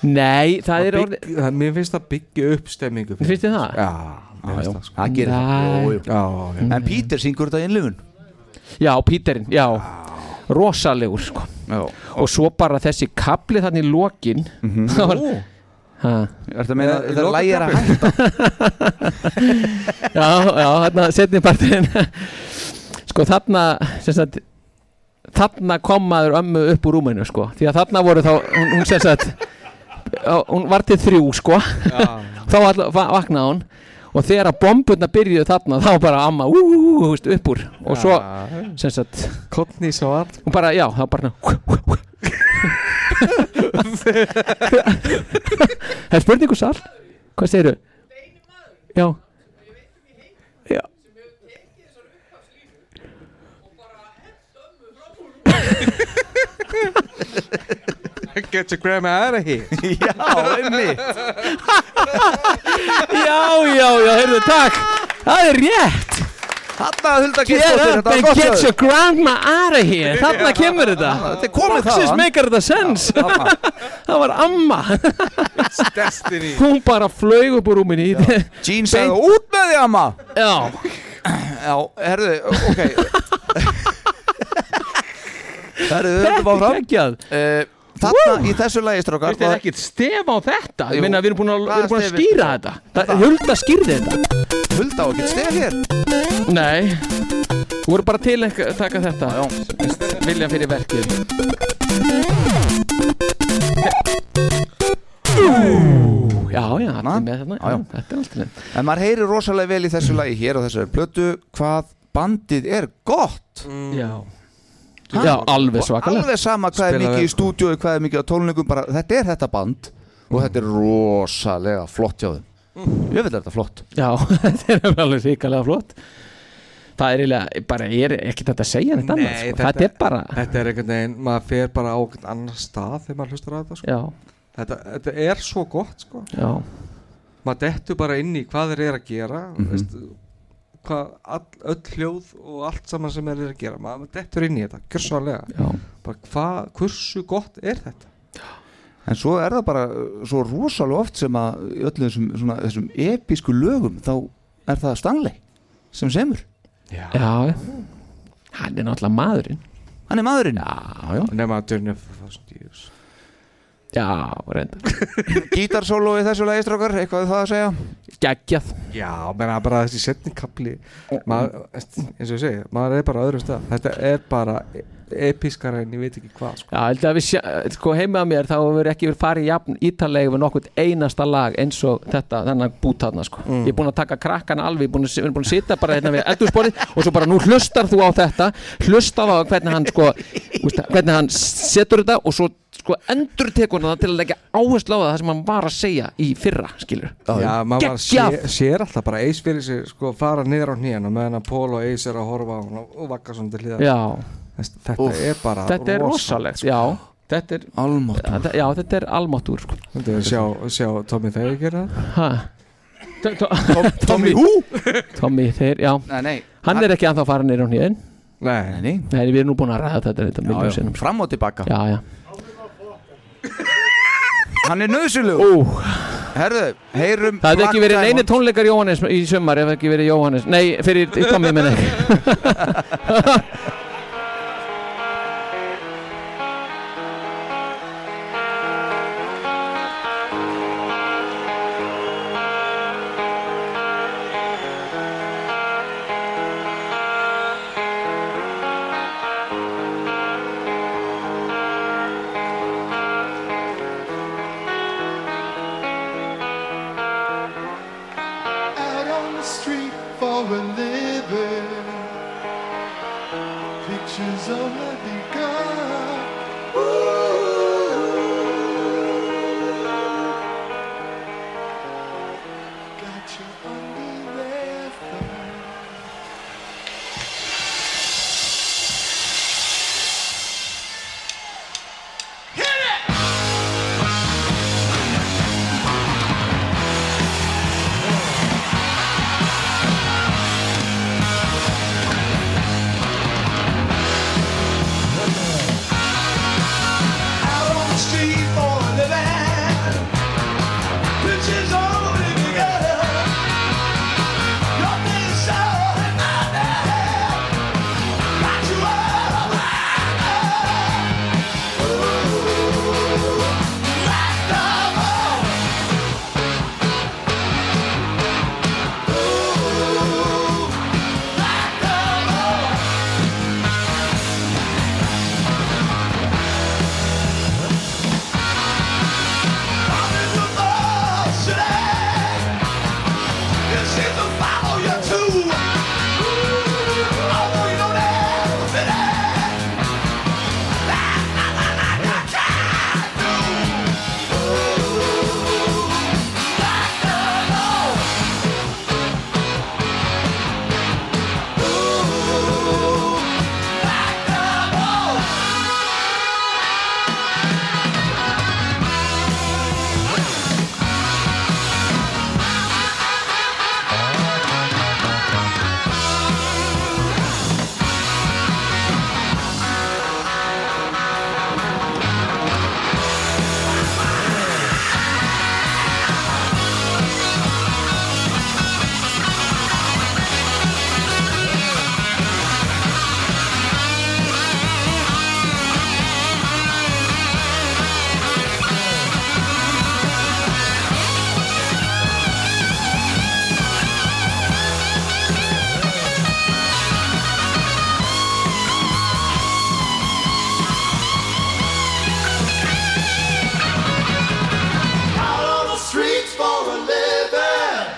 Speaker 2: nei, það er
Speaker 8: bygg, það, Mér finnst það byggja upp stemmingu fyrir
Speaker 2: Finnst þér það?
Speaker 8: Já, mér finnst það sko
Speaker 1: Það gerir
Speaker 2: Nei.
Speaker 1: það Jú, jú.
Speaker 8: Já, já.
Speaker 1: En Pítur syngur þetta í innlifun
Speaker 2: já, Píterinn, já rosalegur sko.
Speaker 1: Já.
Speaker 2: og svo bara þessi kabli þannig í lokin mm
Speaker 1: Nú.
Speaker 2: Er
Speaker 1: þetta að meina- þetta Mhm. er lagið er að
Speaker 2: já, já, þarna setni partin Sko þarna sem sagt, Þarna kom maður ömmu upp úr rúminu sko Því að þarna voru þá Hún, hún sem sagt á- Hún var til þrjú sko Þá all, va vaknaði hún Og þegar að bombuna byrjuðu þarna Þá bara amma ú, ú, ú, þú veist, upp úr Og svo sem sagt Kottni svo all Hún bara, já, þá bara hú, hú, hú. Það er spurningu sal Hvað segirðu? Já Já
Speaker 8: Get your grandma out of here
Speaker 1: Já, einmitt
Speaker 2: Já, já, já, heyrðu, takk Það er rétt
Speaker 1: Hanna Hulda
Speaker 2: Get
Speaker 1: Geirsdóttir,
Speaker 2: up
Speaker 1: þetta var
Speaker 2: and
Speaker 1: gott
Speaker 2: get
Speaker 1: hjá þér.
Speaker 2: your grandma out of here Þarna kemur þetta
Speaker 1: þetta er komið
Speaker 2: Boxes
Speaker 1: þaðan.
Speaker 2: make þetta sense Það var amma
Speaker 8: Destiny
Speaker 2: Hún bara flaug upp úr rúminni
Speaker 1: Jean sagði út með því amma
Speaker 2: Já
Speaker 1: Já, herðu, ok Herðu, höldum
Speaker 2: Þetta er
Speaker 1: áfram
Speaker 2: geggjað
Speaker 1: Eh, Þarna í þessu lagi strókar
Speaker 2: Þetta er ekkert stef á þetta Ég meina, við erum búin að, við erum búin að
Speaker 1: Hvaða
Speaker 2: skýra þetta Það- Hulda skýrði þetta
Speaker 1: Hulda á ekkert stef hér
Speaker 2: Nei Þú voru bara til að taka þetta Vilja fyrir verkið Já, já, þetta er með þarna já, Þetta er alltaf nefn
Speaker 1: En maður heyrir rosalega vel í þessu lagi hér og þessari plötu hvað bandið er gott
Speaker 2: Já Já, alveg svakalega
Speaker 1: Alveg sama hvað er
Speaker 2: Spila
Speaker 1: mikið
Speaker 2: vel,
Speaker 1: í stúdíu hvað er mikið á tónleikum bara, þetta er þetta band og þetta er rosalega flott hjá þeim Ég veit að þetta er flott
Speaker 2: Já, þetta er nefnilega alveg ríkalega flott Það er eiginlega, bara ég er ekki þetta að segja neitt annað sko. Þetta er bara
Speaker 8: Þetta er einhvern veginn, maður fer bara á einhvern annar stað þegar maður hlustar að þetta sko.
Speaker 2: Já.
Speaker 8: þetta, þetta er svo gott sko.
Speaker 2: Já.
Speaker 8: Maður dettur bara inn í hvað þeir eru að gera
Speaker 1: Mhm.
Speaker 8: veist, hvað, all, öll hljóð og allt saman sem þeir eru að gera maður maður dettur inn í þetta, kjörsvalega bara hvað, hversu gott er þetta
Speaker 1: En svo er það bara uh, svo rosalega oft sem að í öllum þessum, svona, þessum episku lögum þá er það Stanley sem semur
Speaker 2: Já, hann er náttúrulega maðurinn
Speaker 1: Hann er maðurinn?
Speaker 2: Já, já
Speaker 8: Nefna að Journey of a Thousand Years
Speaker 2: Já, reynda
Speaker 1: Gítarsólo í þessu lagi strókar, eitthvað við það að segja
Speaker 2: Gægjað
Speaker 8: Já, menna bara þessi setningkapli maður, eins og ég segi, maður er bara á öðrum stað þetta er bara e- episkara en ég veit ekki hvað sko.
Speaker 2: Já, held að við sjá, sko heima að mér þá hefur ekki verið farið jafn ítalegi við nokkurt einasta lag eins og þetta, þennan bútaðna sko.
Speaker 1: Mm.
Speaker 2: Ég er búin að taka krakkana alveg, ég er búin að, við erum búin að sita bara hérna við eldursporið og svo bara nú hlustar þú á þetta, hlustar á hvernig hann sko, úst, hvernig hann setur þetta og svo, sko endur tekuna það til að leggja áherslu á það sem hann var að segja í fyrra skilur
Speaker 3: Já, maður bara
Speaker 2: Geggjað.
Speaker 3: sé- sér alltaf bara Ace fyrir sig sko fara niður á hnýjan og meðan að Pól og Ace er að horfa á hann og vakka svona til hliðar
Speaker 2: Já.
Speaker 3: Þess- Þetta
Speaker 2: Úff.
Speaker 3: er bara sko.
Speaker 2: Þetta er rosalegt, já Þetta er almáttur Já, þetta er almáttur sko.
Speaker 3: Þetta er sjá, sjá Tommy Fey gera
Speaker 2: Ha? To- to- Tommy Tommy, þeir, já
Speaker 1: Nei, nei.
Speaker 2: Hann er ekki anþá farin neyra á nýðin
Speaker 3: Nei,
Speaker 1: nei
Speaker 2: Nei, við erum nú búin að ræða þetta þetta
Speaker 1: Já,
Speaker 2: miljón
Speaker 1: já.
Speaker 2: sinnum sko.
Speaker 1: Fram og tilbaka
Speaker 2: Já, já
Speaker 1: Hann er nöðsynlegur
Speaker 2: Ó
Speaker 1: Herðu, heyrum
Speaker 2: Það hefði
Speaker 1: Black
Speaker 2: ekki verið
Speaker 1: Diamond.
Speaker 2: neini tónleikar Jóhannes í sumar ef ekki verið Jóhannes Nei, fyrir Tommy minni
Speaker 4: out on the street for a living. Pictures only begun. Ooh. Got your underwear thong. out on the street for a living. Bitches only begun. Nothing so in my bed. Got you all right now. Ooh, black diamond. Ooh, black diamond. Out on the streets for a living.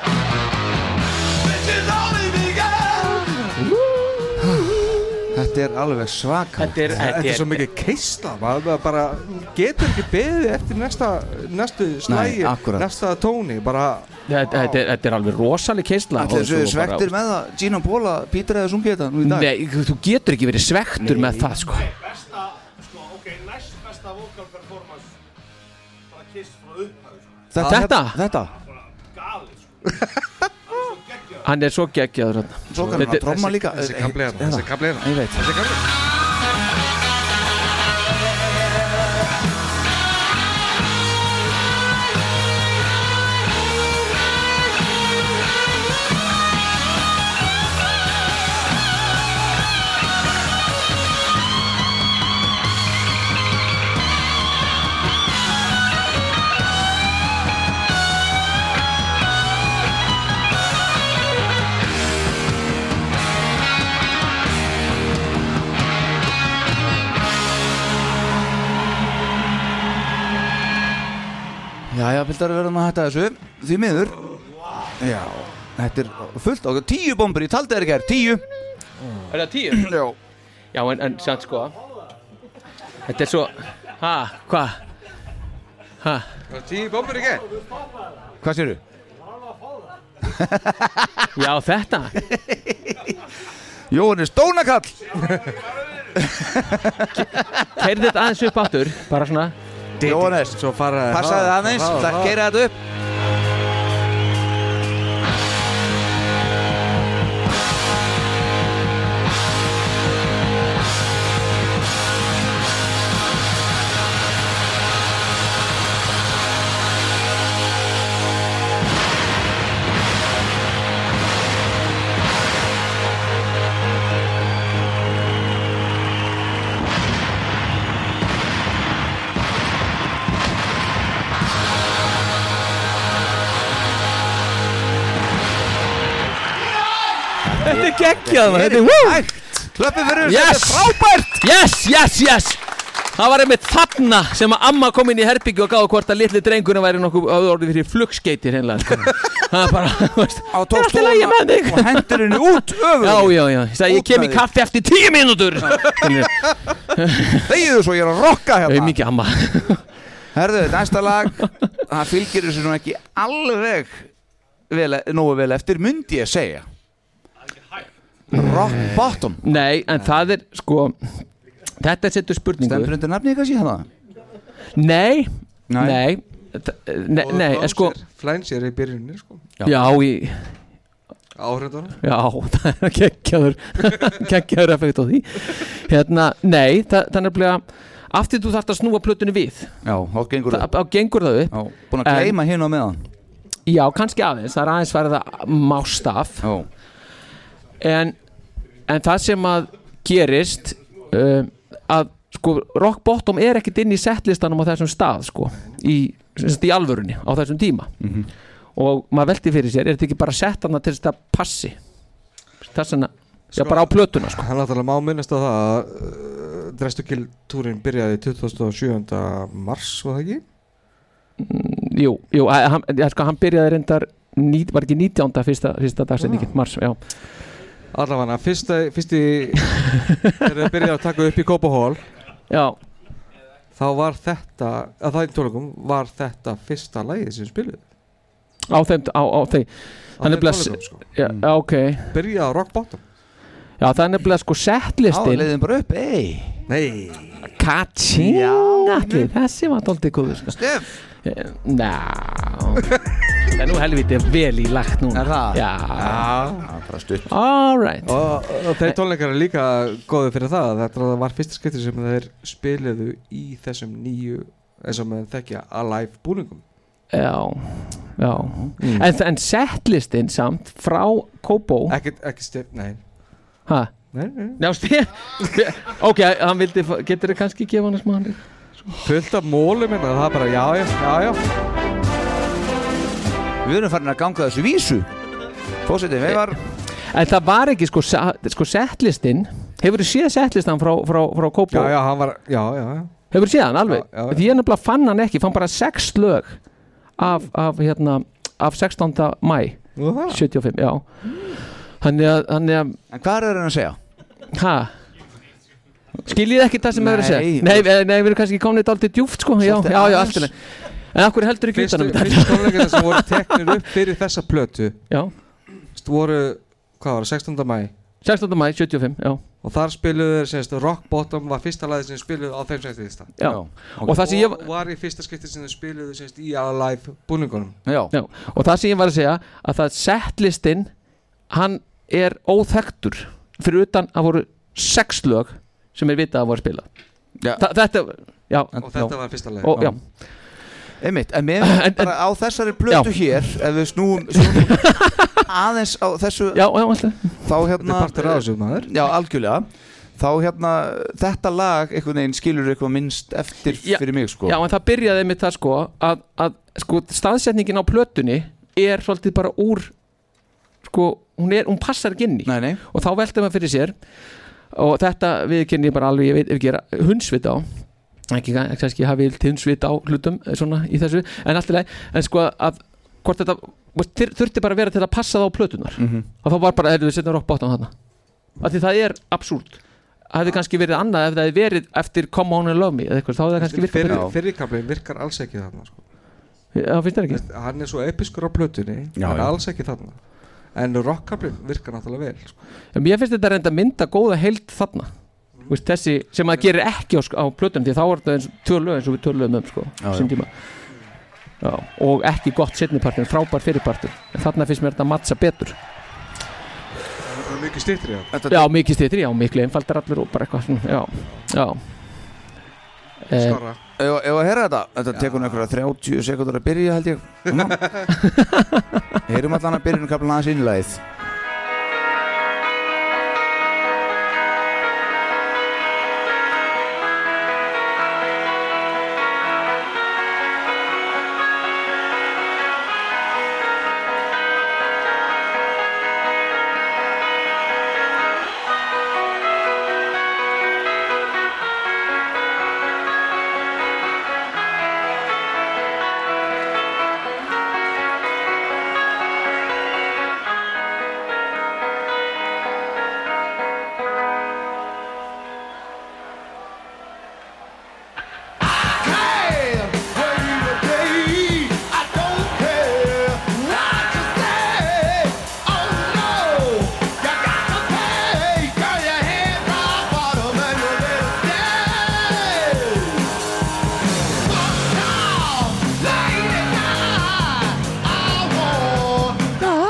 Speaker 4: Bitches only begun.
Speaker 1: Þetta er alveg svaka
Speaker 2: Þetta er,
Speaker 3: Þetta er svo mikið keisla maður maður bara getur ekki beðið eftir næsta, næstu slægi
Speaker 1: akkúrat.
Speaker 3: næsta tóni bara
Speaker 2: Þetta þetta er, þetta er alveg rosaleg keisla
Speaker 1: Ætli
Speaker 2: og
Speaker 1: þessu
Speaker 2: svo bara-
Speaker 1: svektir með það Gina Póla, Pítur eða sungið þetta nú í dag
Speaker 2: Nei, þú getur ekki verið svektur með það sko
Speaker 12: Besta, sko, ok, næst besta vocal performance bara kiss frá sko. upphæðu
Speaker 2: Þetta? Þetta?
Speaker 12: Gali, sko
Speaker 2: Hann er svo geggjaður hann
Speaker 1: Svo kann hann að tromma líka.
Speaker 3: þessi kapli hérna,
Speaker 1: Hérna.
Speaker 3: þessi kapli hérna.
Speaker 1: Ég veit.
Speaker 3: Þessi kapli.
Speaker 1: Jæja, pildar verðum að hætta þessu Því miður Já, þetta er fullt okkar Tíu bombur, ég taldi þér ekki hér, tíu
Speaker 2: Er það tíu?
Speaker 1: Já
Speaker 2: Já, en, en samt sko Þetta er svo Ha, hva? Ha,
Speaker 3: Það er tíu bombur í gegn
Speaker 1: Hvað séru?
Speaker 2: Já, þetta
Speaker 1: Jóhann er stónakall
Speaker 2: Keirði þetta aðeins upp aftur Bara svona
Speaker 1: Jóhannes, passaði það aðeins Það keira þetta upp
Speaker 2: Þetta er geggjað maður, þetta er wow
Speaker 1: Klöppið fyrir
Speaker 2: yes.
Speaker 1: þetta er frábært
Speaker 2: Yes, yes, yes Það var einmitt þarna sem að amma kom inn í herbyggju og gáði hvort að litli drengurinn væri nokkuð hafði orðið fyrir flugskeiti hreinlega sko. Það er bara, þú veist, það er alltaf lægi með þig
Speaker 1: Og hendur henni út öfum
Speaker 2: Já, já, já, ég sagði ég
Speaker 1: Út
Speaker 2: kem
Speaker 1: með
Speaker 2: í
Speaker 1: þig.
Speaker 2: kaffi eftir tíu mínútur
Speaker 1: Þegiðu svo, ég er að rokka hérna
Speaker 2: Ég er mikið amma
Speaker 1: Herðu, næsta lag Það fylgir þessu svona ekki alveg vel, Nógu vel eftir myndi ég segja Rock bottom
Speaker 2: Nei, en það er, sko Þetta setur spurningu
Speaker 1: Stendur undir nafni kannski hérna
Speaker 2: Nei,
Speaker 1: Nei.
Speaker 2: nei Þa- Nei, nei, en sko
Speaker 3: Flæns er í byrjunni sko
Speaker 2: Já, í
Speaker 3: Áhrindunum
Speaker 2: Já, það er geggjaður geggjaður effekt á því hérna, nei, það, það er nefnilega aftur þú þarft að snúa plötunni við
Speaker 1: Já, þá gengur
Speaker 2: það, þá gengur það upp
Speaker 1: Já, búin að gleyma hérna á meðan
Speaker 2: Já, kannski aðeins, það er aðeins verið að mást af
Speaker 1: Já.
Speaker 2: en, en það sem að gerist um, að sko, rock bottom er ekkit inn í settlistanum á þessum stað sko, í, sem sagt, í alvörunni á þessum tíma
Speaker 4: Mhm.
Speaker 2: og maður velti fyrir sér, er þetta ekki bara sett hana til þess að þetta passi þess að Já, bara á plötuna sko
Speaker 3: Hann náttúrulega má minnast á það að uh, Drestukil túrin byrjaði 27. mars var það ekki?
Speaker 2: Jú, jú að- hann, ég, sko, hann byrjaði reyndar ní, var ekki 19. fyrsta, fyrsta dagsendingin
Speaker 3: Ah.
Speaker 2: mars, já
Speaker 3: Allavega, fyrsta, fyrsti þegar þið byrjaði að taka upp í Kópahól
Speaker 2: Já
Speaker 3: Þá var þetta, að það í tónleikum var þetta fyrsta lagið sem spiluð
Speaker 2: á þeim, á, á þeim
Speaker 3: Á þeim
Speaker 2: Þannig að
Speaker 3: tónleikum, sko.
Speaker 2: já, já, ok
Speaker 3: Byrjaði á rock bottom
Speaker 2: Já, það er nefnilega sko
Speaker 3: Já,
Speaker 2: settlistin
Speaker 3: leiðin
Speaker 1: bara upp, ei
Speaker 3: Nei
Speaker 2: Katsing, allir, þessi var daldið góður sko.
Speaker 1: Stef
Speaker 2: Ná Það er nú helviti vel í lagt núna Er það? Já
Speaker 1: Það er bara stutt
Speaker 2: All right
Speaker 3: Og, og þeir tónleikar er líka góðið fyrir það að Þetta var fyrsta skiptir sem þeir spiluðu í þessum nýju eins og með þekkja Alive búningum
Speaker 2: Já, já En, en settlistin samt frá Kobo
Speaker 3: Ekkert, ekki stef, nei
Speaker 2: Hæ?
Speaker 3: Nei, nei
Speaker 2: Já, stef Ok, hann vildi, fá- getur þið kannski gefa hann að smá hann
Speaker 3: Fullt af mólum hérna, það er bara já, já, já, já
Speaker 1: Við erum farin að ganga þessu vísu Fósiti, við var
Speaker 2: Eh, En það var ekki sko, sa- sko settlistin Hefur þið séð settlistan frá, frá, frá Kobo?
Speaker 3: Já, já, hann var, já, já, já
Speaker 2: Hefur séð hann alveg? Því ég nefnilega fann hann ekki, fann bara sex lög af, af, hérna, af 16. mæ
Speaker 3: Jaha.
Speaker 2: 75, já Þannig að, þannig að
Speaker 1: En hvað er hann að segja?
Speaker 2: Hæ? Skiljið ekki það sem hefur að
Speaker 1: Nei.
Speaker 2: segja? Nei, nei, nei, við erum kannski komin þetta aldrei djúft sko Já, já, já, allt í lagi. En af hverju heldur ekki utanum
Speaker 3: Fyrstu tónleikarna sem voru teknir upp fyrir þessa plötu
Speaker 2: Já
Speaker 3: voru, hvað var það, 16. mæ
Speaker 2: 16. mæ, 75, já
Speaker 3: Og þar spiluðu þeir, semst, Rock Bottom var fyrsta lagið sem þeir spiluðu á þeim sem þetta
Speaker 2: Já. Já, ok. Og það sem ég-
Speaker 3: var í fyrsta skipti sem þeir spiluðu, semst, í Alive búningunum
Speaker 1: Já.
Speaker 2: Já, og það sem ég var að segja að það setlistinn hann er óþektur fyrir utan að voru sex lög sem er vitað að voru spila
Speaker 1: já.
Speaker 2: þetta, já,
Speaker 3: Og þetta var fyrsta lagið.
Speaker 2: og, já.
Speaker 1: Einmitt, en mér finnst bara á þessari plötu
Speaker 2: Já.
Speaker 1: hér Ef við snúum, snúum aðeins á þessu
Speaker 2: Já, já, alltaf
Speaker 1: Þá hérna
Speaker 3: Þetta er partur af þessu, maður.
Speaker 1: Já, algjörlega Þá hérna, þetta lag einhvern veginn skilur eitthvað minnst eftir fyrir mig sko
Speaker 2: já, en það byrjaði með það sko að, að sko, staðsetningin á plötunni er svolítið bara úr sko, hún, er, hún passar ekki inn í
Speaker 1: nei, nei.
Speaker 2: og þá velta maður fyrir sér og þetta við kynni ég bara alveg ég veit ef ekki er hundsvit á ekki kannski hafi vilt hundsvit á hlutum eh, svona í þessu, en allt í leið en sko að hvort þetta veist, þur- þurfti bara að vera til að passa það á plötunar
Speaker 1: Mhm.
Speaker 2: og þá var bara, heyrðu, við setjum rockbottom þarna af því það er absúlt hefði kannski verið annað ef það hefði verið eftir Come On and Love Me eða eitthvað, þá hefði það kannski virkað
Speaker 8: Fyrri-
Speaker 2: betur.
Speaker 8: Fyrrikablinn virkar alls ekki þarna sko.
Speaker 2: Já, finnst þér ekki?
Speaker 8: Hann er svo episkur á plötunni
Speaker 2: Já,
Speaker 8: hann er
Speaker 2: já.
Speaker 8: alls ekki þarna En rockkablinn virkar náttúrulega vel sko.
Speaker 2: En mér finnst þetta reynda að mynda góða heild þarna Þú veist, þessi sem það gerir ekki á, sk- á plötum því þá er þetta eins, tvö lög eins og við töluðum um sko,
Speaker 8: Já,
Speaker 2: sín
Speaker 8: já.
Speaker 2: tíma já, og ekki gott setnipartin, frábær fyrirpartin en þarna finnst mér þetta að matsa betur
Speaker 8: Það er mikið stýttri
Speaker 2: já, mikið stýttir, já, miklu einfaldar allir og bara eitthvað svona, já, já Eh,
Speaker 8: Skárra.
Speaker 1: Ef ef að heyra þetta, þetta tekur nú einhverja 30 sekundur að byrja held ég Ná. Heyrum allan að byrjunum kaplan aðeins innlæð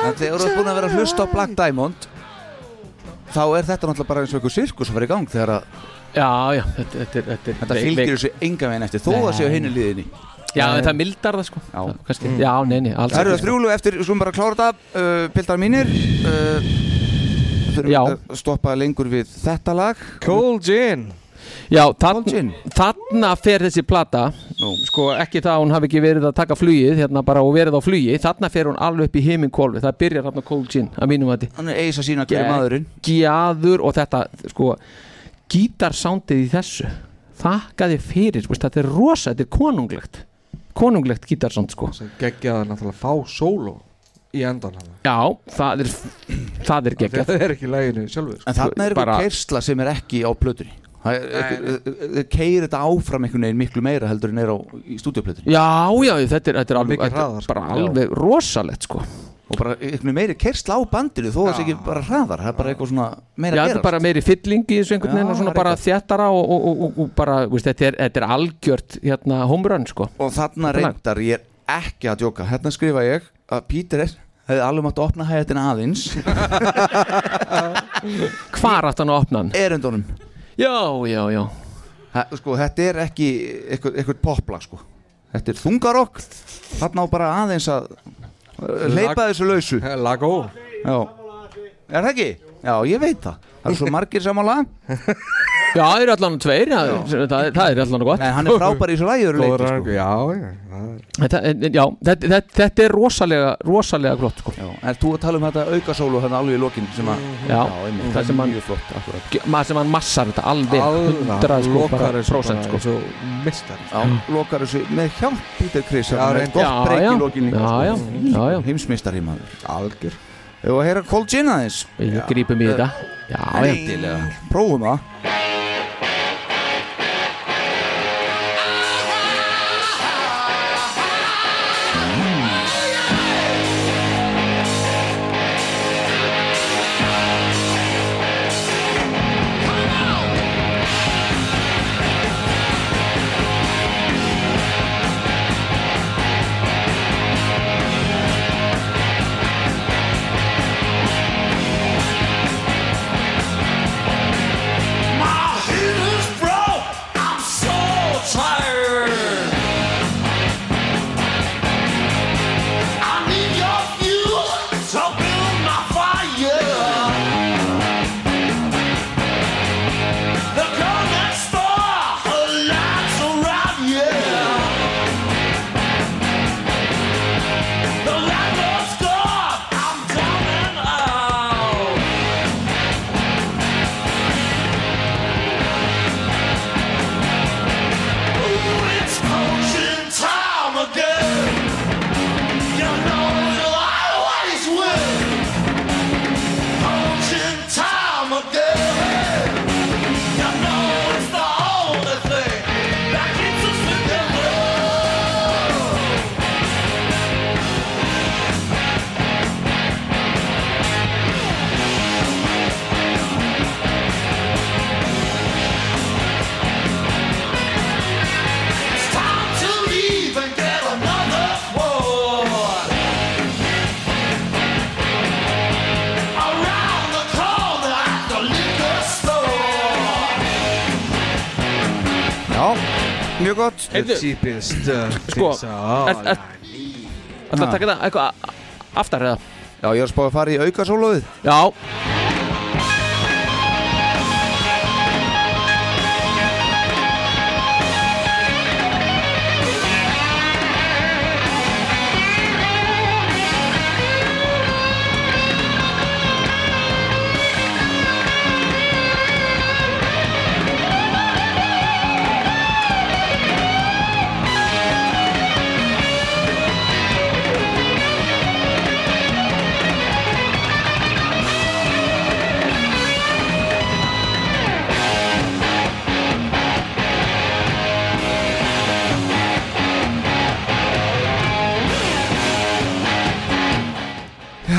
Speaker 1: En þegar þú ert búin að vera að hlusta á Black Diamond Þá er þetta náttúrulega bara eins og einhver sirkus að fara í gang þegar að
Speaker 2: Já, já, þetta, þetta, er- þetta,
Speaker 1: Þetta fylgir þessu enga veginn eftir, þó að séu hinni liðinni
Speaker 2: Já, en það mildar það sko
Speaker 1: Já, Mm.
Speaker 2: kannski, já, nei, nei, alls
Speaker 1: Það eru
Speaker 2: ekki,
Speaker 1: það
Speaker 2: sko.
Speaker 1: þrjúlu eftir, við skulum bara klára þetta uh, Pildar mínir uh, Þurfum að stoppa lengur við þetta lag
Speaker 8: Cold Gin
Speaker 2: Já, þann, þarna fer þessi plata sko ekki það að hún hafi ekki verið að taka flugið hérna bara og verið á flugi þarna fer hún alveg upp í heiminkolvi það byrjar þarna Cold Gin að mínum að
Speaker 1: Hann er eis að sína hverju maðurinn
Speaker 2: Gjaður og þetta sko gítarsándið í þessu þakkaði fyrir, veist, þetta er rosa þetta er konunglegt konunglegt gítarsánd sko
Speaker 8: Gekkjaði náttúrulega fá sóló í endan hann
Speaker 2: Já, það er, það er geggjað
Speaker 8: Það er ekki í læginu sjálfur sko.
Speaker 1: En þarna er
Speaker 8: Bara-
Speaker 1: einhver keirsla sem er ekki á plötunni Það er- Þeir keir þetta áfram einhvern veginn miklu meira heldur en er á, í stúdíoplötunni
Speaker 2: Já, já, þetta er, þetta er alveg,
Speaker 1: Mikið
Speaker 2: þetta er
Speaker 1: hraðar, sko.
Speaker 2: bara
Speaker 1: Já.
Speaker 2: alveg rosalegt sko
Speaker 1: Og bara einhvern veginn meiri keirsla á bandinu þó að það sé ekki bara hraðar Það er bara eitthvað svona meira
Speaker 2: Já,
Speaker 1: að
Speaker 2: þetta er
Speaker 1: gera
Speaker 2: bara meiri fylling í þessu einhvern
Speaker 1: Já,
Speaker 2: veginn og svona
Speaker 1: það er
Speaker 2: bara þjættara og, og, og, og, og bara, veist, þetta, er, þetta er algjört hérna homerun sko
Speaker 1: Og þarna reyndar ég er ekki að djóka Hérna skrifa ég að Peter er hefði alveg mátt að opna hæðatina aðeins
Speaker 2: Hvar átt hann að opna hann?
Speaker 1: Erendunum
Speaker 2: Já, já, já
Speaker 1: Sko, þetta er ekki eitthvað, eitthvað poplag sko Þetta er þungarokk Þarna á bara aðeins að leipa þessu lausu
Speaker 8: Lagó
Speaker 1: Já Er það ekki? Já, ég veit það Það eru svo margir samála
Speaker 2: Já, það eru allan tveir, já, það, það er allan gott
Speaker 1: En hann er frábær í þessu lagi, öðru leyti,
Speaker 8: Góður
Speaker 1: sko.
Speaker 8: rangur, Já, já það er-
Speaker 2: Þetta, en- en já, þetta, þetta, þetta er rosalega, rosalega glott sko
Speaker 1: Já, er þú að tala um þetta aukasólu hérna alveg í lokin sem að
Speaker 2: Já,
Speaker 1: einmitt,
Speaker 2: það sem hann
Speaker 1: mjög flott akkurat.
Speaker 2: maður sem hann massar þetta alveg hundrað sko,
Speaker 1: lokar
Speaker 2: bara
Speaker 1: þessu
Speaker 2: prósent
Speaker 1: bara
Speaker 2: sko
Speaker 8: Svo mistar
Speaker 1: Já, lokar þessu með hjálp Peter Chris
Speaker 2: Já,
Speaker 1: hérna, með
Speaker 2: reyndar.
Speaker 1: gott
Speaker 2: Já,
Speaker 1: breyk
Speaker 2: já.
Speaker 1: í lokin líka,
Speaker 2: Já,
Speaker 1: sko.
Speaker 2: já, já, já.
Speaker 1: Heimsmeistari maður Algjör Þú að heyra Cold Gin aðeins
Speaker 2: Við grípum í þetta Já, já.
Speaker 1: Endilega Prófum það
Speaker 4: My
Speaker 1: mjög gott
Speaker 2: Heyrðu,
Speaker 1: uh,
Speaker 2: Sko, er- er- ætlarðu að taka þetta eitthvað a- aftar eða?
Speaker 1: Já, ég er að spá að fara í auka sólóið
Speaker 2: Já
Speaker 1: Já,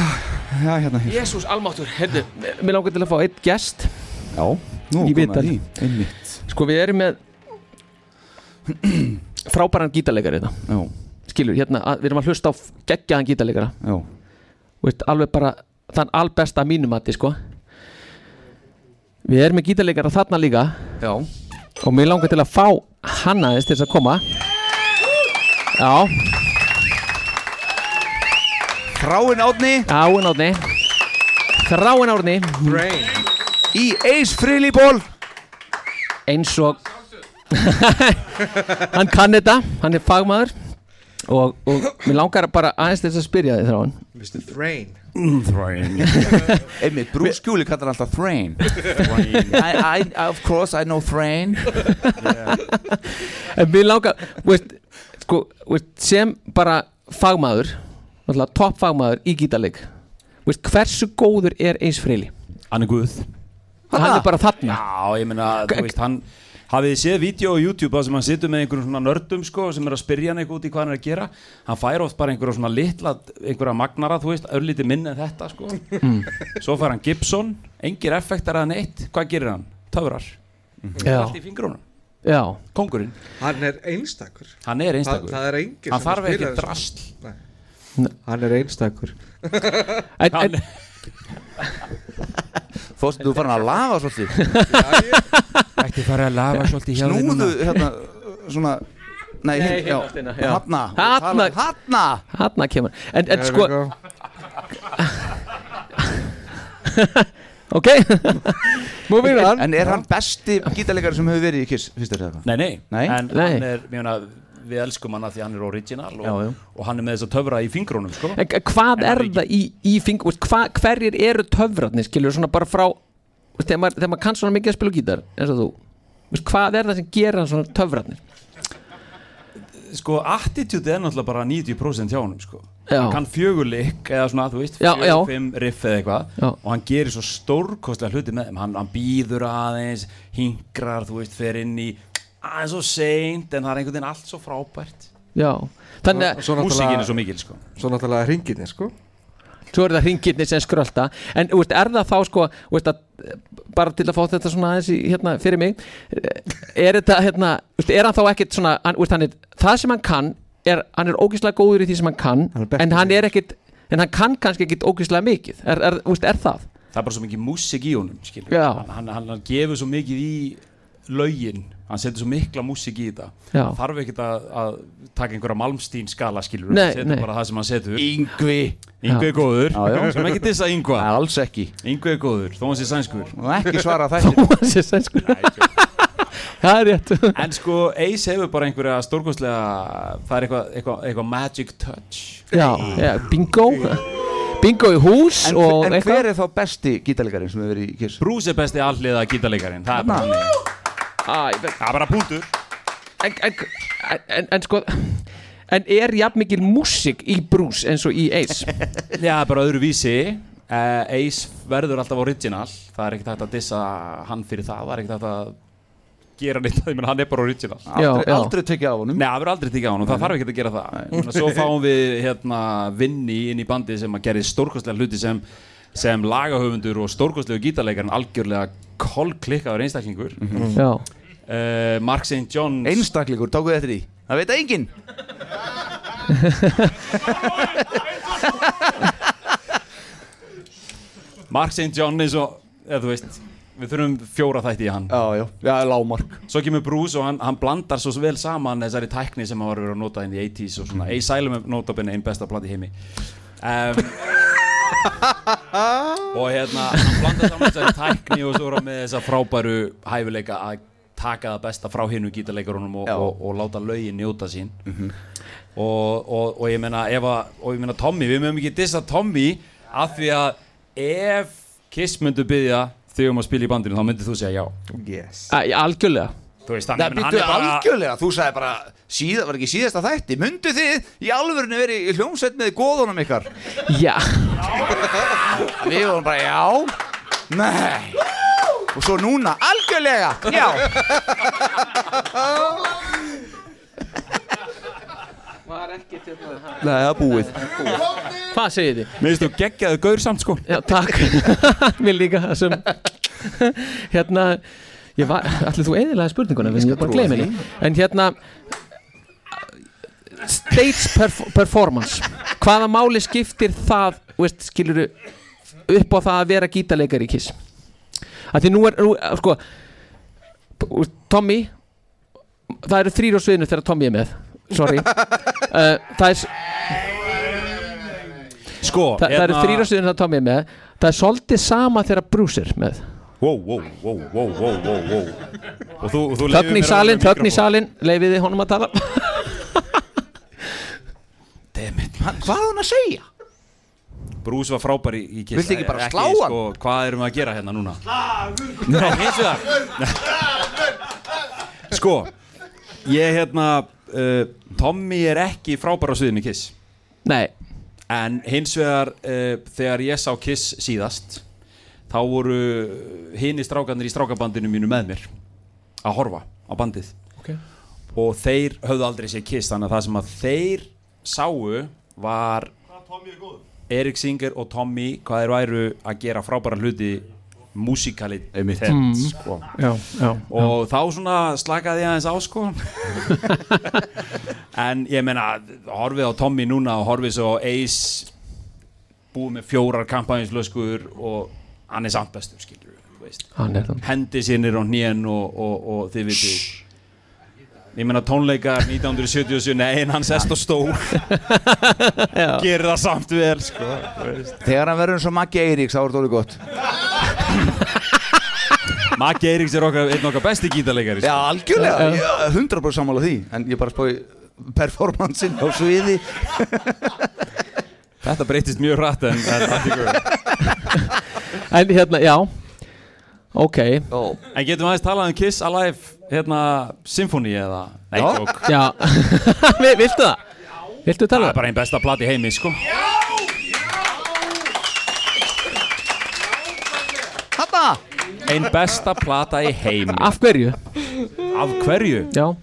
Speaker 1: hérna hér
Speaker 2: Jésús almáttur, heyrðu, mér langar til að fá eitt gest
Speaker 1: Já, nú
Speaker 2: Í
Speaker 1: komum
Speaker 2: viðtal.
Speaker 1: við í Einmitt
Speaker 2: Sko við erum með frábæran gítarleikari þetta
Speaker 1: Já.
Speaker 2: Skilur, hérna, að- við erum að hlusta á f- geggjaðan gítarleikara
Speaker 1: Já
Speaker 2: Veist, alveg bara, þann albesta mínum að þið sko Við erum með gítarleikara þarna líka
Speaker 1: Já
Speaker 2: Og mér langar til að fá hann aðeins til þess að koma Já
Speaker 1: Þráin Árni
Speaker 2: Þráin Árni Þráin Árni
Speaker 1: Brain Í Ace Frehley Ball
Speaker 2: Eins og Hann kann þetta, hann er fagmaður Og, og mér langar bara aðeins til þess að spyrja þið þráin
Speaker 1: Mr. Thrain Thrain
Speaker 15: Mm,
Speaker 1: Einmitt, Bruce Skjúli kallar hann alltaf Thrain Thrain I, I, Of course I know Thrain
Speaker 2: en mér langar veist, sko, veist, sem bara fagmaður náttúrulega topp fagmaður í gítarleik veist, hversu góður er eins freyli
Speaker 15: Hann er guð
Speaker 2: hann er bara þarna
Speaker 15: Já, ég meina, þú veist, hann hafið þið séð vídeo á YouTube þar sem hann situr með einhverjum svona nördum sko, sem er að spyrja hann eitthvað út í hvað hann er að gera hann fær oft bara einhverja svona litla einhverja magnara, þú veist, örlítið minn en þetta sko.
Speaker 2: Mm.
Speaker 15: svo fær hann Gibson engir effektar að neitt, hvað gerir hann? Töfrar,
Speaker 2: Já.
Speaker 15: allt í fingrunum
Speaker 2: já,
Speaker 15: kongurinn,
Speaker 8: Hann er einstakur
Speaker 15: hann er einstakur
Speaker 8: Það, það er engin
Speaker 15: hann þarf ekki drast
Speaker 8: Hann er einstakur
Speaker 2: en, en,
Speaker 1: Fórstu, þú farin að lafa svolítið
Speaker 15: Ætti farið að lafa svolítið hjá þér
Speaker 1: Snúðu,
Speaker 15: núna.
Speaker 1: hérna, svona Nei,
Speaker 2: Nei,
Speaker 1: hérna,
Speaker 2: hérna,
Speaker 1: já
Speaker 2: hérna, já.
Speaker 1: Hanna um
Speaker 2: Þarna.
Speaker 1: Hanna
Speaker 2: þarna kemur en, en
Speaker 1: There
Speaker 2: sko
Speaker 1: we go.
Speaker 2: ok moving on
Speaker 1: En er hann besti gítarleikari sem hefur verið í Kiss, finnst þér það?
Speaker 15: Nei, nei,
Speaker 1: Nei?
Speaker 15: en hann er, ég meina, við elskum hann að því hann er original og,
Speaker 1: Já, já.
Speaker 15: og hann er með þess að töfra í fingrunum sko.
Speaker 2: en, hvað er það í, í fing veist, hva, hverjir eru töfratni skilur svona bara frá veist, þegar maður, þegar maður kann svona mikið að spila á gítar eins og þú veist, hvað er það sem gerir hann svona töfratni
Speaker 15: sko, attitude er náttúrulega bara 90% hjá honum, sko
Speaker 2: Já.
Speaker 15: hann kann fjögurleik eða svona, þú veist,
Speaker 2: Já, já.
Speaker 15: fjögur, fimm riff eða eitthvað
Speaker 2: Já.
Speaker 15: og hann gerir svo stórkostlega hluti með þeim hann, hann býður aðeins, hingrar þú veist, fer inn í aðeins svo seint, en það er einhvern veginn allt svo frábært
Speaker 2: já þannig að
Speaker 15: músíkin er svo mikil, sko
Speaker 8: Svo náttúrulega hringinni sko
Speaker 2: Svo eru það ringirni sem skrölda En þú veist, er það þá sko þú veist, að, bara til að fá þetta svona aðeins í, hérna, fyrir mig er þetta hérna, þú veist, er hann þá ekkit svona hann, þú veist, hann er, það sem hann kann er, hann er ógeðslega góður í því sem hann kann en hann er ekkit en hann kann kannski ekkit ógeðslega mikið er, er, þú veist, er það?
Speaker 15: það er bara svo mikið músík í honum, skilur
Speaker 2: Já.
Speaker 15: hann, hann, hann, hann gefur svo mikið í lögin hann setur svo mikla músík í þetta
Speaker 2: Já.
Speaker 15: Hann þarf ekkert að, að taka einhverja Malmsteen skala skilur
Speaker 2: Nei,
Speaker 15: setur
Speaker 2: nei.
Speaker 15: bara það sem hann setur
Speaker 1: Yngvi
Speaker 15: Yngvi er
Speaker 1: Já.
Speaker 15: góður,
Speaker 1: Já, já.
Speaker 15: sem ekki dissa Yngva
Speaker 1: Alls ekki
Speaker 15: Yngvi er góður, þó hann sé sænskur
Speaker 1: Ekki svara þættir
Speaker 2: Þó hann sé sænskur Það er rétt
Speaker 15: En sko, Ace hefur bara einhverja stórkostlega það er eitthvað eitthva, eitthva magic touch
Speaker 2: Já, já, bingo Bingo í hús
Speaker 1: En,
Speaker 2: og
Speaker 1: en
Speaker 2: eitthvað.
Speaker 1: hver er þá besti gítarleikarinn sem hefur verið í Kiss?
Speaker 15: Bruce er besti alliða gítarleikarin Það er bara
Speaker 1: Þarna.
Speaker 15: þannig.
Speaker 2: Það
Speaker 15: Hérna. er bara punktur
Speaker 2: en, en, en, en sko En er jafn mikil músík í Bruce eins og í Ace?
Speaker 15: Já, bara öðru vísi Eh, Ace verður alltaf original Það er ekkert hægt að dissa hann fyrir það Það er ekkert hægt að gera neitt Ég menn, hann er bara original
Speaker 1: Aldrei- Já, já. aldrei tekið á honum
Speaker 15: Nei, það verður aldrei tekið á honum, það þarf ekkert að gera það Þannig að Svo fáum við hérna vinni inn í bandi sem að gerði stórkostlega hluti sem sem lagahöfundur og stórkostlegu gítarleikar en algjörlega kolklikkaður einstaklingur
Speaker 2: Mhm. Já.
Speaker 15: Eh, Mark St. John's
Speaker 1: Einstaklingur, tókuðu þetta í? Það veit enginn
Speaker 15: Mark St. John eins og eða þú veist Við þurfum fjóra þætti í hann Já, já, já, lámark Svo kemur Bruce og hann, hann blandar svo vel saman þessari tækni sem hann var verið að nota inn í 80s og svona Asylum er notabene einn besta blandi heimi um, Og hérna, hann blandar saman þessari tækni og svo er hann með þessa frábæru hæfileika að taka það besta frá hinnu gítarleikarunum og, og, og láta lögin njóta sín Mhm. og, og, og ég meina ef að, og ég meina Tommy, við mögum ekki dissa Tommy af því að ef Kiss myndu byggja þig um að spila í bandinu, þá myndir þú segja já
Speaker 13: Yes
Speaker 2: Algjörlega
Speaker 15: Þú veist, hann,
Speaker 1: Nei,
Speaker 15: ég meina,
Speaker 1: býttu
Speaker 15: hann er bara
Speaker 1: algjörlega, þú sagði bara síða, var ekki síðasta þætti, myndu þið í alvörinu verið í hljómsveit með góðunum ykkar
Speaker 2: Já
Speaker 1: Við vorum bara, já Nei Og svo núna, algjörlega, já
Speaker 2: Var ekki til það
Speaker 1: Nei, það er búið
Speaker 2: Hvað segir þið?
Speaker 15: Mér finnst þú geggjaðu gaur samt sko
Speaker 2: Já, takk Mér líka þessum Hérna Ég var, allir þú eðilega spurninguna Ég skal bara
Speaker 10: trúa
Speaker 2: gleyma
Speaker 10: því.
Speaker 2: henni En hérna Stage perf performance Hvaða máli skiptir það þú veist, Skilur upp á það að vera gítarleikari í Kiss að Því nú er, nú, sko p- Tommy Það eru þrýr á sviðinu þegar Tommy er með Sorry uh, Það er s-
Speaker 15: Sko,
Speaker 2: Þa, það eru
Speaker 15: hérna-
Speaker 2: þrýra stuðin það Tommy er með Það er svolítið sama þegar Bruce er með
Speaker 15: wow, wow, wow, wow, wow, wow, wow. Og þú, og þú leyfir mér
Speaker 2: Þögn í
Speaker 15: að vera með
Speaker 2: salin, þögn í
Speaker 15: mikrofón.
Speaker 2: salin Leifiði honum að tala
Speaker 1: Hvað er hann að segja?
Speaker 15: Bruce var frábær í, í Kiss
Speaker 1: Viltu ekki bara
Speaker 15: Ekki,
Speaker 1: slá hann?
Speaker 15: Sko, hvað erum við að gera hérna núna? Nei, hins vegar Sko Ég hérna uh, Tommy er ekki frábær á sviðinu Kiss
Speaker 2: Nei
Speaker 15: En hins vegar uh, Þegar ég sá Kiss síðast Þá voru hini strákanir í strákabandinu mínu með mér Að horfa á bandið
Speaker 2: Ok.
Speaker 15: Og þeir höfðu aldrei séð Kiss Þannig að það sem að þeir sáu Var Erik Singer og Tommy hvað þeir væru að gera frábæra hluti músikali
Speaker 1: Einmitt.
Speaker 2: Mm.
Speaker 15: sko.
Speaker 2: Já, já,
Speaker 15: og þá svona slakaði ég aðeins á sko en ég meina horfið á Tommy núna og horfið svo á Ace búið með fjórar kampanjinslöskur og hann er samt bestur skilur
Speaker 2: Hann er það.
Speaker 15: hendi sínir á hnén og, og, og þið vitið ég meina tónleikar 1977 nei en hann sest á stól gerir það samt vel sko þú veist.
Speaker 1: Þegar hann verður eins og Maggi Eiríks, þá er þetta orðið gott
Speaker 15: Maggi Eiríks er okkar, einn okkar besti gítarleikari
Speaker 1: Já, algjörlega, ég- 100% sammála því En ég bara spói performancein á sviði
Speaker 15: Þetta breytist mjög hratt en en allt í góðu.
Speaker 2: En hérna, já Ok
Speaker 15: En getum við aðeins talað um Kiss Alive hérna, symfóni eða Nei,
Speaker 2: Já.
Speaker 15: jók
Speaker 2: Já, Vi- viltu það? Viltu tala?
Speaker 15: Það er bara einn besta plat í heimi, sko
Speaker 1: Hanna
Speaker 15: Einn besta plata í heimi
Speaker 2: Af hverju?
Speaker 15: Af hverju?
Speaker 2: Já
Speaker 15: uh,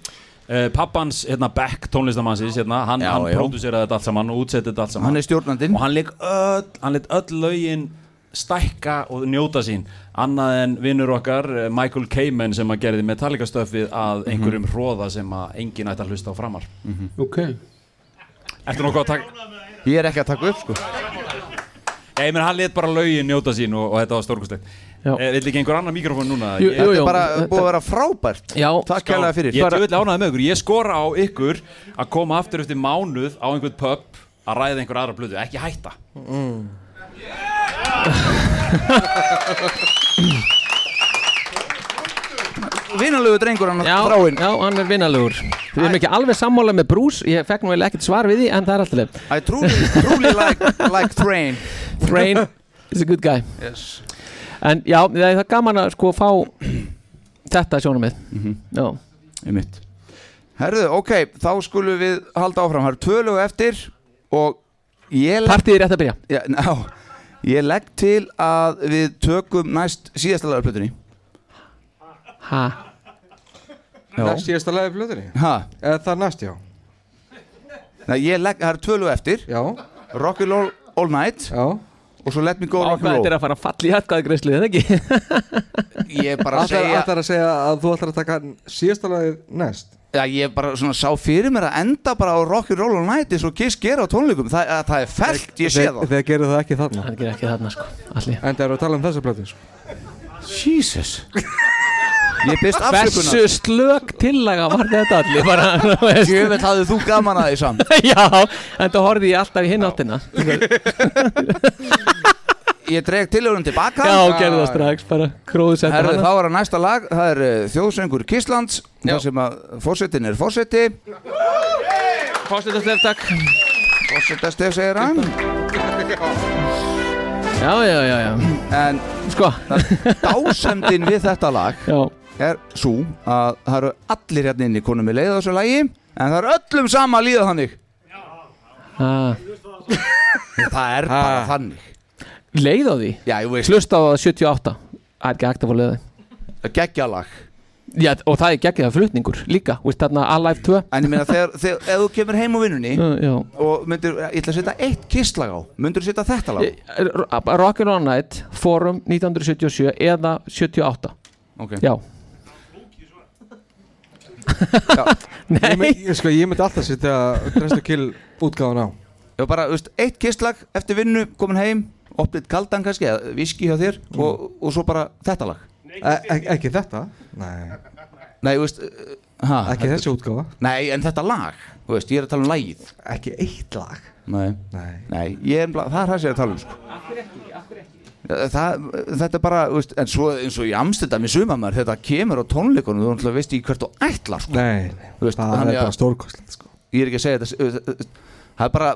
Speaker 15: Pappans, hérna, Beck, tónlistamannsins hérna, Hann,
Speaker 1: Já,
Speaker 15: hann
Speaker 1: já.
Speaker 15: pródúseraði þetta allt saman og útsetti þetta allt saman
Speaker 1: Hann er stjórnandinn
Speaker 15: Og hann leik öll, hann leitt öll lögin stækka og njóta sín annað en vinnur okkar eh, Michael Kamen sem að gerði Metallica stöfið að
Speaker 1: Mhm.
Speaker 15: einhverjum mm sem að enginn ætti að hlusta á framar
Speaker 2: Ok
Speaker 15: Ertu nokkuð að taka
Speaker 1: Ég er ekki að taka upp, sko
Speaker 15: Já, ég meina, hann let bara lögin njóta sín og, og þetta var stórkostlegt. Eh, Vill ekki einhver annar mikrofón núna?
Speaker 1: Jú, jú, Þetta er bara jú. búið að vera frábært.
Speaker 2: Já.
Speaker 1: Takk kærlega fyrir.
Speaker 15: Ég er
Speaker 1: Bara-
Speaker 15: tjóðilega ánægði með ykkur. Ég skora á ykkur að koma aftur eftir mánuð á einhvern pub að ræða einhver aðra blödu. Ekki hætta.
Speaker 8: Mm.
Speaker 1: Mm. Vinalögu drengur hann
Speaker 2: já, þráinn Já, hann er vinalegur Við erum ekki alveg sammála með Bruce Ég fekk nú eiginlega ekkert svar við því En það er alltaf leið
Speaker 1: I truly, truly like, like Thrain
Speaker 2: Thrain is a good guy
Speaker 1: Yes.
Speaker 2: En já, það er það gaman að sko fá Þetta sjónum við Já
Speaker 1: Mhm. Einmitt Herðu, ok, þá skulum við halda áfram Það eru tvö lög eftir og ég legg
Speaker 2: Partíð er rétt að byrja
Speaker 1: Já, ná, ég legg til að við tökum næst síðasta lagarplötunni
Speaker 2: Ha?
Speaker 1: Já.
Speaker 8: Næst síðasta lagi blöðinni
Speaker 1: Ha?
Speaker 8: Eða það er næst, já
Speaker 1: Nei, ég legg, það eru tvö lög eftir
Speaker 8: Já
Speaker 1: Rock and roll all night
Speaker 8: Já
Speaker 1: Og svo let me go
Speaker 2: Á
Speaker 1: rock
Speaker 2: hvað
Speaker 1: and roll
Speaker 2: þetta er að fara að falla í atkvæðagreyslu, eða ekki?
Speaker 1: Ég er bara að
Speaker 8: Ætlar-
Speaker 1: segja
Speaker 8: ætlar að segja að þú ætlar að taka síðasta lagi næst
Speaker 1: Já, ég bara svona sá fyrir mér að enda bara á rock and roll all night eins og Kiss gera á tónleikum Það, að, það er felt, ég sé
Speaker 8: Þeir-
Speaker 1: það
Speaker 8: Þeir gerðu það ekki þarna
Speaker 2: Það gerir ekki þarna sko Alli
Speaker 8: En það eru að tala um þessa plötu sko.
Speaker 1: Jesus Ég byrst afsökunar
Speaker 2: Hversu slök tillaga var þetta allir bara
Speaker 1: Djöfull hafði þú gaman að því samt
Speaker 2: Já, en það horfði ég alltaf í hinn áttina
Speaker 1: Ég dreg tilhjóðum tilbaka
Speaker 2: Já, gerðu það strax, bara króðsetta
Speaker 1: Herðu,
Speaker 2: hana.
Speaker 1: þá er að næsta lag, það er uh, þjóðsöngur Kíslands Það sem að fórsetin er forseti
Speaker 2: Fórsetastef, takk
Speaker 1: Fórsetastef, segir hann
Speaker 2: Já, já, já, já
Speaker 1: En
Speaker 2: sko
Speaker 1: Dásemdin við þetta lag
Speaker 2: já.
Speaker 1: Er svo að það eru allir hérna inni konum með leið á þessu lagi En það eru öllum sama að líða þannig
Speaker 2: Ah.
Speaker 1: Það er bara þannig
Speaker 2: Leið á því?
Speaker 1: Já, ég veist
Speaker 2: Hlusta á það 78 Það er ekki hægt að fá leið á því
Speaker 1: Geggjalag
Speaker 2: Já, og það er geggjað flutningur líka Þú veist þarna Alive 2
Speaker 1: En ég meina þegar, þegar ef þú kemur heim á vinnunni
Speaker 2: Já, já.
Speaker 1: og myndir, ég ætla að setja eitt kistlag á myndir þú setja þetta lag?
Speaker 2: Ég- R- Rock and Roll Night Forum 1977 eða 78
Speaker 1: Ok.
Speaker 2: Já
Speaker 8: Ég, mynd, ég, sko, ég myndi alltaf setja Dress to Kill útgáðan á
Speaker 1: Já, bara, þú veist, eitt kistlag eftir vinnu komin heim, opnit kaldan kannski eða viski hjá þér og, og svo bara þetta lag
Speaker 8: Mm. e Ekki þetta Nei
Speaker 1: Nei, þú veist uh, ha,
Speaker 8: Ekki þessi útgáfa
Speaker 1: Nei, en þetta lag, þú veist, ég er að tala um lagið
Speaker 8: Ekki eitt lag
Speaker 1: Nei,
Speaker 8: Nei.
Speaker 1: ég er, bara- það er það sem ég er að tala um sko. það, Þetta er bara, þú veist, en svo eins og í amstendam í sumamar, þetta kemur á tónleikunum þú náttúrulega veist ekki hvert þú ætlar sko.
Speaker 8: Nei,
Speaker 1: þú veist,
Speaker 8: það er
Speaker 1: þannig að-
Speaker 8: bara stórkostlegt sko.
Speaker 1: ég er ekki að segja þetta það er bara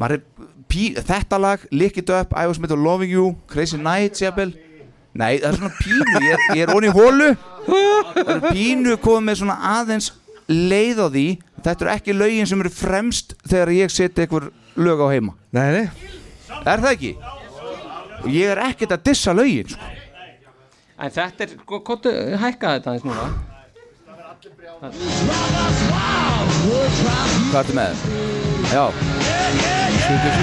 Speaker 1: maður er pí, þetta lag, Lick It Up, I Was Made of Loving You Crazy Nights, jafnvel nei, það er svona pínu, ég er, ég er onni í hólu það er pínu komið með svona aðeins leið á því þetta eru ekki lögin sem eru fremst þegar ég seti einhver lög á heima
Speaker 8: nei, nei.
Speaker 1: er það ekki? ég er ekkert að dissa lögin sko.
Speaker 2: En þetta er, hvað hækkaði þetta aðeins núna?
Speaker 1: hvað ertu með? já 77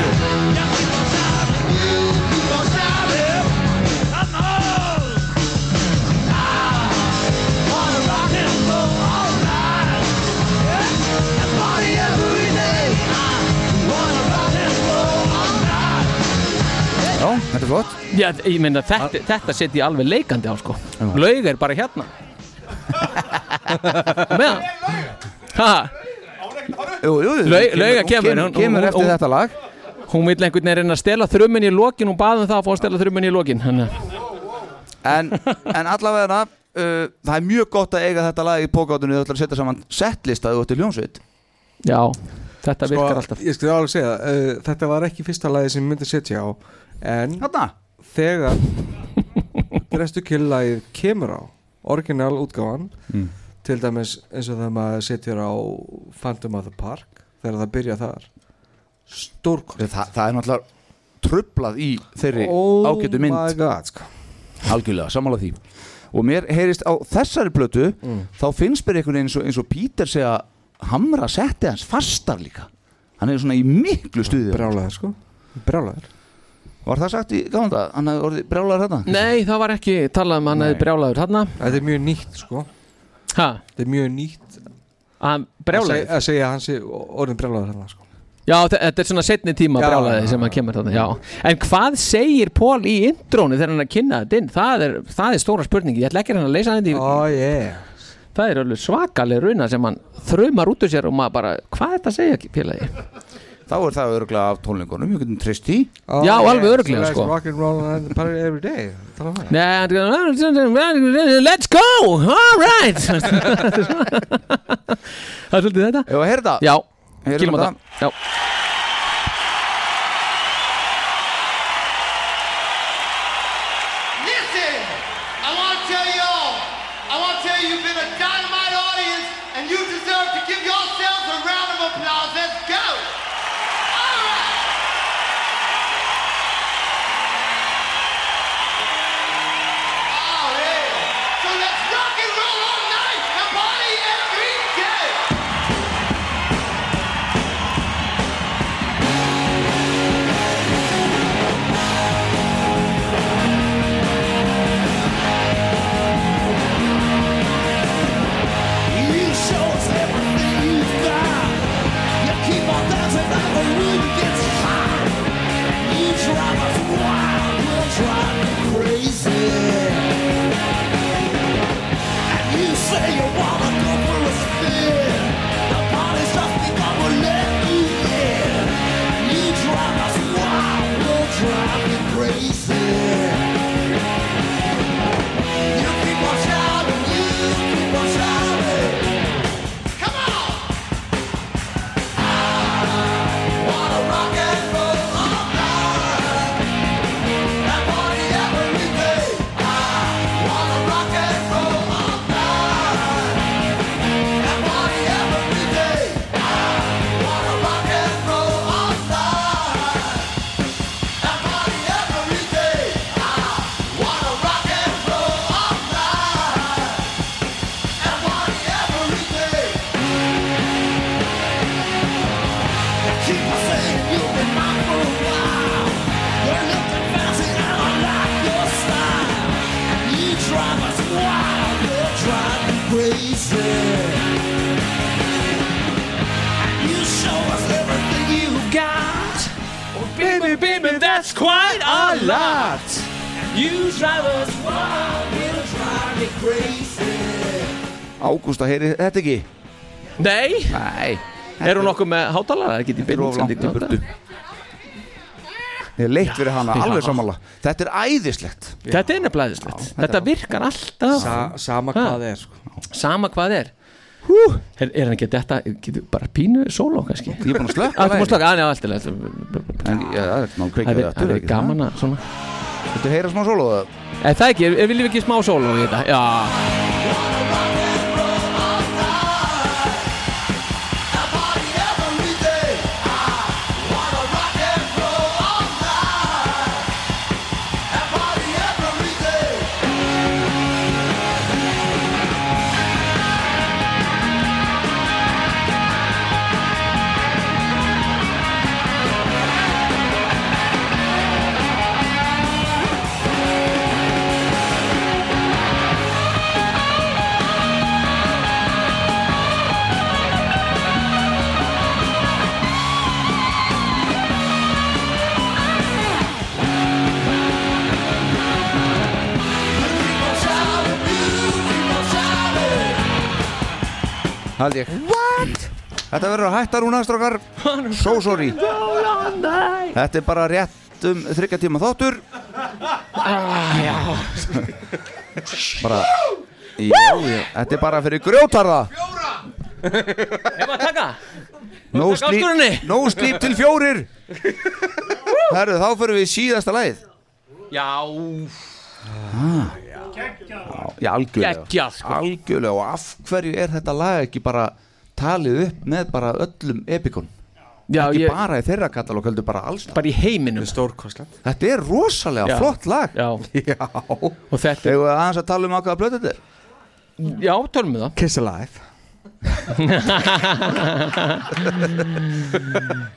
Speaker 1: Já, þetta er flott
Speaker 2: Já, ég meina þetta, þetta set ég alveg leikandi á sko Laug er bara hérna Meðan Ha,
Speaker 1: jú, jú, jú,
Speaker 2: laug,
Speaker 1: kemur-
Speaker 2: lauga
Speaker 1: hún
Speaker 2: kemur
Speaker 1: kemur- kemur eftir þetta lag
Speaker 2: Hún vil einhvern veginn reyna að stela þrummin í lokin Hún baði um það að fá að stela þrummin í lokin Þannig að
Speaker 1: en, en allavega uh, það er mjög gott að eiga þetta lag í pókátunni þú ætlar að setja saman settlista þú ert í hljómsveit
Speaker 2: Já, þetta virkar alltaf
Speaker 8: Sko, Ég skal alveg segja, uh, þetta var ekki fyrsta lagi sem ég myndi setja á En
Speaker 1: Hanna?
Speaker 8: Þegar Dress to Kill lagið kemur á Orginal útgáfan
Speaker 4: Mm.
Speaker 8: Til dæmis eins og þegar maður setjur á Phantom of the Park Þegar það byrja þar Stórkost
Speaker 1: það, það er náttúrulega trublað í þeirri
Speaker 8: Oh
Speaker 1: ágætu mynd
Speaker 8: my God, sko.
Speaker 1: algjörlega, sammála því og mér heyrist á þessari plötu
Speaker 8: Mm.
Speaker 1: þá finnst mér einhvern veginn eins og, eins og Pítur segja hamra setti hans fastar líka hann er svona í miklu stuði
Speaker 8: brjálæður sko, brjálæður
Speaker 1: var það sagt í gáðan það, hann hefði orðið brjálæður hérna
Speaker 2: Nei, það var ekki talað um hann hefði brjálaður þarna
Speaker 8: Þetta er mjög nýtt sko
Speaker 2: Ha,
Speaker 8: Þetta er mjög nýtt
Speaker 2: hann
Speaker 8: Að
Speaker 2: brjálaður
Speaker 8: seg- Að segja að hann sé orðin brjálæður hérna sko
Speaker 2: Já, þe- þetta er svona setni tíma
Speaker 8: Já,
Speaker 2: brjálaði
Speaker 8: já,
Speaker 2: sem að kemur þarna, já En hvað segir Pól í intrónu þegar hann er að kynna þetta inn? Það er, það er stóra spurningi, ég ætla ekki að reyna að leysa hann þetta í
Speaker 8: oh, yeah.
Speaker 2: Það er alveg svakaleg runa sem hann þraumar út úr sér og maður bara, hvað er þetta að segja félagi?
Speaker 1: þá er það öruglega af tónleikunum, við getum treyst í
Speaker 2: Já, alveg örglega sko
Speaker 8: Rock'n'roll and party every day Tala um það.
Speaker 2: Nei, hann er- Let's go, all right Það er svolítið þetta
Speaker 1: Ef að heyrða
Speaker 2: Já,
Speaker 1: Heyrum
Speaker 2: kýlum á
Speaker 1: þetta.
Speaker 2: það Já
Speaker 4: Listen, I want to tell y'all, I want to tell you you've been a dynamite audience and you deserve to give yourselves a round of applause. Let's go. All right. Oh, yeah. So let's rock and roll all night and party every day.
Speaker 16: You show us everything you've got. You keep on dancing
Speaker 17: That's quite a lot. You drive us wild, we'll drive you crazy.
Speaker 1: Ágústa heyri þetta ekki
Speaker 2: Nei
Speaker 1: Nei
Speaker 2: Er hún nokkuð með hátalara? Það geti
Speaker 1: Þetta er of langt í burtu Ég er leitt fyrir hana,
Speaker 2: Já.
Speaker 1: alveg sammála Þetta er æðislegt
Speaker 2: Þetta er nefnilega æðislegt Þetta virkar alltaf
Speaker 1: Sa-
Speaker 8: sama
Speaker 2: Ha.
Speaker 8: hvað er, sko.
Speaker 2: Sama hvað er Er, er hann ekki að detta, getur bara pínu sóló kannski? Ég
Speaker 1: er búin að slökka
Speaker 2: Það er búin að
Speaker 1: laginu.
Speaker 2: slökka, að, já, allt er leið
Speaker 1: En já, það er maður kveikja
Speaker 2: Það er-
Speaker 1: þetta,
Speaker 2: það er
Speaker 1: ekki
Speaker 2: gaman að svona
Speaker 1: Þetta heyra smá sóló það?
Speaker 2: Er það ekki, er, er, viljum við ekki smá sóló í þetta? Já
Speaker 1: Hald ég What? Þetta verður að hætta Rúna strókar So sorry Þetta er bara rétt um þryggja tíma þáttur
Speaker 2: Ah, já
Speaker 1: Bara Já, já, þetta er bara fyrir grjótarða
Speaker 2: Hefur að taka?
Speaker 1: No
Speaker 2: Taka áskoruninni.
Speaker 1: sleep, no sleep til fjórir Herru, þá fyrir við í síðasta lagið
Speaker 2: Já
Speaker 1: ah, Já, algjörlega
Speaker 2: Geggjað, sko.
Speaker 1: Algjörlega, og af hverju er þetta lag ekki bara talið upp með bara öllum epikon
Speaker 2: Já,
Speaker 1: ekki
Speaker 2: ég-
Speaker 1: bara í þeirra katalóg, heldur bara alls staðar.
Speaker 2: Bara í heiminum
Speaker 8: Stórkostlegt
Speaker 1: Þetta er rosalega
Speaker 2: Já.
Speaker 1: flott lag
Speaker 2: Já,
Speaker 1: já.
Speaker 2: Og þetta
Speaker 1: Þegar aðeins að tala um ákveða blötu þetta er
Speaker 2: Já, tölum við það
Speaker 8: Kiss Alive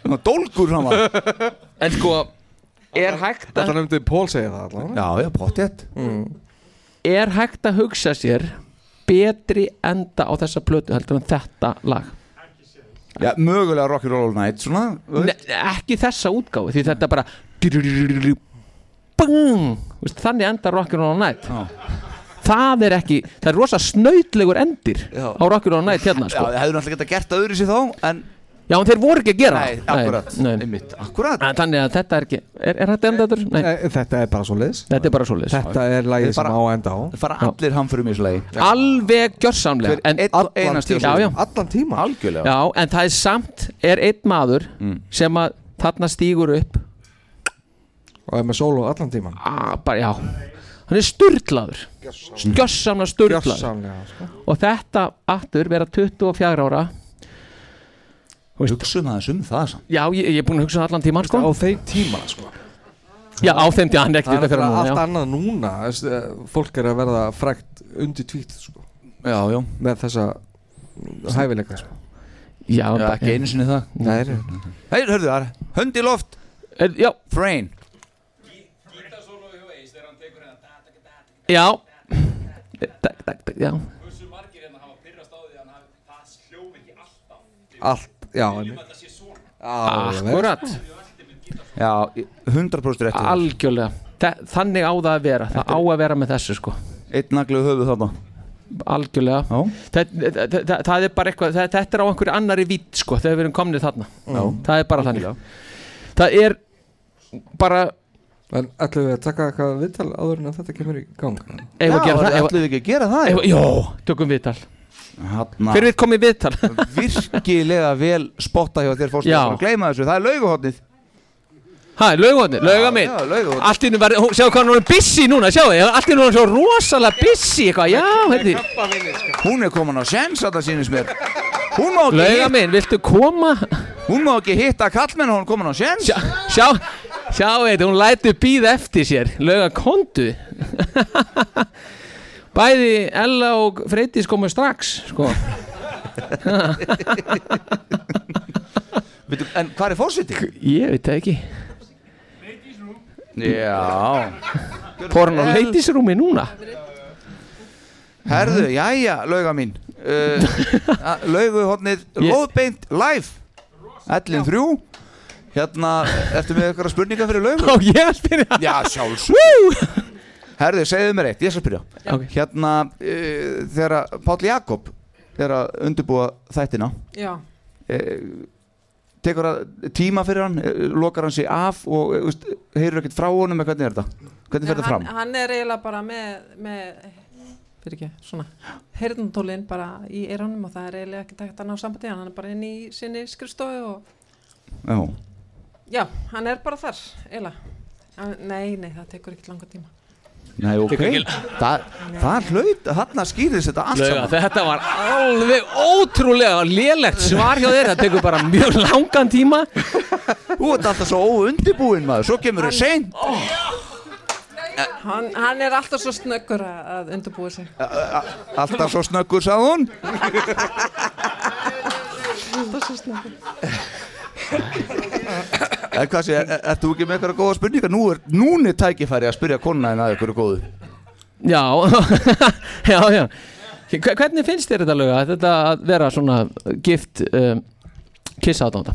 Speaker 1: Ná, dólgur hann var
Speaker 2: En sko, er hægt
Speaker 8: Þetta nefndi Pól segja það allavega
Speaker 1: Já, já, pottjett
Speaker 8: mm.
Speaker 2: er hægt að hugsa sér betri enda á þessa plötu heldur en þetta lag
Speaker 1: Já, mögulega Rock'n'Roll Night svona
Speaker 2: ne, ekki þessa útgáfu því þetta bara bang, Veist, þannig enda Rock'n'Roll Night það er ekki það er rosa snautlegur endir
Speaker 1: Já.
Speaker 2: á Rock'n'Roll Night hérna sko.
Speaker 1: Já, hefur náttúrulega geta gert öðru sér þá en...
Speaker 2: Já, en þeir voru ekki að gera
Speaker 1: Nei,
Speaker 2: það.
Speaker 1: akkurat,
Speaker 2: nei.
Speaker 1: einmitt, akkurat
Speaker 2: En Þannig að þetta er ekki Er, er þetta enda þetta? Nei,
Speaker 8: Eh, Þetta er bara svo liðs
Speaker 2: þetta er bara svo leis
Speaker 8: Þetta er lagið
Speaker 2: Þeir
Speaker 8: sem
Speaker 2: bara-
Speaker 8: á að enda á
Speaker 1: fara allir hamförum í þessu lagi
Speaker 2: Ah, Alveg gjörsamlega
Speaker 1: Hver einn og einasti í þessu
Speaker 2: Já, já
Speaker 1: lagi.
Speaker 8: Allan tíma
Speaker 1: Algjörlega
Speaker 2: Já, en það er samt, er einn maður
Speaker 8: Mm.
Speaker 2: sem að þarna stígur upp
Speaker 8: Og er með solo allan tíman
Speaker 2: ah, bara, Já, hann er sturglaður Gjössamlega sturglaður
Speaker 8: Gjörsamlega sko.
Speaker 2: Og þetta aftur vera 24 ára
Speaker 1: Hugsum aðeins um það samt
Speaker 2: Já, ég, ég er búin að hugsa það allan tímann sko
Speaker 8: Á þeim tíma sko.
Speaker 2: Já, á þeim tíma, hann er ekki
Speaker 8: Það
Speaker 2: þetta
Speaker 8: er
Speaker 2: fyrir
Speaker 8: allt
Speaker 2: núna já.
Speaker 8: annað núna þess, eh, Fólk er að verða frækt undir tvít sko.
Speaker 1: Já, já
Speaker 8: Með þessa hæfileika sko.
Speaker 1: Já,
Speaker 2: Já, bara-
Speaker 1: ekki einu sinni það
Speaker 8: Nei, er,
Speaker 1: Hei, hörðu þar, hönd í loft
Speaker 2: er, Já
Speaker 1: Frain
Speaker 2: Já Dag, dag, dag, já
Speaker 8: Allt, já en,
Speaker 2: Ah, Akkurat
Speaker 1: Já, 100% rétt
Speaker 2: Algjörlega Þa, Þannig á það að vera Það á að vera með þessu sko
Speaker 1: Eitt naglu höfuð þarna
Speaker 2: Algjörlega það, það, það, það er bara eitthvað það, Þetta er á einhverju annari vít sko Þegar við erum komnið þarna
Speaker 8: Já.
Speaker 2: Það er bara þannig Það er bara
Speaker 8: en ætlum við að taka eitthvað viðtal áður en að þetta kemur í gang
Speaker 2: Eigum við að
Speaker 1: Já,
Speaker 2: gera það?
Speaker 1: ætlum við ekki að gera það?
Speaker 2: Eigum- Jó, tökum viðtal
Speaker 1: Hanna
Speaker 2: Hver vil koma í viðtal?
Speaker 1: Virkilega vel spotta hjá þér fórstu
Speaker 2: Já.
Speaker 1: að gleyma þessu, það er lauguhotnið
Speaker 2: Hæ, laugóðni, lauga minn
Speaker 1: já, lauga mín.
Speaker 2: Allt í nú verður, hún- sjáu hvað hún er busy núna, sjáu Allt í nú er hún svo rosalega busy eitthvað Já, hérði
Speaker 1: Hún er komin á sens að það sýnist mér Hún má ekki
Speaker 2: Lauga minn, viltu koma?
Speaker 1: Hún má ekki hitta kallmenn og hún komin á sjens
Speaker 2: Sjá, sjá, sjá þetta, hún lætur býða eftir sér Lauga kondu Bæði Ella og Freydís komu strax sko.
Speaker 1: Veitu, En hvað er fórsiti?
Speaker 2: Ég veit það ekki
Speaker 1: Já
Speaker 2: Fór hann á leitisrúmi núna Mhm.
Speaker 1: Herðu, jæja, lauga mín uh, Lauguhotnið,
Speaker 2: Ég-
Speaker 1: lóðbeint live 11.3 Hérna, ertu með eitthvað spurningar fyrir lögum?
Speaker 2: Já, ég að spyrja
Speaker 1: Já, sjálfsög Herðu, segðu mér eitt, ég skal spyrja
Speaker 2: Já, ok.
Speaker 1: Hérna, uh, þegar að Páll Jakob þegar að undirbúa þættina
Speaker 11: Já.
Speaker 1: uh, tekur að tíma fyrir hann eh, lokar hann sig af og eh, veist, heyrur ekkert frá honum eða hvernig er þetta? Hvernig fer
Speaker 11: Nei,
Speaker 1: þetta fram?
Speaker 11: Hann, hann er eiginlega bara með, með fyrir ekki, svona heyrðantólinn bara í eyrunum og það er eiginlega ekki takt að ná sambandi hann er bara inn í sinni skrifstofu og
Speaker 1: Já,
Speaker 11: já, hann er bara þar, eiginlega Hann- Nei, nei, það tekur ekkert langa tíma
Speaker 1: nei, ok
Speaker 11: Tekur ekki-
Speaker 1: Það, það hlaut, hann skýrðist þetta allt
Speaker 2: Lauga,
Speaker 1: saman
Speaker 2: þetta var alveg ótrúlega lélegt svar hjá þér, það tekur bara mjög langan tíma
Speaker 1: Þú ert alltaf svo óundibúinn maður, svo kemur þau seint
Speaker 11: Hann, hann er alltaf svo snöggur að, að undirbúa sig
Speaker 1: Alltaf svo snöggur, sagði hún
Speaker 11: Alltaf svo snöggur
Speaker 1: En hvað sé, er- ert þú ekki með eitthvað góða spurningar? Nú er núni tækifæri að spyrja konuna þín að ykkur góðu
Speaker 2: Já, já, já Hve- Hvernig finnst þér þetta löga, þetta að vera svona gift um, kissa aðdánda?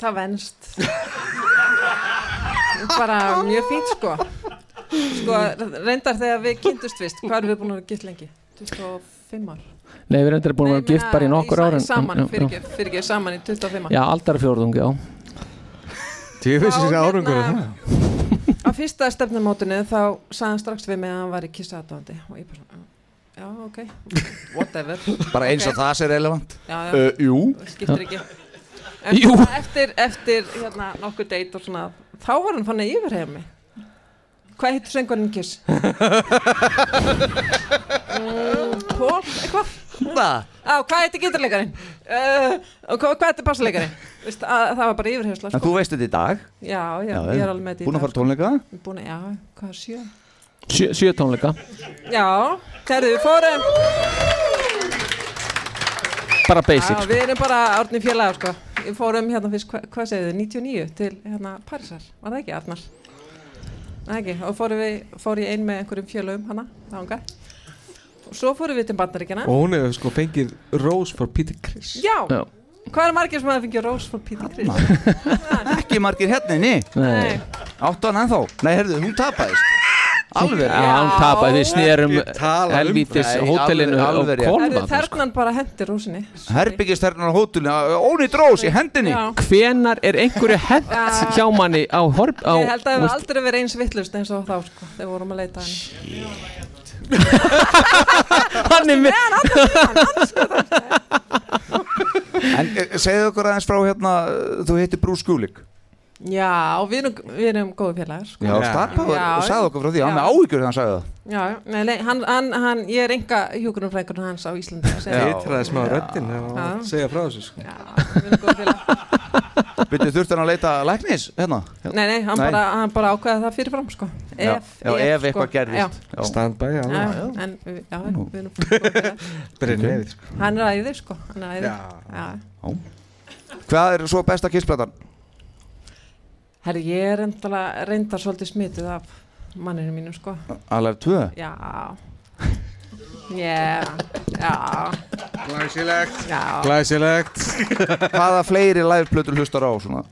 Speaker 11: Það venst Bara mjög fínt sko Sko, reyndar þegar við kynntust fyrst Hvað erum við búin að vera gitt lengi? 25 ár
Speaker 2: Nei, við erum endur búin að vera gift bara í nokkur ára
Speaker 11: Saman, fyrir ekki, fyrir ekki, saman í 25 ár
Speaker 2: Já, aldarfjórðung, já
Speaker 3: Ég vissi þessi
Speaker 11: hérna.
Speaker 3: árangur
Speaker 11: Á fyrsta stefnumótinu þá sagði hann strax við mig að hann var í kissa aðdóðandi og ég bara, svona, já, ok whatever
Speaker 1: Bara eins
Speaker 11: Ok.
Speaker 1: og það sé relevant
Speaker 11: Já, já.
Speaker 1: Eh, Jú
Speaker 11: Það skiptir ekki
Speaker 1: Jú.
Speaker 11: eftir, eftir, eftir hérna, nokkur deit og svona þá var hann fannig yfirhefði mig hvað heitir söngurinn kiss? mm, Pól, eitthvað
Speaker 1: Hvað?
Speaker 11: Á, hvað heitir gítarleikarinn? Uh, og hvað, hvað heitir bassleikarinn? Veist, að, það var bara yfirhefsla
Speaker 1: En þú veist þetta í dag
Speaker 11: Já, já, ég er alveg með þetta í
Speaker 1: Búin að
Speaker 11: dag,
Speaker 1: fara á tónleika?
Speaker 11: sko. Búin að, já, hvað er sjö?
Speaker 2: Sjö, sjö tónleika
Speaker 11: Já, þegar við fórum
Speaker 2: Bara
Speaker 11: Já,
Speaker 2: basic, sko.
Speaker 11: Við erum bara árni félagar sko Við fórum hérna fyrst, hva, hvað segið þið, 99 til hérna Parísar, var það ekki Arnar? Það ekki, og fórum við, fór ég ein með einhverjum félagum hana, þánga Og svo fórum við til Bandaríkjana
Speaker 3: Og hún hefur sko fengið Rose for Peter Criss
Speaker 11: Já, hvað er margir sem hafa fengið Rose for Peter Chris?
Speaker 1: Ekki margir hérna inni
Speaker 2: Nei.
Speaker 1: Áttu hann ennþá? Nei, heyrðu, hún tapaðist Alveg
Speaker 2: Já, hún tapaði, við snerum
Speaker 1: Ekki tala um
Speaker 2: helvítis
Speaker 1: það. Nei,
Speaker 2: hótelinu á
Speaker 1: alveg- alveg rétt.
Speaker 2: Hvolfa,
Speaker 11: Herðu,
Speaker 2: sko.
Speaker 11: Þernan bara hendi rósinni Sko,
Speaker 1: Herbyggistærnar á hótelinu, ónýtt rós í hendinni
Speaker 11: Já.
Speaker 2: Hvenar er einhverju hent
Speaker 11: Já.
Speaker 2: hjá manni á horf á,
Speaker 11: Ég held að við
Speaker 2: veist-
Speaker 11: aldrei verið eins vittlust eins og þá sko, þegar við vorum að leita að henni
Speaker 2: Hann er með
Speaker 1: En eh, segðu okkur aðeins frá hérna eh, Þú heitir Brú Skúlik
Speaker 11: Já, og við erum, við erum góðu félagar sko.
Speaker 1: Já, starpaður
Speaker 11: Já,
Speaker 1: og sagði okkur frá því Hann
Speaker 11: já.
Speaker 1: með áhyggjur þegar hann sagði það
Speaker 11: Já, nei, nei, hann, hann, hann, ég er enga hjúkunum hans á Íslandi sem-
Speaker 3: Titraði smá
Speaker 11: Já.
Speaker 3: röddin þegar
Speaker 11: Já.
Speaker 3: hann segja frá þessu sko.
Speaker 1: Byrju, þurfti hann að leita læknis hérna?
Speaker 11: Nei, nei, hann, Bara, hann bara ákveði það fyrirfram sko.
Speaker 1: Já, já, ef eitthvað
Speaker 11: já.
Speaker 1: gerðist. Já.
Speaker 3: Stand by,
Speaker 11: Já,
Speaker 3: alveg.
Speaker 11: en við- já, við erum góðir félagar.
Speaker 3: Byrja nefið, sko.
Speaker 11: Hann er æðið sko, hann er æðið
Speaker 1: Já.
Speaker 11: já.
Speaker 1: Hvað er svo besta kissplatan?
Speaker 11: Herri, ég er reyndar, reyndar svolítið smituð af manninu mínum sko
Speaker 1: Alveg tvö
Speaker 11: Já Yeah, já
Speaker 3: Glæsilegt
Speaker 11: Já
Speaker 3: Glæsilegt
Speaker 1: Hvaða fleiri liveplötur hlustar á svona?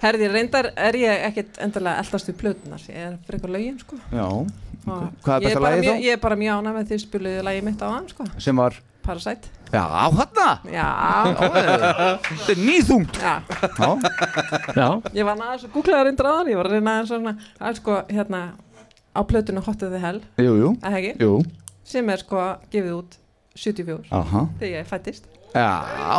Speaker 11: Herði, reyndar er ég ekkit endalega eldast í plötunar, ég er frekar lögin sko
Speaker 1: Já
Speaker 11: Og
Speaker 1: Hvað er
Speaker 11: ég
Speaker 1: besta
Speaker 11: bara
Speaker 1: lagið
Speaker 11: mjög-
Speaker 1: þá?
Speaker 11: Ég er bara mjög ánæg með því spiluðu lagið mitt á hann sko
Speaker 1: Sem var
Speaker 11: Parasite
Speaker 1: Já, á þarna
Speaker 11: Já.
Speaker 1: Já, eh, Þetta er nýþungt
Speaker 11: Já.
Speaker 1: Já
Speaker 2: Já
Speaker 11: Ég var aðeins að googla það reyndar aðan Ég var að reyna aðeins svona að sko hérna á plötunu Hot of the Hell
Speaker 1: Jú, jú
Speaker 11: að hegi,
Speaker 1: Jú
Speaker 11: sem er sko gefið út 74
Speaker 1: Aha.
Speaker 11: þegar ég fættist
Speaker 1: Já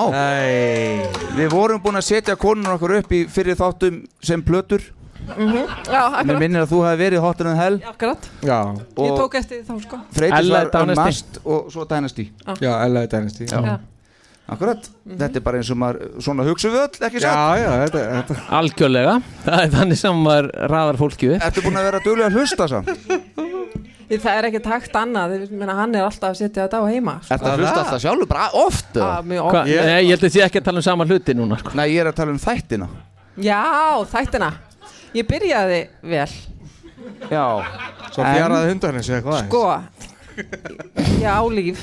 Speaker 1: Við vorum búin að setja konun okkur upp í fyrir þáttum sem plötur
Speaker 11: mm Já,
Speaker 1: Mér
Speaker 11: akkurat,
Speaker 1: minnir að þú hefði verið um hotur en hell
Speaker 11: akkurat.
Speaker 3: Já
Speaker 11: Ég tók eftir því þá sko
Speaker 1: Freytis
Speaker 3: Ella
Speaker 1: var um
Speaker 3: Dynasty.
Speaker 1: mast og svo Dynasty
Speaker 11: Já. Mhm.
Speaker 3: Já, L.A. Dynasty
Speaker 1: Já. Já. Akkurat, þetta er bara eins og maður Svona hugsa við öll, ekki
Speaker 3: Já,
Speaker 1: satt?
Speaker 3: já, þetta, þetta.
Speaker 2: Algjörlega, það er þannig sem maður raðar fólki upp
Speaker 1: Ertu búin að vera duglega að hlusta samt?
Speaker 11: Því Það er ekkert hægt annað, ég meina hann er alltaf að setja þetta á heima sko.
Speaker 1: Ertu að hlusta alltaf sjálfur, bara oft eða?
Speaker 11: Já, Ah, mjög oft. Hvað-
Speaker 2: Nei, ég held að ég ekki að tala um sama hluti núna sko.
Speaker 1: Nei, ég er að tala um þættina
Speaker 11: Já, þættina Ég byrjaði vel
Speaker 1: Já
Speaker 3: Svo
Speaker 11: En-
Speaker 3: fjaraði hundarnir sig eitthvað
Speaker 11: Sko Ég á líf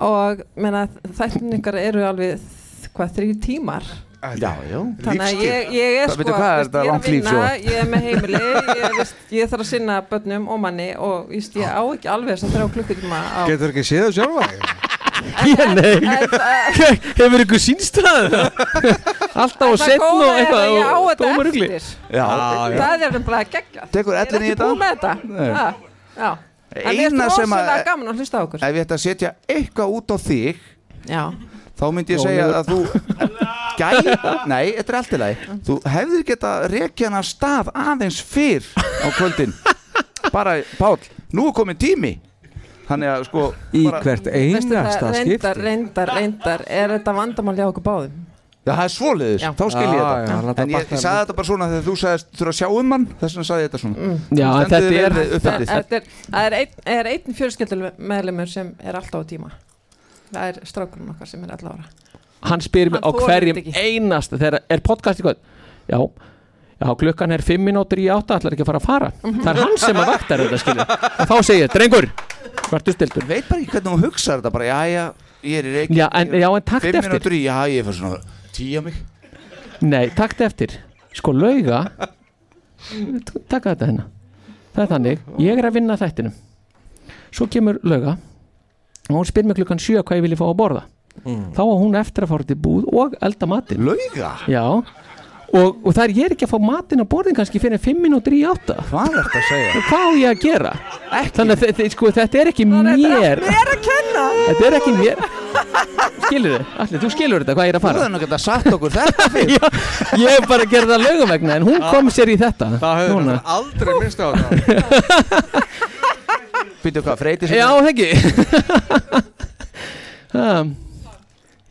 Speaker 11: Og meina, þættin ykkar eru alveg þ- Hvað, þrjú tímar
Speaker 17: Ah,
Speaker 1: Já, já
Speaker 11: Þannig að ég, ég er
Speaker 1: Það-
Speaker 11: sko
Speaker 1: veitu hvað,
Speaker 11: veist,
Speaker 1: þetta er
Speaker 11: ég
Speaker 1: langt líf
Speaker 11: vinna,
Speaker 1: svo.
Speaker 11: Ég er með heimili, ég, veist, ég þarf að sinna börnum og manni og víst, ég á ekki alveg þess að þrjá klukkutíma á
Speaker 3: Getur ekki séð það sjálfa?
Speaker 2: Ég nei Hefur ykkur sínstæð Alltaf og
Speaker 11: Það
Speaker 2: setn
Speaker 11: góða
Speaker 2: og
Speaker 11: er
Speaker 2: eitthvað
Speaker 11: að hérna, ég á
Speaker 2: og
Speaker 11: þetta
Speaker 2: dómar ugli. Ah,
Speaker 11: eftir.
Speaker 1: Já, já.
Speaker 11: Það er bara geggjað
Speaker 1: Tekur ellin í
Speaker 11: Ég er ekki búin með
Speaker 1: þetta? Nei.
Speaker 11: þetta Ha, Já En mér
Speaker 1: Eina
Speaker 11: er
Speaker 1: sem að-
Speaker 11: rosalega gaman að hlusta á okkur
Speaker 1: Ef ég ætti að setja eitthvað út á þig
Speaker 11: Já
Speaker 1: Þá myndi ég segja
Speaker 11: Rólegur.
Speaker 1: að þú Gæl, nei, þetta er allt í lagi Þú hefðir geta rekja hann af stað aðeins fyrr á kvöldin Bara, Páll, nú er komin tími Þannig að sko
Speaker 3: Í
Speaker 1: bara,
Speaker 3: hvert
Speaker 11: Veistu það,
Speaker 3: einasta skipti
Speaker 11: Reyndar, reyndar, reyndar Er þetta vandamál hjá okkur báðum?
Speaker 1: Já, það er svoleiðis,
Speaker 11: Já.
Speaker 1: þá skil ég
Speaker 11: Já,
Speaker 1: þetta
Speaker 11: já, láta
Speaker 1: En ég,
Speaker 11: batna
Speaker 1: ég sagði þetta bara svona þegar þú sagðist þurfa að sjá um hann Þess vegna sagði ég þetta svona
Speaker 11: Mm.
Speaker 2: Já, en þetta er-
Speaker 1: uppfættið
Speaker 11: Það er, það er, einn, er einn fjölskyldumeðlumur sem er alltaf á tíma Það er strákurinn okkar sem er alltaf ára
Speaker 2: Hann spyr mig á
Speaker 11: Hann þolir
Speaker 2: hverjum
Speaker 11: þetta
Speaker 2: einasta þegar er podcast í kvöld Já, já klukkan er 5 minútur í 8 ætlar ekki að fara að fara Það er hann sem að vaktar þetta skilja og þá segir ég, drengur, hvertu stiltur
Speaker 1: Veit bara ekki hvernig hún hugsa þetta bara, já, já, ég er í reik
Speaker 2: Já, en, já, en takt
Speaker 1: Fimm
Speaker 2: eftir
Speaker 1: minútur í, já, ég fyrir svona Tíja mig
Speaker 2: Nei, takt eftir Sko, lauga Takka þetta hérna Það er þannig, ég er að vinna að þættinum Svo kemur lauga og hún spyr mig klukkan 7 hvað ég vilja fá að borða þá var hún eftir að fara til búð og elda matinn
Speaker 1: Lauga?
Speaker 2: Já Og, og það er ég er ekki að fá matinn á borðin kannski fyrir 5 mínútur í átta
Speaker 1: Hvað er þetta að segja?
Speaker 2: Hvað á ég að gera? Ekki. Þannig að þe- þe- sko, þetta er ekki mér
Speaker 11: Mér að kenna
Speaker 2: Þetta er ekki mér Skilur þið? Allir, þú skilur þetta hvað ég er að fara
Speaker 1: Þú hefði nú geta sagt okkur þetta
Speaker 2: fyrir Ég hef bara gerði það lögum vegna en hún kom sér í þetta Það
Speaker 3: hefði Aldrei minnst á það
Speaker 1: Býttu hvað, freyti
Speaker 2: Já, heggi um,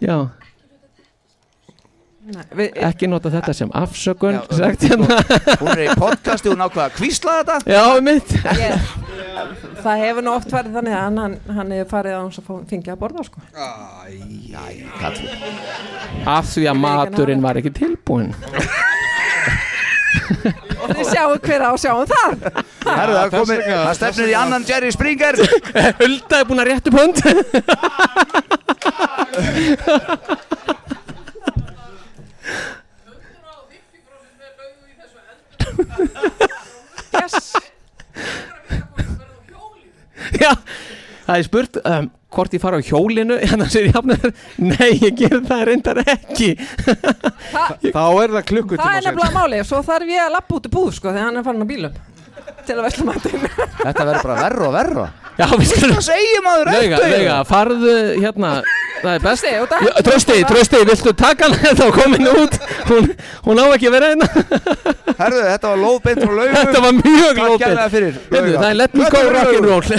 Speaker 2: Já,
Speaker 11: Nei, við,
Speaker 2: ekki nota þetta sem afsökun
Speaker 1: Já,
Speaker 2: sagt
Speaker 1: sko,
Speaker 2: hérna
Speaker 1: Hún er í podcasti, hún ákvaða að kvísla þetta
Speaker 2: Já, mitt
Speaker 11: ég, Það hefur nú oft verið þannig að hann, hann, hann hefur farið á hans að fengja að borða sko.
Speaker 1: Æ, kalli
Speaker 2: Af því að maturinn var ekki tilbúinn
Speaker 11: og þið sjáum hver á um sjáum þar
Speaker 1: Herðu, það komið, það stefnir í annan Jerry Springer
Speaker 2: Hulda er búin að réttu pönd
Speaker 11: yes.
Speaker 2: Já, það er spurt um, hvort ég fara á hjólinu hérna sér jafnir, nei ég ger það reyndar ekki
Speaker 3: Þá er það klukkutíma
Speaker 11: Það er nefnilega málið, svo þarf ég að lappa út í búð sko, þegar hann er farin á bílum til að vesla matinn
Speaker 1: Þetta verður bara verra og verra
Speaker 2: Já, við skulum
Speaker 1: Hvað segir maður
Speaker 2: Lauga,
Speaker 1: eftir?
Speaker 2: lauga, farðu hérna Það er best
Speaker 11: Trausti, út að-
Speaker 2: Já, Trausti, Trausti, viltu taka hann þá komin út hún, hún á ekki að vera hérna
Speaker 1: Herðu, þetta var lóðbeint frá laugum
Speaker 2: Þetta var mjög
Speaker 1: Takk
Speaker 2: lópið
Speaker 1: kærlega fyrir, Lauga.
Speaker 2: Það er let me
Speaker 1: Þetta
Speaker 2: go
Speaker 1: var
Speaker 2: rock'n'roll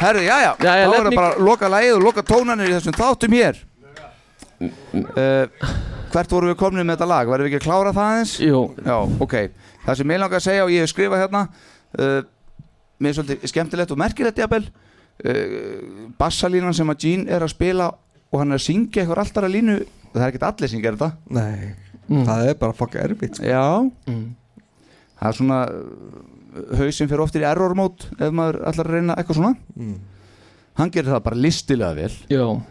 Speaker 1: Herðu, jæja, já,
Speaker 2: Jæja,
Speaker 1: þá
Speaker 2: let
Speaker 1: verður
Speaker 2: me-
Speaker 1: bara að loka lægið og loka tónanir í þessum þáttum hér
Speaker 2: Mm,
Speaker 1: uh, Hvert vorum við komnið með þetta lag? Verðum við ekki að klára það aðeins?
Speaker 2: Jú
Speaker 1: Já, ok Það sem ég langar að segja og ég hef skrifað hérna uh, Mér er svolítið skemmtilegt og merkilegt jafnvel uh, Bassalínan sem að Gene er að spila og hann er að syngja eitthvað alltaf að línu Það er ekkert allir syngja þetta
Speaker 3: Nei, það er bara fokka erfitt sko.
Speaker 1: Já
Speaker 2: Mm.
Speaker 1: Það er svona uh, hausinn fyrir oftir í error mode ef maður ætlar að reyna eitthvað svona
Speaker 3: Mm.
Speaker 1: Hann gerir það bara listilega vel
Speaker 2: Já Mm.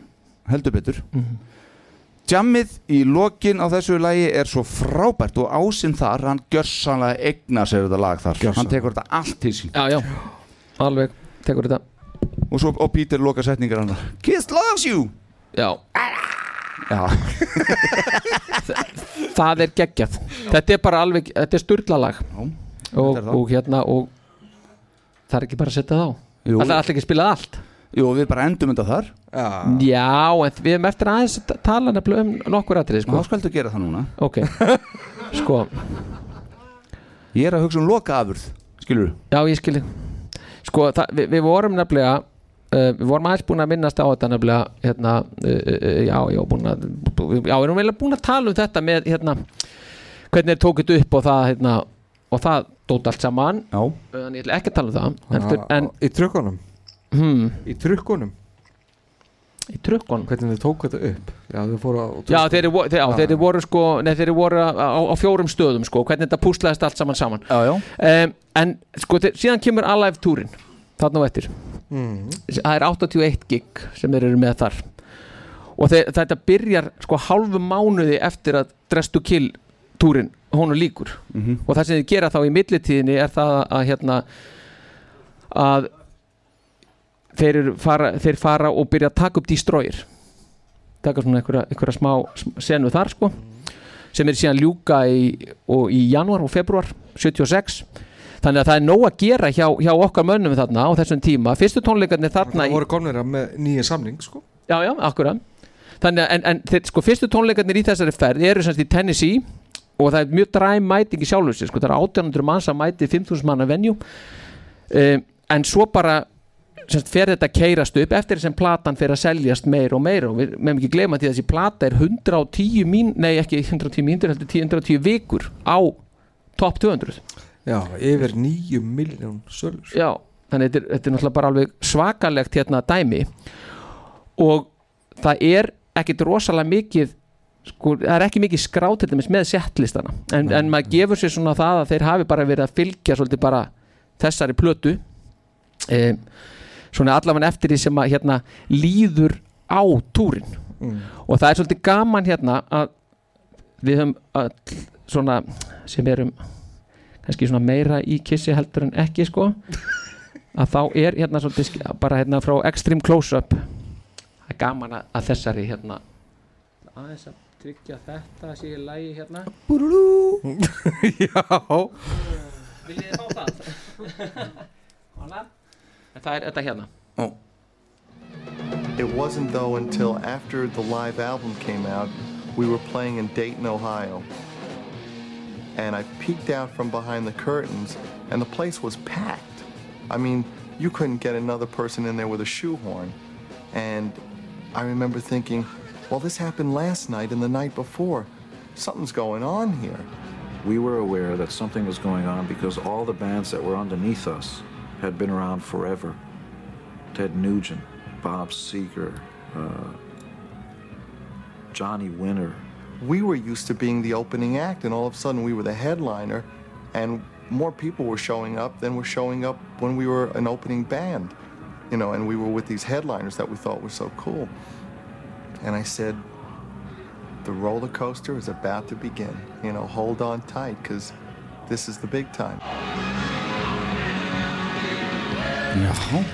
Speaker 1: Heldur betur Jammið í lokin á þessu lagi er svo frábært og ásinn þar, hann gjörsanlega egna sér þetta lag þar Hann tekur þetta allt til sín
Speaker 2: Já, já, alveg, tekur þetta
Speaker 1: og, svo, og Peter loka setningar hann Kiss loves you
Speaker 2: Já,
Speaker 1: Já,
Speaker 2: það er geggjað Þetta er bara alveg, þetta er sturla lag
Speaker 1: og,
Speaker 2: og,
Speaker 1: er það.
Speaker 2: hérna og það er ekki bara að setja það á
Speaker 1: Jú.
Speaker 2: Það er alltaf ekki að spila allt
Speaker 1: Jú við bara endum þetta þar
Speaker 3: Já,
Speaker 2: Já, en við erum eftir aðeins að tala nefnilega um nokkur atrið
Speaker 1: Ná
Speaker 2: sko.
Speaker 1: skaldu gera það núna
Speaker 2: Ok, sko
Speaker 1: Ég er að hugsa um loka afurð, skilur
Speaker 2: Já, ég skilji Sko, það, við, við vorum nefnilega uh, Við vorum aðeins búin að minnast á þetta nefnilega Hérna, uh, uh, uh, já, já, búin að Já, við erum vel búin að tala um þetta með hérna Hvernig er tókið upp og það hérna Og það dót allt saman
Speaker 1: Já
Speaker 2: Þannig ég ætla ekki að tala um það heldur,
Speaker 3: Ah,
Speaker 2: En
Speaker 3: Í trukkunum
Speaker 2: hmm,
Speaker 3: Í trukkunum
Speaker 2: í trukkunum
Speaker 3: Hvernig þið tók þetta upp Já, þau fóru á
Speaker 2: Já, þeir, vo- þeir, já, þeir voru sko Nei, þeir voru á, á, á fjórum stöðum sko Hvernig þetta púslaðist allt saman saman
Speaker 1: Já, já
Speaker 2: um, en sko þeir, síðan kemur Alive túrin þarna á eftir
Speaker 3: mm.
Speaker 2: það er 81 gig sem þeir eru með þar og þe þetta byrjar sko hálfu mánuði eftir að Dress to Kill túrin hún er líkur
Speaker 1: Mhm.
Speaker 2: og það sem þið gera þá í millitíðinni er það að, að hérna að þeir, eru fara, þeir fara og byrja að taka upp destroyer taka svona einhverja, einhverja smá sm- senu þar sko sem er síðan ljúka í, og, í januar og februar 76 þannig að það er nóg að gera hjá, hjá okkar mönnum þarna á þessum tíma fyrstu tónleikarnir þarna
Speaker 8: Það voru komnir að með nýja samning sko
Speaker 2: Já, já, akkurat Þannig að, en, en þeir, sko, fyrstu tónleikarnir í þessari ferð eru semst í Tennessee og það er mjög dræm mæting í sjálfur sér, sko, það er 1800 manns að mæti 5000 manna venju um, en svo bara semst fer þetta að keirast upp eftir sem platan fer að seljast meira og meira og við meðum ekki gleyma því að þessi plata er 110 mín, nei ekki 110 mínútur heldur 10 110 vikur á topp 200
Speaker 8: Já, yfir 9 miljón sölur
Speaker 2: Já, þannig þetta er, þetta er náttúrulega bara alveg svakalegt hérna dæmi og það er ekkit rosalega mikið sko, það er ekki mikið skrátt til dæmis með settlistana en, en maður gefur sér svona það að þeir hafi bara verið að fylgja svolítið bara þessari plötu um, svona allavega eftir því sem að hérna líður á túrin
Speaker 17: Mm.
Speaker 2: og það er svolítið gaman hérna að við höfum öll svona sem erum kannski svona meira í kissi heldur en ekki sko að þá er hérna svolítið sk- bara hérna frá Extreme Close-Up það er gaman að, að þessari hérna aðeins að tryggja þetta sé ég lægi hérna
Speaker 8: Búrú Já
Speaker 2: Viljið þið fá það? Hana? Það er þetta hérna
Speaker 16: It wasn't, though, until after the live album came out, we were playing in Dayton, Ohio. And I peeked out from behind the curtains, and the place was packed. I mean, you couldn't get another person in there with a shoehorn. And I remember thinking, well, this happened last night and the night before. Something's going on here.
Speaker 18: We were aware that something was going on because all the bands that were underneath us had been around forever. Ted Nugent, Bob Seger, uh,
Speaker 16: Johnny Winter. We were used to being the opening act, and all of a sudden we were the headliner, and more people were showing up than were showing up when we were an opening band, you know, and we were with these headliners that we thought were so cool. And I said, The roller coaster is about to begin. You know, hold on tight, because this is the big time.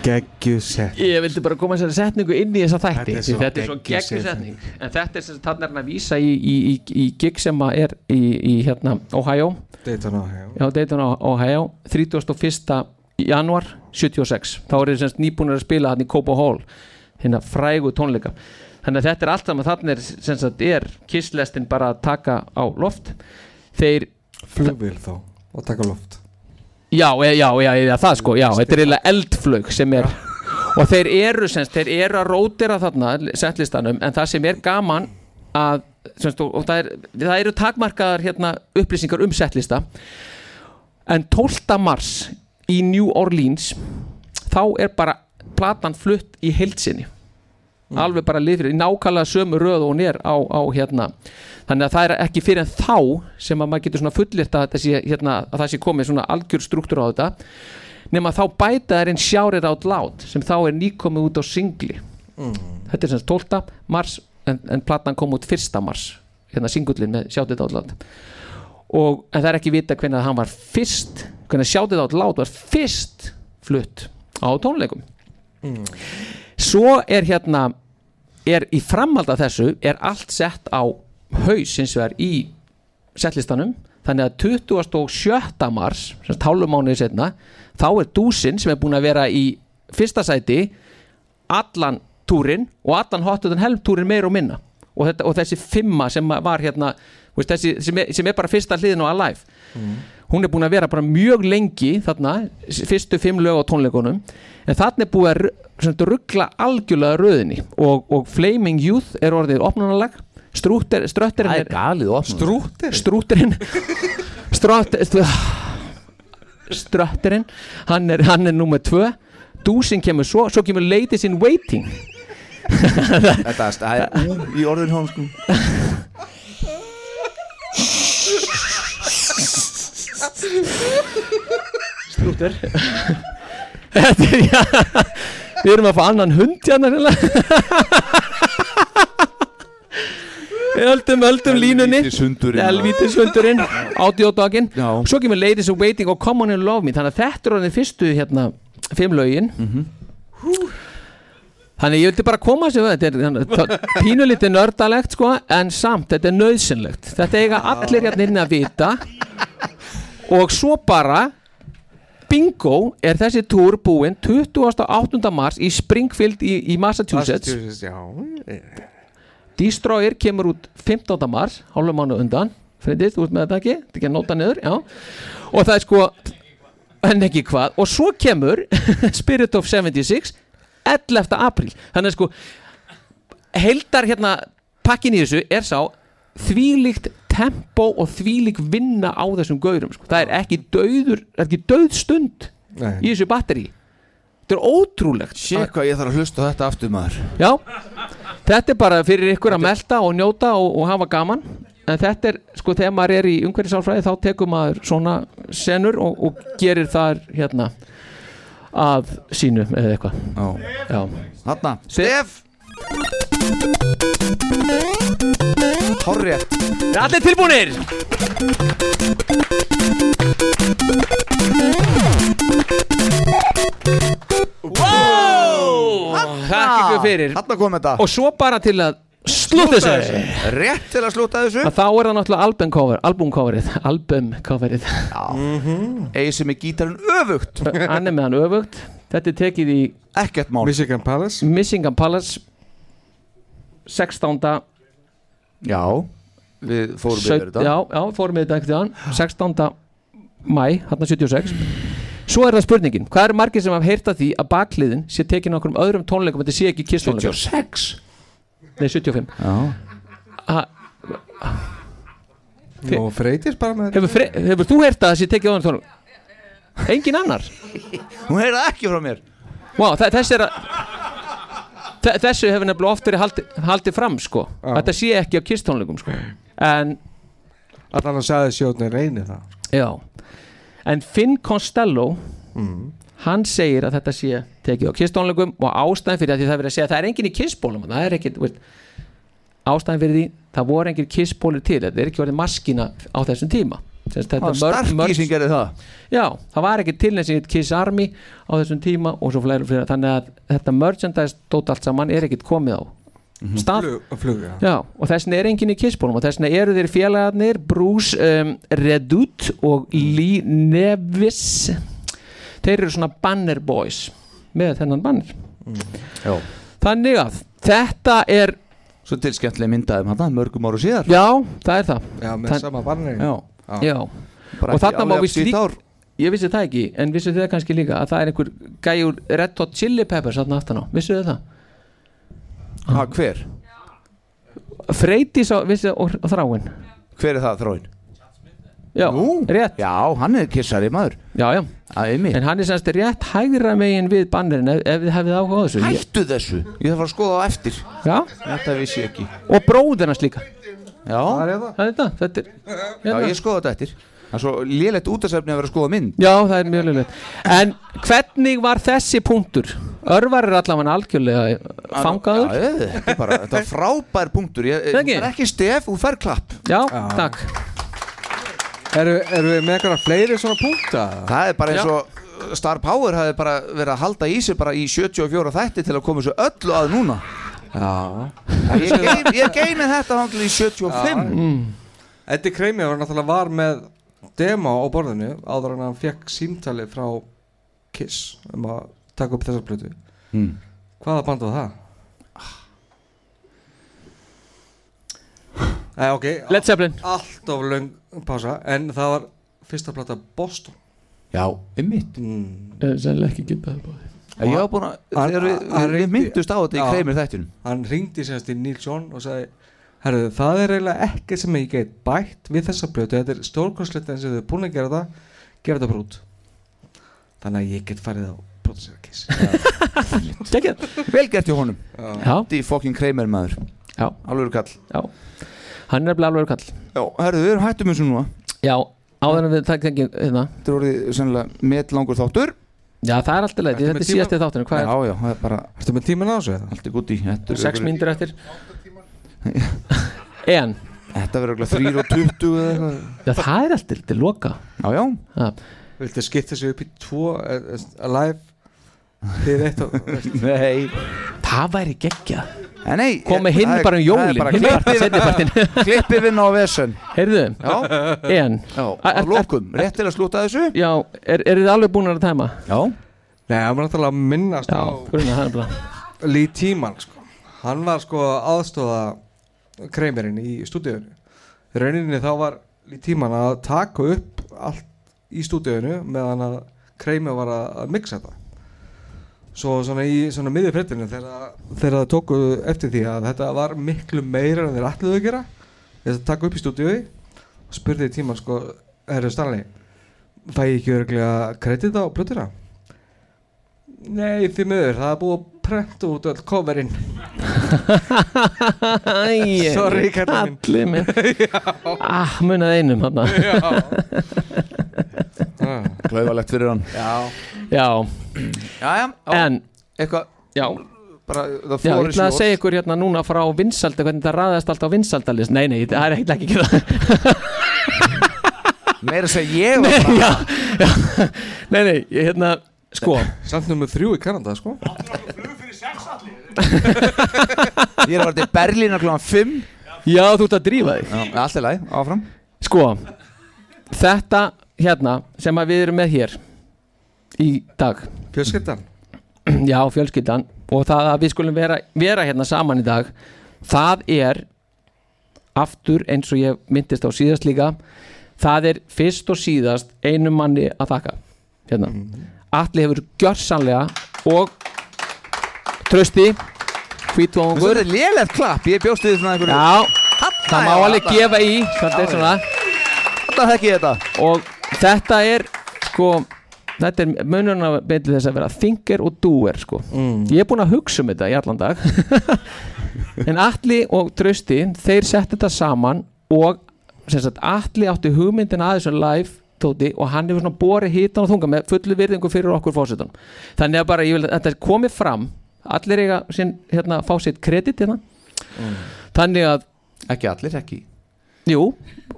Speaker 8: Geggju sett
Speaker 2: Ég vildi bara koma þessari setningu inn í þessa þætti
Speaker 8: Þetta er
Speaker 2: því
Speaker 8: svo
Speaker 2: Þetta er svo
Speaker 8: geggjuð
Speaker 2: geggjuð
Speaker 8: setning.
Speaker 2: setning En þetta er sem sagt þarna er hann að vísa í, í, í, í gig sem að er í, í hérna Ohio
Speaker 8: Dayton, Ohio.
Speaker 2: Já, Dayton, Ohio 31. januar 76 Þá eru þið semst nýbúnir að spila hann í Copa Hall hérna frægu tónleika Þannig að þetta er allt saman þarna er sem sagt er kisslestin bara að taka á loft Þeir
Speaker 8: Flugvél þá og taka loft
Speaker 2: Já, e, já, já, já, það sko, já, þetta er eiginlega eldflög sem er og þeir eru, semst, þeir eru að rótira þarna settlistanum en það sem er gaman að, semst, og, og það, er, það eru takmarkaðar hérna upplýsingar um settlista en 12. mars í New Orleans þá er bara platan flutt í heilsinni alveg bara lið fyrir, í nákvæmlega sömu röð og hún er á, á hérna þannig að það er ekki fyrir en þá sem að maður getur svona fullirt að, þessi, hérna, að það sé komið svona algjör struktúr á þetta nema þá bæta er einn sjárir át lát sem þá er nýkomið út á singli
Speaker 17: mm,
Speaker 2: þetta er sem sagt 12. mars en, en platan kom út 1. mars hérna singullin með sjátið át lát og en það er ekki vita hvernig að hann var fyrst hvernig að sjátið át lát var fyrst flutt á tónleikum
Speaker 17: Mm.
Speaker 2: svo er hérna er í framhald af þessu er allt sett á haus hins vegar í settlistanum þannig að 27. mars sem tálumánuði setna þá er dúsin sem er búin að vera í fyrsta sæti allan túrin og allan hotuðan helmtúrin meir og minna og, þetta, og þessi fimma sem var hérna þú veist, þessi, sem, er, sem er bara fyrsta hliðin á Alive hún er búin að vera bara mjög lengi þarna, s- fyrstu fimm lög á tónleikunum en þarna er búið að ru- sem sagt ruggla algjörlega röðinni og, og Flaming Youth er orðið opnunalag strúttir, ströttirinn er galið strúttirinn strúttirinn strúttirinn ströttirinn hann er, hann er nummer tvö dúsin kemur svo, svo kemur Ladies in Waiting
Speaker 1: Þetta það er ú í orðin hjá sko
Speaker 2: Strútur Þetta er, já Við erum að fá annan hund hérna hérna höldum, höldum línunni
Speaker 1: sundurinn.
Speaker 2: Helvítis hundurinn Ádjóðdaginn Svo kemur Ladies are Waiting og Come on and Love Me Þannig að þetta eru hann fyrstu hérna Fimm lögin Þannig ég vildi bara koma þessu við, þetta er pínulítið nördalegt sko, en samt, þetta er nöðsynlegt. Þetta eiga allir hérna inn að vita og svo bara, bingo, er þessi túr búinn 28. mars í Springfield í, í Massachusetts.
Speaker 8: já eh.
Speaker 2: Destroyer kemur út 15. mars, hálfum mánu undan Freyndið, þú ert með þetta ekki, þetta er ekki að nóta niður já. og það er sko en ekki hvað, og svo kemur Spirit of 76 11. apríl, þannig að sko heldar hérna pakkin í þessu er sá þvílíkt tempo og þvílík vinna á þessum gaurum, sko. það er ekki döður, það er ekki döð stund
Speaker 1: Nei.
Speaker 2: í þessu batteri þetta er ótrúlegt
Speaker 1: Sér hvað ég þarf að hlusta á þetta aftur maður
Speaker 2: Já, þetta er bara fyrir ykkur að melta og njóta og, og hafa gaman en þetta er, sko, þegar maður er í umhverfisálfræði þá tekur maður svona senur og, og gerir þar hérna að sínu eða eitthvað Já,
Speaker 1: Hanna, Stef Horri
Speaker 2: Allir tilbúinir Wow Takk ykkur fyrir
Speaker 1: Hanna kom þetta
Speaker 2: Og svo bara til að slúta þessu
Speaker 1: Rétt til að slúta þessu
Speaker 2: að þá er það náttúrulega album cover album coverið, album coverið Mhm.
Speaker 1: Egi sem er gítarinn öfugt
Speaker 2: hann er með hann öfugt þetta er tekið í
Speaker 1: ekkert mál
Speaker 2: Michigan Palace 16.
Speaker 1: Já, við fórum
Speaker 2: Saut-
Speaker 1: yfir þetta
Speaker 2: já, já, fórum við þetta ekkert 16. mæ, hann 76 svo er það spurningin, hvað eru margir sem hafa heyrt að því að bakliðin sé tekin á okkur öðrum tónleikum þetta sé ekki kisstónleikum
Speaker 1: 76?
Speaker 2: nei, 75 Ha-
Speaker 8: og freytir bara með
Speaker 2: hefur, fre, hefur þú heyrt að það sé tekið á öðrum tónleikum engin annar
Speaker 1: hún heyrði ekki frá mér
Speaker 2: wow, þe- þessi er að þe- þessu hefur nefnilega oft verið haldi, haldið fram sko, þetta sé ekki á kisstónleikum sko. en
Speaker 8: allan að sagði sjóðnir reyni það
Speaker 2: Já En Finn Costello Hann segir að þetta sé tekið á kisstónleikum og ástæðan fyrir því það er verið að segja það er engin í kissbólum það er ekkit, þú veist, ástæðan fyrir því það voru engin kissbólir til þetta er ekki verið maskina á þessum tíma Sérst,
Speaker 1: Það var Starkey sem gerði það
Speaker 2: Já, það var ekki til neins í Kiss Army á þessum tíma og svo fleiri og fleiri þannig að þetta merchandise dót allt saman er ekkit komið á
Speaker 1: Mhm.
Speaker 2: stað
Speaker 8: flug, flug já.
Speaker 2: Já, og þess vegna er enginn í kissbólum og þess vegna eru þeir félagarnir Bruce um, Redut og
Speaker 8: Mhm.
Speaker 2: Lee Nevis þeir eru svona banner boys með þennan banner
Speaker 1: Mm. Já
Speaker 2: þannig að þetta er
Speaker 1: Svo til skemmtileg myndaðum hann mörgum áru síðar
Speaker 2: Já, það er það
Speaker 8: Já, með
Speaker 2: Þann-
Speaker 8: sama barnir
Speaker 1: Já.
Speaker 2: Já,
Speaker 1: Bara
Speaker 2: og
Speaker 1: ekki
Speaker 2: þarna má
Speaker 1: alveg
Speaker 2: við
Speaker 1: sítt
Speaker 2: slík
Speaker 1: ár.
Speaker 2: Ég vissi það ekki, en vissu þið kannski líka að það er einhver gæjur Red Hot Chili Peppers þarna aftan á, vissu þið það?
Speaker 1: Ha, hver?
Speaker 2: Freytis á, vissu, og, og þráin
Speaker 1: Hver er það þróin?
Speaker 2: Já, Ú, rétt
Speaker 1: Já, hann er kissari maður
Speaker 2: Já, já En hann er semst rétt hægra megin við bannerin ef, ef þið hefðið áhuga á þessu Ég-
Speaker 1: Hættu þessu Ég þarf að skoða á eftir
Speaker 2: Já
Speaker 1: Þetta vissi ég ekki
Speaker 2: Og bróðir hans líka
Speaker 1: Já Það
Speaker 8: er það
Speaker 2: Það er þetta, þetta er
Speaker 1: Já, ég skoða þetta eftir Það er svo lélegt útasefni að vera að skoða mynd
Speaker 2: Já, það er mjög lögulegt En hvernig var þessi punktur? Örvar er allavega algjörlega fangaður
Speaker 1: Já, ég, þetta er bara, þetta er frábær punktur Ég,
Speaker 2: Það ekki?
Speaker 1: Það er ekki stef, þú fær klapp
Speaker 2: Já, takk
Speaker 8: eru er við með eitthvað fleiri svona punkta
Speaker 1: Það er bara eins og uh, Star Power hafi bara verið að halda í sig bara í 74 þætti til að koma þessu öllu að núna
Speaker 8: já
Speaker 1: Ég, geym, ég geymi þetta hangli í 75
Speaker 8: Mm. Eddi Kreimi var náttúrulega var með demo á borðinu áður en hann fekk símtali frá Kiss um að taka upp þessa plötu
Speaker 1: Mm.
Speaker 8: hvaða band var það?
Speaker 1: Ah.
Speaker 8: Æ, Eh, ok
Speaker 2: Led Zeppelin
Speaker 8: Allt of löng pása en það var fyrsta plata Boston
Speaker 1: Já, einmitt
Speaker 8: mm.
Speaker 2: Sennilega ekki getað það bóði
Speaker 1: Ég var búin að, þegar við, við, við myndust á þetta í kreimir þættinum
Speaker 8: Hann ringdi sérst í Neil John og sagði Herðu, það er eiginlega ekki sem ég get bætt við þessa plötu, þetta er stórkostlegt eins og þau er búin að gera það, gera þetta bara út Þannig að ég get farið á Brotiserakiss
Speaker 2: Gekkið
Speaker 1: Vel gert hjá honum
Speaker 2: Já.
Speaker 1: Því fokkin kreimir maður
Speaker 2: Já
Speaker 1: Alvöru kall
Speaker 2: Já Hann er nefnilega alveg kall
Speaker 1: Já, herru, við erum hættum eins og núna
Speaker 2: Já, áður en við takk þengi hérna
Speaker 1: Þetta er orðið sennilega metlangur þáttur
Speaker 2: Já, það er alltaf leið,
Speaker 1: Ertu með
Speaker 2: þetta er
Speaker 1: tíma?
Speaker 2: síðast í þáttunum Hvað
Speaker 1: Já,
Speaker 2: er
Speaker 1: já, það er bara
Speaker 8: Ertu með tíman á þessu?
Speaker 1: Allt er gúti
Speaker 2: sex mínútur eftir En
Speaker 1: Þetta verður örugglega 3 og 20 eða eitthvað
Speaker 2: Já, það er alltaf til loka
Speaker 1: Já, já
Speaker 8: Viltu skipta þessu upp í tvo eh, eh, Alive Þið eitt og
Speaker 1: Nei
Speaker 2: Það væri geggja
Speaker 1: Nei
Speaker 2: Komið hinn
Speaker 1: það er-
Speaker 2: bara
Speaker 1: það
Speaker 2: um
Speaker 1: er
Speaker 2: jólin
Speaker 1: bara
Speaker 2: Hinn
Speaker 1: klippið-
Speaker 2: partin, setni partin
Speaker 1: Klippið vinna á vesen
Speaker 2: Heyrðu
Speaker 1: Já.
Speaker 2: En
Speaker 1: Já, að lokum, rétt til að slúta þessu
Speaker 2: Já, er, er þið alveg búin að tæma?
Speaker 1: Já
Speaker 8: Nei, það var náttúrulega að minnast á
Speaker 2: grunna, það er bara
Speaker 8: Lee Tíman sko. Hann var sko aðstóða kreimirinn í stúdíunni Rauninni þá var Lee Tíman að taka upp allt í stúdíunni meðan að kreimir var að, að mixa þetta Svo svona í svona miðið fréttinu þegar, þegar það tóku eftir því að þetta var miklu meira en þeir ætluðu að gera þess að taka upp í stúdíu og spurði Tíman sko, herru Stanley fæ ég ekki örglega kredita á plötuna? Nei, því miður, það er búið að prenta út öll coverinn
Speaker 2: Æ,
Speaker 8: Sorry, kallinn
Speaker 2: Allir minn Ah, munið einum hann
Speaker 8: Já. Ah.
Speaker 1: Klaufalegt fyrir hann
Speaker 8: Já
Speaker 2: Já
Speaker 1: Já, já,
Speaker 2: En
Speaker 1: Eitthvað
Speaker 2: Já
Speaker 1: Bara, það
Speaker 2: Já, ég
Speaker 1: floor is
Speaker 2: ætla að
Speaker 1: yours.
Speaker 2: segja ykkur hérna núna frá vinsalda hvernig það raðast alltaf á vinsaldalis Nei, nei, það er eitthvað ekki ekki það
Speaker 1: Meira að segja ég
Speaker 2: var bara já, já. Nei, nei, ég hérna, sko
Speaker 8: Samt nummer þrjú í Kanada, sko
Speaker 1: Ég er að vera til Berlín að klúan 5
Speaker 2: Já, þú ert að drífa þig
Speaker 1: Já, allt er læg, áfram
Speaker 2: Sko, þetta hérna sem að við erum með hér í dag
Speaker 8: Fjölskyldan
Speaker 2: Já, fjölskyldan og það að við skulum vera, vera hérna saman í dag það er aftur eins og ég myndist á síðast líka það er fyrst og síðast einum manni að þakka hérna.
Speaker 1: Mhm.
Speaker 2: Atli hefur gjörsanlega og trösti
Speaker 1: Þetta
Speaker 2: hvítvóngur
Speaker 1: er lélegt klapp, ég bjóst við svona einhverju
Speaker 2: Já, það má
Speaker 1: já,
Speaker 2: alveg
Speaker 1: þarna.
Speaker 2: gefa í þetta
Speaker 1: Já,
Speaker 2: er svona
Speaker 1: Þetta þekki ég þetta
Speaker 2: og þetta er sko Þetta er munurinn að beinti þess að vera thinker og doer sko.
Speaker 1: Mm.
Speaker 2: Ég er búinn að hugsa um þetta í allan dag En Atli og Trausti þeir setti þetta saman og sem sagt, Atli átti hugmyndin að þessu live tóti og hann hefur svona borið hitan og þunga með fullu virðingu fyrir okkur fósitan Þannig að bara ég vil að þetta komi fram Allir eiga sín, hérna, fá sitt kredit hérna. Þannig að
Speaker 1: Ekki allir, ekki
Speaker 2: Jú,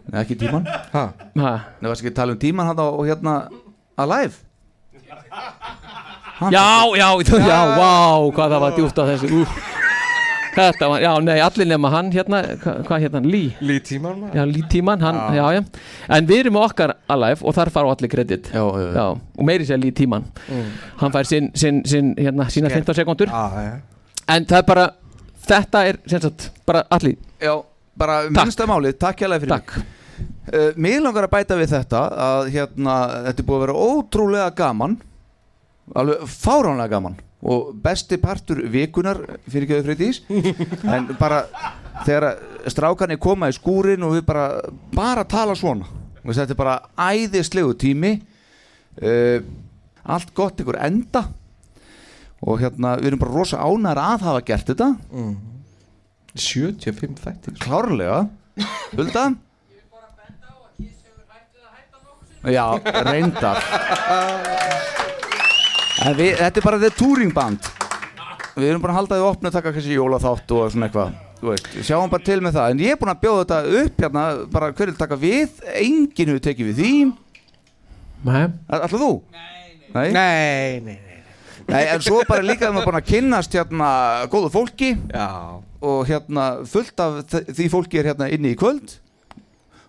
Speaker 1: Nei, ekki tíman
Speaker 8: Ha?
Speaker 2: Ha?
Speaker 1: Nei, varst ekki að tala um tíman hann og hérna Alive
Speaker 2: Já, já, já, já, vá, hvað það var djúpt á þessu Úf. Þetta var, já, nei, allir nema hann hérna, hva, hvað hérna, Lý
Speaker 8: Lý Tíman maður.
Speaker 2: Já, Lý Tíman, hann, já. já, En við erum með okkar alive og þar fara á allir kredit Já, já, já Og meiri sér Lý Tíman
Speaker 8: Mm.
Speaker 2: Hann fær sin, sin, sin, hérna, sína
Speaker 8: Sker.
Speaker 2: 15 sekundur
Speaker 8: Já, já
Speaker 2: En það er bara, þetta er, sem sagt, bara allir
Speaker 1: Já, bara um minnsta málið, takk hérlega fyrir
Speaker 2: takk.
Speaker 1: mig uh, Mér langar að bæta við þetta að hérna, þetta er búið að vera ótrúlega gaman alveg fáránlega gaman og besti partur vikunar fyrir ekki auðvitað en bara þegar að strákarnir koma í skúrin og við bara bara tala svona Þú veist, þetta er bara æðislegu tími uh, allt gott ykkur enda og hérna við erum bara rosa ánæðar að hafa gert þetta
Speaker 8: mm. 75 þættir
Speaker 1: klárlega Hulda Já, reyndar En við, Þetta er bara the touring band Við erum búin að halda því opnu að taka kannski jólaþátt og svona eitthvað Þú veist, við sjáum bara til með það En ég er búin að bjóða þetta upp hérna bara hverju taka við, enginn hefur tekið við því
Speaker 2: Nei
Speaker 1: Alltaf þú? Nei,
Speaker 8: nei Nei, nei,
Speaker 1: Nei, en svo bara líka að maður búin að kynnast hérna góðu fólki
Speaker 8: Já.
Speaker 1: og hérna fullt af þ- því fólki er hérna inni í kvöld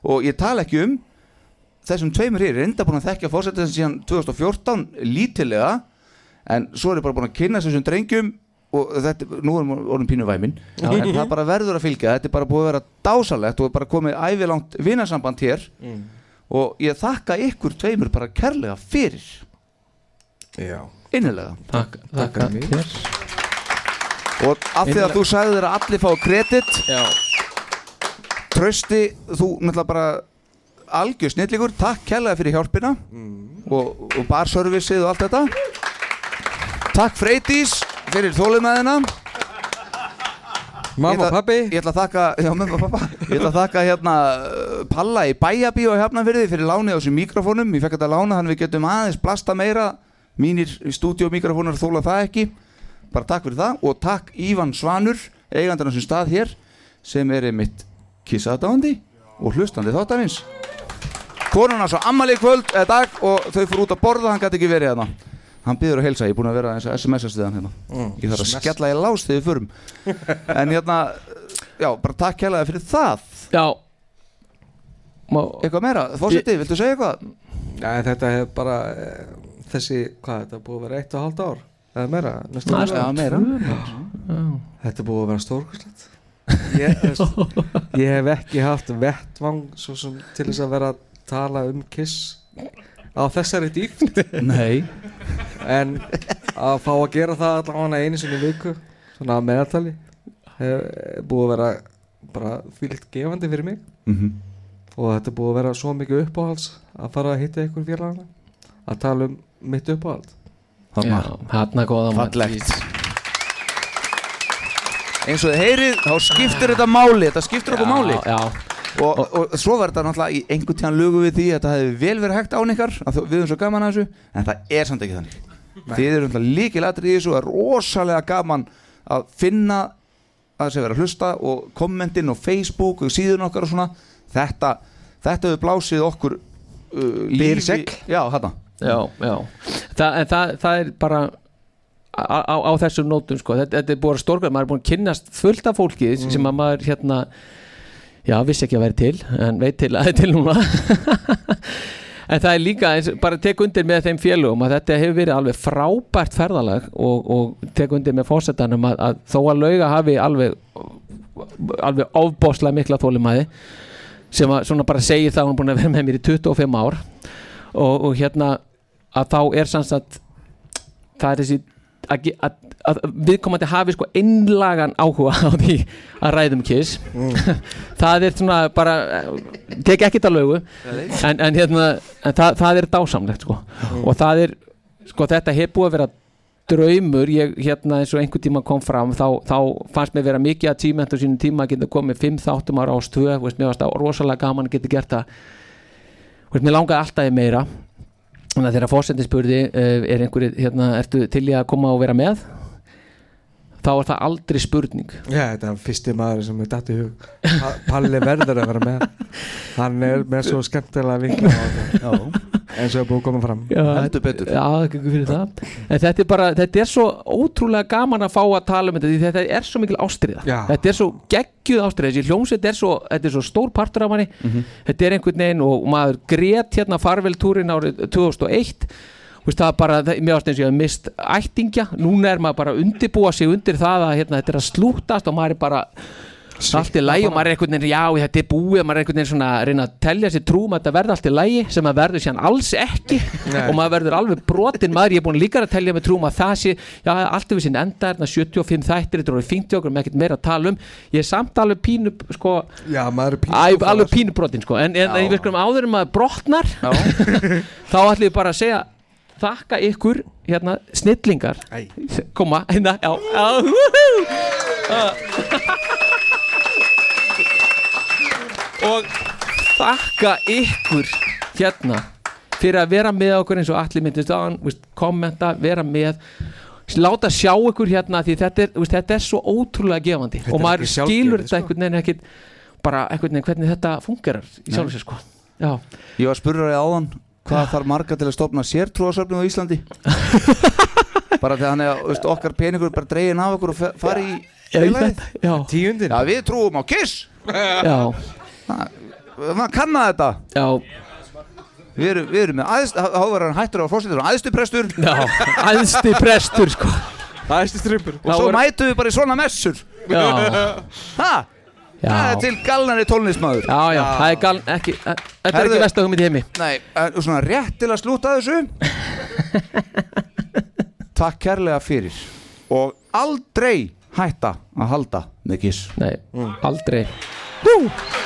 Speaker 1: og ég tala ekki um þessum tveimur hér er enda búin að þekkja fórsetin síðan 2014 lítilega en svo er ég bara búin að kynnast þessum drengjum og þetta, nú erum við orðin pínu væmin
Speaker 2: Já.
Speaker 1: en það bara verður að fylgja, þetta er bara búið að vera dásalegt og er bara komið ævilangt vinasamband hér
Speaker 8: Mm.
Speaker 1: og ég þakka ykkur tveimur bara kærlega fyrir
Speaker 8: Já
Speaker 1: innilega
Speaker 2: Takk,
Speaker 8: takk að mér.
Speaker 1: og af því að þú sagði þér að allir fá kredit
Speaker 8: já.
Speaker 1: trösti þú náttúrulega bara algjör snillíkur, takk kærlega fyrir hjálpina
Speaker 8: Mm.
Speaker 1: og, og barservicið og allt þetta takk Freydís fyrir þólimaðina
Speaker 8: Mamma og pabbi
Speaker 1: Ég ætla að þakka, já mamma og pappa Ég ætla að þakka hérna uh, Palla í bæjabíu á Hafnarfyrði fyrir lánið á þessum mikrofónum Ég fekk þetta lána þannig við getum aðeins blasta meira Mínir stúdíómikrofónar þóla það ekki Bara takk fyrir það og takk Ívan Svanur eigandarnar sem stað hér sem er einmitt kissa aðdáandi og hlustandi þáttarins konuna svo ammali kvöld eða dag og þau fór út að borða hann gæti ekki verið hérna hann byður að heilsa, ég er búin að vera eins og SMS-ast við hann hérna
Speaker 13: Mm,
Speaker 1: ég þarf að
Speaker 13: SMS.
Speaker 1: skella í lás þegar við förum en hérna, já, bara takk kærlega fyrir það
Speaker 2: já Má...
Speaker 1: eitthvað meira, fórseti, viltu segja eitthvað?
Speaker 8: Nei, þetta hefur bara eh, þessi, hvað þetta er búið að vera eitt og halvt ár eða meira, næstu
Speaker 1: Næstum
Speaker 8: ári.
Speaker 1: því meira.
Speaker 8: Þetta er búið að vera stórkvæslegt ég, þú veist, ég hef ekki haft vettvang svo sem til þess að vera að tala um kiss á þessari dýft
Speaker 1: Nei
Speaker 8: En að fá að gera það allavega einu sinni í viku svona að meðaltali hefur búið að vera bara fylgt gefandi fyrir mig
Speaker 1: Mhm.
Speaker 8: og þetta er búið að vera svo mikið uppáhalds að fara að hitta ykkur félagana að tala um mitt uppáhald
Speaker 1: Þarna.
Speaker 8: Já,
Speaker 2: Þarna góða
Speaker 8: maður.
Speaker 1: eins og þið heyrið, þá skiptir þetta máli þetta skiptir okkur
Speaker 2: Já,
Speaker 1: máli
Speaker 2: já.
Speaker 1: Og, og, svo var þetta náttúrulega í einhvern tíðan lögu við því að þetta hefði vel verið hægt án ykkar að þó- við erum svo gaman að þessu, en það er samt ekki þannig þið eru náttúrulega líkilatri í þessu og það er rosalega gaman að finna að þessi vera að hlusta og kommentinn og Facebook og síðun okkar og svona þetta, þetta hefur blásið okkur uh, lífi
Speaker 2: Byrsegl.
Speaker 1: já, þarna
Speaker 2: já, já. Þa, en það, það er bara á, á, á þessum nótum sko. þetta, þetta er búið að stórka, maður er búin að kynnast fullt af fólki sem að maður hérna já, vissi ekki að vera til en veit til að það er til núna en það er líka, eins, bara tek undir með þeim félögum að þetta hefur verið alveg frábært ferðalag og, og tek undir með fórsetanum að, að þó að lauga hafi alveg alveg ofboslega mikla þólimæði sem að svona bara segir það að hún er búin að vera með mér í 25 ár og, og hérna að þá er sanns að það er þessi að, ge- að, að viðkomandi hafi sko einlagan áhuga á því að ræðum kiss það er svona bara eh, tek ekkert að lögu en, en, hérna, en það, það er dásamlegt sko.
Speaker 10: Mm.
Speaker 2: og það er sko þetta hefur búið að vera draumur ég hérna eins og einhver tíma kom fram þá, þá fannst mér vera mikið að tíma á sínum tíma að geta komið fimm þáttum ára ástöð veist, mér varst það rosalega gaman að geta gert það Þú veist, mér langaði alltaf í meira þannig að þegar fórsetin spurði uh, er einhverju, hérna, ertu til í að koma og vera með þá er það aldrei spurning
Speaker 8: Já, þetta er fyrsti maður sem er datt í hug pa Palli verður að vera með hann er með svo skemmtilega vinkla á þetta. eins og er búið að koma fram
Speaker 2: já, ekki fyrir það en þetta er bara, þetta er svo ótrúlega gaman að fá að tala um þetta því þetta er svo mikil ástriða
Speaker 8: Já.
Speaker 2: þetta er svo geggjuð ástriða, þessi hljómsveit er svo þetta er svo stór partur af manni þetta er einhvern veginn og maður grét hérna farveltúrin árið 2001 Þú Veist, það er bara, það- mér ást eins og ég hef mist ættingja, núna er maður bara að undirbúa sig undir það að hérna, þetta er að slútast og maður er bara allt í lægi og maður er einhvern veginn, já þetta er búið maður er einhvern veginn svona að reyna að telja sér trúum að þetta verði allt í lægi sem að verður síðan alls ekki
Speaker 10: Nei.
Speaker 2: og maður verður alveg brotinn maður ég er búin líka að telja með trúum að það sé já, allt yfir sinn enda er 75 þættir þetta er orðið 50 okkur með ekkert meira að tala um ég er samt alveg pínu sko,
Speaker 8: já, maður er pínu
Speaker 2: Æ, alveg pínu brotinn sko en, en ég veist hvernig áður en maður brotnar þá ætlum við bara að segja þakka ykkur hérna snillingar Æ. koma hérna já, já, woohoo! Ah. og þakka ykkur hérna fyrir að vera með okkur eins og allir myndist á hann kommenta, vera með láta sjá ykkur hérna því þetta er, veist, þetta er svo ótrúlega gefandi og maður skilur þetta einhvern veginn ekkit bara einhvern veginn hvernig þetta fungerar í sjálf sér sko já,
Speaker 1: ég var spurður á áðan hvað þarf marga til að stopna sértrúasöfnum á Íslandi bara þegar hann er veist, okkar peningur bara dregin af okkur og fe- fari í
Speaker 2: Já, í
Speaker 1: félagið.
Speaker 8: tíundin
Speaker 1: já, við trúum á Kiss
Speaker 2: já
Speaker 1: maður kann að þetta
Speaker 2: já
Speaker 1: Við erum, við erum með aðst, þá var hann hættur á fórsetur, aðstu prestur
Speaker 2: Já, æðsti prestur sko
Speaker 8: Æðsti strömpur
Speaker 1: Og svo mætum við bara í svona messur
Speaker 2: Já.
Speaker 1: Ha? Það er til galnari tólnismæður
Speaker 2: Já, já, það er galn, ekki, að- þetta er
Speaker 1: Herðu.
Speaker 2: ekki versta hugmynd í heimi
Speaker 1: Nei, en svona rétt til að slúta þessu Takk kærlega fyrir Og aldrei hætta að halda með kiss
Speaker 2: Nei, aldrei
Speaker 1: Hú!